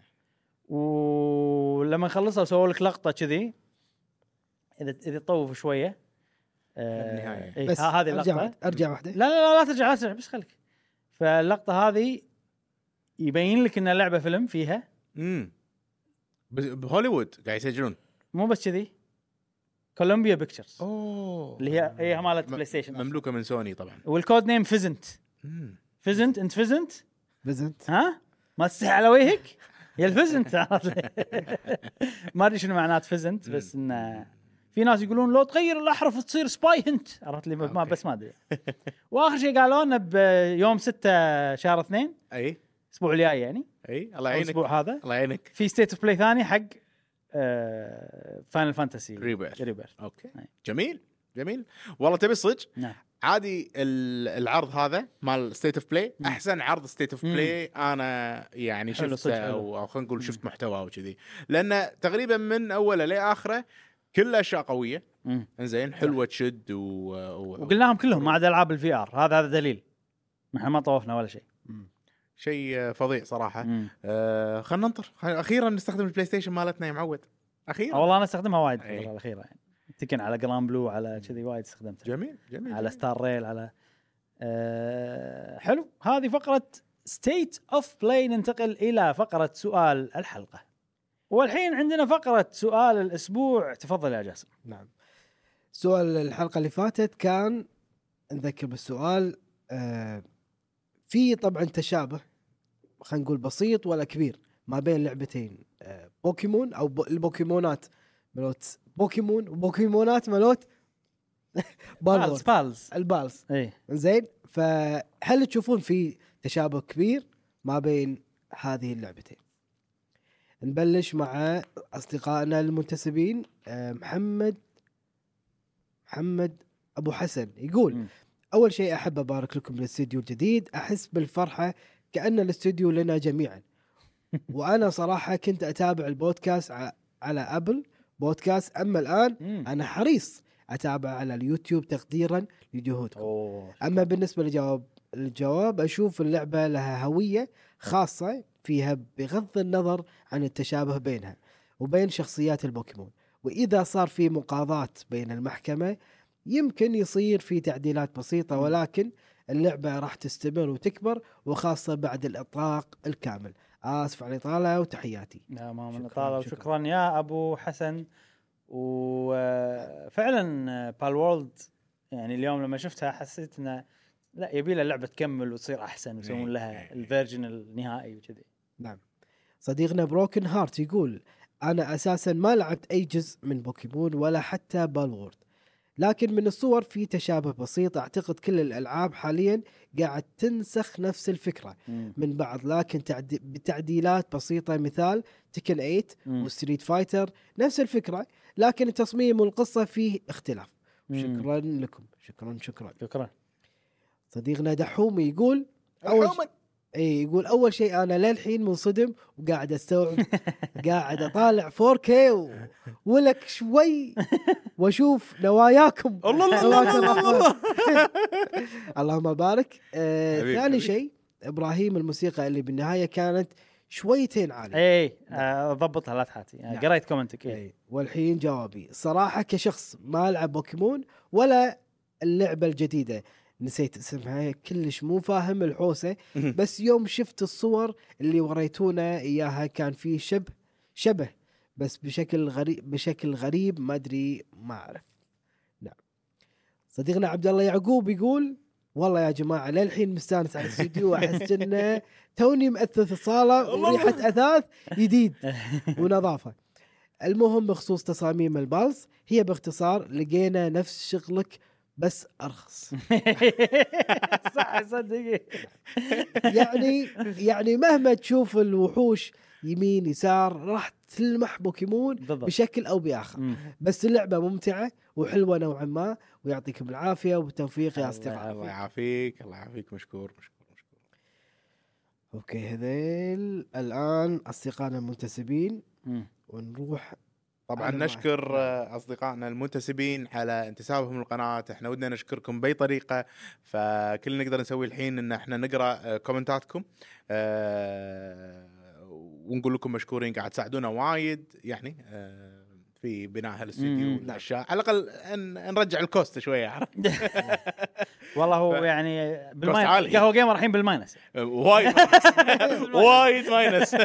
Speaker 1: ولما خلصوا سووا لك لقطه كذي اذا اذا تطوف شويه
Speaker 3: النهاية.
Speaker 1: آه إيه،
Speaker 2: بس
Speaker 1: ه- هذه
Speaker 2: ارجع
Speaker 1: اللقطه
Speaker 2: واحدة- ارجع واحده
Speaker 1: لا لا لا لا ترجع لا ترجع بس خليك فاللقطه هذه يبين لك ان اللعبه فيلم فيها
Speaker 3: امم بس- بهوليوود قاعد يسجلون
Speaker 1: مو بس كذي كولومبيا بيكتشرز
Speaker 3: اوه
Speaker 1: اللي هي هي مالت
Speaker 3: م-
Speaker 1: بلاي ستيشن أصلاً.
Speaker 3: مملوكه من سوني طبعا
Speaker 1: والكود نيم فيزنت
Speaker 3: امم
Speaker 1: فيزنت انت فيزنت
Speaker 2: فيزنت
Speaker 1: ها ما تسح على وجهك يا الفيزنت ما ادري شنو معنات فيزنت بس انه في ناس يقولون لو تغير الاحرف تصير سباي هنت عرفت لي ما
Speaker 3: أوكي.
Speaker 1: بس ما ادري واخر شيء قالوا لنا بيوم 6 شهر 2
Speaker 3: اي
Speaker 1: الاسبوع الجاي يعني
Speaker 3: اي الله
Speaker 1: أو
Speaker 3: يعينك
Speaker 1: الاسبوع هذا
Speaker 3: الله يعينك
Speaker 1: في ستيت اوف بلاي ثاني حق آه، فاينل فانتسي
Speaker 3: Rebirth.
Speaker 1: ريبيرث
Speaker 3: اوكي
Speaker 1: أي.
Speaker 3: جميل جميل والله تبي صدق
Speaker 1: نعم
Speaker 3: عادي ال- العرض هذا مال ستيت اوف بلاي
Speaker 1: مم.
Speaker 3: احسن عرض ستيت اوف
Speaker 1: مم.
Speaker 3: بلاي انا يعني
Speaker 1: حلو،
Speaker 3: شفته
Speaker 1: صدق حلو.
Speaker 3: او أو خلينا نقول
Speaker 1: مم.
Speaker 3: شفت محتواه وكذي لانه تقريبا من اوله لاخره كل اشياء قويه
Speaker 1: مم.
Speaker 3: انزين حلوه تشد و... و...
Speaker 1: وقلناهم كلهم ما عدا العاب الفي ار هذا هذا دليل احنا ما طوفنا ولا شيء
Speaker 3: شيء فظيع صراحه
Speaker 1: مم.
Speaker 3: آه خلينا ننطر خل- اخيرا نستخدم البلاي ستيشن مالتنا يا معود
Speaker 1: آه
Speaker 3: اخيرا
Speaker 1: والله انا استخدمها وايد
Speaker 3: إي.
Speaker 1: الفتره الاخيره يعني تكن على جرام بلو على كذي وايد استخدمتها
Speaker 3: جميل جميل
Speaker 1: على
Speaker 3: جميل.
Speaker 1: ستار ريل على أه حلو هذه فقره ستيت اوف بلاي ننتقل الى فقره سؤال الحلقه والحين عندنا فقره سؤال الاسبوع تفضل يا جاسم
Speaker 2: نعم سؤال الحلقه اللي فاتت كان نذكر بالسؤال آه في طبعا تشابه خلينا نقول بسيط ولا كبير ما بين لعبتين آه بوكيمون او بو البوكيمونات ملوت بوكيمون وبوكيمونات ملوت بالورد
Speaker 1: بالز بالز
Speaker 2: البالز
Speaker 1: اي
Speaker 2: زين فهل تشوفون في تشابه كبير ما بين هذه اللعبتين نبلش مع اصدقائنا المنتسبين آه، محمد محمد ابو حسن يقول
Speaker 1: مم.
Speaker 2: اول شيء احب ابارك لكم بالاستديو الجديد احس بالفرحه كان الاستديو لنا جميعا وانا صراحه كنت اتابع البودكاست ع- على ابل بودكاست اما الان
Speaker 1: مم.
Speaker 2: انا حريص اتابع على اليوتيوب تقديرا لجهودكم
Speaker 1: اوه
Speaker 2: اما بالنسبه لجواب الجواب اشوف اللعبه لها هويه خاصه فيها بغض النظر عن التشابه بينها وبين شخصيات البوكيمون واذا صار في مقاضاة بين المحكمه يمكن يصير في تعديلات بسيطه ولكن اللعبه راح تستمر وتكبر وخاصه بعد الاطلاق الكامل اسف على الاطاله وتحياتي
Speaker 1: لا ما من
Speaker 2: شكراً،
Speaker 1: طال
Speaker 2: شكراً.
Speaker 1: وشكرا يا ابو حسن آه، وفعلا بالوورلد يعني اليوم لما شفتها حسيت انه لا يبي لها لعبه تكمل وتصير احسن
Speaker 2: إيه،
Speaker 1: ويسوون لها الفيرجن النهائي وكذي
Speaker 2: نعم. صديقنا بروكن هارت يقول انا اساسا ما لعبت اي جزء من بوكيمون ولا حتى بالورد لكن من الصور في تشابه بسيط اعتقد كل الالعاب حاليا قاعد تنسخ نفس الفكره من بعض لكن تعدي بتعديلات بسيطه مثال تكن 8
Speaker 1: مم.
Speaker 2: وستريت فايتر نفس الفكره لكن التصميم والقصه فيه اختلاف
Speaker 1: مم.
Speaker 2: شكرا لكم شكرا شكرا
Speaker 1: شكرا
Speaker 2: صديقنا دحومي يقول أول
Speaker 3: عموما
Speaker 2: اي إيه، يقول اول شيء انا للحين منصدم وقاعد استوعب قاعد اطالع 4K و... ولك شوي واشوف نواياكم
Speaker 3: الله الله الله الله الله الله الله.
Speaker 2: اللهم بارك آه
Speaker 3: حبيبي،
Speaker 2: ثاني
Speaker 3: حبيبي.
Speaker 2: شيء ابراهيم الموسيقى اللي بالنهايه كانت شويتين عاليه
Speaker 1: اي آه، ضبطها لا تحاتي آه،
Speaker 2: نعم.
Speaker 1: قريت كومنتك اي
Speaker 2: إيه. والحين جوابي صراحه كشخص ما العب بوكيمون ولا اللعبه الجديده نسيت اسمها كلش مو فاهم الحوسه بس يوم شفت الصور اللي وريتونا اياها كان في شبه شبه بس بشكل غريب بشكل غريب ما ادري ما اعرف نعم صديقنا عبد الله يعقوب يقول والله يا جماعه للحين مستانس على الاستوديو واحس انه توني مأثث الصاله
Speaker 3: الله.
Speaker 2: وريحه اثاث جديد ونظافه المهم بخصوص تصاميم البالز هي باختصار لقينا نفس شغلك بس ارخص
Speaker 1: صح صدق
Speaker 2: يعني يعني مهما تشوف الوحوش يمين يسار راح تلمح بوكيمون
Speaker 1: بالضبط
Speaker 2: بشكل او باخر
Speaker 1: مم.
Speaker 2: بس اللعبه ممتعه وحلوه نوعا ما ويعطيكم العافيه وبالتوفيق يا
Speaker 1: الله
Speaker 2: اصدقاء
Speaker 1: يعافيك.
Speaker 3: الله يعافيك الله يعافيك مشكور مشكور مشكور
Speaker 2: اوكي هذيل الان اصدقائنا المنتسبين
Speaker 1: مم.
Speaker 2: ونروح
Speaker 3: طبعا
Speaker 2: أنا معك.
Speaker 3: نشكر آه، اصدقائنا المنتسبين على انتسابهم للقناه احنا ودنا نشكركم باي طريقه فكل اللي نقدر نسويه الحين ان احنا نقرا آه، كومنتاتكم آه، ونقول لكم مشكورين قاعد تساعدونا وايد يعني آه، في بناء هالاستديو
Speaker 1: مم.
Speaker 3: والاشياء على الاقل ان- نرجع الكوست شويه عرفت؟
Speaker 1: والله هو
Speaker 3: ف-
Speaker 1: يعني
Speaker 3: عالي.
Speaker 1: بالماينس قهوه جيمر الحين بالماينس
Speaker 3: آه، وايد وايد ماينس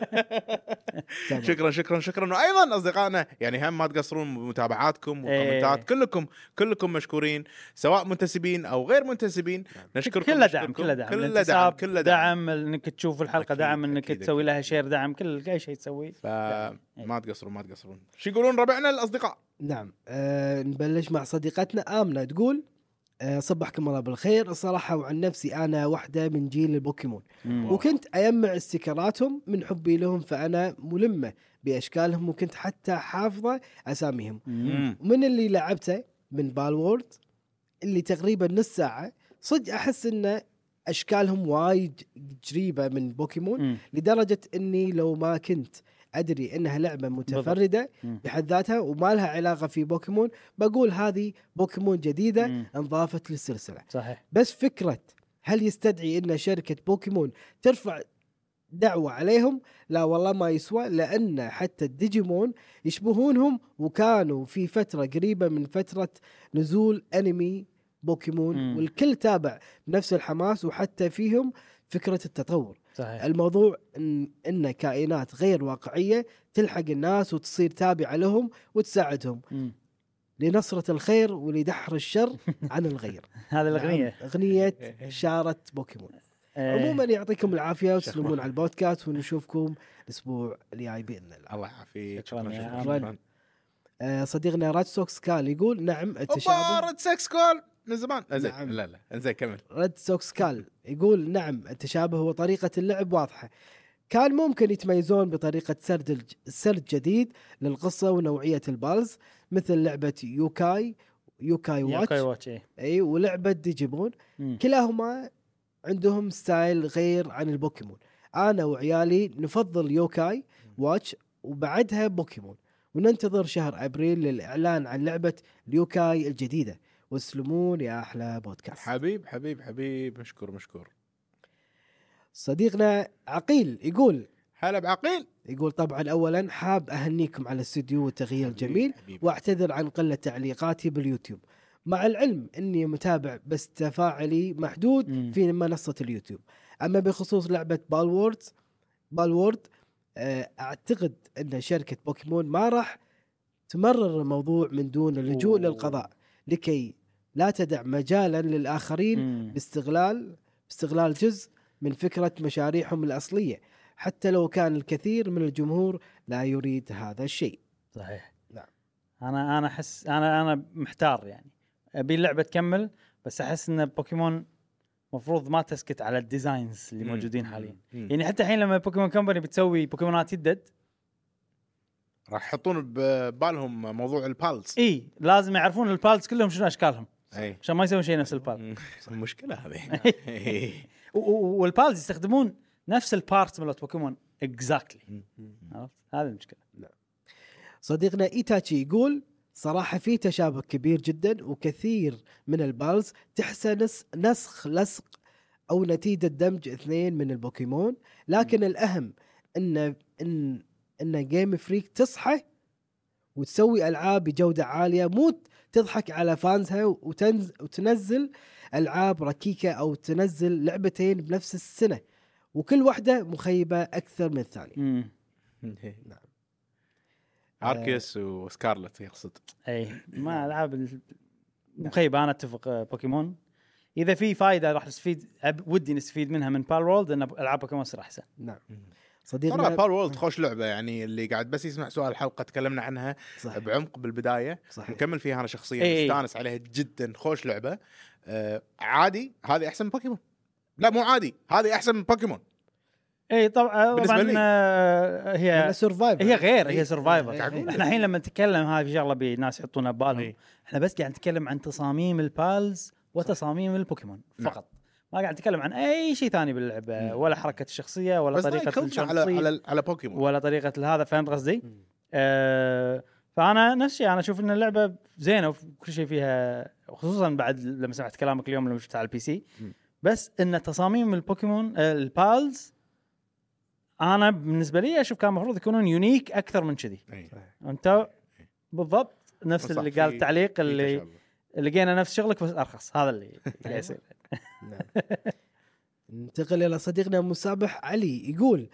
Speaker 2: تمام.
Speaker 3: شكرا شكرا شكرا وايضا اصدقائنا يعني هم ما تقصرون بمتابعاتكم
Speaker 1: إيه.
Speaker 3: والكومنتات كلكم كلكم مشكورين سواء منتسبين او غير منتسبين نشكركم
Speaker 1: كله نعم. دعم
Speaker 3: نشكركم.
Speaker 1: كله دعم
Speaker 3: كله دعم
Speaker 1: الانتساب،
Speaker 3: كله دعم
Speaker 1: دعم انك تشوف الحلقه
Speaker 3: أكيد،
Speaker 1: دعم انك
Speaker 3: أكيد،
Speaker 1: تسوي
Speaker 3: أكيد.
Speaker 1: لها شير دعم كل اي شيء تسويه
Speaker 3: فما تقصرون ما تقصرون شو يقولون ربعنا الاصدقاء
Speaker 2: نعم أه نبلش مع صديقتنا آمنة تقول أه صبحكم الله بالخير الصراحة وعن نفسي أنا واحدة من جيل البوكيمون
Speaker 1: مم.
Speaker 2: وكنت أجمع استيكراتهم من حبي لهم فأنا ملمة بأشكالهم وكنت حتى حافظة أساميهم
Speaker 1: مم.
Speaker 2: ومن اللي لعبته من بالورد اللي تقريبا نص ساعة صدق أحس إن أشكالهم وايد قريبة من بوكيمون
Speaker 1: مم.
Speaker 2: لدرجة أني لو ما كنت أدري أنها لعبة متفردة
Speaker 1: مم.
Speaker 2: بحد ذاتها وما لها علاقة في بوكيمون بقول هذه بوكيمون جديدة
Speaker 1: مم.
Speaker 2: انضافت للسلسلة
Speaker 1: صحيح
Speaker 2: بس فكرة هل يستدعي أن شركة بوكيمون ترفع دعوة عليهم لا والله ما يسوى لأن حتى الديجيمون يشبهونهم وكانوا في فترة قريبة من فترة نزول أنمي بوكيمون
Speaker 1: مم.
Speaker 2: والكل تابع بنفس الحماس وحتى فيهم فكرة التطور
Speaker 1: صحيح
Speaker 2: الموضوع إن, إن كائنات غير واقعية تلحق الناس وتصير تابعة لهم وتساعدهم
Speaker 1: مم.
Speaker 2: لنصرة الخير ولدحر الشر عن الغير
Speaker 1: هذه الاغنيه
Speaker 2: نعم، أغنية شارة بوكيمون
Speaker 1: آه،
Speaker 2: عموما يعطيكم العافية
Speaker 3: شكراً.
Speaker 2: وتسلمون على البودكاست ونشوفكم الأسبوع الجاي بإذن الله
Speaker 3: الله يعافيك
Speaker 1: شكراً
Speaker 3: شكرا
Speaker 1: يا
Speaker 3: شكرا
Speaker 1: عمرو.
Speaker 3: شكرا
Speaker 2: آه، صديقنا راد سوكس كال يقول نعم التشابه
Speaker 3: اوبارد سكس كول من زمان آه، زين
Speaker 2: نعم.
Speaker 3: لا لا زين كمل
Speaker 2: ريد سوكس كال يقول نعم التشابه وطريقة اللعب واضحة كان ممكن يتميزون بطريقة سرد الج- سرد جديد للقصة ونوعية البالز مثل لعبة يوكاي يوكاي
Speaker 1: ياكوي
Speaker 2: واتش
Speaker 1: واتش اي
Speaker 2: اي ولعبة ديجيمون
Speaker 1: إيه. مم.
Speaker 2: كلاهما عندهم ستايل غير عن البوكيمون انا وعيالي نفضل يوكاي واتش وبعدها بوكيمون وننتظر شهر ابريل للاعلان عن لعبه اليوكاي الجديده واسلمون يا احلى بودكاست
Speaker 3: حبيب حبيب حبيب مشكور مشكور
Speaker 2: صديقنا عقيل يقول
Speaker 3: هلا بعقيل
Speaker 2: يقول طبعا اولا حاب اهنيكم على الاستديو والتغيير الجميل
Speaker 3: حبيبي.
Speaker 2: واعتذر عن قله تعليقاتي باليوتيوب مع العلم اني متابع بس تفاعلي
Speaker 1: مم.
Speaker 2: محدود في منصه اليوتيوب اما بخصوص لعبه بالورد بالورد آه، اعتقد ان شركه بوكيمون ما راح تمرر الموضوع من دون اللجوء
Speaker 1: أوه.
Speaker 2: للقضاء لكي لا تدع مجالا للاخرين
Speaker 1: مم.
Speaker 2: باستغلال باستغلال جزء من فكرة مشاريعهم الأصلية حتى لو كان الكثير من الجمهور لا يريد هذا الشيء
Speaker 1: صحيح
Speaker 2: نعم.
Speaker 1: انا انا احس انا انا محتار يعني ابي اللعبه تكمل بس احس ان بوكيمون مفروض ما تسكت على الديزاينز اللي موجودين حاليا
Speaker 3: مم.
Speaker 1: يعني حتى الحين لما بوكيمون كومباني بتسوي بوكيمونات يدد
Speaker 3: راح يحطون ببالهم موضوع البالز إيه.
Speaker 1: اي إيه، لازم يعرفون البالز كلهم شنو اشكالهم
Speaker 3: اي
Speaker 1: عشان ما يسوون شيء نفس البال
Speaker 3: مم. المشكله هذه
Speaker 1: و- و- والبالز يستخدمون نفس البارت مالت بوكيمون اكزاكتلي عرفت هذه المشكله
Speaker 2: صديقنا إيتاتشي يقول صراحة في تشابه كبير جدا وكثير من البالز تحسى نس نسخ لصق أو نتيجة دمج اثنين من البوكيمون لكن الأهم أن أن أن جيم فريك تصحى وتسوي ألعاب بجودة عالية مو تضحك على فانزها وتنز وتنزل ألعاب ركيكة أو تنزل لعبتين بنفس السنة وكل واحدة مخيبة أكثر من الثانية إيه، نعم،
Speaker 1: امم
Speaker 3: اركيس وسكارلت يقصد
Speaker 1: اي إيه. ما العاب ال- مخيبه انا اتفق آه، بوكيمون اذا في فائده راح نستفيد أب- ودي نستفيد منها من بال وورلد ان العاب بوكيمون تصير احسن
Speaker 2: نعم
Speaker 3: مم.
Speaker 2: صديقنا
Speaker 3: ترى بار وورلد خوش لعبه يعني اللي قاعد بس يسمع سؤال الحلقه تكلمنا عنها
Speaker 2: صحيح
Speaker 3: بعمق بالبدايه
Speaker 2: صحيح
Speaker 3: نكمل فيها انا شخصيا
Speaker 1: إي.
Speaker 3: استانس عليها جدا خوش لعبه آه عادي هذه احسن من بوكيمون لا مو عادي هذه احسن من بوكيمون
Speaker 1: اي طبعا
Speaker 3: بالنسبة
Speaker 1: طبعا
Speaker 3: لي.
Speaker 1: آه، هي
Speaker 2: انا سرفايفر
Speaker 1: هي غير هي
Speaker 3: إي.
Speaker 1: سرفايفر
Speaker 2: قاعد أقول لك.
Speaker 1: احنا إيه، الحين لما نتكلم هذه في شغله بالناس يحطونها ببالهم
Speaker 3: إي.
Speaker 1: احنا بس قاعد نتكلم عن تصاميم البالز وتصاميم البوكيمون
Speaker 3: نعم.
Speaker 1: فقط ما قاعد نتكلم عن اي شيء ثاني باللعبه ولا حركه الشخصيه ولا
Speaker 3: بس طريقه
Speaker 1: طريقه
Speaker 3: على على على بوكيمون
Speaker 1: ولا طريقه هذا فهمت قصدي؟ آه فانا نفس الشيء انا اشوف ان اللعبه زينه وكل شيء فيها خصوصا بعد لما سمعت كلامك اليوم لما شفتها على البي سي
Speaker 3: مم.
Speaker 1: بس ان تصاميم البوكيمون آه، البالز انا بالنسبه لي اشوف كان المفروض يكونون يونيك اكثر من كذي
Speaker 3: إي.
Speaker 1: انت بالضبط نفس
Speaker 3: صح،
Speaker 1: اللي
Speaker 3: في-
Speaker 1: قال التعليق
Speaker 3: في
Speaker 1: اللي
Speaker 3: تشابه.
Speaker 1: لقينا نفس شغلك بس ارخص هذا اللي اللي يصير
Speaker 2: نعم. ننتقل الى صديقنا مسابح علي يقول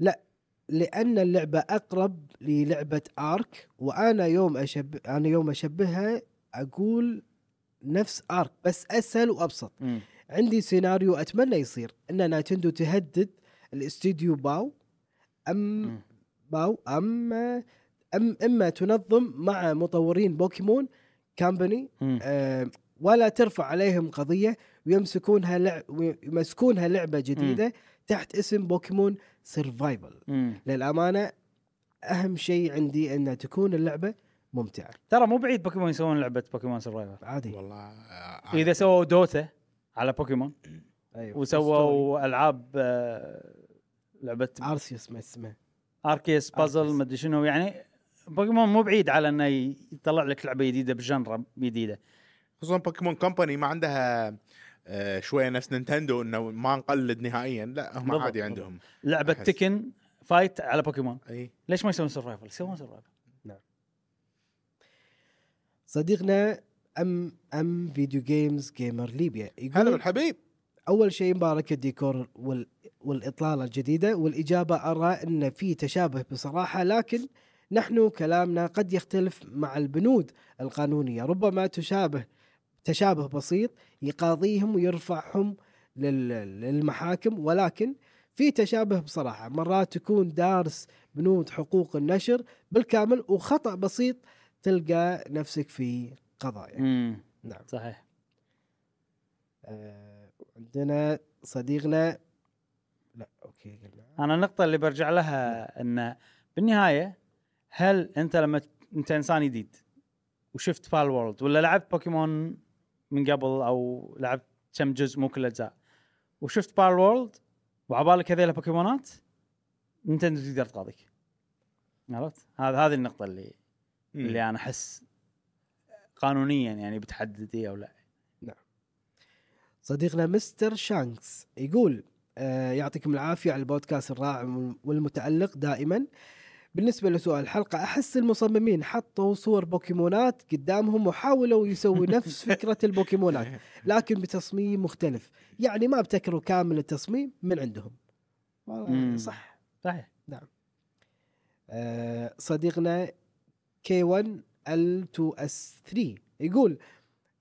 Speaker 2: لا لان اللعبه اقرب للعبه ارك وانا يوم اشبه انا يوم اشبهها اقول نفس ارك بس اسهل وابسط
Speaker 1: مم.
Speaker 2: عندي سيناريو اتمنى يصير ان نايتندو تهدد الاستديو باو ام
Speaker 1: مم.
Speaker 2: باو اما أم اما تنظم مع مطورين بوكيمون كامباني
Speaker 1: مم.
Speaker 2: آه، ولا ترفع عليهم قضيه ويمسكونها لعب ويمسكونها لعبه جديده تحت اسم بوكيمون سرفايفل
Speaker 1: مم.
Speaker 2: للامانه اهم شيء عندي ان تكون اللعبه ممتعه
Speaker 1: ترى مو بعيد بوكيمون يسوون لعبه بوكيمون سرفايفر
Speaker 2: عادي
Speaker 3: والله آه،
Speaker 1: اذا سووا دوتا على بوكيمون
Speaker 2: ايوه
Speaker 1: وسووا العاب آه، لعبه
Speaker 2: ارسيوس ما اسمه
Speaker 1: اركيس بازل
Speaker 2: آه، أركيس.
Speaker 1: مدري شنو يعني بوكيمون مو بعيد على انه ي- يطلع لك لعبه جديده بجنرا جديده
Speaker 3: خصوصا بوكيمون كومباني ما عندها آه، شويه نفس نينتندو انه ما نقلد نهائيا لا هم
Speaker 1: بالضبط،
Speaker 3: عادي
Speaker 1: بالضبط.
Speaker 3: عندهم
Speaker 1: لعبه
Speaker 3: أحس.
Speaker 1: تكن فايت على بوكيمون
Speaker 3: اي
Speaker 1: ليش ما يسوون سرفايفل يسوون سرفايفل
Speaker 2: صديقنا ام ام فيديو جيمز جيمر ليبيا
Speaker 3: هلا
Speaker 2: يقول
Speaker 3: بالحبيب
Speaker 2: اول شيء مبارك الديكور وال... والاطلاله الجديده والاجابه ارى ان في تشابه بصراحه لكن نحن كلامنا قد يختلف مع البنود القانونيه ربما تشابه تشابه بسيط يقاضيهم ويرفعهم لل... للمحاكم ولكن في تشابه بصراحه مرات تكون دارس بنود حقوق النشر بالكامل وخطا بسيط تلقى نفسك في قضايا
Speaker 1: امم
Speaker 2: نعم
Speaker 1: صحيح
Speaker 2: آه، عندنا صديقنا لا اوكي قلنا
Speaker 1: انا النقطه اللي برجع لها انه بالنهايه هل انت لما ت- انت انسان جديد وشفت بال وورلد ولا لعبت بوكيمون من قبل او لعبت كم جزء مو كل الاجزاء وشفت بال وورلد وعبالك هذيلا بوكيمونات نينتندو تقدر تقاضيك عرفت؟ هذا هذه النقطه اللي
Speaker 3: مم.
Speaker 1: اللي يعني انا احس قانونيا يعني بتحددي او لا
Speaker 2: صديقنا مستر شانكس يقول آه، يعطيكم العافية على البودكاست الرائع والمتألق دائما بالنسبة لسؤال الحلقة أحس المصممين حطوا صور بوكيمونات قدامهم وحاولوا يسووا نفس فكرة البوكيمونات لكن بتصميم مختلف يعني ما ابتكروا كامل التصميم من عندهم والله
Speaker 1: مم.
Speaker 2: صح
Speaker 1: صحيح
Speaker 2: آه، صديقنا كي 1 ال 2 اس 3 يقول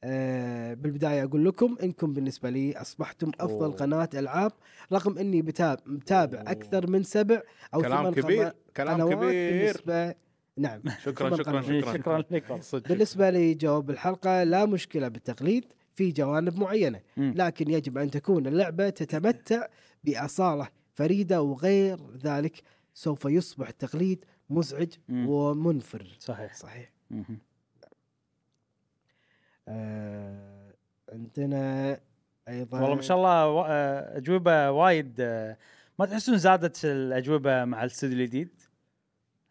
Speaker 2: آه، بالبدايه اقول لكم انكم بالنسبه لي اصبحتم افضل
Speaker 1: أوه.
Speaker 2: قناه العاب رغم اني بتاب- متابع
Speaker 3: أوه.
Speaker 2: اكثر من سبع او
Speaker 3: كلام
Speaker 2: ثمان
Speaker 3: كبير
Speaker 2: قنا-
Speaker 3: كلام
Speaker 2: قنوات
Speaker 3: كبير
Speaker 2: بالنسبه نعم
Speaker 3: شكرا
Speaker 2: ثمان
Speaker 3: شكرا
Speaker 2: قنوات.
Speaker 3: شكرا
Speaker 1: شكراً لكم.
Speaker 3: صدق.
Speaker 2: بالنسبه لجواب الحلقه لا مشكله بالتقليد في جوانب معينه
Speaker 1: مم.
Speaker 2: لكن يجب ان تكون اللعبه تتمتع باصاله فريده وغير ذلك سوف يصبح التقليد مزعج
Speaker 1: مم.
Speaker 2: ومنفر
Speaker 1: صحيح
Speaker 2: صحيح
Speaker 1: مهم.
Speaker 2: آه عندنا ايضا
Speaker 3: طيب.
Speaker 1: والله ما شاء الله و- آه، اجوبه وايد آه، ما تحسون زادت الاجوبه مع الاستوديو الجديد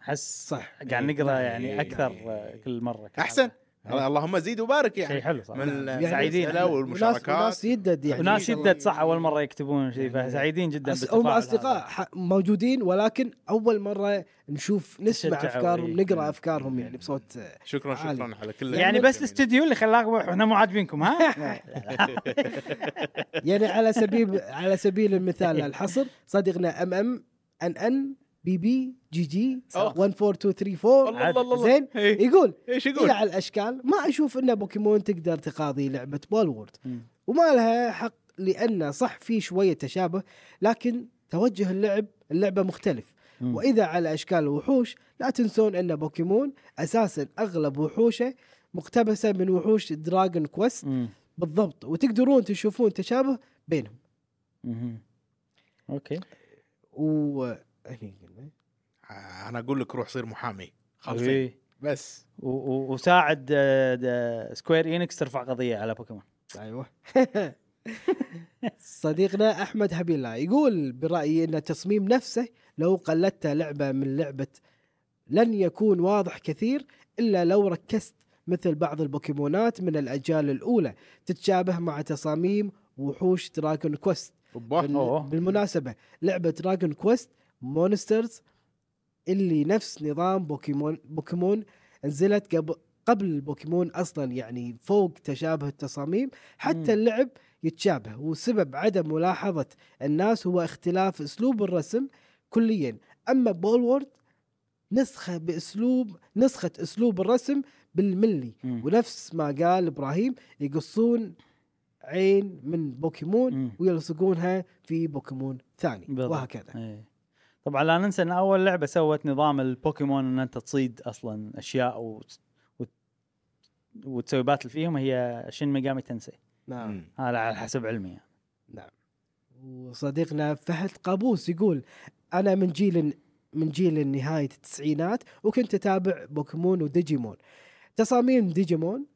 Speaker 1: احس
Speaker 2: صح
Speaker 1: قاعد نقرا
Speaker 3: إيه.
Speaker 1: يعني اكثر آه، كل مره
Speaker 3: أحسن. اللهم زيد وبارك
Speaker 1: شيء
Speaker 3: يعني
Speaker 1: حلو صراحه
Speaker 3: من
Speaker 2: آه. يعني
Speaker 1: سعيدين.
Speaker 3: الأسئلة والمشاركات
Speaker 2: وناس يدد يعني
Speaker 1: وناس
Speaker 3: إن شاء الله.
Speaker 1: شدت صح اول مره يكتبون شيء فسعيدين جدا
Speaker 2: أص- هم
Speaker 1: بالتفاعل
Speaker 2: اصدقاء
Speaker 1: هذا.
Speaker 2: ح- موجودين ولكن اول مره نشوف نسمع
Speaker 1: تشجعوا،
Speaker 2: افكارهم
Speaker 1: إيه.
Speaker 2: نقرا افكارهم يعني بصوت آه،
Speaker 3: شكرا
Speaker 2: عالي.
Speaker 3: شكرا على كل
Speaker 1: يعني بس الاستوديو اللي خلاكم احنا مو عاجبينكم ها؟
Speaker 2: يعني على سبيل على سبيل المثال الحصر صديقنا ام ام ان ان بي بي جي جي
Speaker 3: أوه.
Speaker 2: 142344
Speaker 3: الله الله الله
Speaker 2: زين
Speaker 3: إيه.
Speaker 2: يقول
Speaker 3: ايش يقول؟
Speaker 2: الى على الاشكال ما اشوف ان بوكيمون تقدر تقاضي لعبه بالورد
Speaker 1: مم.
Speaker 2: وما لها حق لان صح في شويه تشابه لكن توجه اللعب اللعبه مختلف
Speaker 1: مم.
Speaker 2: واذا على اشكال الوحوش لا تنسون ان بوكيمون اساسا اغلب وحوشه مقتبسه من وحوش دراجون كويست
Speaker 1: مم.
Speaker 2: بالضبط وتقدرون تشوفون تشابه بينهم
Speaker 1: مهم. اوكي
Speaker 2: و هني قلنا.
Speaker 3: آه، انا اقول لك روح صير محامي خلصي
Speaker 1: إيه.
Speaker 3: بس
Speaker 1: و- و- وساعد آه، د- سكوير انكس ترفع قضيه على بوكيمون
Speaker 2: ايوه صديقنا احمد حبيب الله يقول برايي ان التصميم نفسه لو قلدته لعبه من لعبه لن يكون واضح كثير الا لو ركزت مثل بعض البوكيمونات من الاجيال الاولى تتشابه مع تصاميم وحوش دراجون كويست بال-
Speaker 3: أوبا.
Speaker 2: بالمناسبه لعبه دراجون كويست مونسترز اللي نفس نظام بوكيمون بوكيمون نزلت قبل قبل بوكيمون اصلا يعني فوق تشابه التصاميم
Speaker 1: مم.
Speaker 2: حتى اللعب يتشابه وسبب عدم ملاحظه الناس هو اختلاف اسلوب الرسم كليا اما بولورد نسخه باسلوب نسخه اسلوب الرسم بالملي
Speaker 1: مم.
Speaker 2: ونفس ما قال ابراهيم يقصون عين من بوكيمون
Speaker 1: مم.
Speaker 2: ويلصقونها في بوكيمون ثاني
Speaker 1: بالضبط.
Speaker 2: وهكذا
Speaker 1: إيه. طبعا لا ننسى ان اول لعبه سوت نظام البوكيمون ان انت تصيد اصلا اشياء و... و... وتسوي باتل فيهم هي شن ميجامي تنسي
Speaker 2: نعم
Speaker 3: مم.
Speaker 1: هذا على حسب علمي يعني.
Speaker 2: وصديقنا فهد قابوس يقول انا من جيل من جيل نهايه التسعينات وكنت اتابع بوكيمون وديجيمون تصاميم ديجيمون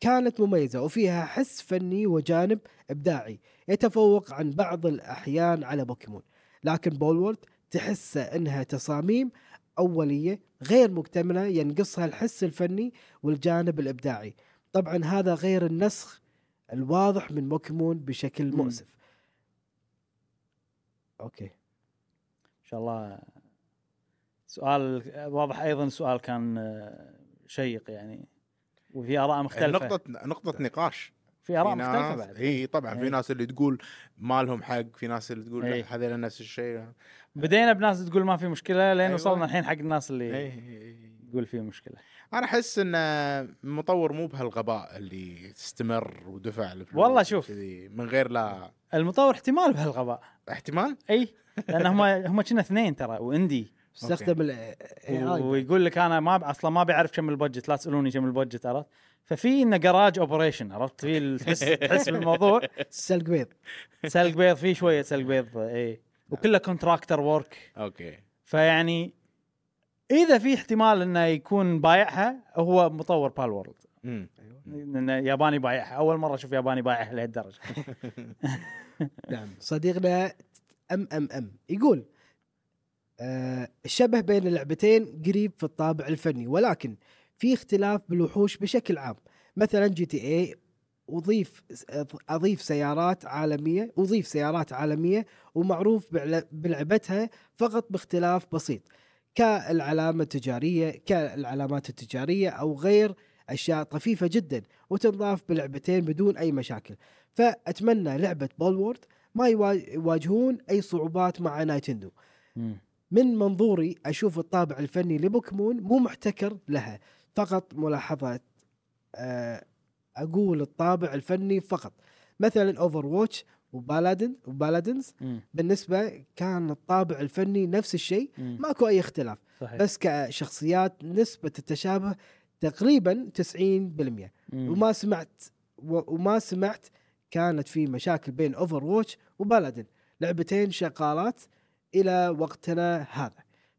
Speaker 2: كانت مميزه وفيها حس فني وجانب ابداعي يتفوق عن بعض الاحيان على بوكيمون لكن بولورد تحس انها تصاميم اوليه غير مكتمله ينقصها الحس الفني والجانب الابداعي طبعا هذا غير النسخ الواضح من بوكيمون بشكل
Speaker 1: مم.
Speaker 2: مؤسف اوكي
Speaker 1: ان شاء الله سؤال واضح ايضا سؤال كان آه، شيق يعني وفي اراء مختلفه
Speaker 3: إيه، نقطة نقطة نقاش
Speaker 1: في اراء مختلفه بعد
Speaker 3: اي طبعا في
Speaker 1: إيه.
Speaker 3: ناس اللي تقول ما لهم حق في ناس اللي تقول
Speaker 1: إيه.
Speaker 3: لا هذول نفس الشيء
Speaker 1: بدينا بناس تقول ما في مشكله لين
Speaker 3: أيوة.
Speaker 1: وصلنا الحين حق الناس اللي
Speaker 3: إيه.
Speaker 1: تقول في مشكله
Speaker 3: انا احس ان المطور مو بهالغباء اللي استمر ودفع الفلوس
Speaker 1: والله شوف.
Speaker 3: وكذي من غير لا
Speaker 1: المطور احتمال بهالغباء
Speaker 3: احتمال
Speaker 1: اي لان هم هم كنا اثنين ترى واندي
Speaker 2: استخدم الاي
Speaker 1: إيه، آه،
Speaker 2: اي
Speaker 1: ويقول لك انا ما ب- اصلا ما بعرف كم البادجت لا تسالوني كم البادجت عرفت ففي انه جراج اوبريشن عرفت في ال- تحس تحس بالموضوع
Speaker 2: سلق بيض
Speaker 1: سلق بيض في شويه سلق بيض اي وكله كونتراكتر ورك
Speaker 3: اوكي
Speaker 1: فيعني اذا في احتمال انه يكون بايعها هو مطور بال وورلد
Speaker 3: مم.
Speaker 1: انه ياباني بايعها اول مره اشوف ياباني بايعها لهالدرجه
Speaker 2: نعم صديقنا ام ام ام يقول آه، الشبه بين اللعبتين قريب في الطابع الفني ولكن في اختلاف بالوحوش بشكل عام مثلا جي تي إيه اي اضيف اضيف سيارات عالميه اضيف سيارات عالميه ومعروف بعل- بلعبتها فقط باختلاف بسيط كالعلامه التجاريه كالعلامات التجاريه او غير اشياء طفيفه جدا وتنضاف بلعبتين بدون اي مشاكل فاتمنى لعبه بولورد ما يوا- يواجهون اي صعوبات مع نايتندو من منظوري اشوف الطابع الفني لبوكمون مو محتكر لها فقط ملاحظات آه، اقول الطابع الفني فقط مثلا اوفر واتش وبالادن وبالادنز
Speaker 1: مم.
Speaker 2: بالنسبه كان الطابع الفني نفس الشيء
Speaker 1: مم.
Speaker 2: ماكو اي اختلاف
Speaker 1: صحيح
Speaker 2: بس كشخصيات نسبه التشابه تقريبا 90%
Speaker 1: مم.
Speaker 2: وما سمعت و- وما سمعت كانت في مشاكل بين اوفر واتش وبالادن لعبتين شغالات الى وقتنا هذا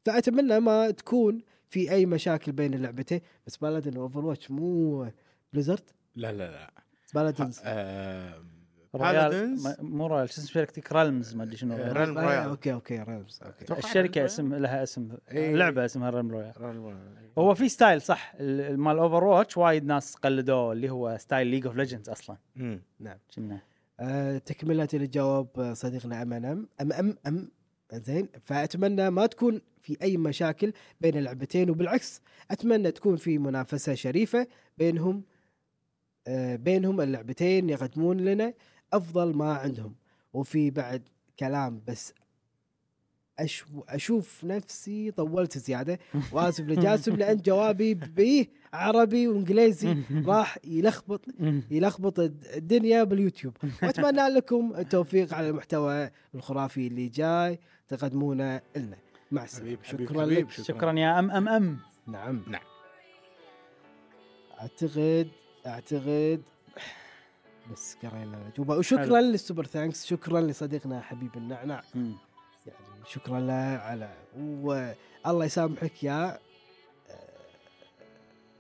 Speaker 2: فاتمنى ما تكون في اي مشاكل بين اللعبتين بس بالادن واوفر واتش مو بليزرد
Speaker 3: لا لا لا
Speaker 2: بالادن
Speaker 3: آه،
Speaker 1: رويال
Speaker 3: Paladins.
Speaker 1: ما- مو رويال شو اسم شركتك رالمز ما ادري شنو
Speaker 3: آه،
Speaker 1: Realms.
Speaker 3: Realm Royale.
Speaker 2: اوكي اوكي رامز اوكي
Speaker 3: أتوقع
Speaker 1: الشركه
Speaker 3: Realm
Speaker 1: اسم لها اسم
Speaker 3: إيه.
Speaker 1: لعبه اسمها ريم رويال
Speaker 3: Royale.
Speaker 1: هو في ستايل صح ال- مال اوفر واتش وايد ناس قلدوه اللي هو ستايل ليج اوف ليجندز اصلا
Speaker 3: مم.
Speaker 1: كنا
Speaker 2: أه تكمله للجواب آه، صديقنا ام ان ام ام ام ام زين فاتمنى ما تكون في اي مشاكل بين اللعبتين وبالعكس اتمنى تكون في منافسه شريفه بينهم آه، بينهم اللعبتين يقدمون لنا افضل ما عندهم وفي بعد كلام بس أش- اشوف نفسي طولت زياده واسف لجاسم لان جوابي به عربي وانجليزي راح يلخبط يلخبط الد- الدنيا باليوتيوب واتمنى لكم التوفيق على المحتوى الخرافي اللي جاي تقدمونه لنا مع السلامه
Speaker 3: حبيب، حبيب،
Speaker 2: شكرا
Speaker 3: حبيب،
Speaker 2: لك
Speaker 1: شكرا يا ام ام ام
Speaker 2: نعم
Speaker 3: نعم.
Speaker 2: اعتقد اعتقد بس قرينا الاجوبه وشكرا للسوبر ثانكس شكرا لصديقنا حبيب النعناع
Speaker 1: مم.
Speaker 2: يعني شكرا له على والله يسامحك يا آه،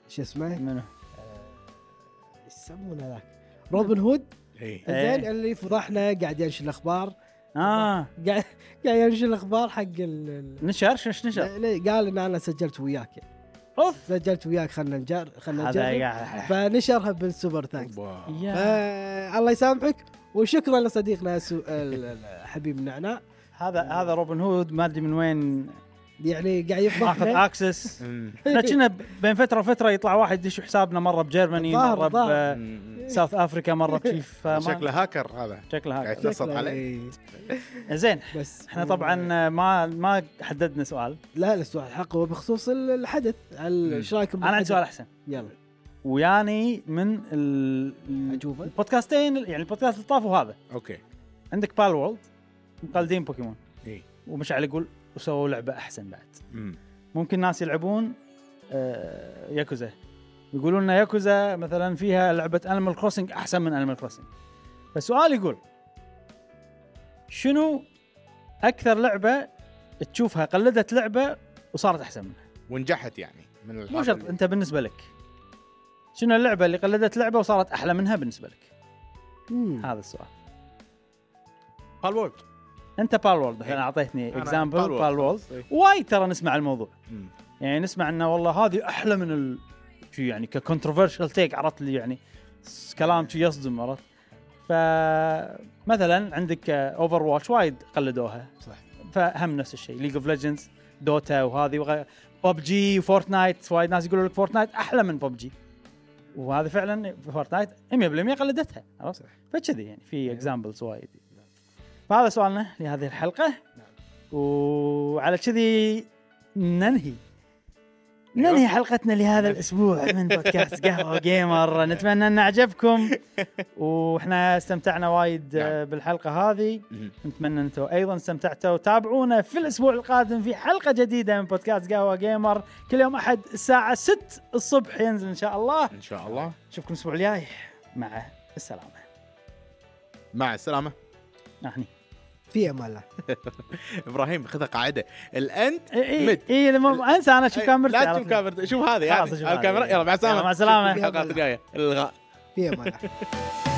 Speaker 2: شو اسمه
Speaker 1: منو؟
Speaker 2: آه، يسمونه ذاك روبن هود
Speaker 3: إيه.
Speaker 1: إيه.
Speaker 2: زين اللي فضحنا قاعد ينشر الاخبار
Speaker 1: اه
Speaker 2: قاعد قاعد ينشر الاخبار حق ال...
Speaker 1: نشر شش
Speaker 2: ال...
Speaker 1: نشر
Speaker 2: لا- قال ان انا سجلت وياك يعني.
Speaker 1: اوف
Speaker 2: سجلت وياك خلنا نجر
Speaker 1: هذا
Speaker 2: خلنا نجرب
Speaker 1: يا-
Speaker 2: فنشرها بالسوبر ثانكس
Speaker 3: أوبا.
Speaker 1: يا-
Speaker 2: آه الله يسامحك وشكرا لصديقنا سو... ال- ال- حبيب النعناع
Speaker 1: هذا هذا روبن هود ما ادري من وين
Speaker 2: يعني قاعد
Speaker 1: اخذ
Speaker 2: يفضحنا
Speaker 1: اكسس
Speaker 3: مم.
Speaker 1: احنا كنا ب- بين فتره وفتره يطلع واحد يدش حسابنا مره بجيرماني
Speaker 2: ظاهر-
Speaker 1: مره
Speaker 2: ظاهر.
Speaker 3: مم.
Speaker 1: بساوث افريكا مره بشيف
Speaker 3: شكله هاكر هذا
Speaker 1: شكله هكذا
Speaker 3: قاعد يتنصت
Speaker 2: شكله-
Speaker 3: عليه
Speaker 2: إيه.
Speaker 1: زين
Speaker 2: بس
Speaker 1: احنا طبعا ما ما حددنا سؤال
Speaker 2: لا لا السؤال الحق هو بخصوص ال- الحدث ال-
Speaker 3: مم.
Speaker 2: ايش رايكم
Speaker 1: انا عندي
Speaker 2: بالحدث؟
Speaker 1: سؤال احسن
Speaker 2: يلا
Speaker 1: وياني من ال- ال-
Speaker 2: اجوبه
Speaker 1: البودكاستين يعني البودكاست اللي طافوا هذا
Speaker 3: اوكي
Speaker 1: عندك بال وولد مقلدين بوكيمون
Speaker 3: إيه.
Speaker 1: ومشعل يقول وسووا لعبه احسن بعد
Speaker 3: مم.
Speaker 1: ممكن ناس يلعبون آه، ياكوزا يقولون ان ياكوزا مثلا فيها لعبه انيمال كروسنج احسن من انيمال كروسنج فالسؤال يقول شنو اكثر لعبه تشوفها قلدت لعبه وصارت احسن منها
Speaker 3: ونجحت يعني من الهاكر
Speaker 1: مو شرط
Speaker 3: اللي-
Speaker 1: انت بالنسبه لك شنو اللعبه اللي قلدت لعبه وصارت احلى منها بالنسبه لك
Speaker 2: مم.
Speaker 1: هذا السؤال
Speaker 3: بال وورد
Speaker 1: انت بال وورد مثلا
Speaker 3: إيه.
Speaker 1: اعطيتني
Speaker 3: أنا
Speaker 1: اكزامبل
Speaker 3: Palworld.
Speaker 1: بال وورد
Speaker 3: إيه.
Speaker 1: وايد ترى نسمع الموضوع
Speaker 3: مم.
Speaker 1: يعني نسمع انه والله هذه احلى من ال... شي يعني ككونتروفيرشال تيك عرفت لي يعني س- كلام شي يصدم عرفت فمثلا عندك اوفر واتش وايد قلدوها
Speaker 3: صح
Speaker 1: فهم نفس الشيء ليج اوف ليجندز دوتا وهذه وغير ببجي وفورتنايت وايد ناس يقولوا لك فورتنايت احلى من ببجي وهذا فعلا فورتنايت 100% قلدتها عرفت
Speaker 2: صح.
Speaker 1: فكذي يعني في اكزامبلز وايد فهذا سؤالنا لهذه الحلقه وعلى كذي ننهي ننهي حلقتنا لهذا الاسبوع من بودكاست قهوه جيمر نتمنى ان اعجبكم واحنا استمتعنا وايد
Speaker 3: نعم.
Speaker 1: آه، بالحلقه هذه
Speaker 3: مم.
Speaker 1: نتمنى انتم ايضا استمتعتوا تابعونا في الاسبوع القادم في حلقه جديده من بودكاست قهوه جيمر كل يوم احد الساعه 6 الصبح ينزل ان شاء الله
Speaker 3: ان شاء الله
Speaker 1: نشوفكم الاسبوع الجاي مع السلامه
Speaker 3: مع السلامه
Speaker 1: احني
Speaker 2: في امان الله
Speaker 3: ابراهيم خذ قاعده الانت
Speaker 1: اي اي
Speaker 3: مت.
Speaker 1: اي لما انسى انا شو كاميرتي
Speaker 3: لا
Speaker 1: عرفت؟
Speaker 3: تشوف كاميرتي شوف هذه يعني
Speaker 1: خلاص
Speaker 3: هذه
Speaker 1: أشوف هذه.
Speaker 3: الكاميرا يلا مع السلامه
Speaker 1: يلا، مع السلامة.
Speaker 3: الحلقه الجايه الغاء
Speaker 2: في امان الله